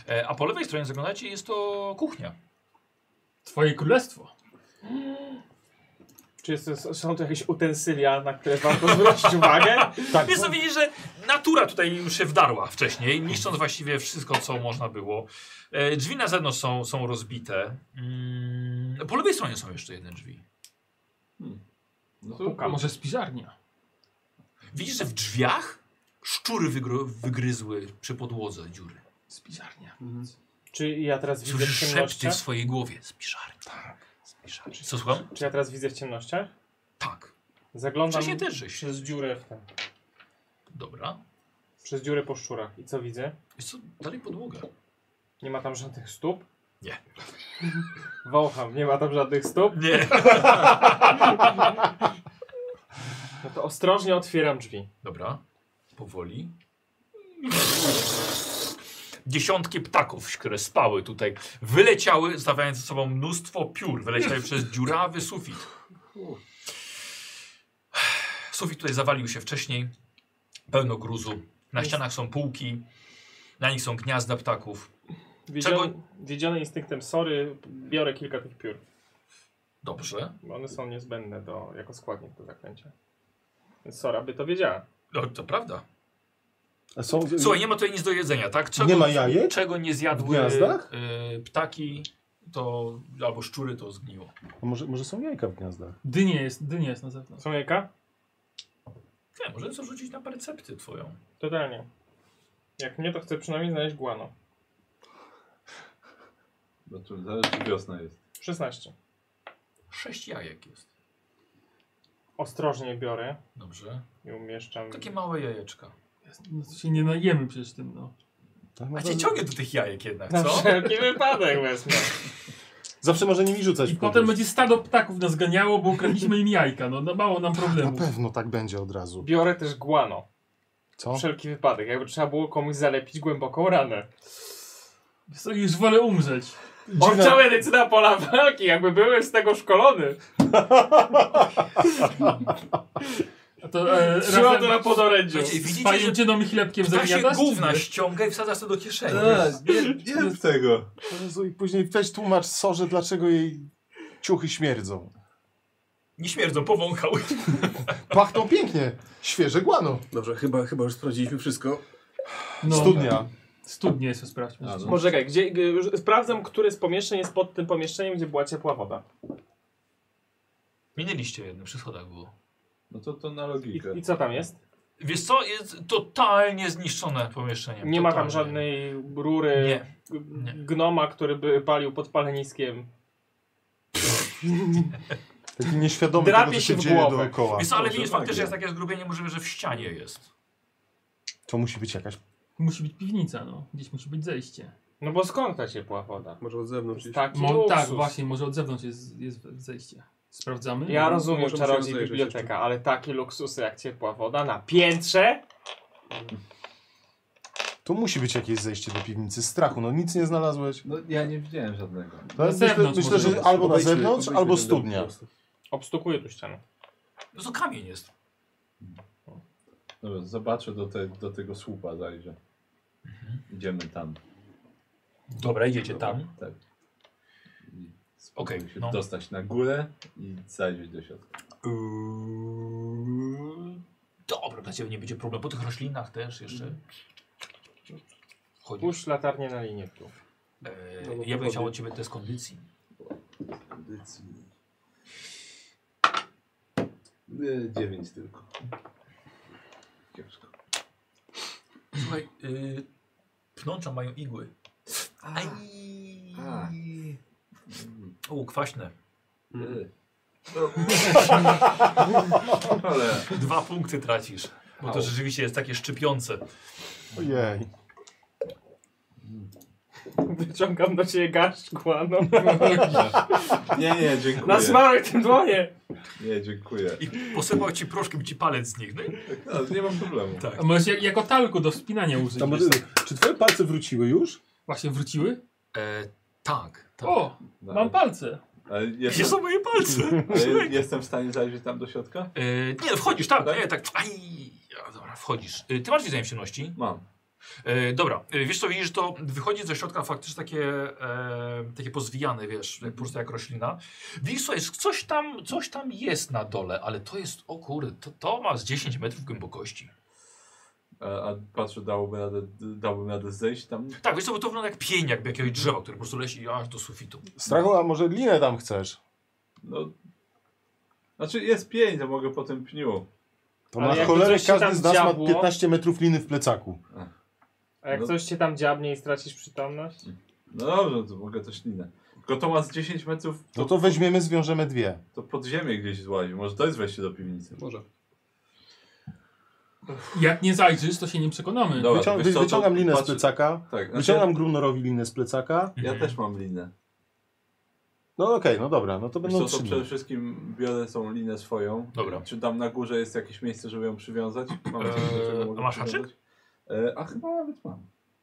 Speaker 1: E, a po lewej stronie zaglądacie jest to kuchnia.
Speaker 4: Twoje królestwo.
Speaker 2: Czy jest, są to jakieś utensylia, na które warto zwrócić uwagę?
Speaker 16: Tak.
Speaker 1: Więc to widzisz, że natura tutaj już się wdarła wcześniej, niszcząc właściwie wszystko, co można było. E, drzwi na zewnątrz są, są rozbite. Mm, po lewej stronie są jeszcze jedne drzwi.
Speaker 6: No to
Speaker 4: Puka, może z piżarnia.
Speaker 1: Widzisz, że w drzwiach szczury wygro, wygryzły przy podłodze dziury.
Speaker 4: Z piżarnia.
Speaker 2: Czy ja teraz widzę w
Speaker 1: Słyszysz szepty
Speaker 2: ciemnościach?
Speaker 1: w swojej głowie. Spiszarni. Tak. Co słucham?
Speaker 2: Czy ja teraz widzę w ciemnościach?
Speaker 1: Tak.
Speaker 2: Zaglądam
Speaker 1: Wcześniej też żeś.
Speaker 2: przez dziurę w ten,
Speaker 1: Dobra.
Speaker 2: przez dziurę po szczurach. I co widzę?
Speaker 1: Jest co, dalej podłoga.
Speaker 2: Nie ma tam żadnych stóp?
Speaker 1: Nie.
Speaker 2: Wącham, nie ma tam żadnych stóp.
Speaker 1: Nie.
Speaker 2: No to ostrożnie otwieram drzwi.
Speaker 1: Dobra. Powoli. Dziesiątki ptaków, które spały tutaj, wyleciały, stawiając ze sobą mnóstwo piór. Wyleciały przez dziurawy sufit. Sufit tutaj zawalił się wcześniej. Pełno gruzu. Na ścianach są półki. Na nich są gniazda ptaków.
Speaker 2: Wiedziony, wiedziony instynktem sory, biorę kilka tych piór.
Speaker 1: Dobrze.
Speaker 2: Bo one są niezbędne do, jako składnik do zaklęcia. Więc Sora by to wiedziała.
Speaker 1: No, to prawda.
Speaker 16: A Są,
Speaker 1: Słuchaj, nie ma tutaj nic do jedzenia, tak? Czego,
Speaker 16: nie ma jajek?
Speaker 1: czego nie
Speaker 16: W
Speaker 1: zjadły
Speaker 16: gniazdach?
Speaker 1: y, ptaki, to albo szczury to zgniło.
Speaker 16: A Może, może są jajka w gniazdach?
Speaker 4: Dynie jest, dynie jest na zewnątrz.
Speaker 2: Są jajka?
Speaker 1: Nie, może co rzucić na percepcję twoją.
Speaker 2: Totalnie. Jak nie, to chcę przynajmniej znaleźć guano.
Speaker 6: Znaczy, zależy czy wiosna jest.
Speaker 2: 16.
Speaker 1: Sześć jajek jest.
Speaker 2: Ostrożnie biorę
Speaker 1: Dobrze.
Speaker 2: i umieszczam.
Speaker 1: Takie małe jajeczka.
Speaker 4: No to się nie najemy przecież tym, no.
Speaker 16: Tak,
Speaker 1: A
Speaker 16: może-
Speaker 1: cię ciągnie do tych jajek jednak,
Speaker 2: Na
Speaker 1: co?
Speaker 2: wszelki wypadek wezmę.
Speaker 16: Zawsze może nimi rzucać.
Speaker 4: I
Speaker 16: w
Speaker 4: potem
Speaker 16: kogoś.
Speaker 4: będzie stado ptaków nas ganiało, bo ukradliśmy im jajka. No, no mało nam
Speaker 5: Na
Speaker 4: problemów.
Speaker 5: pewno tak będzie od razu.
Speaker 2: Biorę też guano.
Speaker 5: Co?
Speaker 2: Wszelki wypadek. Jakby trzeba było komuś zalepić głęboką ranę.
Speaker 4: Wiesz co, Już wolę umrzeć.
Speaker 2: Orczowe edycyna pola walki, jakby byłem z tego szkolony.
Speaker 4: A to e,
Speaker 2: Trzymam to na
Speaker 4: razem
Speaker 2: podorędziu.
Speaker 1: Wiecie,
Speaker 4: z
Speaker 1: widzicie, że
Speaker 4: pajęczyną i chlebkiem
Speaker 1: ptasie
Speaker 4: zamiadasz?
Speaker 1: gówna ściąga i wsadzasz to do kieszeni.
Speaker 6: Tak,
Speaker 2: Tak.
Speaker 6: Nie rób tego.
Speaker 5: Jezu, I później weź tłumacz Sorze, dlaczego jej ciuchy śmierdzą.
Speaker 1: Nie śmierdzą, powąchał.
Speaker 5: Pachną pięknie. Świeże guano.
Speaker 7: Dobrze, chyba, chyba już sprawdziliśmy wszystko.
Speaker 4: No,
Speaker 5: tak. Studnia.
Speaker 4: Studnie jest, sprawdźmy.
Speaker 6: A, no.
Speaker 2: Poczekaj, gdzie, y, już sprawdzam, które z pomieszczeń jest pod tym pomieszczeniem, gdzie była ciepła woda.
Speaker 1: Minęliście jednym przy schodach było.
Speaker 6: No to to na
Speaker 2: I,
Speaker 6: logikę.
Speaker 2: i co tam jest?
Speaker 1: Wiesz co, jest totalnie zniszczone pomieszczenie.
Speaker 2: Nie ma tam
Speaker 1: Totalnie.
Speaker 2: żadnej rury
Speaker 1: Nie.
Speaker 2: g-
Speaker 1: nie.
Speaker 2: gnoma, który by palił pod paleniskiem.
Speaker 5: Taki nieświadomy
Speaker 2: Drapie
Speaker 5: tego, co
Speaker 2: się
Speaker 5: się
Speaker 2: w
Speaker 5: dzieje
Speaker 2: głowę.
Speaker 5: dookoła.
Speaker 1: Wiesz co, ale
Speaker 6: Może
Speaker 1: widzisz,
Speaker 6: tak
Speaker 1: faktycznie jest
Speaker 6: jest.
Speaker 1: takie zgrubienie, możliwe, że w ścianie jest.
Speaker 5: To musi być jakaś...
Speaker 4: Musi być piwnica, no. Gdzieś musi być zejście.
Speaker 2: No bo skąd ta ciepła woda?
Speaker 7: Może od
Speaker 2: To
Speaker 7: zewnątrz.
Speaker 2: jest
Speaker 7: iść.
Speaker 2: Taki
Speaker 4: Mo
Speaker 2: luksus.
Speaker 4: tak, właśnie, może od zewnątrz jest, jest zejście. Sprawdzamy?
Speaker 2: Ja rozumiem
Speaker 7: Mhm. Możemy się
Speaker 2: czarodziej
Speaker 7: rozejrzeć
Speaker 2: biblioteka,
Speaker 7: jeszcze.
Speaker 2: ale takie luksusy jak ciepła woda na piętrze?
Speaker 5: To musi być jakieś zejście do piwnicy. Strachu, no nic nie znalazłeś.
Speaker 6: No ja nie widziałem żadnego.
Speaker 5: To
Speaker 4: Na
Speaker 5: myślę,
Speaker 4: zewnątrz
Speaker 5: myślę,
Speaker 4: może
Speaker 5: że
Speaker 4: być.
Speaker 5: albo na
Speaker 7: Obejdźmy-
Speaker 5: zewnątrz,
Speaker 7: obejdźmy
Speaker 5: albo
Speaker 7: ten dom po
Speaker 5: studnia.
Speaker 7: prostu.
Speaker 2: Obstukuję tu ścianę.
Speaker 1: No to kamień jest.
Speaker 6: Dobra, zobaczę do, te, do tego słupa zajrzę. Idziemy tam.
Speaker 1: Dobra, idziecie tam.
Speaker 6: Tak. I
Speaker 1: Okej,
Speaker 6: spróbuję się
Speaker 1: no.
Speaker 6: dostać na górę i zajrzeć do środka.
Speaker 1: Yy, Dobra, dla ciebie nie będzie problem. Po tych roślinach też jeszcze. Chodzisz.
Speaker 2: Puść latarnię na linię tu.
Speaker 1: Eee,
Speaker 7: No, no,
Speaker 1: ja bym
Speaker 7: powoli.
Speaker 1: chciał od ciebie test kondycji.
Speaker 7: Kondycji. Nie, Dziewięć tylko.
Speaker 6: Kiepsko.
Speaker 1: Słuchaj, yy, pnącza mają igły. Aj.
Speaker 6: A.
Speaker 1: Mm. O, kwaśne.
Speaker 6: Yy. No. Ale
Speaker 1: Dwa punkty tracisz. Bo to
Speaker 6: Au.
Speaker 1: rzeczywiście jest takie szczypiące.
Speaker 5: Ojej.
Speaker 2: Wyciągam do ciebie garść guano.
Speaker 6: nie, nie, dziękuję.
Speaker 2: Na smarek tym dłonie.
Speaker 6: Nie, dziękuję.
Speaker 1: I posypał ci proszkiem ci palec z nich. No, i
Speaker 6: No, nie mam problemu.
Speaker 1: tak.
Speaker 4: A możesz jak, jako talku do wspinania użyć.
Speaker 16: A może,
Speaker 4: wiesz co?
Speaker 16: czy twoje palce wróciły już?
Speaker 4: Właśnie wróciły?
Speaker 1: Eee, tak, tak.
Speaker 4: O,
Speaker 6: No,
Speaker 4: mam palce.
Speaker 6: ale
Speaker 1: Gdzie
Speaker 6: jestem,
Speaker 1: są moje palce? E,
Speaker 6: ale jestem w stanie zajrzeć tam do środka?
Speaker 1: E, Eee, nie, wchodzisz, tak, nie, tak. Aj. A, Dobra, wchodzisz. Eee, ty masz widzenie w ciemności?
Speaker 6: Mam.
Speaker 1: E, dobra, e, wiesz co, widzisz, to wychodzi ze środka faktycznie takie, e, takie pozwijane, wiesz, jak- po prostu jak roślina. Widzisz, co jest, coś tam, coś tam jest na dole, ale to jest, o kurde, to, to ma z 10 metrów głębokości.
Speaker 6: A, a patrzę, dałoby radę, dałbym radę zejść tam.
Speaker 1: Tak, wiesz co, bo to wygląda jak pień, jakby jakiegoś drzewa, które po prostu leci aż do sufitu.
Speaker 5: Strachu, a może linę tam chcesz?
Speaker 6: No. Znaczy jest pięć, to mogę po tym pniu.
Speaker 5: To
Speaker 2: Ale
Speaker 5: na
Speaker 2: jakby
Speaker 5: cholerę
Speaker 2: coś się
Speaker 5: każdy
Speaker 2: tam
Speaker 5: z nas
Speaker 2: działo-
Speaker 5: ma 15 metrów liny w plecaku.
Speaker 2: A jak
Speaker 6: No.
Speaker 2: coś cię tam dziabnie i stracisz przytomność?
Speaker 6: No dobrze, to mogę też linę. Tylko to ma z 10 metrów, to,
Speaker 5: No to weźmiemy, zwiążemy dwie.
Speaker 6: to pod ziemię gdzieś złazi. Może to jest wejście do piwnicy.
Speaker 7: Może.
Speaker 4: Jak nie zajrzysz, to się nie przekonamy.
Speaker 6: Dobra,
Speaker 5: Wycią
Speaker 6: wiesz co, to
Speaker 5: wyciągam linę z
Speaker 6: patrzę-
Speaker 5: plecaka.
Speaker 6: Tak, znaczy,
Speaker 5: Wyciągam Grumnorowi linę z plecaka.
Speaker 6: ja
Speaker 1: Mhm.
Speaker 6: też mam linę.
Speaker 5: No okej, no dobra, no to
Speaker 6: Wiesz
Speaker 5: będą
Speaker 6: co,
Speaker 5: trzy.
Speaker 6: to
Speaker 5: dni.
Speaker 6: przede wszystkim biorę tą linę swoją.
Speaker 1: Dobra.
Speaker 6: Czy tam na górze jest jakieś miejsce, żeby ją przywiązać? Mam
Speaker 1: Eee,
Speaker 6: coś, do czego mogę
Speaker 1: a masz
Speaker 6: przywiązać? E, a chyba nawet mam.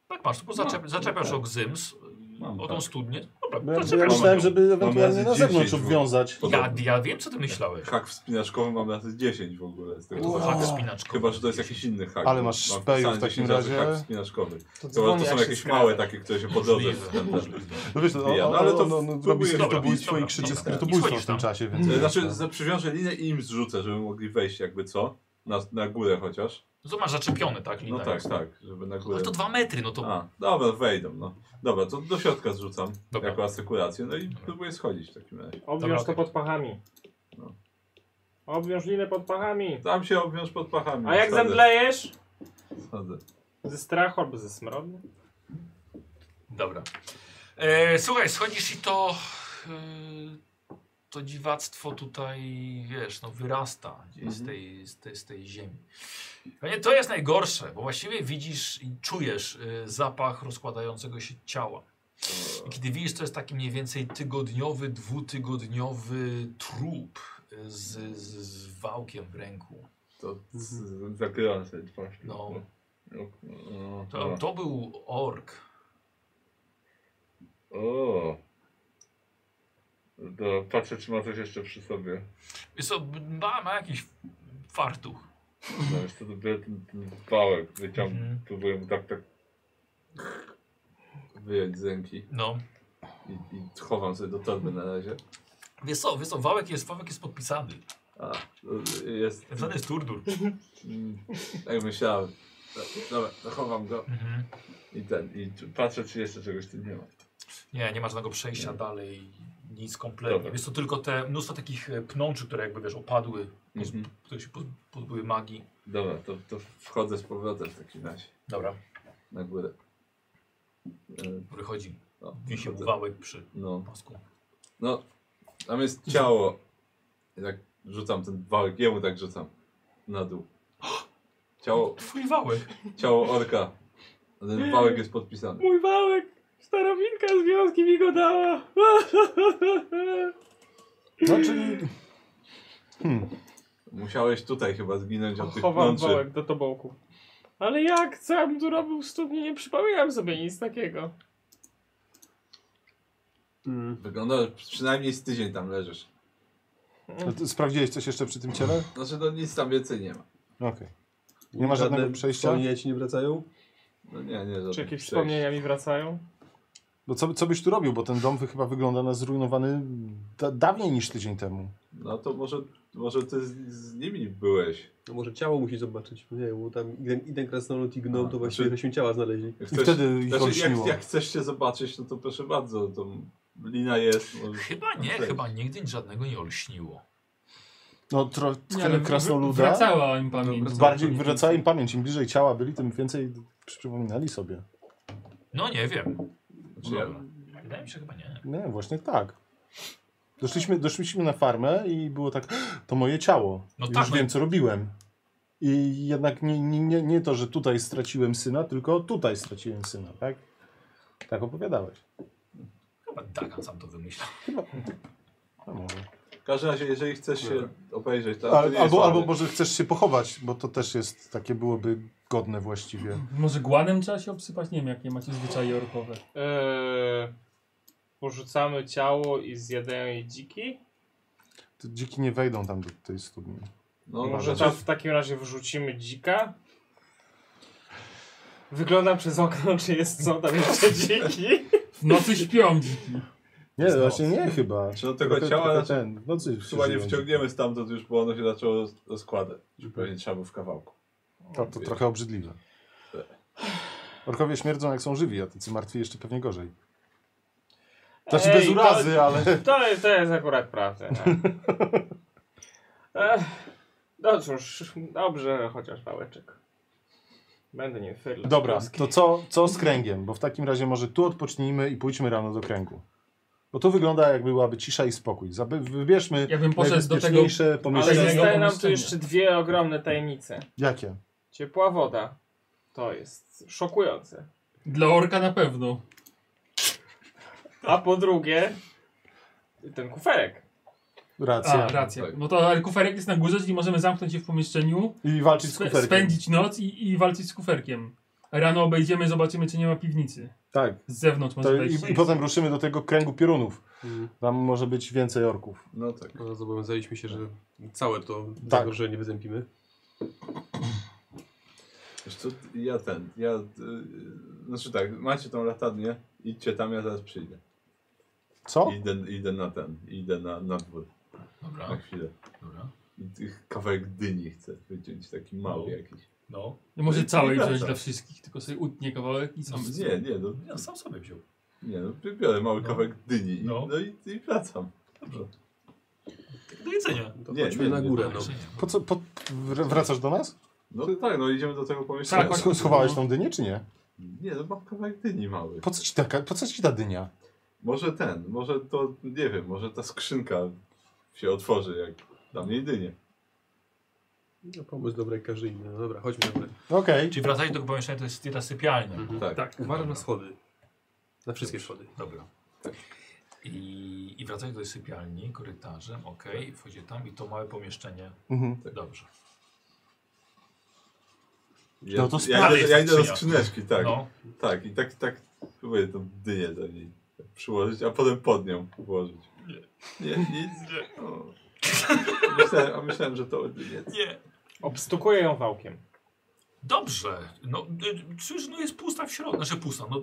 Speaker 1: Tak masz, tylko zaczep,
Speaker 6: No,
Speaker 1: zaczepiasz
Speaker 6: tak.
Speaker 1: o gzyms,
Speaker 6: Mam,
Speaker 1: o tą
Speaker 6: tak.
Speaker 1: studnię.
Speaker 5: Ja,
Speaker 1: Dobra,
Speaker 5: ja
Speaker 1: zaczepiasz
Speaker 5: myślałem,
Speaker 1: ją.
Speaker 5: żeby ewentualnie
Speaker 6: razy
Speaker 5: na zewnątrz
Speaker 6: 10
Speaker 5: obwiązać.
Speaker 6: No
Speaker 1: Ja, ja wiem, co ty myślałeś.
Speaker 6: Hak wspinaczkowy mam na to 10 w ogóle. Z tego
Speaker 5: Wow.
Speaker 6: co
Speaker 1: Hak
Speaker 6: patrzę.
Speaker 1: wspinaczkowy.
Speaker 6: Chyba, że to jest jakiś inny hak.
Speaker 5: Ale masz
Speaker 6: Mam
Speaker 5: szpeju w
Speaker 6: wpisane
Speaker 5: takim
Speaker 6: 10 razy
Speaker 5: razie.
Speaker 6: Hak wspinaczkowy.
Speaker 2: To,
Speaker 6: To,
Speaker 2: dzwoni,
Speaker 6: to są
Speaker 2: jak się
Speaker 6: jakieś
Speaker 2: skradę.
Speaker 6: małe takie, które się po drodze...
Speaker 1: Możliwe.
Speaker 6: ten- ten-
Speaker 5: No wiesz, no,
Speaker 6: Ja, no,
Speaker 5: ale
Speaker 6: ale
Speaker 5: to
Speaker 6: to
Speaker 5: on, on, on robi
Speaker 6: spróbuję.
Speaker 5: skrytobójstwo
Speaker 1: Dobra,
Speaker 5: i
Speaker 1: dobra,
Speaker 5: krzyczy
Speaker 1: dobra.
Speaker 5: skrytobójstwo
Speaker 1: I
Speaker 5: w tym
Speaker 1: schodzisz tam.
Speaker 5: czasie, więc...
Speaker 6: E, Znaczy, za- przywiążę linę i im zrzucę, żeby mogli wejść jakby co? Na, na górę chociaż.
Speaker 1: No to masz zaczepiony, tak?
Speaker 6: No
Speaker 1: Lina
Speaker 6: tak,
Speaker 1: jest.
Speaker 6: tak, żeby na górę.
Speaker 1: Ale to dwa metry, no to...
Speaker 6: A, dobra, wejdą, no. Dobra, to do środka zrzucam
Speaker 1: Dobra.
Speaker 6: jako asekurację, no i próbuję schodzić w takim razie.
Speaker 2: Obwiąż
Speaker 1: Dobra,
Speaker 2: to pod pachami.
Speaker 6: No.
Speaker 2: Obwiąż linę pod pachami.
Speaker 6: Tam się obwiąż pod pachami.
Speaker 2: A jak
Speaker 6: No, wsadzę-
Speaker 2: zemdlejesz?
Speaker 6: wsadzę.
Speaker 2: Ze strachu albo ze smrodu?
Speaker 1: Dobra. E, słuchaj, schodzisz i to... E, to dziwactwo tutaj, wiesz, no wyrasta gdzieś z, tej, z, tej, z tej ziemi. Panie, to jest najgorsze, bo właściwie widzisz i czujesz e, zapach rozkładającego się ciała. I kiedy widzisz, to jest taki mniej więcej tygodniowy, dwutygodniowy trup e, z, z, z wałkiem w ręku.
Speaker 6: To zakryłam sobie twarz.
Speaker 1: No.
Speaker 6: No, no,
Speaker 1: To, to był ork.
Speaker 6: O. Do, patrzę, czy ma coś jeszcze przy sobie.
Speaker 1: Jest to, ma, ma jakiś fartuch.
Speaker 6: No, jeszcze to biorę ten, ten pałek, wyciągnę,
Speaker 1: Mhm.
Speaker 6: próbuję mu tak, tak wyjąć z ręki
Speaker 1: No.
Speaker 6: i, i chowam sobie do torby na razie.
Speaker 1: Wiesz co, wiesz co, wałek jest, wałek jest podpisany.
Speaker 6: A, y, jest...
Speaker 1: Wpisany jest turdur.
Speaker 6: mm, Tak myślałem. Do- Dobra, to chowam go
Speaker 1: Mhm.
Speaker 6: i ten, i tu- patrzę, czy jeszcze czegoś tu nie ma.
Speaker 1: Nie, nie ma żadnego przejścia
Speaker 6: Nie.
Speaker 1: dalej, nic kompletnie.
Speaker 6: Dobra.
Speaker 1: Jest to tylko te mnóstwo takich e, pnączy, które jakby wiesz, opadły,
Speaker 6: Mhm.
Speaker 1: które się poz- pozbyły magii.
Speaker 6: Dobra, to, to wchodzę z powrotem w takim razie
Speaker 1: Dobra.
Speaker 6: na górę. Y,
Speaker 1: Wychodzi,
Speaker 6: No,
Speaker 1: wisi
Speaker 6: wchodzę.
Speaker 1: wałek przy
Speaker 6: no,
Speaker 1: pasku.
Speaker 6: no, tam jest ciało. I tak rzucam ten wałek, jemu tak rzucam na dół. Ciało,
Speaker 1: Twój wałek.
Speaker 6: ciało orka. Ten wałek jest podpisany.
Speaker 2: Mój wałek! Starowinka z wioski mi go dała!
Speaker 5: Znaczy,
Speaker 6: Musiałeś tutaj chyba zginąć od tych
Speaker 2: Chowam
Speaker 6: plączy.
Speaker 2: wałek do tobołku. Ale jak? Co ja bym tu robił w studni? Nie przypominam sobie nic takiego.
Speaker 6: Wygląda, że przynajmniej z tydzień tam leżysz.
Speaker 5: no to sprawdziłeś coś jeszcze przy tym ciele? No
Speaker 6: Znaczy, no nic tam więcej nie ma.
Speaker 5: Okej. Nie ma żadnego przejścia?
Speaker 7: Wspomnienia ci nie wracają?
Speaker 6: No nie, nie. żadnych
Speaker 2: Czy jakieś
Speaker 6: przejść.
Speaker 2: wspomnienia mi wracają?
Speaker 5: Bo No co, co byś tu robił? Bo ten dom chyba wygląda na zrujnowany da, dawniej niż tydzień temu.
Speaker 6: No to może, może ty z, z nimi byłeś.
Speaker 7: No może ciało musi zobaczyć. Nie, bo tam i ten- i ten krasnolud i gnom
Speaker 6: A,
Speaker 7: to właściwie
Speaker 6: znaczy-
Speaker 7: żeśmy ciała znaleźli.
Speaker 6: Jak
Speaker 5: I wtedy ich
Speaker 6: znaczy, jak,
Speaker 5: olśniło.
Speaker 6: jak chcesz się zobaczyć, no to proszę bardzo, to lina jest. no, Możesz...
Speaker 1: Chyba nie,
Speaker 6: Okej.
Speaker 1: chyba nigdy żadnego nie olśniło.
Speaker 5: No, tro,
Speaker 4: Nie, ale
Speaker 5: krasnoluda.
Speaker 4: Wracała im pamięć.
Speaker 5: Bardziej wraca No, im pamięć. Im bliżej ciała byli, tym więcej przypominali sobie.
Speaker 1: No nie wiem.
Speaker 6: Znaczy, ja,
Speaker 1: Dobra. Wydaje mi się, chyba nie.
Speaker 5: Nie, właśnie tak. Doszliśmy, doszliśmy na farmę i było tak, to moje ciało.
Speaker 1: No
Speaker 5: Już
Speaker 1: tak, no
Speaker 5: wiem,
Speaker 1: i-
Speaker 5: co robiłem. I jednak nie, nie, nie, nie to, że tutaj straciłem syna, tylko tutaj straciłem syna, tak? Tak opowiadałeś.
Speaker 1: Chyba Dagan sam to wymyślał.
Speaker 5: No może.
Speaker 6: w każdym razie, jeżeli chcesz się obejrzeć, to, to nie
Speaker 5: Al,
Speaker 6: jest
Speaker 5: albo,
Speaker 6: ładne.
Speaker 5: albo może chcesz się pochować, bo to też jest takie byłoby godne właściwie.
Speaker 4: Może głanem trzeba się obsypać? Nie wiem, jakie macie zwyczaje orkowe.
Speaker 2: Eee, porzucamy ciało i zjadają je dziki?
Speaker 5: To dziki nie wejdą tam do tej studni.
Speaker 6: No,
Speaker 2: Może
Speaker 6: może
Speaker 2: tam w takim razie wyrzucimy dzika? Wyglądam przez okno, czy jest co tam jeszcze dziki.
Speaker 4: W nocy śpią dziki.
Speaker 5: Nie, właśnie nie chyba.
Speaker 6: tak. Czy do tego
Speaker 5: Trochę-
Speaker 6: ciała
Speaker 5: trochę ten, no coś
Speaker 6: Chyba nie
Speaker 5: przeżyją.
Speaker 6: wciągniemy stamtąd już, bo ono się zaczęło roz- rozkładać. Pewnie trzeba było w kawałku.
Speaker 5: To, to trochę obrzydliwe. Orkowie śmierdzą jak są żywi, a tacy martwi jeszcze pewnie gorzej. Znaczy
Speaker 2: Ej,
Speaker 5: bez
Speaker 6: no
Speaker 5: urazy,
Speaker 2: to-
Speaker 5: ale...
Speaker 2: To, jest- to jest akurat prawda. No. Ech, no cóż, dobrze, chociaż pałeczek. Będę nie fyrlał.
Speaker 5: Dobra,
Speaker 2: Kruski.
Speaker 5: to co, co z kręgiem? Bo w takim razie może tu odpocznijmy i pójdźmy rano do kręgu. Bo tu wygląda jakby byłaby cisza i spokój. Zaby, wybierzmy
Speaker 4: Ja bym poszedł do tego.
Speaker 5: najbezpieczniejsze
Speaker 2: Ale
Speaker 5: pomieszczenie.
Speaker 4: Myślę,
Speaker 2: zostaje
Speaker 4: że-
Speaker 2: nam tu jeszcze dwie ogromne tajemnice.
Speaker 5: Jakie?
Speaker 2: Ciepła woda. To jest szokujące.
Speaker 4: Dla orka na pewno.
Speaker 2: A po drugie, ten kuferek.
Speaker 5: Racja.
Speaker 4: A, racja. No to ale kuferek jest na górze, czyli możemy zamknąć się w pomieszczeniu,
Speaker 5: I walczyć z
Speaker 4: spe-
Speaker 5: kuferkiem.
Speaker 4: spędzić noc i, i walczyć z kuferkiem. Rano obejdziemy, zobaczymy, czy nie ma piwnicy.
Speaker 5: Tak.
Speaker 4: Z zewnątrz może
Speaker 5: To i,
Speaker 4: wejść.
Speaker 5: I potem ruszymy do tego kręgu piorunów.
Speaker 7: Mm.
Speaker 5: Tam może być więcej orków.
Speaker 6: No tak.
Speaker 7: No, zobowiązaliśmy się, że całe to tak.
Speaker 5: Tak.
Speaker 7: zagrożenie nie wyzępimy.
Speaker 6: Wiesz co, ja ten, ja... Yy, znaczy tak, macie tą latarnię, idźcie tam, ja zaraz przyjdę.
Speaker 5: Co?
Speaker 6: Idę, idę na ten, idę na, na dwór na
Speaker 2: Tak.
Speaker 1: Dobra,
Speaker 6: chwilę.
Speaker 1: dobra.
Speaker 6: I tych kawałek dyni chcę wyciąć, taki mały jakiś.
Speaker 1: No.
Speaker 4: No może
Speaker 6: I- i
Speaker 4: całej wziąć
Speaker 6: wraca.
Speaker 4: dla wszystkich, tylko sobie utnie kawałek i sam.
Speaker 6: Nie, nie, no,
Speaker 1: Ja sam sobie wziął.
Speaker 6: nie, no biorę mały
Speaker 1: No.
Speaker 6: kawałek dyni i,
Speaker 1: No.
Speaker 6: no. i, i wracam. Dobrze.
Speaker 1: Do jedzenia.
Speaker 7: To
Speaker 6: Nie,
Speaker 7: chodźmy
Speaker 6: nie,
Speaker 7: na
Speaker 6: nie,
Speaker 7: górę.
Speaker 1: Do
Speaker 7: no.
Speaker 1: jedzenia.
Speaker 5: Po co, po, wr- wracasz do nas?
Speaker 6: No tak, no idziemy do tego pomieszczenia.
Speaker 4: Tak,
Speaker 5: Sch- Schowałeś tą dynię, czy nie?
Speaker 6: Nie, no mam kawałek dyni mały.
Speaker 5: Po co ci, taka, po co ci ta dynia?
Speaker 6: Może ten, może to, nie wiem, może ta skrzynka się otworzy, jak dla mnie jedynie.
Speaker 7: no, pomysł dobry jak każdy inny. No dobra, chodźmy na górę.
Speaker 5: Okej.
Speaker 1: Czyli wracając do tego pomieszczenia, to jest ta sypialnia.
Speaker 6: Tak.
Speaker 4: Tak.
Speaker 7: Uważam na schody. Na wszystkie schody.
Speaker 1: Dobra. I, I wracając do tej sypialni korytarzem, okej, wchodzi tam i to małe pomieszczenie.
Speaker 5: Mhm.
Speaker 1: Dobrze.
Speaker 6: Ja,
Speaker 5: No to
Speaker 6: ja,
Speaker 1: sprawy
Speaker 6: idę, ja
Speaker 1: jest
Speaker 6: idę do
Speaker 1: skrzynia.
Speaker 6: skrzyneczki, tak.
Speaker 1: No,
Speaker 6: Tak, i tak, tak próbuję tą dynię do niej przyłożyć, a potem pod nią włożyć. Nie, nic, nie. O. Myślałem, a myślałem, że to dynie.
Speaker 1: nie.
Speaker 2: Obstukuję ją wałkiem.
Speaker 1: Dobrze. No, y, czyż no jest pusta w środku. Znaczy pusta, no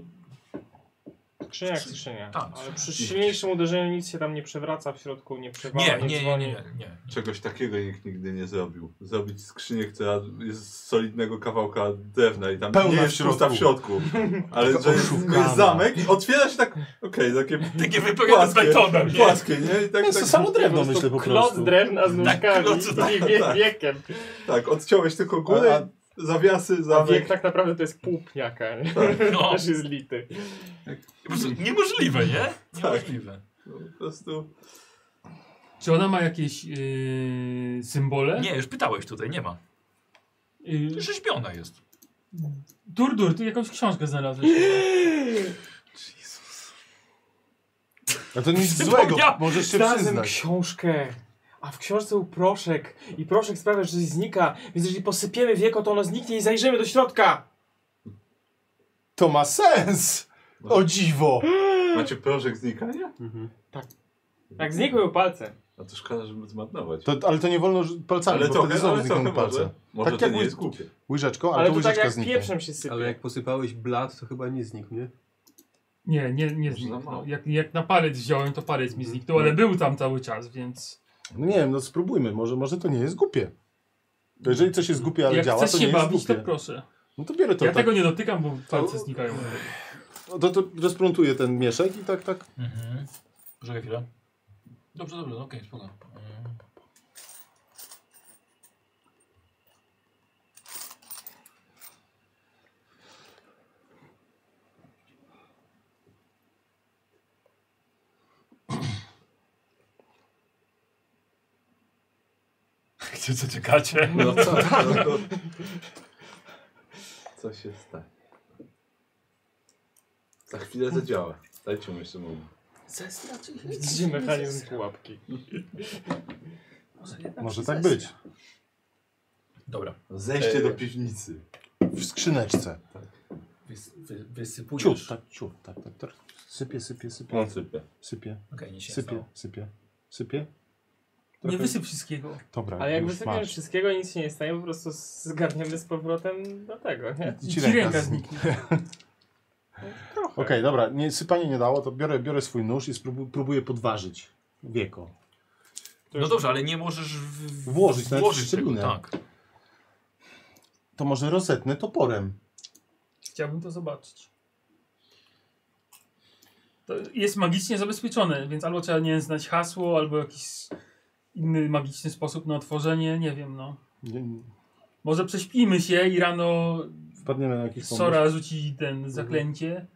Speaker 2: Skrzynia jak skrzynia.
Speaker 1: Tak.
Speaker 2: Ale przy silniejszym uderzeniu nic się tam nie przewraca w środku, nie
Speaker 1: nie,
Speaker 2: przewala, nie,
Speaker 1: nie, nie, nie,
Speaker 2: dzwoni.
Speaker 1: nie, nie.
Speaker 6: Czegoś takiego nikt nigdy nie zrobił. Zrobić skrzynię, która jest z solidnego kawałka drewna i tam
Speaker 5: Pełna
Speaker 6: nie jest
Speaker 5: w środku.
Speaker 6: pusta w środku. Ale
Speaker 5: Taka
Speaker 6: że jest,
Speaker 5: oszukana.
Speaker 6: jest zamek i otwiera się tak, okej, takie
Speaker 1: Takie wypełnione z betonem, nie?
Speaker 6: Płaskie, nie? I tak,
Speaker 5: Jest
Speaker 6: tak,
Speaker 5: to samo drewno,
Speaker 2: Po prostu
Speaker 5: myślę, po
Speaker 2: Klot
Speaker 5: prostu.
Speaker 2: drewna z nóżkami
Speaker 1: kloc,
Speaker 2: i
Speaker 1: tak,
Speaker 2: wie,
Speaker 6: tak.
Speaker 2: wiekiem.
Speaker 6: tak, odciąłeś tylko
Speaker 5: A-
Speaker 6: górę, zawiasy,
Speaker 2: A wiek
Speaker 6: zamek.
Speaker 2: tak naprawdę to jest pół pniaka, nie?
Speaker 1: No,
Speaker 2: Też jest lity.
Speaker 1: po prostu niemożliwe, nie? Niemożliwe.
Speaker 6: No, po prostu
Speaker 4: Czy ona ma jakieś yy, symbole?
Speaker 1: Nie, już pytałeś tutaj, nie ma.
Speaker 4: Yy,
Speaker 1: Rzeźbiona jest.
Speaker 4: dur, dur, ty jakąś książkę znalazłeś.
Speaker 5: A to nic złego,
Speaker 1: Przypomniał-
Speaker 5: możesz się
Speaker 2: Znalazłem
Speaker 5: przyznać.
Speaker 2: książkę. A w książce był proszek. I proszek sprawia, że coś znika. Więc jeżeli posypiemy wieko, to ono zniknie i zajrzymy do środka.
Speaker 5: To ma sens!
Speaker 4: No.
Speaker 5: O dziwo!
Speaker 6: macie proszek znikania?
Speaker 5: Mhm.
Speaker 2: Tak znikły palce.
Speaker 6: A to szkoda, żeby zmarnować.
Speaker 5: To, ale to nie wolno rzu- palcami,
Speaker 6: ale
Speaker 5: bo
Speaker 6: trochę,
Speaker 5: wtedy znowu
Speaker 6: ale trochę
Speaker 5: znikną
Speaker 6: może.
Speaker 5: palce.
Speaker 6: Może
Speaker 5: Tak
Speaker 6: to
Speaker 5: jak
Speaker 6: nie
Speaker 5: mój-
Speaker 6: jest głupie.
Speaker 5: Łyżeczką, ale,
Speaker 2: Ale
Speaker 5: to
Speaker 2: to tak
Speaker 5: łyżeczka
Speaker 2: jak
Speaker 5: zniknie.
Speaker 2: pieprzem się sypie.
Speaker 7: Ale jak posypałeś blat, to chyba nie znikł, nie?
Speaker 4: Nie, nie, nie
Speaker 6: Może za
Speaker 4: zniknął.
Speaker 6: mało.
Speaker 4: Jak, jak na palec wziąłem, to palec mi zniknął,
Speaker 1: No.
Speaker 4: ale był tam cały czas, więc
Speaker 5: No nie wiem, no spróbujmy, może, może to nie jest głupie. Bo jeżeli coś jest głupie, ale
Speaker 4: jak
Speaker 5: działa,
Speaker 4: chcesz
Speaker 5: to nie
Speaker 4: się
Speaker 5: jest
Speaker 4: bawić, to
Speaker 5: głupie.
Speaker 4: proszę.
Speaker 5: No to biorę to,
Speaker 4: ja
Speaker 5: tak,
Speaker 4: tego nie dotykam, bo palce znikają.
Speaker 5: no to, to rozplątuję ten mieszek i tak, tak.
Speaker 1: Mhm. Poczekaj chwilę. Dobrze, dobrze, no okej, okay, spoko. Mm. Gdzie co czekacie?
Speaker 6: No co, no to... Co się stanie? Za chwilę zadziała. Dajcie mu jeszcze moment.
Speaker 2: Widzicie mechanizm pułapki.
Speaker 5: Może tak być.
Speaker 1: Dobra,
Speaker 6: Zejście
Speaker 1: Eee.
Speaker 6: do piwnicy.
Speaker 5: W skrzyneczce.
Speaker 1: wys, wy, wysypujesz.
Speaker 5: Ciup, tak, ciup, tak, tak, No. tak. Sypie, sypie, sypie,
Speaker 6: On sypie.
Speaker 5: sypie,
Speaker 1: Okej, nic się nie
Speaker 5: sypie,
Speaker 1: stało.
Speaker 5: sypie, sypie.
Speaker 4: Nie
Speaker 5: trochę-
Speaker 4: wysyp wszystkiego.
Speaker 5: Dobra,
Speaker 2: Ale jak
Speaker 5: Tak, już
Speaker 2: wysypiemy
Speaker 5: masz.
Speaker 2: wszystkiego, nic się nie stanie, po prostu zgarniemy z powrotem do tego, nie?
Speaker 5: I
Speaker 4: Ci ręka zniknie.
Speaker 2: Trochę.
Speaker 5: Okej, dobra, nie, sypanie nie dało, to biorę, biorę swój nóż i spróbu- próbuję podważyć wieko.
Speaker 1: No dobrze, ale nie możesz w...
Speaker 5: Włożyć, nawet
Speaker 1: włożyć tego,
Speaker 5: szczelinę.
Speaker 1: tak.
Speaker 5: To może rozetnę toporem.
Speaker 4: Chciałbym to zobaczyć. To jest magicznie zabezpieczone, więc albo trzeba nie znać hasło, albo jakiś inny magiczny sposób na otworzenie, nie wiem no.
Speaker 5: Nie,
Speaker 4: Może prześpijmy się i rano
Speaker 5: wpadniemy na jakiś pomysł. Mhm.
Speaker 4: Sora rzuci ten zaklęcie.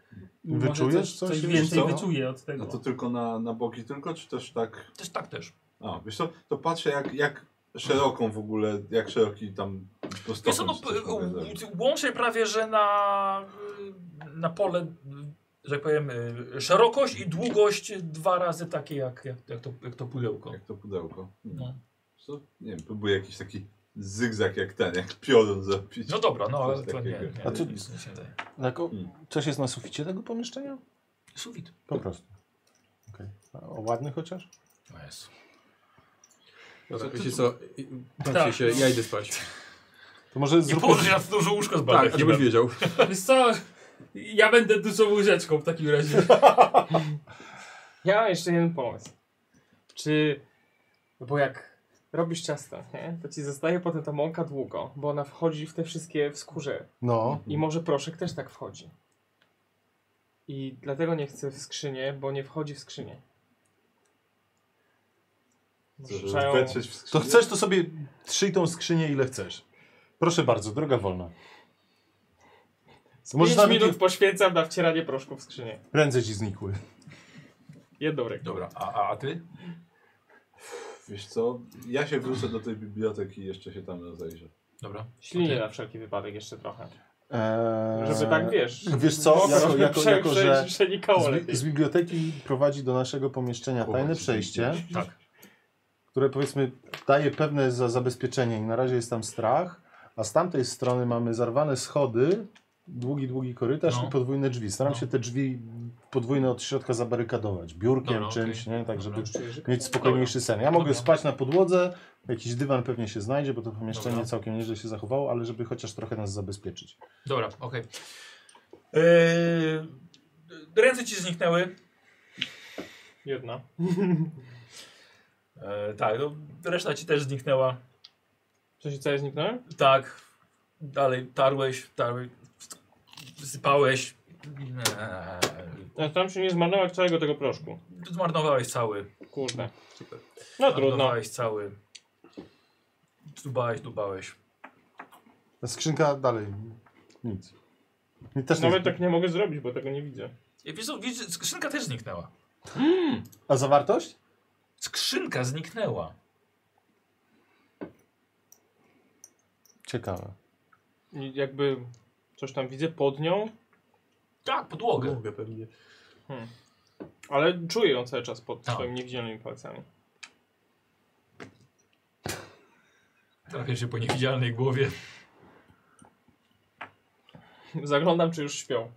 Speaker 4: i może
Speaker 5: Wyczujesz
Speaker 4: coś?
Speaker 5: coś?
Speaker 4: Coś
Speaker 5: Wiesz
Speaker 4: więcej
Speaker 6: co?
Speaker 4: wyczuje od
Speaker 6: A
Speaker 4: tego.
Speaker 6: to tylko na, na boki tylko, czy też tak...
Speaker 1: Też tak też.
Speaker 6: A, wiesz co, to patrzę jak, jak szeroką w ogóle, jak szeroki tam...
Speaker 1: Wiesz co, no,
Speaker 6: dostęp jest,
Speaker 1: p-
Speaker 6: tak
Speaker 1: u-
Speaker 6: powiem.
Speaker 1: u- łącznie prawie, że na, y, na pole, y, że tak powiem, y, szerokość i długość dwa razy takie jak, jak, jak, to, jak to pudełko.
Speaker 6: No. Jak to pudełko. Hmm.
Speaker 1: No.
Speaker 6: Co? Nie wiem, próbuję jakiś taki zygzak jak ten, jak piorun zrobić.
Speaker 1: No dobra, no ale
Speaker 6: Coś
Speaker 1: to nie,
Speaker 6: takiego.
Speaker 1: nie,
Speaker 5: A tu-
Speaker 1: nic nie się daje.
Speaker 5: Tak, o,
Speaker 6: Mm.
Speaker 5: coś jest na suficie tego pomieszczenia?
Speaker 1: Sufit.
Speaker 5: Po prostu. Okej. A O, ładny chociaż?
Speaker 1: No jest.
Speaker 7: Dobra, wiecie co, i- i- bawcie
Speaker 4: Tak,
Speaker 7: się,
Speaker 4: no.
Speaker 7: ja idę spać.
Speaker 5: To może
Speaker 1: Nie
Speaker 5: zróbmy...
Speaker 1: położysz się na to duże łóżko z
Speaker 7: Tak, żebyś
Speaker 1: baldachimem.
Speaker 7: wiedział.
Speaker 4: Wiesz co? Ja będę dużą łyżeczką w takim razie.
Speaker 2: Ja mam jeszcze jeden pomysł. Czy... Bo jak robisz ciasto, nie? To ci zostaje potem ta mąka długo, bo ona wchodzi w te wszystkie w skórze.
Speaker 5: No.
Speaker 2: I może proszek też tak wchodzi. I dlatego nie chcę w skrzynię, bo nie wchodzi w skrzynię.
Speaker 6: Co, żeby
Speaker 2: Trzeba ją-
Speaker 6: wetrzeć w
Speaker 5: To
Speaker 6: skrzynię?
Speaker 5: chcesz, to sobie trzyj tą skrzynię ile chcesz. Proszę bardzo, droga wolna.
Speaker 2: Z
Speaker 5: Możesz
Speaker 2: pięć
Speaker 5: nawet
Speaker 2: minut
Speaker 5: nie-
Speaker 2: poświęcam na wcieranie proszku w skrzynię.
Speaker 5: Ręce ci znikły.
Speaker 2: Jedną ręką.
Speaker 1: Dobra, a, a, a ty?
Speaker 6: Wiesz co, ja się wrócę do tej biblioteki i jeszcze się tam rozejrzę.
Speaker 1: Dobra.
Speaker 2: Ślinie na wszelki wypadek jeszcze trochę.
Speaker 5: Eee,
Speaker 2: Żeby tak wiesz.
Speaker 5: Wiesz co,
Speaker 2: mokro,
Speaker 5: jako,
Speaker 2: żeby
Speaker 5: jako,
Speaker 2: prze-
Speaker 5: jako
Speaker 2: prze-
Speaker 5: że
Speaker 2: przenikało lepiej.
Speaker 5: z, z biblioteki prowadzi do naszego pomieszczenia tajne przejście.
Speaker 1: Tak.
Speaker 5: które powiedzmy daje pewne za zabezpieczenie i na razie jest tam strach, a z tamtej strony mamy zarwane schody, długi, długi korytarz
Speaker 1: No.
Speaker 5: i podwójne drzwi. Staram
Speaker 1: No.
Speaker 5: się te drzwi podwójne od środka zabarykadować, biurkiem,
Speaker 1: Dobra,
Speaker 5: czymś, nie? tak żeby
Speaker 1: Dobra.
Speaker 5: mieć spokojniejszy sen. Ja mogę spać na podłodze, jakiś dywan pewnie się znajdzie, bo to pomieszczenie
Speaker 1: Dobra.
Speaker 5: całkiem nieźle się zachowało, ale żeby chociaż trochę nas zabezpieczyć.
Speaker 1: Dobra, okej. Yy, ręce ci zniknęły.
Speaker 2: Jedna.
Speaker 1: Yy, tak, no, reszta ci też zniknęła.
Speaker 2: Coś co ja zniknąłem?
Speaker 1: Tak. Dalej tarłeś, tarłeś, sypałeś. Eee,
Speaker 2: Ja tam się nie zmarnować całego tego proszku.
Speaker 1: Zmarnowałeś cały.
Speaker 2: Kurde. No trudno.
Speaker 1: Zmarnowałeś cały. Dubałeś, dubałeś.
Speaker 5: Ta skrzynka dalej, nic. I Też nie
Speaker 2: Nawet tak nie mogę zrobić, bo tego nie widzę.
Speaker 1: I Wiesz, co, widzisz, skrzynka też zniknęła.
Speaker 5: A zawartość?
Speaker 1: Skrzynka zniknęła.
Speaker 5: Ciekawe.
Speaker 2: I jakby coś tam widzę pod nią,
Speaker 1: Tak, podłogę.
Speaker 7: pewnie.
Speaker 2: ale czuję ją cały czas pod
Speaker 1: Tak.
Speaker 2: swoimi niewidzialnymi palcami.
Speaker 1: Trafia się po niewidzialnej głowie.
Speaker 2: Zaglądam, czy już śpią.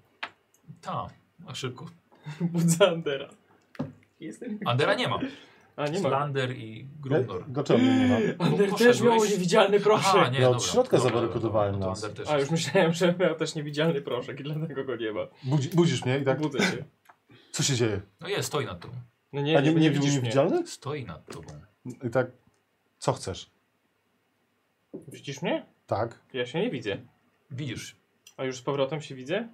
Speaker 1: Ta, a Tak, no szybko.
Speaker 2: Budzę Andera. Jestem...
Speaker 1: Andera nie ma.
Speaker 2: A, nie ma. E,
Speaker 1: Lander i
Speaker 5: Ja-
Speaker 1: Grumnor.
Speaker 5: Dlaczego nie ma?
Speaker 2: Ander też
Speaker 1: No, Poszedłeś?
Speaker 2: miał niewidzialny
Speaker 1: Aha,
Speaker 2: proszek.
Speaker 1: nie,
Speaker 5: Ja od
Speaker 1: dobra,
Speaker 5: środka
Speaker 1: dobra,
Speaker 5: zabarykadowałem
Speaker 1: dobra, no
Speaker 5: nas.
Speaker 1: to Ander też
Speaker 2: A, już
Speaker 1: jest.
Speaker 2: myślałem, że miał też niewidzialny proszek i dlatego go nie ma.
Speaker 5: Budzi, budzisz mnie i tak,
Speaker 2: Budzę się.
Speaker 5: co się dzieje?
Speaker 1: No jest, stoi nad tobą.
Speaker 2: No nie,
Speaker 5: A
Speaker 2: nie, nie, widzisz mnie.
Speaker 5: niewidzialny?
Speaker 1: Stoi nad tobą.
Speaker 5: I tak, co chcesz?
Speaker 2: Widzisz mnie?
Speaker 5: Tak.
Speaker 2: Ja się nie widzę.
Speaker 1: Widzisz.
Speaker 2: A już z powrotem się widzę?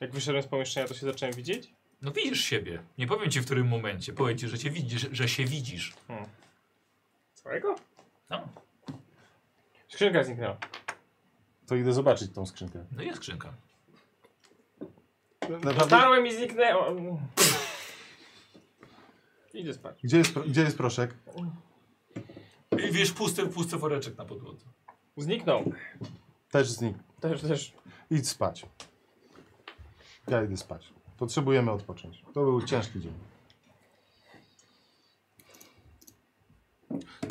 Speaker 2: Jak wyszedłem z pomieszczenia, to się zacząłem widzieć?
Speaker 1: No widzisz siebie. Nie powiem ci w którym momencie. Powiem ci, że cię widzisz, że się widzisz.
Speaker 2: Całego?
Speaker 1: No,
Speaker 2: Skrzynka zniknęła.
Speaker 5: To idę zobaczyć tą skrzynkę.
Speaker 1: no jest skrzynka.
Speaker 5: Naprawdę?
Speaker 2: Starłem i zniknęła. Idę spać.
Speaker 5: Gdzie jest, pro- gdzie jest proszek?
Speaker 1: I wiesz, pusty, pusty woreczek na podłodze.
Speaker 2: Zniknął.
Speaker 5: Też znik.
Speaker 2: Też, też.
Speaker 5: Idź spać. Ja idę spać. Potrzebujemy odpocząć. To był ciężki dzień.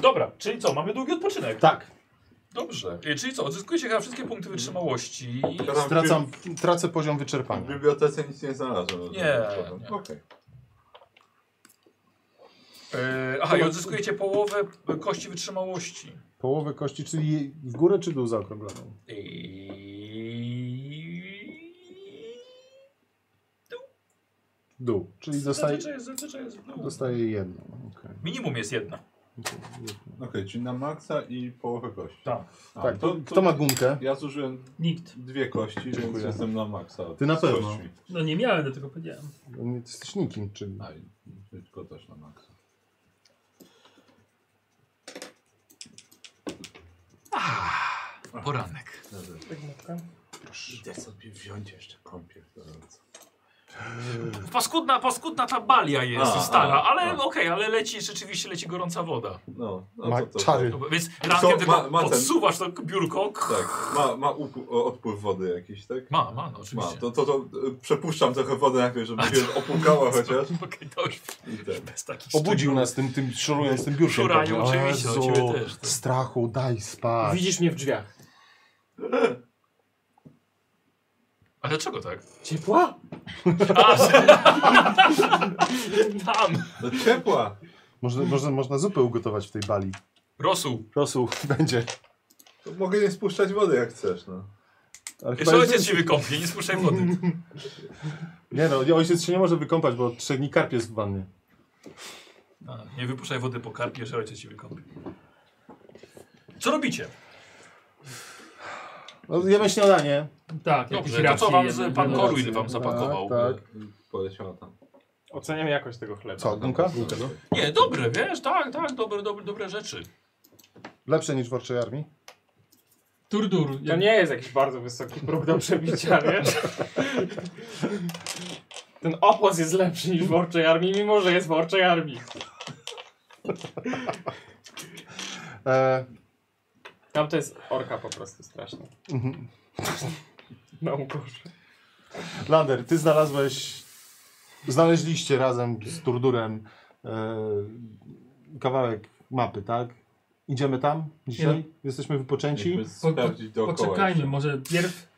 Speaker 1: Dobra, czyli co? Mamy długi odpoczynek.
Speaker 5: Tak.
Speaker 1: Dobrze. I czyli co? Odzyskujecie chyba wszystkie punkty wytrzymałości.
Speaker 6: Ja tam
Speaker 5: Stracam, tracę poziom
Speaker 6: W bi- w
Speaker 5: wyczerpania.
Speaker 6: bibliotece nic nie znalazłem.
Speaker 1: Nie,
Speaker 6: Okej.
Speaker 1: nie.
Speaker 6: Okej.
Speaker 1: E, aha, i odzyskujecie połowę e, kości wytrzymałości.
Speaker 5: Połowę kości, czyli w górę czy dół zaokrągloną?
Speaker 1: I...
Speaker 5: Dół. Czyli dostaje,
Speaker 1: Zazwyczaj, zazwyczaj jest w dół.
Speaker 5: dostaje jedną. Okej.
Speaker 1: Minimum jest jedna.
Speaker 6: Okej, czyli na maksa i połowę kości.
Speaker 1: Tak.
Speaker 6: A,
Speaker 5: Tak,
Speaker 6: to,
Speaker 5: kto ma gumkę?
Speaker 6: Ja zużyłem
Speaker 4: Nikt.
Speaker 6: dwie kości, więc
Speaker 5: Dziękuję.
Speaker 6: jestem na maksa.
Speaker 5: Ty na
Speaker 6: z
Speaker 5: pewno.
Speaker 6: kośćmi.
Speaker 4: No nie miałem, dlatego powiedziałem.
Speaker 5: Nie, Ty jesteś nikim, czyli...
Speaker 6: A, i tylko też na maksa.
Speaker 17: Poranek.
Speaker 6: Dobra. Idę sobie wziąć jeszcze kąpiel. gorąco.
Speaker 1: Paskudna, paskudna ta balia jest
Speaker 6: A,
Speaker 1: stara,
Speaker 6: a,
Speaker 1: ale
Speaker 6: a.
Speaker 1: okej, ale leci, rzeczywiście leci gorąca woda.
Speaker 6: No, no
Speaker 5: Ma
Speaker 6: to, to,
Speaker 5: czary.
Speaker 1: No, bo- Więc rankiem
Speaker 6: ma-
Speaker 1: tylko
Speaker 6: ma ten-
Speaker 1: odsuwasz to biurko. k-
Speaker 6: Tak, ma, ma upu- o, odpływ wody jakiś, tak?
Speaker 1: Ma, ma, no
Speaker 6: Ma,
Speaker 1: oczywiście.
Speaker 6: to, to, to y, przepuszczam trochę wodę najpierw, żeby się opłukała chociaż.
Speaker 1: Okej, to już
Speaker 6: I ten.
Speaker 1: bez takich
Speaker 5: Obudził
Speaker 1: szczegółów.
Speaker 5: nas tym, tym szorując tym biurkiem.
Speaker 1: Szuraniu,
Speaker 5: pewnie.
Speaker 1: oczywiście,
Speaker 5: Jezu,
Speaker 1: o ciebie też, tak.
Speaker 5: Strachu, daj spać.
Speaker 2: Widzisz mnie w drzwiach.
Speaker 1: A dlaczego tak?
Speaker 2: Ciepła?
Speaker 1: A, tam!
Speaker 6: No ciepła!
Speaker 5: Można, można, można zupę ugotować w tej bali.
Speaker 1: Rosół.
Speaker 5: Rosół będzie.
Speaker 6: To mogę nie spuszczać wody jak chcesz, no.
Speaker 5: Ale
Speaker 1: Jeszcze
Speaker 5: jest-
Speaker 1: ojciec się wykąpnie, nie spuszczaj wody.
Speaker 5: Nie no, nie, ojciec się nie może wykąpać, bo od trzech dni karp jest w wannie.
Speaker 1: A, nie wypuszczaj wody po karpie, że ojciec się wykąpie. Co robicie?
Speaker 5: No, jemy śniadanie.
Speaker 4: Tak, jakieś
Speaker 1: Dobrze, to co
Speaker 4: racje
Speaker 1: wam
Speaker 4: jemy,
Speaker 1: z, pan
Speaker 4: no.
Speaker 1: Korwin wam zapakował?
Speaker 5: Tak,
Speaker 6: Poleciała tam.
Speaker 2: Oceniam jakość tego chleba.
Speaker 5: Co, gumka?
Speaker 6: no.
Speaker 1: Nie, dobre, wiesz, tak, tak, dobre, dobre, dobre rzeczy.
Speaker 5: Lepsze niż w Orczej Armii?
Speaker 4: Turdur.
Speaker 2: To
Speaker 4: Ja nie...
Speaker 2: nie jest jakiś bardzo wysoki próg do przebicia, wiesz? Ten opłat jest lepszy niż w Orczej Armii, mimo że jest w Orczej Armii.
Speaker 5: E,
Speaker 2: Tam to jest orka po prostu straszna.
Speaker 5: mhm.
Speaker 2: Na ukorze.
Speaker 5: Lander, ty znalazłeś... Znaleźliście razem z Turdurem e, kawałek mapy, tak? Idziemy tam dzisiaj? Jesteśmy wypoczęci?
Speaker 6: Musimy sprawdzić dookoła.
Speaker 4: Poczekajmy,
Speaker 6: jeszcze.
Speaker 4: może pierw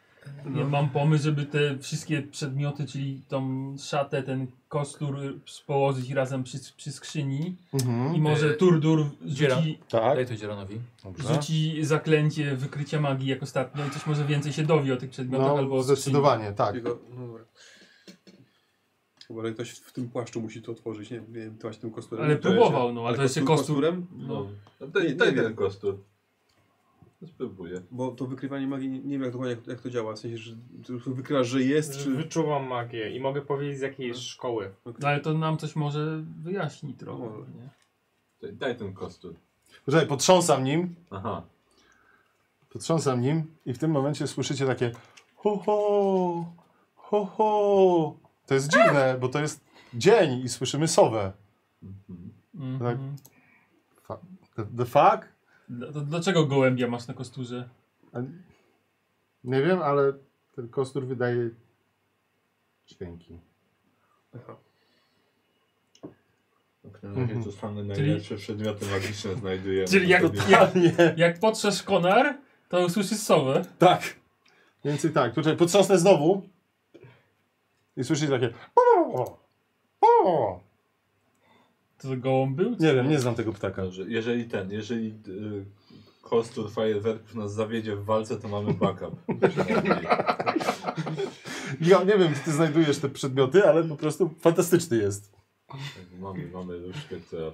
Speaker 5: No.
Speaker 4: ja mam pomysł, żeby te wszystkie przedmioty, czyli tą szatę, ten kostur y, położyć razem przy, przy skrzyni i
Speaker 5: Mhm.
Speaker 1: Y,
Speaker 4: może
Speaker 17: E,
Speaker 4: Turdur
Speaker 17: dziera.
Speaker 4: rzuci,
Speaker 5: Tak,
Speaker 17: Daj to Dzieranowi.
Speaker 5: dobrze.
Speaker 4: rzuci zaklęcie wykrycia magii jak ostatnio i coś może więcej się dowie o tych przedmiotach albo
Speaker 5: No,
Speaker 4: o skrzyni.
Speaker 5: zdecydowanie, tak.
Speaker 7: Jego, no dobra. Chyba że ktoś w tym płaszczu musi to otworzyć, nie nie wiem, to właśnie tym kosturem.
Speaker 4: Ale
Speaker 7: Nie, to ja
Speaker 4: próbował,
Speaker 7: się-
Speaker 4: no, ale to jest się
Speaker 7: kostur-
Speaker 4: kostur-
Speaker 7: kosturem?
Speaker 4: No.
Speaker 6: No. Daj,
Speaker 7: Nie
Speaker 6: daj
Speaker 7: wiem.
Speaker 6: ten kostur. No, Spróbuję.
Speaker 7: Bo to wykrywanie magii, nie, nie wiem jak dokładnie jak, jak to działa, w sensie, że ty wykrywasz, że jest, czy...
Speaker 2: Wyczuwam magię i mogę powiedzieć z jakiej jest szkoły.
Speaker 4: No ale to nam coś może wyjaśni trochę.
Speaker 7: Może.
Speaker 4: Nie?
Speaker 6: Daj, daj ten kostur.
Speaker 5: Poczekaj, potrząsam nim,
Speaker 6: Aha.
Speaker 5: potrząsam nim i w tym momencie słyszycie takie ho ho, ho ho. To jest dziwne, bo to jest dzień i słyszymy sowę.
Speaker 6: Mhm.
Speaker 5: Tak.
Speaker 4: Mhm.
Speaker 5: The, the fuck?
Speaker 4: Dla- to Dlaczego gołębia masz na kosturze?
Speaker 5: Nie wiem, ale ten kostur wydaje dźwięki.
Speaker 6: Okay, Jakie no, to same najlepsze przedmioty magiczne znajdujemy.
Speaker 4: Mhm. Czyli
Speaker 6: na
Speaker 4: jak,
Speaker 6: sobie.
Speaker 4: jak,
Speaker 5: Nie,
Speaker 4: jak potrzesz konar, to usłyszysz sowę.
Speaker 5: tak. Mniej więcej tak. Poczekaj, potrząsnę znowu i słyszycie takie o, o.
Speaker 4: To, to gołąb był?
Speaker 5: Nie wiem, nie znam tego ptaka.
Speaker 6: Dobrze, jeżeli ten, jeżeli y, kostur fajerwerków nas zawiedzie w walce, to mamy backup.
Speaker 5: Ja nie wiem, czy ty znajdujesz te przedmioty, ale po prostu fantastyczny jest.
Speaker 6: mamy, mamy różkę, która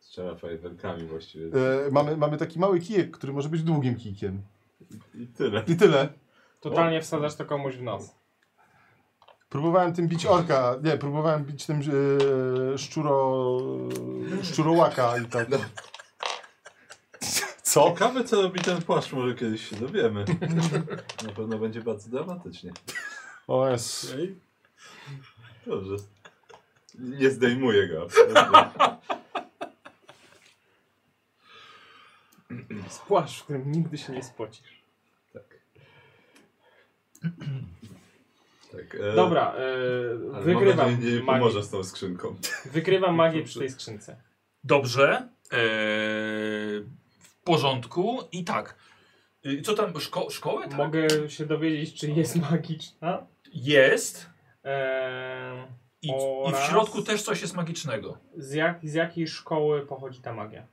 Speaker 6: strzela fajerwerkami właściwie.
Speaker 5: E, mamy, mamy taki mały kijek, który może być długim kijkiem.
Speaker 6: I tyle.
Speaker 5: I tyle.
Speaker 2: Totalnie wsadzasz to komuś w nos.
Speaker 5: Próbowałem tym bić orka. Nie, próbowałem bić tym e, szczuro... szczurołaka i tak. Co?
Speaker 6: Ciekawe co robi ten płaszcz, może kiedyś się dowiemy. Na pewno będzie bardzo dramatycznie.
Speaker 5: O jest.
Speaker 6: Dobrze. Nie zdejmuję go. absolutnie.
Speaker 2: Jest płaszcz, w którym nigdy się nie spocisz.
Speaker 6: Tak. tak e,
Speaker 2: Dobra, e,
Speaker 6: ale Mam
Speaker 2: wygrywam
Speaker 6: nadzieję, nie
Speaker 2: magię.
Speaker 6: pomoże z tą skrzynką.
Speaker 2: Wygrywam magię przy tej skrzynce.
Speaker 1: Dobrze. Eee, w porządku. I tak. Y, Co tam, szko szkołę? Tak?
Speaker 2: Mogę się dowiedzieć, czy jest magiczna.
Speaker 1: Jest.
Speaker 2: Eee,
Speaker 1: I, I w
Speaker 2: Oraz-
Speaker 1: środku też coś jest magicznego.
Speaker 2: Z, jak, z jakiej szkoły pochodzi ta magia?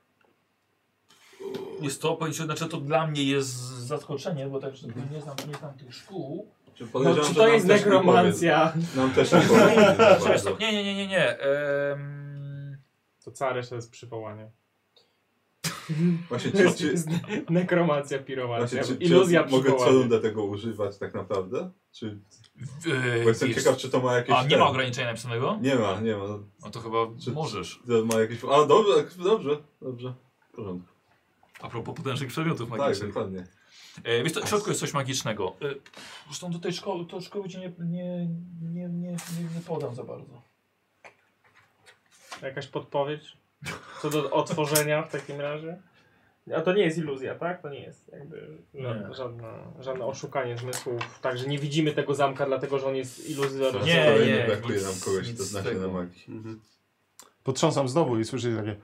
Speaker 2: No,
Speaker 1: Jest to, powiem ci, znaczy to dla mnie jest zaskoczenie, bo tak że nie znam, nie znam tych szkół.
Speaker 6: Czy,
Speaker 2: No,
Speaker 6: podejrzewam,
Speaker 2: czy
Speaker 6: że
Speaker 2: to
Speaker 6: nam
Speaker 2: jest
Speaker 6: też nie
Speaker 2: nekromancja?
Speaker 6: powie. Nam też nie powie.
Speaker 1: Czy jest to, nie, nie, nie, nie, nie. Em,
Speaker 2: To cała reszta jest przywołanie.
Speaker 6: Właśnie,
Speaker 2: To
Speaker 6: czy,
Speaker 2: jest
Speaker 6: czy,
Speaker 2: jest ne- nekromancja, piromancja,
Speaker 6: właśnie, Znaczy- czy, czy
Speaker 2: iluzja
Speaker 6: ja mogę co
Speaker 2: przywołania.
Speaker 6: rundę tego używać tak naprawdę? Czy,
Speaker 1: w-
Speaker 6: bo jestem
Speaker 1: jest-
Speaker 6: ciekaw, czy to ma jakieś...
Speaker 1: A nie
Speaker 6: ten-
Speaker 1: ma ograniczenia napisanego?
Speaker 6: Nie ma, nie ma.
Speaker 1: No to chyba
Speaker 6: Czy-
Speaker 1: możesz.
Speaker 6: To ma jakieś... A, dobrze, dobrze, dobrze. W porządku.
Speaker 1: A propos potężnych przedmiotów
Speaker 6: Tak,
Speaker 1: magicznych.
Speaker 6: dokładnie.
Speaker 1: E, wiesz, co, w środku jest coś magicznego. E, zresztą do tej szkoły, to szkoły cię nie, nie, nie, nie, nie, nie podam za bardzo.
Speaker 2: Jakaś podpowiedź? Co do otworzenia w takim razie? A to nie jest iluzja, tak? To nie jest jakby ża-
Speaker 1: Nie.
Speaker 2: No, żadna, żadne oszukanie zmysłów. Także nie widzimy tego zamka, dlatego że on jest iluzją.
Speaker 1: Nie,
Speaker 6: Kolejny
Speaker 1: nie,
Speaker 6: brakuje
Speaker 1: nic-
Speaker 6: nam kogoś,
Speaker 1: nic
Speaker 6: to
Speaker 1: z
Speaker 6: znaczy
Speaker 1: tego.
Speaker 6: na magii.
Speaker 5: Potrząsam znowu i słyszę takie...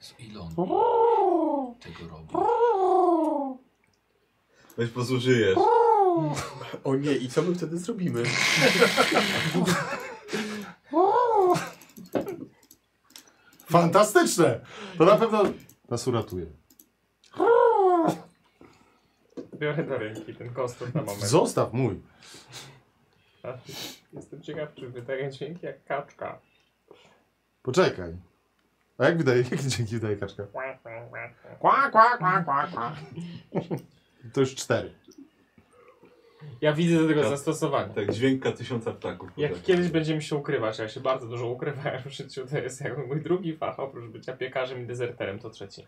Speaker 18: Z Ilon tego robi.
Speaker 6: Weź posłużyjesz.
Speaker 7: O nie, i co my wtedy zrobimy?
Speaker 5: Fantastyczne! To na pewno nas uratuje.
Speaker 2: Biorę do ręki ten konstrukt na moment.
Speaker 5: Zostaw mój.
Speaker 2: A, Jestem ciekaw, czy wydaje dźwięk jak kaczka.
Speaker 5: Poczekaj. A jak wydaje, jakie dźwięki wydaje kaczka?
Speaker 2: Kwa, kwa, kwa, kwa.
Speaker 5: Kwa, kwa, kwa, kwa, kwa. To już cztery.
Speaker 2: Ja widzę do
Speaker 1: No.
Speaker 2: tego
Speaker 6: Tak.
Speaker 2: zastosowanie.
Speaker 6: Tak, dźwięka tysiąca ptaków.
Speaker 2: Jak
Speaker 6: Tak.
Speaker 2: kiedyś będziemy się ukrywać, ja się bardzo dużo ukrywałem w życiu, to jest jakby mój drugi fach, oprócz bycia piekarzem i dezerterem, to trzeci.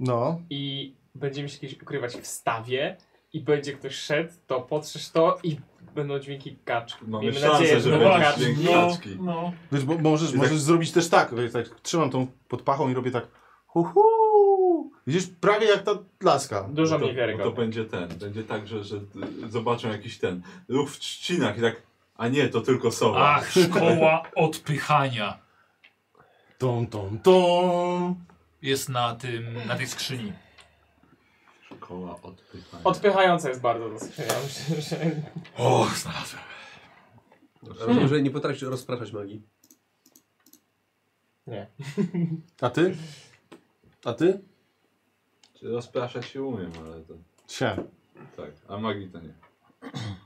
Speaker 5: No.
Speaker 2: I będziemy się kiedyś ukrywać w stawie i będzie ktoś szedł, to potrzesz to i będą dźwięki kaczki.
Speaker 6: Mamy szansę, że
Speaker 4: No
Speaker 6: będzie
Speaker 2: będą
Speaker 4: właśnie,
Speaker 2: kaczki.
Speaker 6: dźwięk
Speaker 4: no,
Speaker 6: kaczki.
Speaker 4: no.
Speaker 5: Wiesz, bo możesz,
Speaker 6: I tak-
Speaker 5: możesz zrobić też tak. wiesz, tak. Trzymam tą pod pachą i robię tak. Hu, hu. Widzisz, prawie jak ta laska.
Speaker 2: Dużo
Speaker 6: Bo to-
Speaker 2: mniej
Speaker 6: bo To
Speaker 2: wiarygodne.
Speaker 6: będzie ten, będzie tak, że, że y, zobaczą jakiś ten ruch w trzcinach i tak, a nie, to tylko sowa.
Speaker 1: Ach, szkoła odpychania
Speaker 5: Tom, tom, tom.
Speaker 1: jest na tym, na tej skrzyni.
Speaker 6: Szkoła odpychania.
Speaker 2: Odpychające jest bardzo zaskakujące. Myślę, że
Speaker 1: O, znalazłem.
Speaker 7: Rozumiem, że nie potrafisz rozpraszać magii.
Speaker 5: A ty? A ty?
Speaker 6: Czy Rozpraszać się umiem, ale to
Speaker 5: Sia.
Speaker 6: tak, a magii to nie.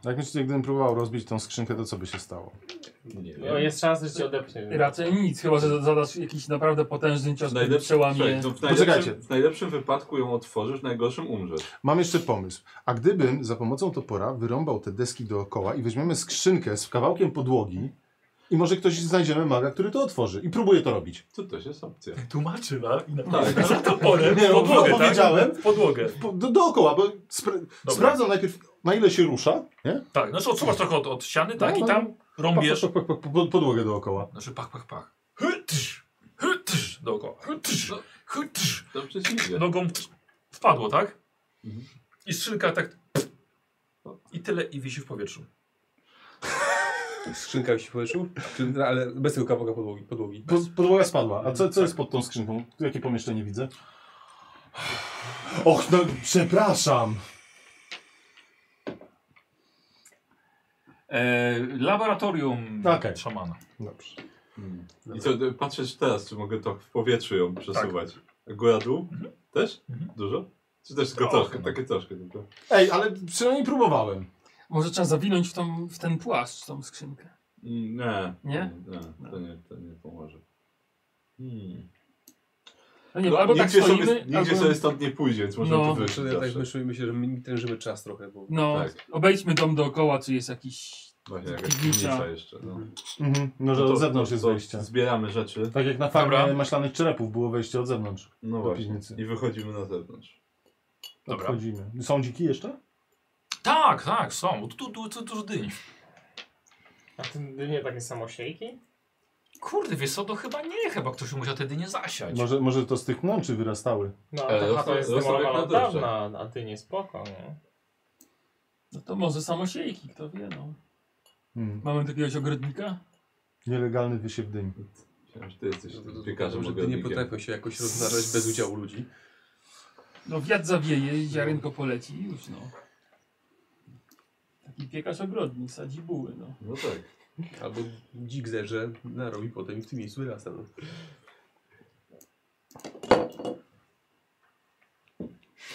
Speaker 5: Jak myślicie, gdybym próbował rozbić tą skrzynkę, to co by się stało?
Speaker 6: Nie
Speaker 2: no, jest szansa, że cię odepchnie.
Speaker 4: Raczej nic, chyba że zadasz jakiś naprawdę potężny cios, który
Speaker 6: najlepszym,
Speaker 4: przełamie.
Speaker 6: słuchaj, no, w,
Speaker 5: Poczekajcie.
Speaker 6: najlepszym, w najlepszym wypadku ją otworzysz, w najgorszym umrzesz.
Speaker 5: Mam jeszcze pomysł. A gdybym za pomocą topora wyrąbał te deski dookoła i weźmiemy skrzynkę z kawałkiem podłogi i może ktoś znajdziemy maga, który to otworzy. I próbuję to robić.
Speaker 6: To też jest opcja.
Speaker 1: Tłumaczy, no? I na
Speaker 6: Tak.
Speaker 1: za toporem
Speaker 5: Nie,
Speaker 1: w
Speaker 5: no,
Speaker 1: podłogę,
Speaker 5: no,
Speaker 1: tak?
Speaker 5: powiedziałem.
Speaker 1: W podłogę.
Speaker 5: Po, do, dookoła, bo spra- sprawdzam najpierw, na ile się rusza. Nie?
Speaker 1: Tak, znaczy odsuwasz trochę od, od ściany, tak?
Speaker 5: No,
Speaker 1: I
Speaker 5: no.
Speaker 1: tam rąbiesz.
Speaker 5: Po, po, po, po, po, podłogę dookoła.
Speaker 1: Znaczy pach, pach, pach. Hytsz, hytsz, dookoła. Hytsz, hytsz.
Speaker 6: To przeciwnie.
Speaker 1: Nogą wpadło, tak?
Speaker 6: Mhm.
Speaker 1: I skrzynka tak... I tyle, i wisi w powietrzu.
Speaker 7: Skrzynka już się powietrzu, czy- no, ale bez tego kawałka podłogi. podłogi.
Speaker 5: Po, podłoga spadła. A co, co jest pod tą skrzynką? Jakie pomieszczenie widzę? Och, no przepraszam.
Speaker 1: E, laboratorium
Speaker 5: Okej.
Speaker 1: szamana.
Speaker 5: Dobrze.
Speaker 6: Mm. I co, y, patrzysz teraz, czy mogę to w powietrzu ją przesuwać. Góra, dół? Też?
Speaker 1: Tak. Mhm. no.
Speaker 6: Dużo? Czy też tylko
Speaker 1: O,
Speaker 6: troszkę,
Speaker 1: chyba.
Speaker 6: takie troszkę tylko?
Speaker 5: Ej, ale przynajmniej próbowałem.
Speaker 4: Może trzeba zawinąć w, tą, w ten płaszcz, w tą skrzynkę.
Speaker 6: Mm, Nie.
Speaker 4: Nie?
Speaker 6: Nie, to nie, to nie pomoże. Hmm.
Speaker 4: No nie,
Speaker 6: No,
Speaker 4: albo tak
Speaker 6: nigdzie
Speaker 4: stoimy,
Speaker 6: sobie, nigdzie
Speaker 4: albo...
Speaker 6: sobie stąd nie pójdzie, więc możemy
Speaker 4: No.
Speaker 6: tu
Speaker 7: Znaczy,
Speaker 6: wyjść
Speaker 7: Ja tak
Speaker 6: zawsze.
Speaker 7: myślę, myślę, że my tężymy czas trochę, bo
Speaker 4: No,
Speaker 6: tak.
Speaker 4: obejdźmy dom dookoła, czy jest jakiś...
Speaker 6: Właśnie jakaś
Speaker 4: Piwnica.
Speaker 6: piwnica jeszcze. No.
Speaker 5: Mhm. Może
Speaker 6: to-
Speaker 5: od zewnątrz
Speaker 6: to-
Speaker 5: jest
Speaker 6: to
Speaker 5: wejście.
Speaker 6: Zbieramy rzeczy.
Speaker 5: Tak jak na farmie
Speaker 1: Dobra.
Speaker 5: maślanych czerepów było wejście od zewnątrz.
Speaker 6: No
Speaker 5: Do
Speaker 6: właśnie.
Speaker 5: piwnicy.
Speaker 6: I wychodzimy na zewnątrz.
Speaker 1: Dobra.
Speaker 5: Wchodzimy. Są dziki jeszcze?
Speaker 1: Tak, tak, są. Tu, tu, tu, tu, tu dyń.
Speaker 2: A ty nie takie samosiejki?
Speaker 1: Kurde, wiesz co, to chyba nie, chyba ktoś musiał te dynie zasiać.
Speaker 5: Może, może to z tych mnączy wyrastały.
Speaker 2: No,
Speaker 6: E,
Speaker 2: a ta chata
Speaker 6: zostaw-
Speaker 2: jest
Speaker 6: zostaw jak
Speaker 2: demolowana od
Speaker 6: na drodze.
Speaker 2: dawna, a ty nie spoko, nie?
Speaker 4: No to może samosiejki, kto wie, no.
Speaker 5: Hmm.
Speaker 4: Mamy takiegoś ogrodnika?
Speaker 5: Nielegalny wysiew dyń.
Speaker 6: Myślałem, że ty jesteś
Speaker 1: No
Speaker 7: to- to-
Speaker 6: piekarzem
Speaker 7: że ty nie
Speaker 6: ogrodnikiem.
Speaker 7: potrafią się jakoś rozmnażać bez udziału ludzi.
Speaker 4: No wiatr zawieje, ziarenko poleci i już, no. I piekarz ogrodnik sadzi buły, no.
Speaker 6: No tak.
Speaker 9: Albo dzik zerze, narobi potem i w tym miejscu wyrasta. No.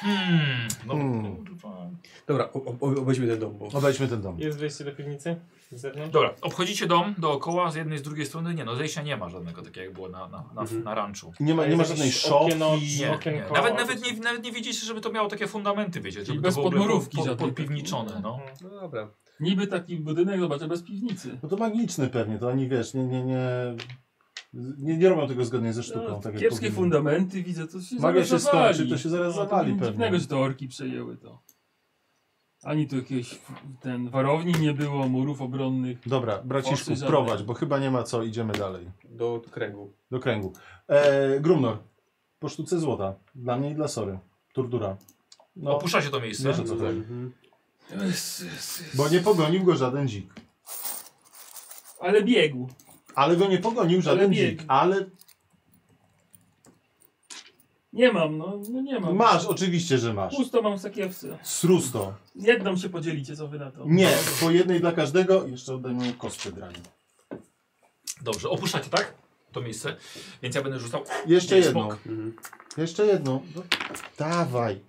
Speaker 1: Hmm, no
Speaker 5: Hmm.
Speaker 1: kurwa.
Speaker 9: Dobra, o- o- obejśmy ten dom, bo...
Speaker 5: Obejdźmy ten dom.
Speaker 2: Jest wejście do piwnicy? Z zewnątrz?
Speaker 1: Dobra, obchodzicie dom dookoła, z jednej, z drugiej strony nie, no zejścia nie ma żadnego, tak jak było na, na, na,
Speaker 9: Mhm.
Speaker 1: na ranczu.
Speaker 5: Nie ma,
Speaker 2: A
Speaker 5: nie ma
Speaker 2: jest
Speaker 5: żadnej
Speaker 2: jakieś okieno-
Speaker 5: szopki.
Speaker 1: Nie, nie.
Speaker 2: okienko-
Speaker 1: Nawet, nawet, nie, nawet nie widzicie, żeby to miało takie fundamenty, wiecie, żeby
Speaker 4: bez
Speaker 1: to w ogóle
Speaker 4: podmurówki
Speaker 1: pod, pod,
Speaker 4: żadnej
Speaker 1: podpiwniczone,
Speaker 4: takiej.
Speaker 1: no.
Speaker 2: Mhm.
Speaker 9: No dobra.
Speaker 4: Niby taki budynek, zobaczę, bez piwnicy.
Speaker 5: No to magiczny pewnie, to ani wiesz, nie, nie, nie, nie, nie robią tego zgodnie ze sztuką.
Speaker 4: No,
Speaker 5: tak jak
Speaker 4: kiepskie
Speaker 5: powinno.
Speaker 4: fundamenty, widzę, to się
Speaker 5: Magia
Speaker 4: zaraz
Speaker 5: się
Speaker 4: zawali.
Speaker 5: skończy, to się zaraz
Speaker 4: to
Speaker 5: zawali
Speaker 4: nic
Speaker 5: pewnie.
Speaker 4: Dziwnego, że to orki przejęły to. Ani tu jakiejś, ten, warowni nie było, murów obronnych.
Speaker 5: Dobra, braciszku,
Speaker 4: Forsy żadnej.
Speaker 5: prowadź, bo chyba nie ma co, idziemy dalej.
Speaker 9: Do kręgu.
Speaker 5: Do kręgu. E, Grumnor, po sztuce złota. Dla mnie i dla Sory. Turdura. No,
Speaker 1: Opuszcza się to miejsce.
Speaker 5: wiesz o co
Speaker 7: No
Speaker 5: chodzi.
Speaker 9: Mhm.
Speaker 4: tak.
Speaker 5: Bo nie pogonił go żaden dzik.
Speaker 4: Ale biegł.
Speaker 5: Ale go nie pogonił żaden
Speaker 4: Ale nie-
Speaker 5: dzik. Ale
Speaker 4: Nie mam, no, no nie mam.
Speaker 5: masz, oczywiście, że masz.
Speaker 4: Pusto mam w sakiewce.
Speaker 5: Srusto.
Speaker 4: Jedną się podzielicie, co wy na to.
Speaker 5: Nie, po jednej dla każdego. Jeszcze odejmuję kostkę drani.
Speaker 1: Dobrze, opuszczacie, tak? To miejsce. Więc ja będę rzucał.
Speaker 5: Jeszcze
Speaker 1: Jest
Speaker 5: jedną.
Speaker 1: bok.
Speaker 9: Mhm.
Speaker 5: Jeszcze jedną. No, dawaj.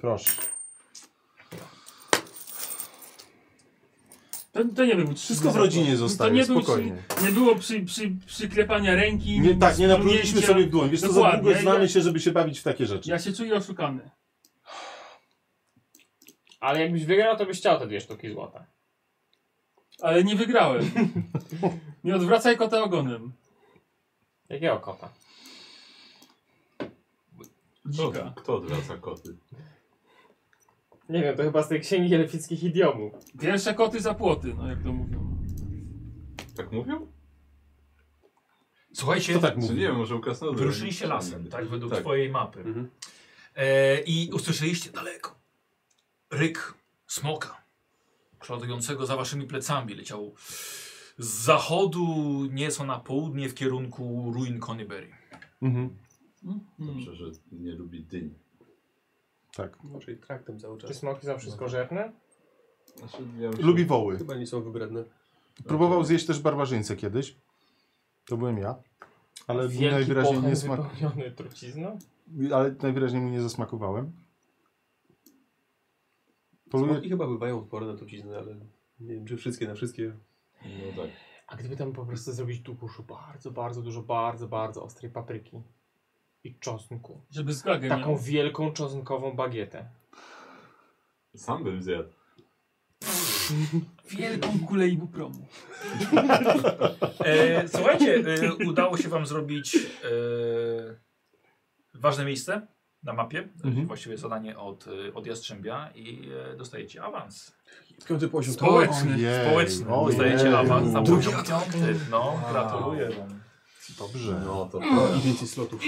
Speaker 5: Proszę.
Speaker 4: To, to nie był
Speaker 5: Wszystko w rodzinie zostaje,
Speaker 4: To nie był
Speaker 5: spokojnie.
Speaker 4: Przy, nie było przy, przy, przyklepania ręki.
Speaker 5: Nie, tak, nie napluliśmy
Speaker 4: splunięcia.
Speaker 5: sobie w dłoń. Wiesz co, za
Speaker 4: Dokładnie,
Speaker 5: długo
Speaker 4: ja-
Speaker 5: znamy się, żeby się bawić w takie rzeczy.
Speaker 4: Ja się czuję oszukany.
Speaker 2: Ale jakbyś wygrał, to byś chciał te dwie sztuki złota.
Speaker 4: Ale nie wygrałem. nie odwracaj kota ogonem.
Speaker 2: Jakiego kota?
Speaker 6: Kto,
Speaker 4: Dzika.
Speaker 6: kto odwraca koty?
Speaker 2: Nie wiem, to chyba z tej księgi elfickich idiomów.
Speaker 4: Pierwsze koty za płoty, no jak to mówią.
Speaker 6: Tak mówią?
Speaker 1: Słuchajcie,
Speaker 5: Kto tak
Speaker 6: Czy nie
Speaker 5: mówi?
Speaker 6: wiem, może u krasnoludów.
Speaker 1: wyruszyliście lasem, tak? Według
Speaker 6: Tak.
Speaker 1: twojej mapy.
Speaker 9: Mhm.
Speaker 1: E, I usłyszeliście daleko ryk smoka, przelatującego za waszymi plecami. Leciał z zachodu nieco na południe w kierunku ruin Conyberry.
Speaker 5: Mhm.
Speaker 4: Mhm.
Speaker 6: Dobrze, że nie lubi dyń.
Speaker 5: Tak.
Speaker 9: Może i traktem cały
Speaker 2: Czy
Speaker 9: czas.
Speaker 2: smoki są
Speaker 6: No.
Speaker 2: wszystko żerne?
Speaker 6: Znaczy, ja już-
Speaker 5: Lubi woły.
Speaker 9: Chyba nie są wybredne.
Speaker 5: Próbował zjeść też barbarzyńcę kiedyś. To byłem ja. Ale mi najwyraźniej
Speaker 2: pochód
Speaker 5: nie smak...
Speaker 2: wypełniony trucizną?
Speaker 5: Ale najwyraźniej mu nie zasmakowałem. Poluje...
Speaker 9: Smoki chyba bywają odporne na truciznę, ale nie wiem, czy wszystkie na wszystkie.
Speaker 6: No tak.
Speaker 2: A gdyby tam po prostu zrobić tukuszu bardzo, bardzo dużo, bardzo, bardzo ostrej papryki i czosnku.
Speaker 4: Żeby zgagę
Speaker 2: Taką
Speaker 4: miał.
Speaker 2: wielką czosnkową bagietę.
Speaker 6: Sam bym zjadł.
Speaker 4: Wielką kulę i bupromu.
Speaker 1: E, słuchajcie, e, udało się wam zrobić e, ważne miejsce na mapie,
Speaker 5: Mhm.
Speaker 1: właściwie zadanie od, e, od Jastrzębia i e, dostajecie awans.
Speaker 9: Piąty poziom.
Speaker 4: Społeczny.
Speaker 5: Jej,
Speaker 1: Społeczny.
Speaker 5: ojej.
Speaker 1: dostajecie awans na
Speaker 5: Drugi.
Speaker 1: poziom piąty. No, gratuluję wam.
Speaker 5: Dobrze.
Speaker 6: No to
Speaker 9: I więcej slotów.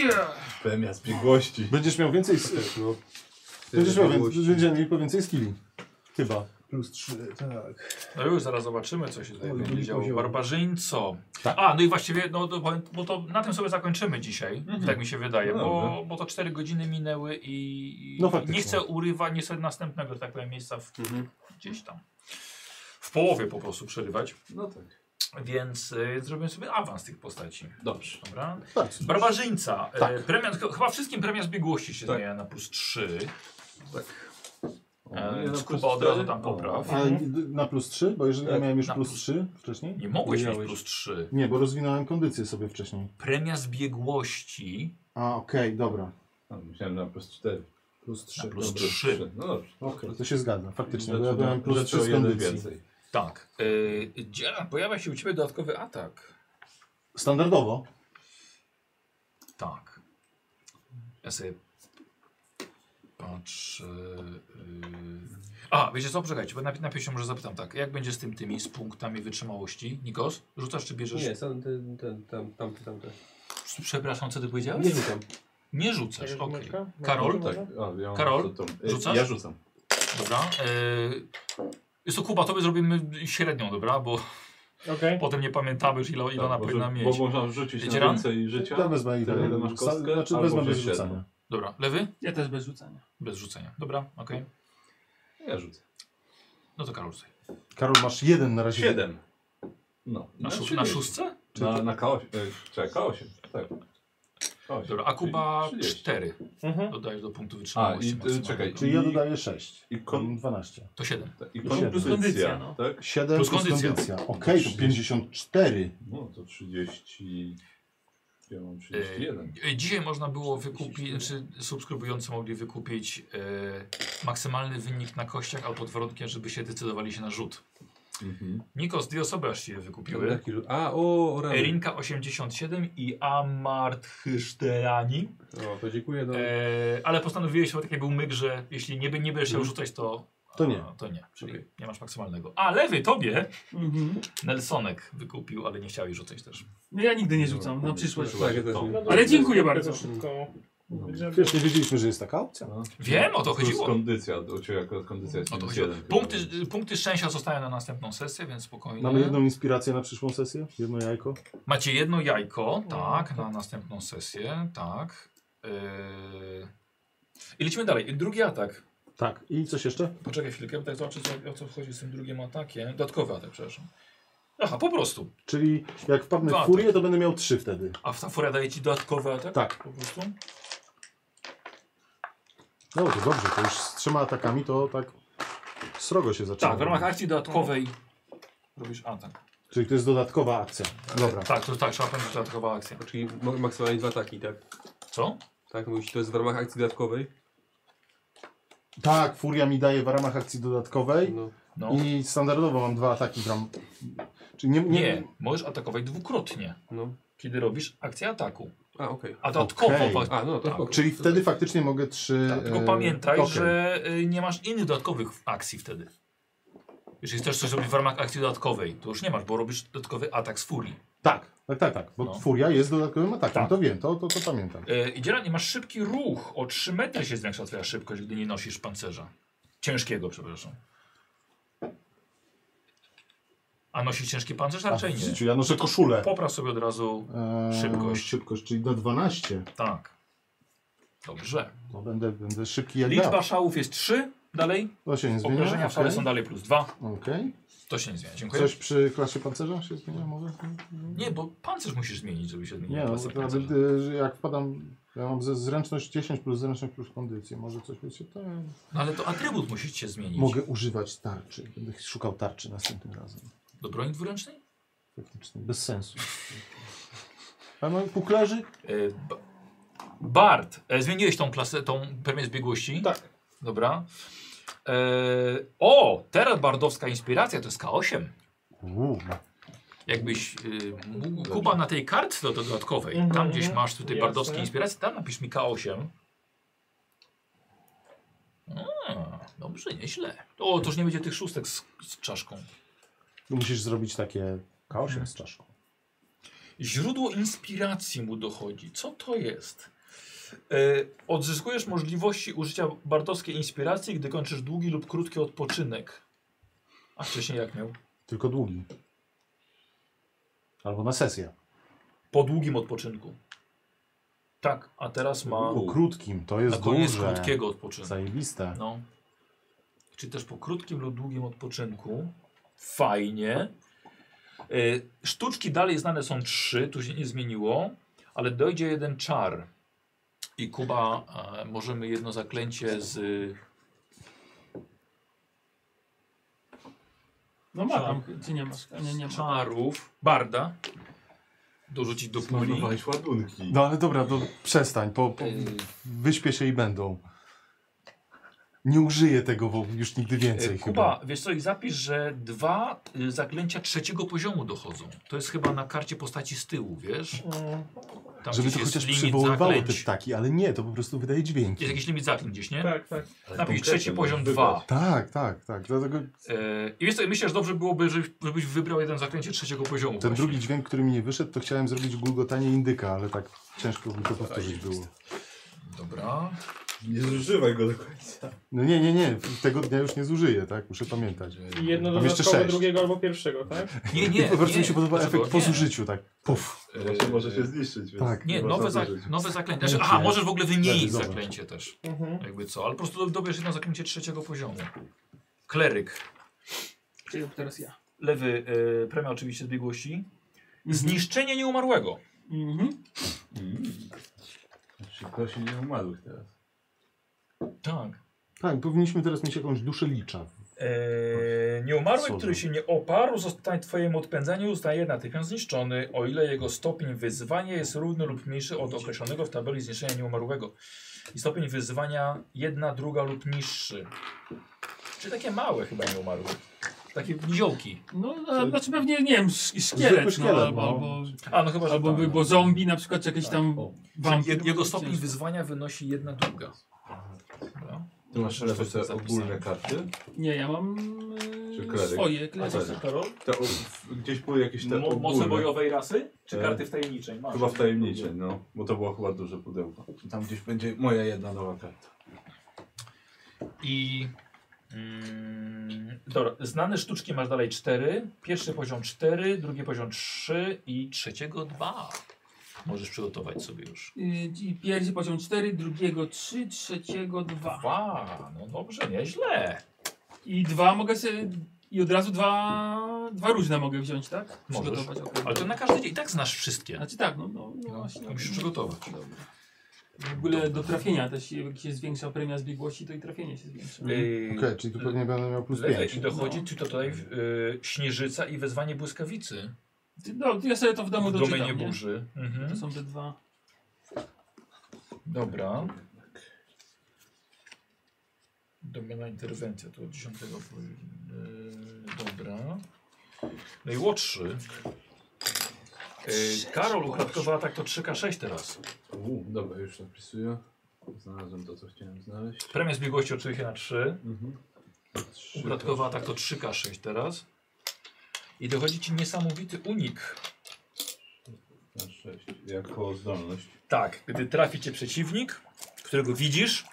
Speaker 6: premia z biegłości.
Speaker 5: Będziesz miał więcej... s-
Speaker 9: No.
Speaker 5: Będziesz miał
Speaker 9: Biegłości.
Speaker 5: więcej... Będziemy mieli po więcej skilli. Chyba.
Speaker 9: Plus 3, tak.
Speaker 1: No już zaraz zobaczymy, co się tutaj
Speaker 9: O,
Speaker 1: będzie
Speaker 9: drugi
Speaker 1: działo.
Speaker 9: poziom.
Speaker 1: Barbarzyńco.
Speaker 5: Tak.
Speaker 1: A, no i właściwie, no, to powiem- bo to na tym sobie zakończymy dzisiaj, tak mi się wydaje,
Speaker 6: No
Speaker 1: bo,
Speaker 6: dobra.
Speaker 1: bo to cztery godziny minęły i, i
Speaker 5: No faktycznie.
Speaker 1: nie chcę urywać, nie chcę następnego, że tak powiem, miejsca w,
Speaker 9: Mhm.
Speaker 1: gdzieś tam w połowie po prostu przerywać,
Speaker 6: No tak.
Speaker 1: więc y, zrobię sobie awans tych postaci.
Speaker 6: Dobrze.
Speaker 1: Dobra?
Speaker 5: Bardzo.
Speaker 1: Barbarzyńca.
Speaker 5: Tak.
Speaker 1: E, premia, ch- chyba wszystkim premia zbiegłości się
Speaker 6: Tak.
Speaker 1: zmienia na plus 3.
Speaker 6: O,
Speaker 1: E,
Speaker 6: ja na
Speaker 1: Kuba
Speaker 6: plus
Speaker 1: od razu
Speaker 6: cztery.
Speaker 1: tam popraw.
Speaker 5: A na plus 3? Bo jeżeli ja
Speaker 6: Tak,
Speaker 5: miałem już
Speaker 1: na
Speaker 5: plus
Speaker 1: plus.
Speaker 5: 3 wcześniej?
Speaker 1: Nie mogłeś
Speaker 5: Nie
Speaker 1: mieć
Speaker 5: miałeś.
Speaker 1: plus 3.
Speaker 5: Nie, bo rozwinąłem kondycję sobie wcześniej.
Speaker 1: Premia zbiegłości
Speaker 5: A, okej, dobra.
Speaker 6: A, Myślałem na plus 4.
Speaker 5: Plus 3.
Speaker 1: na plus
Speaker 6: No,
Speaker 1: 3.
Speaker 6: trzy. No dobrze.
Speaker 5: Okej, to się zgadza, faktycznie. Bo ja
Speaker 6: Zaczynam-
Speaker 5: miałem plus
Speaker 6: rzeczy
Speaker 5: 3
Speaker 6: o
Speaker 5: z
Speaker 6: jeden
Speaker 5: kondycji.
Speaker 6: więcej.
Speaker 1: Tak. E, Dzielan, pojawia się u Ciebie dodatkowy atak.
Speaker 5: Standardowo.
Speaker 1: Tak. Ja sobie patrzę. y, A, wiecie co, poczekajcie, bo najpierw najpierw się może zapytam tak. Jak będzie z tym tymi, z punktami wytrzymałości? Nikos, rzucasz czy bierzesz?
Speaker 9: Nie, sam ten, ten, tam, tamty, tamte.
Speaker 1: Przepraszam, co ty powiedziałeś?
Speaker 9: Nie rzucam.
Speaker 1: Nie rzucasz,
Speaker 2: Bierzesz
Speaker 1: okej.
Speaker 2: gumeczkę?
Speaker 1: Karol,
Speaker 6: Tak. A, ja mam
Speaker 1: Karol,
Speaker 6: to- to- e,
Speaker 1: rzucasz?
Speaker 6: Ja rzucam.
Speaker 1: dobra. Y... Jest to Kuba, tobie zrobimy średnią, dobra? Bo
Speaker 2: Okej.
Speaker 1: potem nie pamiętamy już ile, ile ona
Speaker 6: Tak, bo-
Speaker 1: powinna
Speaker 6: Bo
Speaker 1: mieć.
Speaker 6: można rzucić
Speaker 1: Wiecie
Speaker 6: na
Speaker 1: ran?
Speaker 6: więcej życia.
Speaker 5: Ja wezmę i
Speaker 6: Tyle, ile masz kostkę,
Speaker 5: Znaczy
Speaker 6: albo
Speaker 5: wezmę bez
Speaker 6: że siedem.
Speaker 5: rzucania.
Speaker 1: Dobra, lewy?
Speaker 4: Ja też bez rzucania.
Speaker 1: Bez rzucenia. Dobra, okej.
Speaker 6: Ja rzucę.
Speaker 1: No to Karol tutaj.
Speaker 5: Karol, masz jeden na razie.
Speaker 6: Siedem. No.
Speaker 1: Na,
Speaker 6: no,
Speaker 1: szó-
Speaker 6: czyli-
Speaker 1: na szóstce?
Speaker 6: Na, na K8. e, Czekaj, K8. Tak. K8.
Speaker 1: Dobra, a Kuba
Speaker 6: Czyli 30.
Speaker 1: 4.
Speaker 2: Mhm.
Speaker 1: Dodajesz do punktu
Speaker 6: A,
Speaker 1: wytrzymałości.
Speaker 6: i y,
Speaker 1: maksymalnego. No,
Speaker 6: czekaj.
Speaker 5: Czyli
Speaker 6: i,
Speaker 5: ja dodaję 6.
Speaker 6: i, kon,
Speaker 5: 12.
Speaker 1: To 7.
Speaker 6: i
Speaker 5: Plus
Speaker 6: Mm. kondycja,
Speaker 4: kondycja, no.
Speaker 6: tak?
Speaker 5: 7
Speaker 1: Plus
Speaker 5: plus kondycja.
Speaker 1: kondycja.
Speaker 5: Okej, to 54.
Speaker 6: No to 30... Ja mam 31.
Speaker 1: E, Dzisiaj można było wykupić, znaczy subskrybujący mogli wykupić e, maksymalny wynik na kościach, ale pod warunkiem, żeby się decydowali się na rzut.
Speaker 6: Mhm.
Speaker 1: Nikos, dwie osoby aż się wykupiły.
Speaker 9: Taki, a, o, o rany.
Speaker 1: Erinka 87 i Amart Hysztelani.
Speaker 9: O, to dziękuję. No.
Speaker 1: E, ale postanowiłeś, bo taki był myk, że jeśli nie, nie będziesz się
Speaker 6: Mhm.
Speaker 1: rzucać, to,
Speaker 5: To nie.
Speaker 1: a, to nie. Czyli nie masz maksymalnego. A lewy tobie
Speaker 4: Mhm.
Speaker 1: Nelsonek wykupił, ale nie chciałeś rzucać też.
Speaker 4: No ja nigdy nie rzucam, na przyszłość.
Speaker 9: Tak, ja też nie.
Speaker 2: No
Speaker 4: Ale dziękuję
Speaker 2: to
Speaker 4: bardzo.
Speaker 2: Szybko.
Speaker 5: Wiesz, nie wiedzieliśmy, że jest taka opcja.
Speaker 6: No.
Speaker 1: Wiem, o to
Speaker 6: Plus
Speaker 1: chodziło.
Speaker 6: kondycja, do ciebie akurat kondycja jest
Speaker 1: O to chodziło.
Speaker 6: 31.
Speaker 1: Punkty, punkty szczęścia zostają na następną sesję, więc spokojnie.
Speaker 5: tak. Mamy jedną inspirację na przyszłą sesję? Jedno jajko?
Speaker 1: Macie jedno jajko, tak, na następną sesję, tak. Yy... I lecimy dalej. Drugi atak.
Speaker 5: Tak. I coś jeszcze?
Speaker 1: Poczekaj chwilkę, bo tak zobaczę co- o co chodzi z tym drugim atakiem. Dodatkowy atak, przepraszam. Aha, po prostu.
Speaker 5: Czyli jak wpadnę
Speaker 1: Dwa, tak.
Speaker 5: w furię, to będę miał trzy wtedy.
Speaker 1: A ta furia daje ci dodatkowy atak?
Speaker 5: Tak.
Speaker 1: Po prostu?
Speaker 5: No to dobrze, to już z trzema atakami to tak srogo się zaczyna.
Speaker 1: Tak, w ramach akcji dodatkowej
Speaker 5: Tak.
Speaker 1: robisz atak.
Speaker 5: Czyli to jest dodatkowa akcja. Dobra.
Speaker 1: Tak, to tak, trzeba pamiętać dodatkowa akcja.
Speaker 9: Czyli mo- maksymalnie dwa ataki, tak?
Speaker 1: Co?
Speaker 9: Tak, mówisz, to jest w ramach akcji dodatkowej?
Speaker 5: Tak, furia mi daje w ramach akcji dodatkowej
Speaker 9: No.
Speaker 1: No.
Speaker 5: i standardowo mam dwa ataki w ram... Czyli nie, nie,
Speaker 1: Nie, możesz atakować dwukrotnie,
Speaker 9: no.
Speaker 1: kiedy robisz akcję ataku.
Speaker 9: A, okej.
Speaker 1: A dodatkowo
Speaker 5: Okej.
Speaker 1: pa-
Speaker 9: A, no, to
Speaker 1: Tak.
Speaker 9: spoko.
Speaker 5: Czyli wtedy faktycznie mogę trzy...
Speaker 1: Tak, tylko
Speaker 5: e,
Speaker 1: pamiętaj,
Speaker 5: okej.
Speaker 1: że y, nie masz innych dodatkowych akcji wtedy. Jeżeli chcesz coś robić w ramach akcji dodatkowej, to już nie masz, bo robisz dodatkowy atak z furii.
Speaker 5: Tak, tak, tak, tak. Bo
Speaker 1: No.
Speaker 5: furia jest dodatkowym atakiem,
Speaker 1: Tak.
Speaker 5: to wiem, to, to, to pamiętam.
Speaker 1: E, I generalnie masz szybki ruch, o 3 metry się zwiększa twoja szybkość, gdy nie nosisz pancerza. Ciężkiego, przepraszam. A nosisz ciężki pancerz? Raczej
Speaker 5: w
Speaker 1: nie.
Speaker 5: życiu, ja noszę koszulę.
Speaker 1: Popraw sobie od razu.
Speaker 5: Eee,
Speaker 1: Szybkość.
Speaker 5: Szybkość, czyli do 12.
Speaker 1: Tak. Dobrze.
Speaker 5: To No, będę, będę szybki jak
Speaker 1: Liczba
Speaker 5: ja.
Speaker 1: szałów jest 3. Dalej.
Speaker 5: To się nie No. zmienia.
Speaker 1: Obrażenia wcale
Speaker 5: okej.
Speaker 1: są dalej plus 2.
Speaker 5: Okej.
Speaker 1: To się nie zmienia. Dziękuję.
Speaker 5: Coś przy klasie pancerza się zmienia może?
Speaker 1: Nie, bo pancerz musisz zmienić, żeby się zmienił.
Speaker 5: Nie, no,
Speaker 1: klasa
Speaker 5: bo to
Speaker 1: pancerza.
Speaker 5: nawet, y, że jak wpadam, ja mam ze- zręczność 10 plus zręczność plus kondycję, może coś wiecie, to ja
Speaker 1: No ale to atrybut musisz się zmienić.
Speaker 5: mogę używać tarczy, będę szukał tarczy następnym razem,
Speaker 1: Do broni dwuręcznej?
Speaker 5: faktycznie, bez sensu. A mam kuklerzy?
Speaker 1: E, ba- Bart, e, zmieniłeś tą klasę, tą premię zbiegłości?
Speaker 5: Tak.
Speaker 1: Dobra. E, o, teraz bardowska inspiracja to jest K8.
Speaker 5: Uuu,
Speaker 1: Jakbyś e, mógł, Kuba na tej kartce dodatkowej,
Speaker 2: Mhm,
Speaker 1: tam gdzieś
Speaker 2: mhm.
Speaker 1: masz tutaj
Speaker 2: Jasne.
Speaker 1: bardowskie inspiracje, tam napisz mi K8. A, dobrze, nieźle. O, to już nie będzie tych szóstek z, z czaszką.
Speaker 5: musisz zrobić takie
Speaker 1: Hmm.
Speaker 5: K8 z czaszką.
Speaker 1: Źródło inspiracji mu dochodzi. Co to jest? E, odzyskujesz możliwości użycia bardowskiej inspiracji, gdy kończysz długi lub krótki odpoczynek. A wcześniej jak miał?
Speaker 5: Tylko długi. Albo na sesję.
Speaker 1: Po długim odpoczynku. Tak, a teraz ma
Speaker 5: Po krótkim, to
Speaker 1: na
Speaker 5: jest
Speaker 1: koniec
Speaker 5: duże.
Speaker 1: krótkiego odpoczynku.
Speaker 5: Zajebiste.
Speaker 1: No. Czy też po krótkim lub długim odpoczynku. Fajnie. E, Sztuczki dalej znane są trzy, tu się nie zmieniło, ale dojdzie jeden czar. I Kuba, e, możemy jedno zaklęcie z.
Speaker 4: No ma tam, czy nie masz? Nie, nie ma.
Speaker 1: czarów Barda dorzucić do puli.
Speaker 6: Zmarnowałeś ładunki.
Speaker 5: No ale dobra, to przestań, po, po,
Speaker 1: Yy.
Speaker 5: wyśpię się i będą. Nie użyję tego wo- już nigdy więcej
Speaker 1: E,
Speaker 5: chyba.
Speaker 1: Kuba, wiesz co, i zapisz, że dwa y, zaklęcia trzeciego poziomu dochodzą. To jest chyba na karcie postaci z tyłu, wiesz? Tam
Speaker 5: Mm. Żeby
Speaker 1: gdzieś
Speaker 5: to
Speaker 1: jest
Speaker 5: chociaż
Speaker 1: limit
Speaker 5: przywoływało te
Speaker 1: zaklęć.
Speaker 5: ptaki, ale nie, to po prostu wydaje dźwięki.
Speaker 1: Jest jakiś limit zaklęć gdzieś, nie?
Speaker 2: Tak, tak.
Speaker 1: Napisz
Speaker 6: Ale konkretnie
Speaker 1: trzeci
Speaker 6: możesz
Speaker 1: poziom
Speaker 6: wybrać.
Speaker 1: 2.
Speaker 5: Tak, tak, tak. Dlatego
Speaker 1: I wiesz co, myślę, że dobrze byłoby, żebyś, żebyś wybrał jeden zaklęcie trzeciego poziomu.
Speaker 5: ten
Speaker 1: właśnie.
Speaker 5: drugi dźwięk, który mi nie wyszedł, to chciałem zrobić gulgotanie indyka, ale tak ciężko by to powtórzyć było.
Speaker 1: Dobra.
Speaker 6: Nie zużywaj go do końca.
Speaker 5: No nie, nie, nie, tego dnia już nie zużyję, tak? Muszę pamiętać.
Speaker 2: I jedno
Speaker 5: Mam jeszcze
Speaker 2: dodatkowe
Speaker 5: sześć.
Speaker 2: drugiego albo pierwszego, tak?
Speaker 1: Nie, nie.
Speaker 5: po prostu
Speaker 1: nie.
Speaker 5: mi się podoba
Speaker 1: Dlaczego?
Speaker 5: efekt po
Speaker 1: Nie.
Speaker 5: zużyciu, tak. Puf.
Speaker 1: E,
Speaker 6: Właśnie może się zniszczyć, więc
Speaker 5: Tak.
Speaker 1: Nie,
Speaker 6: można
Speaker 1: nowe, zak
Speaker 6: zużyć.
Speaker 1: nowe zaklęcie. Znaczy,
Speaker 5: Nie,
Speaker 1: aha,
Speaker 5: nie.
Speaker 1: możesz w ogóle wymienić
Speaker 5: Lepiej, zobacz.
Speaker 1: zaklęcie też.
Speaker 2: Mhm.
Speaker 1: Jakby co, ale po prostu do- dobierz jedno zaklęcie trzeciego poziomu. Kleryk.
Speaker 4: Czyli teraz ja.
Speaker 1: Lewy, y, premia oczywiście z biegłości. Zniszczenie nieumarłego.
Speaker 4: Mhm.
Speaker 6: Szybko Znaczy, się nie umarłych teraz.
Speaker 1: Tak.
Speaker 5: Tak, powinniśmy teraz mieć jakąś duszę licza.
Speaker 1: Eee, nieumarły,
Speaker 5: Cudo.
Speaker 1: który się nie oparł, zostanie twojemu odpędzeniu zostaje natychmiast zniszczony, o ile jego stopień wyzwania jest równy lub mniejszy od określonego w tabeli zniszczenia nieumarłego. I stopień wyzwania jedna, druga lub niższy. Czy takie małe chyba nieumarły. Takie niziołki.
Speaker 4: No, a, znaczy pewnie, nie wiem, sz-
Speaker 5: Zwykły
Speaker 4: szkielet, no,
Speaker 5: szkielet,
Speaker 4: albo,
Speaker 5: no.
Speaker 4: albo,
Speaker 1: A no Tak, chyba, że
Speaker 4: albo,
Speaker 1: tak,
Speaker 4: albo zombie na przykład, czy jakieś tam
Speaker 6: O.
Speaker 1: Czyli
Speaker 4: wampir.
Speaker 1: jed- Jego stopień wyzwania wynosi jedna, druga. Dobra.
Speaker 6: Ty masz
Speaker 1: Coś
Speaker 6: lewe Znaczy, te
Speaker 1: zapisane.
Speaker 6: ogólne karty.
Speaker 4: Nie, ja mam
Speaker 6: Czy
Speaker 4: yy,
Speaker 6: kleryk?
Speaker 4: swoje Y, klety.
Speaker 6: A, tak. Te, o, w- gdzieś były jakieś te
Speaker 1: Mo-
Speaker 6: ogólne.
Speaker 1: Moce bojowej rasy? Czy
Speaker 6: E,
Speaker 1: karty wtajemniczej? Masz.
Speaker 6: Chyba w tajemnicze, no. Bo to było chyba duże pudełko. Tam gdzieś będzie moja jedna nowa karta.
Speaker 1: I. Mm, dobra, znane sztuczki masz dalej 4. Pierwszy poziom 4, drugi poziom 3 i trzeciego 2. Możesz przygotować sobie już.
Speaker 4: Yy, pierwszy poziom 4, drugiego 3, trzeciego 2.
Speaker 1: 2. No dobrze, nieźle.
Speaker 4: I dwa mogę sobie. I od razu dwa, dwa różne mogę wziąć, tak?
Speaker 1: Możesz.
Speaker 4: Przygotować. okej.
Speaker 1: Ale to na każdy dzień i tak znasz wszystkie.
Speaker 4: Znaczy tak, no, no, no
Speaker 1: No,
Speaker 4: właśnie.
Speaker 1: to musisz przygotować.
Speaker 4: W ogóle do trafienia też, jak się zwiększa premia zbiegłości, to i trafienie się zwiększa.
Speaker 1: Yy,
Speaker 5: Okej, czyli tu pewnie będę miał plus
Speaker 1: lewe.
Speaker 5: 5.
Speaker 1: I y, dochodzi ci tutaj yy, śnieżyca i wezwanie błyskawicy.
Speaker 4: Ty- No, ja sobie to w domu
Speaker 1: W
Speaker 4: doczytam,
Speaker 1: domenie
Speaker 4: nie?
Speaker 1: burzy. Mhm.
Speaker 4: To są te dwa.
Speaker 1: Dobra. Domena interwencja, to od 10 powi- yy, Dobra. No i łotrzy. Yy, Karol ukradkowy atak to 3K6 teraz.
Speaker 6: Uuu, dobra, już zapisuję. Znalazłem to, co chciałem znaleźć.
Speaker 1: Premia zbiegłości oczywiście na 3.
Speaker 6: Mhm.
Speaker 1: Ukradkowy atak to 3K6 teraz. I dochodzi ci niesamowity unik.
Speaker 6: Na sześć. Jako zdolność.
Speaker 1: Tak, gdy trafi cię przeciwnik, którego widzisz,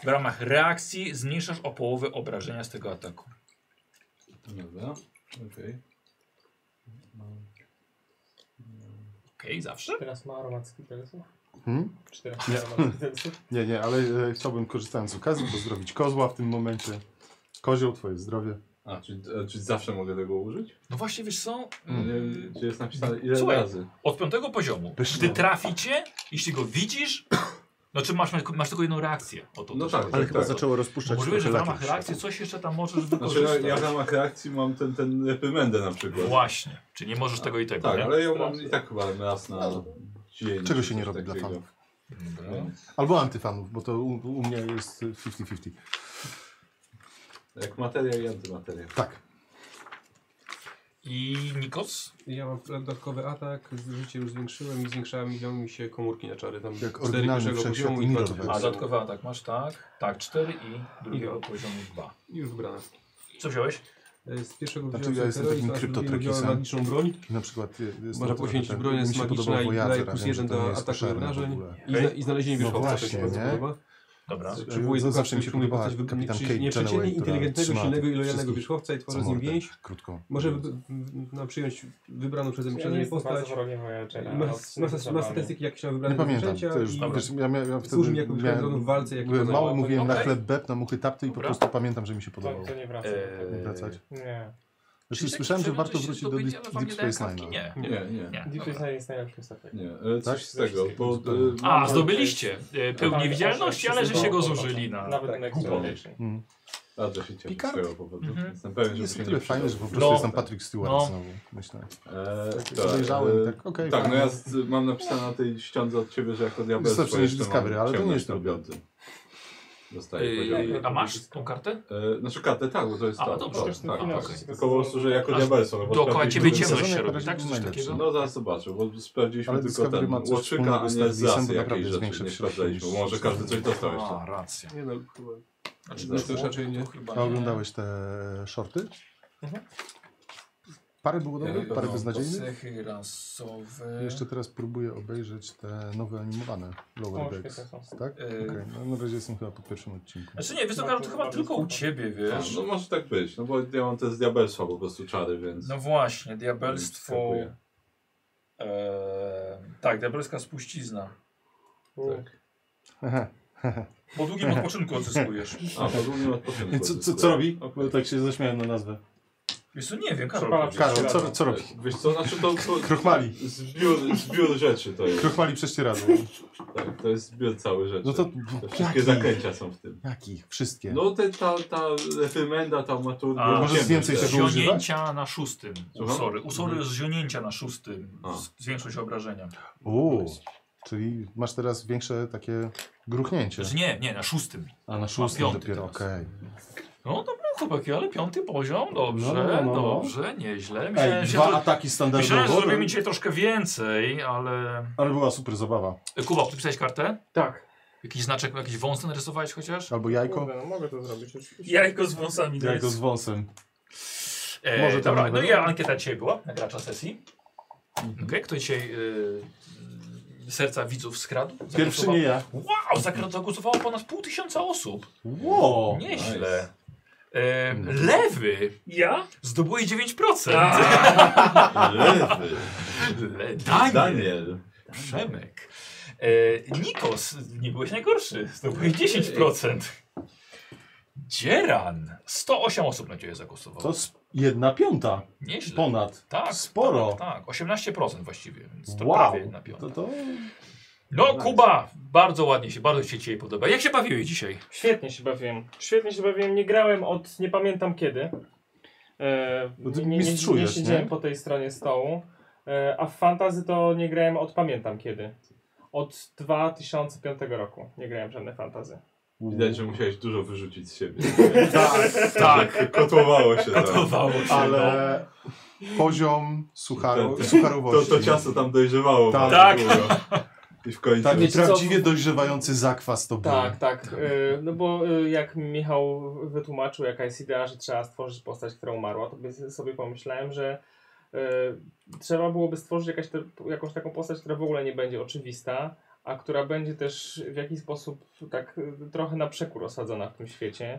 Speaker 1: w ramach reakcji zmniejszasz o połowę obrażenia z tego ataku.
Speaker 6: Dobra, okej.
Speaker 1: Okej, zawsze?
Speaker 2: Teraz ma aromat skipelsów?
Speaker 5: Hmm?
Speaker 2: Czy teraz ma aromat skipelsów?
Speaker 5: Nie, nie, ale e, chciałbym korzystając z okazji pozdrowić kozła w tym momencie. Kozioł, twoje zdrowie.
Speaker 6: A, czy, e, czy zawsze mogę tego użyć?
Speaker 1: No właśnie, wiesz co?
Speaker 6: Nie
Speaker 1: Yy,
Speaker 6: wiem, czy jest napisane ile
Speaker 1: Słuchaj.
Speaker 6: razy.
Speaker 1: Od piątego poziomu.
Speaker 5: Pyszne.
Speaker 1: Gdy traficie, jeśli go widzisz, znaczy masz, masz tylko jedną reakcję. O to
Speaker 6: No
Speaker 1: też
Speaker 6: tak,
Speaker 1: chodzi.
Speaker 6: ale chyba
Speaker 1: Możliwe,
Speaker 6: zaczę-
Speaker 5: Zaczęło rozpuszczać
Speaker 1: Możliwe, że w
Speaker 5: trochę
Speaker 1: ramach
Speaker 5: lakier.
Speaker 1: reakcji coś jeszcze tam możesz
Speaker 6: Znaczy, ja,
Speaker 1: wykorzystać.
Speaker 6: ja w ramach reakcji mam ten, ten reprymendę na przykład.
Speaker 1: Właśnie, czyli nie możesz tego i tego,
Speaker 6: Tak,
Speaker 1: nie?
Speaker 6: ale ja mam i tak chyba raz na dzień.
Speaker 5: No, Czego
Speaker 6: czy
Speaker 5: się nie
Speaker 6: coś
Speaker 5: robi dla
Speaker 6: takiego.
Speaker 5: fanów?
Speaker 1: Dobra.
Speaker 5: Albo antyfanów, bo to u, u mnie jest e, 50-50.
Speaker 6: Jak materiał i antymateriał.
Speaker 5: Tak.
Speaker 1: I Nikos?
Speaker 9: Ja mam dodatkowy atak, z- życie już zwiększyłem i zwiększają mi się komórki na czary. Tam
Speaker 5: Jak
Speaker 9: cztery
Speaker 5: oryginalny
Speaker 9: pierwszego
Speaker 5: wszechświat
Speaker 9: poziomu
Speaker 5: i
Speaker 9: i dwa
Speaker 5: Miro to
Speaker 1: A
Speaker 5: Tak.
Speaker 9: drugiego.
Speaker 1: dodatkowy atak masz, tak? Tak, 4 i drugiego poziomu 2.
Speaker 9: I Już wybrane.
Speaker 1: Co wziąłeś?
Speaker 9: E, Z pierwszego
Speaker 5: Znaczy,
Speaker 9: wziąłem
Speaker 5: ja jestem
Speaker 9: heroizm,
Speaker 5: takim
Speaker 9: a z drugiego
Speaker 5: kryptotrekisem.
Speaker 9: wziąłem magiczną broń.
Speaker 5: I na przykład... e, Jest
Speaker 9: Można
Speaker 5: to, że
Speaker 9: poświęcić
Speaker 5: tak,
Speaker 9: broń, jest
Speaker 5: mi się podobał
Speaker 9: magiczna i
Speaker 5: Voyager,
Speaker 9: daje
Speaker 5: a
Speaker 9: plus
Speaker 5: wiem, że
Speaker 9: jeden
Speaker 5: to nie
Speaker 9: do
Speaker 5: jest
Speaker 9: ataku
Speaker 5: koszerne w
Speaker 9: obrażeń.
Speaker 5: ogóle.
Speaker 9: I, zna, I znalezienie
Speaker 5: No
Speaker 9: wierzchowca, to
Speaker 5: właśnie,
Speaker 9: się bardzo
Speaker 5: nie?
Speaker 9: podoba.
Speaker 1: Dobra.
Speaker 5: Z-
Speaker 9: Przywołuje
Speaker 5: Zawsze
Speaker 9: postać,
Speaker 5: mi się
Speaker 9: przyjmuje
Speaker 5: podobała
Speaker 9: postać wy-
Speaker 5: kapitan
Speaker 9: nieprze-
Speaker 5: Kate
Speaker 9: nieprzeciętnie
Speaker 5: Chenoweth, która
Speaker 9: inteligentnego,
Speaker 5: trzyma
Speaker 9: silnego i lojalnego
Speaker 5: wszystkich
Speaker 9: wierzchowca i tworzy z nim
Speaker 5: Samordę.
Speaker 9: więź.
Speaker 5: Krótko.
Speaker 9: Może wy- w- na przyjąć wybraną przeze mnie
Speaker 2: Ja nie
Speaker 9: przeze mnie
Speaker 2: jestem bardzo
Speaker 9: postać.
Speaker 2: wrogiem Voyagera. ale
Speaker 9: Ma, ma,
Speaker 2: odsunę
Speaker 9: ma
Speaker 2: zabawę.
Speaker 9: statystyki jakieś na
Speaker 5: Nie
Speaker 9: wybrane
Speaker 5: pamiętam.
Speaker 9: zaklęcia
Speaker 5: To już,
Speaker 9: i-
Speaker 5: wiesz, ja, miałem- ja wtedy
Speaker 9: Służy mi jako szkodzoną w walce, jak
Speaker 5: byłem mały,
Speaker 9: poznaję.
Speaker 5: mówiłem na
Speaker 1: Okej.
Speaker 5: chleb beb, na muchy tapty i po
Speaker 1: Dobra.
Speaker 5: prostu pamiętam, że mi się
Speaker 2: To,
Speaker 5: podobało.
Speaker 2: to nie wraca.
Speaker 1: Eee,
Speaker 5: Wracać.
Speaker 2: Nie.
Speaker 5: Zresztą słyszałem, że warto wrócić do Deep, Deep Space Nine.
Speaker 1: Nie,
Speaker 6: Nie, nie.
Speaker 1: nie.
Speaker 2: Deep Space Nine jest najlepszym statek.
Speaker 6: Nie, e,
Speaker 5: Tak?
Speaker 6: coś z tego, bo... e,
Speaker 1: A,
Speaker 6: mam-
Speaker 1: zdobyliście e, pył
Speaker 2: Tak,
Speaker 1: niewidzialności, ale żeście go zużyli na...
Speaker 2: Nawet
Speaker 6: Tak,
Speaker 2: na
Speaker 6: głupo.
Speaker 2: Exploration.
Speaker 5: Mm.
Speaker 6: Bardzo się cieszę
Speaker 5: Picard?
Speaker 6: z tego powodu.
Speaker 1: Mhm.
Speaker 6: Jestem pewien, że
Speaker 5: Jest
Speaker 6: się
Speaker 5: o
Speaker 6: nie
Speaker 5: tyle fajne, że po
Speaker 6: przyda.
Speaker 5: prostu
Speaker 1: No.
Speaker 5: jest tam Patrick Stewart
Speaker 1: No.
Speaker 5: znowu. Myślę.
Speaker 6: E, tak,
Speaker 5: Podejrzałem,
Speaker 6: e,
Speaker 5: tak, okej.
Speaker 6: Tak, no
Speaker 5: fajnie.
Speaker 6: ja z, mam napisane na tej ściądze od ciebie, że jako diabelstwo
Speaker 5: Zawsze jest
Speaker 6: jeszcze mam
Speaker 5: Discovery, ale to nie
Speaker 6: ciemność
Speaker 5: jest trudne.
Speaker 6: robiący. Dostaję
Speaker 1: Yy,
Speaker 6: poziomy.
Speaker 1: a masz tą kartę?
Speaker 6: E, Znaczy kartę, tak, bo to jest
Speaker 1: A,
Speaker 6: to.
Speaker 1: dobrze.
Speaker 6: to, tak,
Speaker 1: Okej.
Speaker 6: tak. Tylko po prostu, że jako
Speaker 1: Aż
Speaker 6: diabelstwo. no bo
Speaker 1: Dookoła ciebie
Speaker 6: sprawdziliśmy ten-
Speaker 1: ciemność się
Speaker 5: sezonie
Speaker 1: robi,
Speaker 5: razie
Speaker 1: tak?
Speaker 5: był
Speaker 1: Coś
Speaker 5: najlepszy.
Speaker 1: takiego?
Speaker 6: No zaraz zobaczę, bo sprawdziliśmy
Speaker 5: Ale
Speaker 6: tylko
Speaker 5: Discovery
Speaker 6: ten
Speaker 5: ma coś
Speaker 6: łotrzyka,
Speaker 5: wspólnego
Speaker 6: a
Speaker 5: z
Speaker 6: nie
Speaker 5: Starwisem,
Speaker 6: zasy
Speaker 5: bo naprawdę
Speaker 6: jakiejś rzeczy,
Speaker 5: zwiększa
Speaker 6: nie
Speaker 5: przyjemność.
Speaker 6: sprawdzaliśmy, bo może każdy coś dostał
Speaker 1: A,
Speaker 6: jeszcze.
Speaker 1: racja.
Speaker 9: Nie no, chyba.
Speaker 1: Znaczy,
Speaker 6: No
Speaker 1: no,
Speaker 6: to już
Speaker 9: raczej nie.
Speaker 1: to chyba
Speaker 5: A oglądałeś te shorty?
Speaker 1: Mhm.
Speaker 5: Parę było dobrych, parę beznadziejnych.
Speaker 1: Cechy rasowe.
Speaker 5: Jeszcze teraz próbuję obejrzeć te nowe animowane
Speaker 2: O,
Speaker 5: Lower
Speaker 2: świetne
Speaker 5: Decks.
Speaker 2: są.
Speaker 5: Tak?
Speaker 1: Yy.
Speaker 5: Okej, no na razie jestem chyba po pierwszym odcinku.
Speaker 1: Znaczy nie, wiesz, to, to chyba tylko u ciebie,
Speaker 6: A,
Speaker 1: wiesz.
Speaker 6: No może tak być, no bo ja mam te z diabelstwa po prostu czary, więc...
Speaker 1: No właśnie, diabelstwo. e,
Speaker 6: Dziękuję.
Speaker 1: Eee, tak, diabelska spuścizna.
Speaker 2: U,
Speaker 6: Tak.
Speaker 1: Po długim odpoczynku odzyskujesz.
Speaker 6: A, po długim odpoczynku.
Speaker 5: Tak. Co, co, co
Speaker 6: odzyskuje.
Speaker 5: robi?
Speaker 6: Okej.
Speaker 5: Bo tak się zaśmiałem na nazwę.
Speaker 1: Wiesz co, nie wiem,
Speaker 2: Trzeba
Speaker 1: Karol.
Speaker 5: Karol, co, co robi?
Speaker 6: Wiesz co, znaczy to... to
Speaker 5: Kruchmali.
Speaker 6: Zbiór, zbiór rzeczy to jest.
Speaker 5: Krochmali prześcieradło.
Speaker 6: Tak, to jest zbiór cały rzeczy.
Speaker 5: No to...
Speaker 6: Te wszystkie
Speaker 5: Jakich?
Speaker 6: zaklęcia są w tym.
Speaker 5: Jakich? Wszystkie.
Speaker 6: No te, ta, ta efymenda, ta maturgia.
Speaker 1: A,
Speaker 5: Możesz
Speaker 6: ciemność
Speaker 5: więcej
Speaker 6: też.
Speaker 5: tego używać?
Speaker 1: Zionięcia na szóstym.
Speaker 6: Słucham?
Speaker 1: Usory. Usory z zionięcia na szóstym.
Speaker 6: A.
Speaker 1: Z- Zwiększą się obrażenia.
Speaker 5: Uuu. Czyli masz teraz większe takie gruchnięcie.
Speaker 1: Znaczy nie, nie, na szóstym.
Speaker 5: A na szóstym
Speaker 1: piąty
Speaker 5: dopiero,
Speaker 1: teraz.
Speaker 5: okej.
Speaker 1: No dobra, chłopaki, ale piąty poziom, dobrze,
Speaker 5: No, no, no, no.
Speaker 1: dobrze, nieźle. Myślałem,
Speaker 5: Ej,
Speaker 1: że,
Speaker 5: dwa
Speaker 1: to-
Speaker 5: ataki
Speaker 1: myślałem, że
Speaker 5: standardowo.
Speaker 1: zrobimy dzisiaj troszkę więcej, ale...
Speaker 5: Ale była super zabawa.
Speaker 1: Kuba, ty pisałeś kartę?
Speaker 2: Tak.
Speaker 1: Jakiś znaczek, jakiś wąs narysowałeś chociaż?
Speaker 5: Albo jajko.
Speaker 2: Kurde, no mogę to zrobić oczywiście.
Speaker 4: Jajko z wąsami. to
Speaker 5: Jajko
Speaker 4: jest.
Speaker 5: z wąsem.
Speaker 1: E,
Speaker 5: Może to
Speaker 1: dobra,
Speaker 5: nawet-
Speaker 1: no i ankieta dzisiaj była, nagracza sesji.
Speaker 5: Mhm.
Speaker 1: Okej, kto dzisiaj y, y, serca widzów skradł?
Speaker 5: Pierwszy nie ja.
Speaker 1: Wow, zakra- zagłosowało ponad pół tysiąca osób.
Speaker 5: Wow.
Speaker 1: Nieźle. E, lewy
Speaker 4: Ja?
Speaker 1: zdobyłeś 9%.
Speaker 5: Tak.
Speaker 6: Lewy.
Speaker 1: Le, Daniel,
Speaker 6: Daniel.
Speaker 1: Przemek. E, Nikos, nie byłeś najgorszy, zdobyłeś 10%. Dzieran, 108 osób na ciebie zagłosowało.
Speaker 5: To jest jedna piąta.
Speaker 1: Nieźle.
Speaker 5: Ponad.
Speaker 1: Tak,
Speaker 5: Sporo.
Speaker 1: Tak, 18% właściwie, więc to
Speaker 5: Wow.
Speaker 1: prawie na
Speaker 5: To,
Speaker 1: piątek.
Speaker 5: to...
Speaker 1: No Kuba, bardzo ładnie się, bardzo się Ci podoba. Jak się bawiłeś dzisiaj?
Speaker 2: Świetnie się bawiłem. Świetnie się bawiłem. Nie grałem od nie pamiętam kiedy. E,
Speaker 5: Bo ty
Speaker 2: nie, nie, nie
Speaker 5: mistrzujesz,
Speaker 2: siedziałem
Speaker 5: nie?
Speaker 2: po tej stronie stołu. E, a w fantazy to nie grałem od pamiętam kiedy. Od 2005 roku nie grałem w żadne fantazy.
Speaker 6: Widać, że musiałeś dużo wyrzucić z siebie.
Speaker 5: Tak,
Speaker 1: Tak,
Speaker 6: Kotłowało się tam.
Speaker 1: gotowało się. no.
Speaker 5: ale poziom sucharu,
Speaker 6: To- To,
Speaker 5: sucharowości.
Speaker 6: to ciasto tam dojrzewało
Speaker 5: Tak.
Speaker 6: bardzo długo. I w końcu.
Speaker 5: Tak,
Speaker 2: Wiecie co?
Speaker 5: prawdziwie dojrzewający zakwas to był.
Speaker 2: Tak, tak. E, no bo e, jak Michał wytłumaczył, jaka jest idea, że trzeba stworzyć postać, która umarła, to by sobie pomyślałem, że e, trzeba byłoby stworzyć jakaś te, jakąś taką postać, która w ogóle nie będzie oczywista, a która będzie też w jakiś sposób tak e, trochę na przekór osadzona w tym świecie.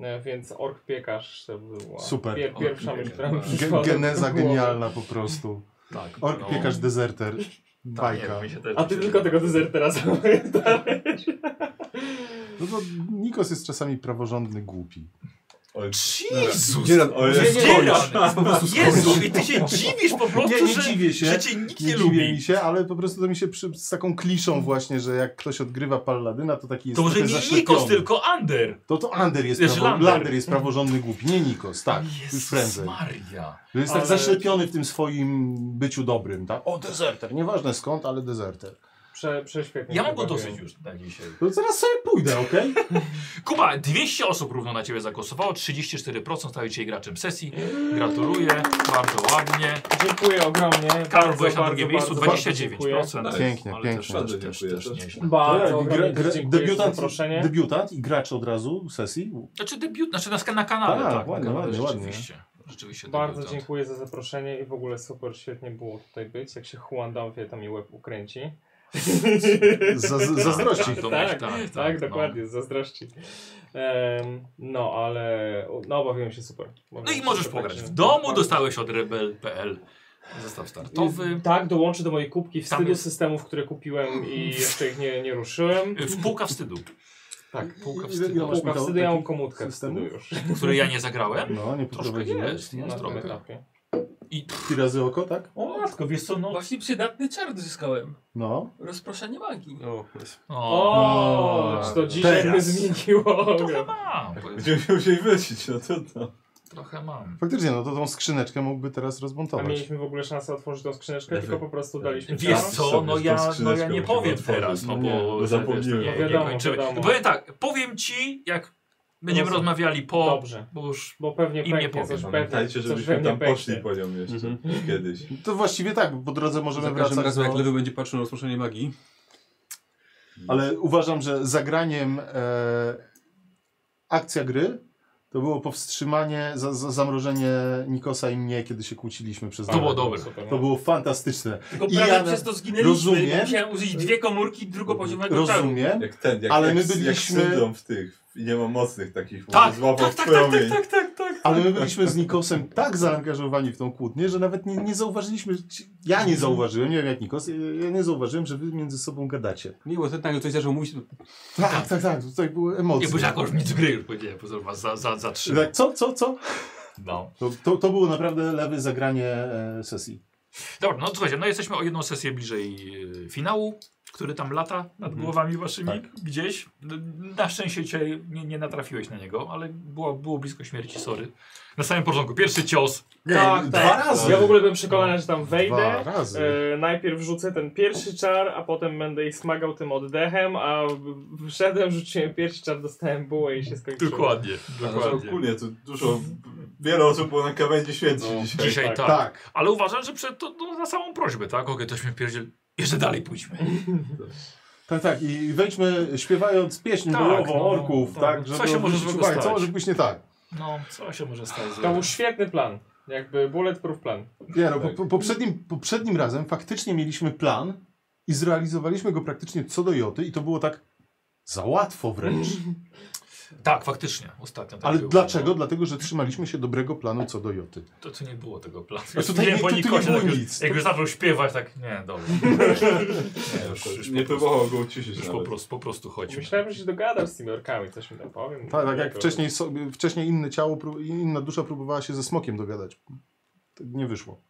Speaker 2: E, więc Ork Piekarz to była
Speaker 5: Super.
Speaker 2: pier- pierwsza
Speaker 6: Ork
Speaker 2: myśl, która mi
Speaker 6: Piekarz.
Speaker 2: przyszła.
Speaker 5: Ge- Geneza
Speaker 2: do głowy.
Speaker 5: genialna po prostu.
Speaker 1: tak.
Speaker 5: Ork,
Speaker 1: no.
Speaker 5: piekarz, deserter.
Speaker 1: Tak, nie,
Speaker 5: Bajka.
Speaker 1: mi się też-
Speaker 2: A ty tylko tego dezertera sobie dałeś.
Speaker 5: No to Nikos jest czasami praworządny głupi.
Speaker 6: Oj,
Speaker 1: Jezus!
Speaker 5: Dzieran-
Speaker 6: o,
Speaker 1: Jezus,
Speaker 6: jest-
Speaker 1: Dzieran! Jezu, i ty się dziwisz po prostu,
Speaker 5: Nie, nie
Speaker 1: że,
Speaker 5: dziwię się.
Speaker 1: że cię nikt nie,
Speaker 5: Nie lubię mi
Speaker 1: lubi.
Speaker 5: się, ale po prostu to mi się przy, z taką kliszą właśnie, że jak ktoś odgrywa Palladyna, to taki jest
Speaker 1: To może
Speaker 5: trochę
Speaker 1: nie
Speaker 5: zaszczepiony.
Speaker 1: Nikos, tylko Ander.
Speaker 5: To to Ander jest,
Speaker 1: Wiesz,
Speaker 5: prawo,
Speaker 1: Lander.
Speaker 5: Lander. jest praworządny głupi, nie Nikos, tak, już
Speaker 1: Jezus
Speaker 5: prędzej.
Speaker 1: Maria.
Speaker 5: Że jest tak
Speaker 2: Ale-
Speaker 5: zaszczepiony w tym swoim byciu dobrym, tak? O, deserter, nieważne skąd, ale deserter.
Speaker 2: Prze, prześwietnie.
Speaker 1: Ja
Speaker 2: się
Speaker 1: mam go
Speaker 2: bawiłem.
Speaker 1: dosyć już na dzisiaj.
Speaker 5: To zaraz sobie pójdę, okej?
Speaker 1: Kuba, 200 osób równo na Ciebie zagłosowało, 34% stały się graczem sesji. Gratuluję, bardzo ładnie.
Speaker 2: Dziękuję ogromnie.
Speaker 1: Karol,
Speaker 2: Bardzo,
Speaker 1: byłeś na
Speaker 2: bardzo,
Speaker 1: drugim miejscu,
Speaker 2: bardzo,
Speaker 1: 29%.
Speaker 6: bardzo
Speaker 5: Pięknie,
Speaker 1: ale
Speaker 5: pięknie.
Speaker 1: Też,
Speaker 6: Bardzo
Speaker 1: też, też,
Speaker 6: dziękuję.
Speaker 1: też nieźle.
Speaker 2: Bardzo
Speaker 5: Gra-
Speaker 2: ogromnie
Speaker 5: gra-
Speaker 2: dziękuję za
Speaker 5: Debiutant,
Speaker 2: zaproszenie.
Speaker 5: debiutant i gracz od razu sesji?
Speaker 1: Znaczy debiut, znaczy na, ska- na kanale,
Speaker 5: Tak,
Speaker 1: tak.
Speaker 5: ładnie,
Speaker 1: na kanale,
Speaker 5: ładnie, ładnie.
Speaker 1: rzeczywiście. Rzeczywiście
Speaker 2: Bardzo
Speaker 1: debiutant.
Speaker 2: dziękuję za zaproszenie i w ogóle super, świetnie było tutaj być. Jak się Juan dowie, to mi łeb ukręci.
Speaker 5: Z, z, zazdrości.
Speaker 1: Tak, Tomek, tak, tak, no.
Speaker 2: dokładnie, z zazdrości. Em, no, ale no, bawiłem się super. Bawiłem
Speaker 1: No i
Speaker 2: się
Speaker 1: możesz
Speaker 2: super,
Speaker 1: pograć. W
Speaker 2: także-
Speaker 1: domu
Speaker 2: Bardzo-
Speaker 1: dostałeś od rebel.pl zestaw startowy.
Speaker 2: Tak, dołączę do mojej kubki
Speaker 1: Tam
Speaker 2: wstydu
Speaker 1: jest-
Speaker 2: systemów, które kupiłem i jeszcze ich nie, nie ruszyłem.
Speaker 1: Y, W Półka wstydu,
Speaker 2: Tak,
Speaker 1: Półka
Speaker 5: Ile- ile
Speaker 1: wstydu.
Speaker 5: masz
Speaker 2: półka
Speaker 5: Michał,
Speaker 2: wstydu, ja mam
Speaker 5: takich
Speaker 2: komutkę wstydu
Speaker 5: systemów?
Speaker 2: już
Speaker 1: w której ja nie zagrałem.
Speaker 5: No, nie
Speaker 1: Troszkę
Speaker 5: poprowadziłeś.
Speaker 1: jest, jest
Speaker 2: na tym
Speaker 1: trochę.
Speaker 2: etapie.
Speaker 1: I pff,
Speaker 5: Trzy razy oko, tak?
Speaker 4: O matko, wiesz co, no. Właśnie przydatny czar zyskałem.
Speaker 5: No.
Speaker 4: Rozproszenie magii.
Speaker 6: No,
Speaker 7: O, jest.
Speaker 1: o, no,
Speaker 2: O, czy to dzisiaj
Speaker 5: teraz.
Speaker 2: by zmieniło?
Speaker 1: trochę mam.
Speaker 6: Gdzie musieli wrócić, no to to.
Speaker 1: Trochę mam.
Speaker 5: Faktycznie, no to tą skrzyneczkę mógłby teraz
Speaker 2: A
Speaker 5: rozmontować.
Speaker 2: mieliśmy w ogóle szansę otworzyć tą skrzyneczkę,
Speaker 6: Lewy.
Speaker 2: tylko po prostu daliśmy
Speaker 1: Wiesz
Speaker 2: czas.
Speaker 1: co,
Speaker 6: Sobie
Speaker 1: no
Speaker 6: z tą
Speaker 1: ja, no ja
Speaker 6: skrzyneczką
Speaker 1: nie
Speaker 6: musimy
Speaker 1: powiem
Speaker 6: otworzyć.
Speaker 1: teraz, no bo
Speaker 6: No nie, bo
Speaker 1: że
Speaker 6: zapomniałem.
Speaker 1: wiesz, to
Speaker 2: No
Speaker 1: nie,
Speaker 2: wiadomo,
Speaker 1: nie kończymy.
Speaker 2: wiadomo.
Speaker 1: Powiem tak, powiem ci, jak będziemy
Speaker 2: Dobrze.
Speaker 1: rozmawiali po,
Speaker 2: Dobrze,
Speaker 1: bo już no.
Speaker 2: bo pewnie
Speaker 1: Im nie Mhm.
Speaker 2: pęknie,
Speaker 1: powiem.
Speaker 2: coś pewnie,
Speaker 6: Pamiętajcie,
Speaker 2: coś
Speaker 6: żebyśmy
Speaker 2: pewnie
Speaker 6: tam poszli
Speaker 2: pęknie.
Speaker 6: po nią jeszcze kiedyś.
Speaker 5: To właściwie tak, bo po drodze możemy
Speaker 7: Za każdym
Speaker 5: wracać
Speaker 7: razem,
Speaker 5: do...
Speaker 7: jak lewy będzie patrzył na rozproszenie magii,
Speaker 5: Ale uważam, że zagraniem e, akcja gry to było powstrzymanie, za, za, zamrożenie Nikosa i mnie, kiedy się kłóciliśmy przez
Speaker 1: To
Speaker 5: dwa
Speaker 1: było
Speaker 5: lata.
Speaker 1: dobre.
Speaker 2: Super, no.
Speaker 5: To było fantastyczne.
Speaker 4: Tylko
Speaker 5: I
Speaker 4: prawie
Speaker 5: ja
Speaker 4: przez
Speaker 5: na-
Speaker 4: to zginęliśmy.
Speaker 5: rozumiem.
Speaker 4: bo Musiałem użyć dwie komórki drugopoziomego czaru.
Speaker 5: Rozumiem,
Speaker 6: Jak ten, jak,
Speaker 5: Ale
Speaker 6: jak,
Speaker 5: my
Speaker 6: jak
Speaker 5: byliśmy-
Speaker 6: syndrom w tych i nie ma mocnych takich,
Speaker 1: Tak,
Speaker 6: złapał
Speaker 1: tak,
Speaker 6: w
Speaker 1: tak, tak,
Speaker 6: promień.
Speaker 1: tak, tak, tak,
Speaker 5: Ale my byliśmy z Nikosem tak zaangażowani w tą kłótnię, że nawet nie, nie zauważyliśmy. Ja nie zauważyłem, nie wiem jak Nikos, ja nie zauważyłem, że wy między sobą gadacie.
Speaker 9: Miło, że tak, że ktoś zaczął mówić, to
Speaker 5: Tak, tak, tak, tutaj były
Speaker 1: Nie
Speaker 5: emocje.
Speaker 1: byś jakoś nic gry już powiedziałem, pozor, was za, za, za trzy.
Speaker 5: Tak, co, co, co?
Speaker 1: No.
Speaker 5: To, to, to było naprawdę lewe zagranie e, sesji.
Speaker 1: Dobra, no słuchajcie, no jesteśmy o jedną sesję bliżej e, finału, który tam lata nad głowami waszymi gdzieś. N- Na szczęście cię nie, nie natrafiłeś na niego, ale było, było blisko śmierci, sorry. Na samym początku, pierwszy cios.
Speaker 2: Tak,
Speaker 5: dwa
Speaker 2: tak.
Speaker 5: razy.
Speaker 2: Ja w ogóle byłem przekonany, że tam
Speaker 5: Dwa
Speaker 2: wejdę.
Speaker 5: razy.
Speaker 2: E, najpierw rzucę ten pierwszy czar, a potem będę ich smagał tym oddechem, a w- wszedłem, rzuciłem pierwszy czar, dostałem bułę i się skończyło.
Speaker 1: Dokładnie,
Speaker 6: Ale
Speaker 1: dokładnie.
Speaker 6: Znaczy ogólnie to dużo, wiele osób było na krawędzi święci
Speaker 1: No,
Speaker 6: dzisiaj.
Speaker 1: dzisiaj tak.
Speaker 5: Tak.
Speaker 1: Ale uważam, że przed, to no, na samą prośbę, tak? Okej, to się pierdziel. Jeszcze dalej pójdźmy.
Speaker 5: Tak, tak. I wejdźmy śpiewając pieśń
Speaker 1: Tak,
Speaker 5: bojową
Speaker 1: no,
Speaker 5: orków,
Speaker 1: tak.
Speaker 5: tak,
Speaker 1: Co
Speaker 5: żeby
Speaker 1: się może
Speaker 5: odwrócić
Speaker 1: złego
Speaker 5: uwagę,
Speaker 1: stać?
Speaker 5: Co może być nie tak?
Speaker 1: No, co się może stać?
Speaker 2: To był świetny plan. Jakby bulletproof plan.
Speaker 5: Nie,
Speaker 1: Tak.
Speaker 5: no, po, po, poprzednim, poprzednim razem faktycznie mieliśmy plan i zrealizowaliśmy go praktycznie co do joty i to było tak za łatwo wręcz.
Speaker 1: Tak, faktycznie, ostatnio tak
Speaker 5: Ale
Speaker 1: było.
Speaker 5: dlaczego? Dlatego, że trzymaliśmy się dobrego planu co do joty.
Speaker 1: To, to nie było tego planu.
Speaker 5: A tutaj nie-
Speaker 1: po
Speaker 5: tu- tu nie
Speaker 1: Nikosie,
Speaker 5: było
Speaker 1: tak już-
Speaker 5: nic.
Speaker 1: Jak już zaczął śpiewać, tak nie, dobra. Nie, już, już
Speaker 6: Nie
Speaker 1: po prostu-
Speaker 6: próbował go uciszyć
Speaker 1: Już
Speaker 6: nawet.
Speaker 1: po prostu, po prostu chodźmy.
Speaker 2: Myślałem, że się dogadam z tymi orkami, coś mi tam powiem.
Speaker 5: Tak, tak jak wcześniej, sobie- wcześniej inne ciało, pró- inna dusza próbowała się ze smokiem dogadać. To nie wyszło.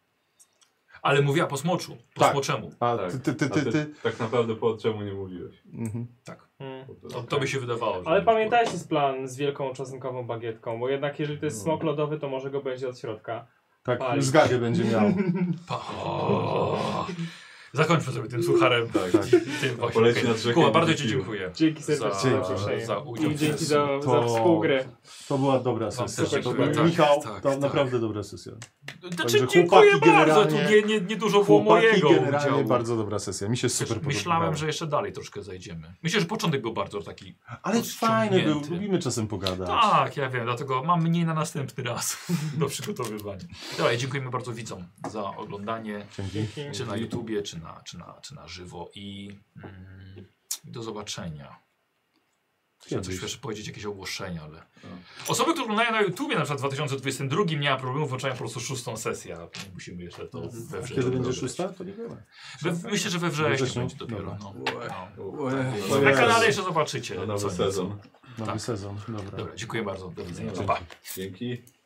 Speaker 1: Ale mówiła po smoczu, po
Speaker 5: Tak.
Speaker 1: smoczemu.
Speaker 5: A
Speaker 6: Tak.
Speaker 5: ty, ty,
Speaker 6: A
Speaker 5: ty, ty, ty.
Speaker 6: Tak naprawdę po czemu nie mówiłeś.
Speaker 5: Mhm.
Speaker 1: Tak.
Speaker 2: Hmm.
Speaker 1: To, to by się wydawało. że
Speaker 2: Ale
Speaker 1: nie
Speaker 2: pamiętajcie z plan z wielką czosnkową bagietką, bo jednak jeżeli to
Speaker 1: No.
Speaker 2: jest smok lodowy, to może go będzie od środka.
Speaker 5: Tak,
Speaker 2: Pali.
Speaker 5: zgadzie będzie miał.
Speaker 1: było. Pa- o. Zakończmy sobie tym sucharem.
Speaker 6: Tak.
Speaker 1: Tym właśnie.
Speaker 6: Poleci nad
Speaker 1: Okay.
Speaker 6: rzeką
Speaker 1: Kuba,
Speaker 6: i
Speaker 1: bardzo
Speaker 6: będzie
Speaker 1: Ci
Speaker 6: pił.
Speaker 1: dziękuję.
Speaker 2: Dzięki
Speaker 1: Za,
Speaker 2: serdecznie za,
Speaker 1: za,
Speaker 2: zaproszenie.
Speaker 1: za udział.
Speaker 2: I
Speaker 1: w
Speaker 2: dzięki
Speaker 1: sesji.
Speaker 2: za, za
Speaker 5: To-
Speaker 2: współgrę.
Speaker 5: To była dobra
Speaker 1: Wam
Speaker 5: sesja.
Speaker 1: też
Speaker 5: To
Speaker 1: dziękuję.
Speaker 5: był-
Speaker 1: Tak,
Speaker 5: Michał,
Speaker 1: tak,
Speaker 5: to
Speaker 1: tak.
Speaker 5: naprawdę dobra sesja.
Speaker 1: Znaczy,
Speaker 5: Także
Speaker 1: dziękuję
Speaker 5: chłopaki
Speaker 1: bardzo. Tu nie,
Speaker 5: generalnie-
Speaker 1: nie, nie dużo było
Speaker 5: Chłopaki
Speaker 1: mojego
Speaker 5: generalnie
Speaker 1: udziału.
Speaker 5: bardzo dobra sesja. Mi się super
Speaker 1: Myślałem,
Speaker 5: podobało.
Speaker 1: że jeszcze dalej troszkę zajdziemy. Myślę, że początek był bardzo taki.
Speaker 5: Ale fajny był,
Speaker 1: rozciągnięty.
Speaker 5: lubimy czasem pogadać.
Speaker 1: Tak, ja wiem, dlatego mam mniej na następny raz do przygotowywania. Dobra, i dziękujemy bardzo widzom za oglądanie,
Speaker 5: Dzięki.
Speaker 1: czy na YouTubie, czy na, czy na, czy na żywo i mm, do zobaczenia. Chciałem coś
Speaker 5: Kiedyś.
Speaker 1: jeszcze powiedzieć, jakieś ogłoszenia, ale... Osoby, które oglądają na YouTubie na przykład w 2022 nie ma problemu, włączają po prostu szóstą sesję, a musimy jeszcze to we wrześniu.
Speaker 5: Kiedy będzie
Speaker 1: dograć.
Speaker 5: szósta? To nie wiemy.
Speaker 1: We, myślę, że we wrześniu,
Speaker 5: We wrześniu?
Speaker 1: będzie dopiero.
Speaker 5: Dobra.
Speaker 1: No.
Speaker 6: To
Speaker 1: No. Na
Speaker 6: jest-
Speaker 1: kanale jeszcze zobaczycie.
Speaker 6: tak, Na
Speaker 1: co
Speaker 6: nowy
Speaker 1: nieco.
Speaker 6: sezon.
Speaker 5: Nowy sezon. Dobra.
Speaker 1: Dobra, dziękuję bardzo. Do widzenia. Pa,
Speaker 6: Dzięki.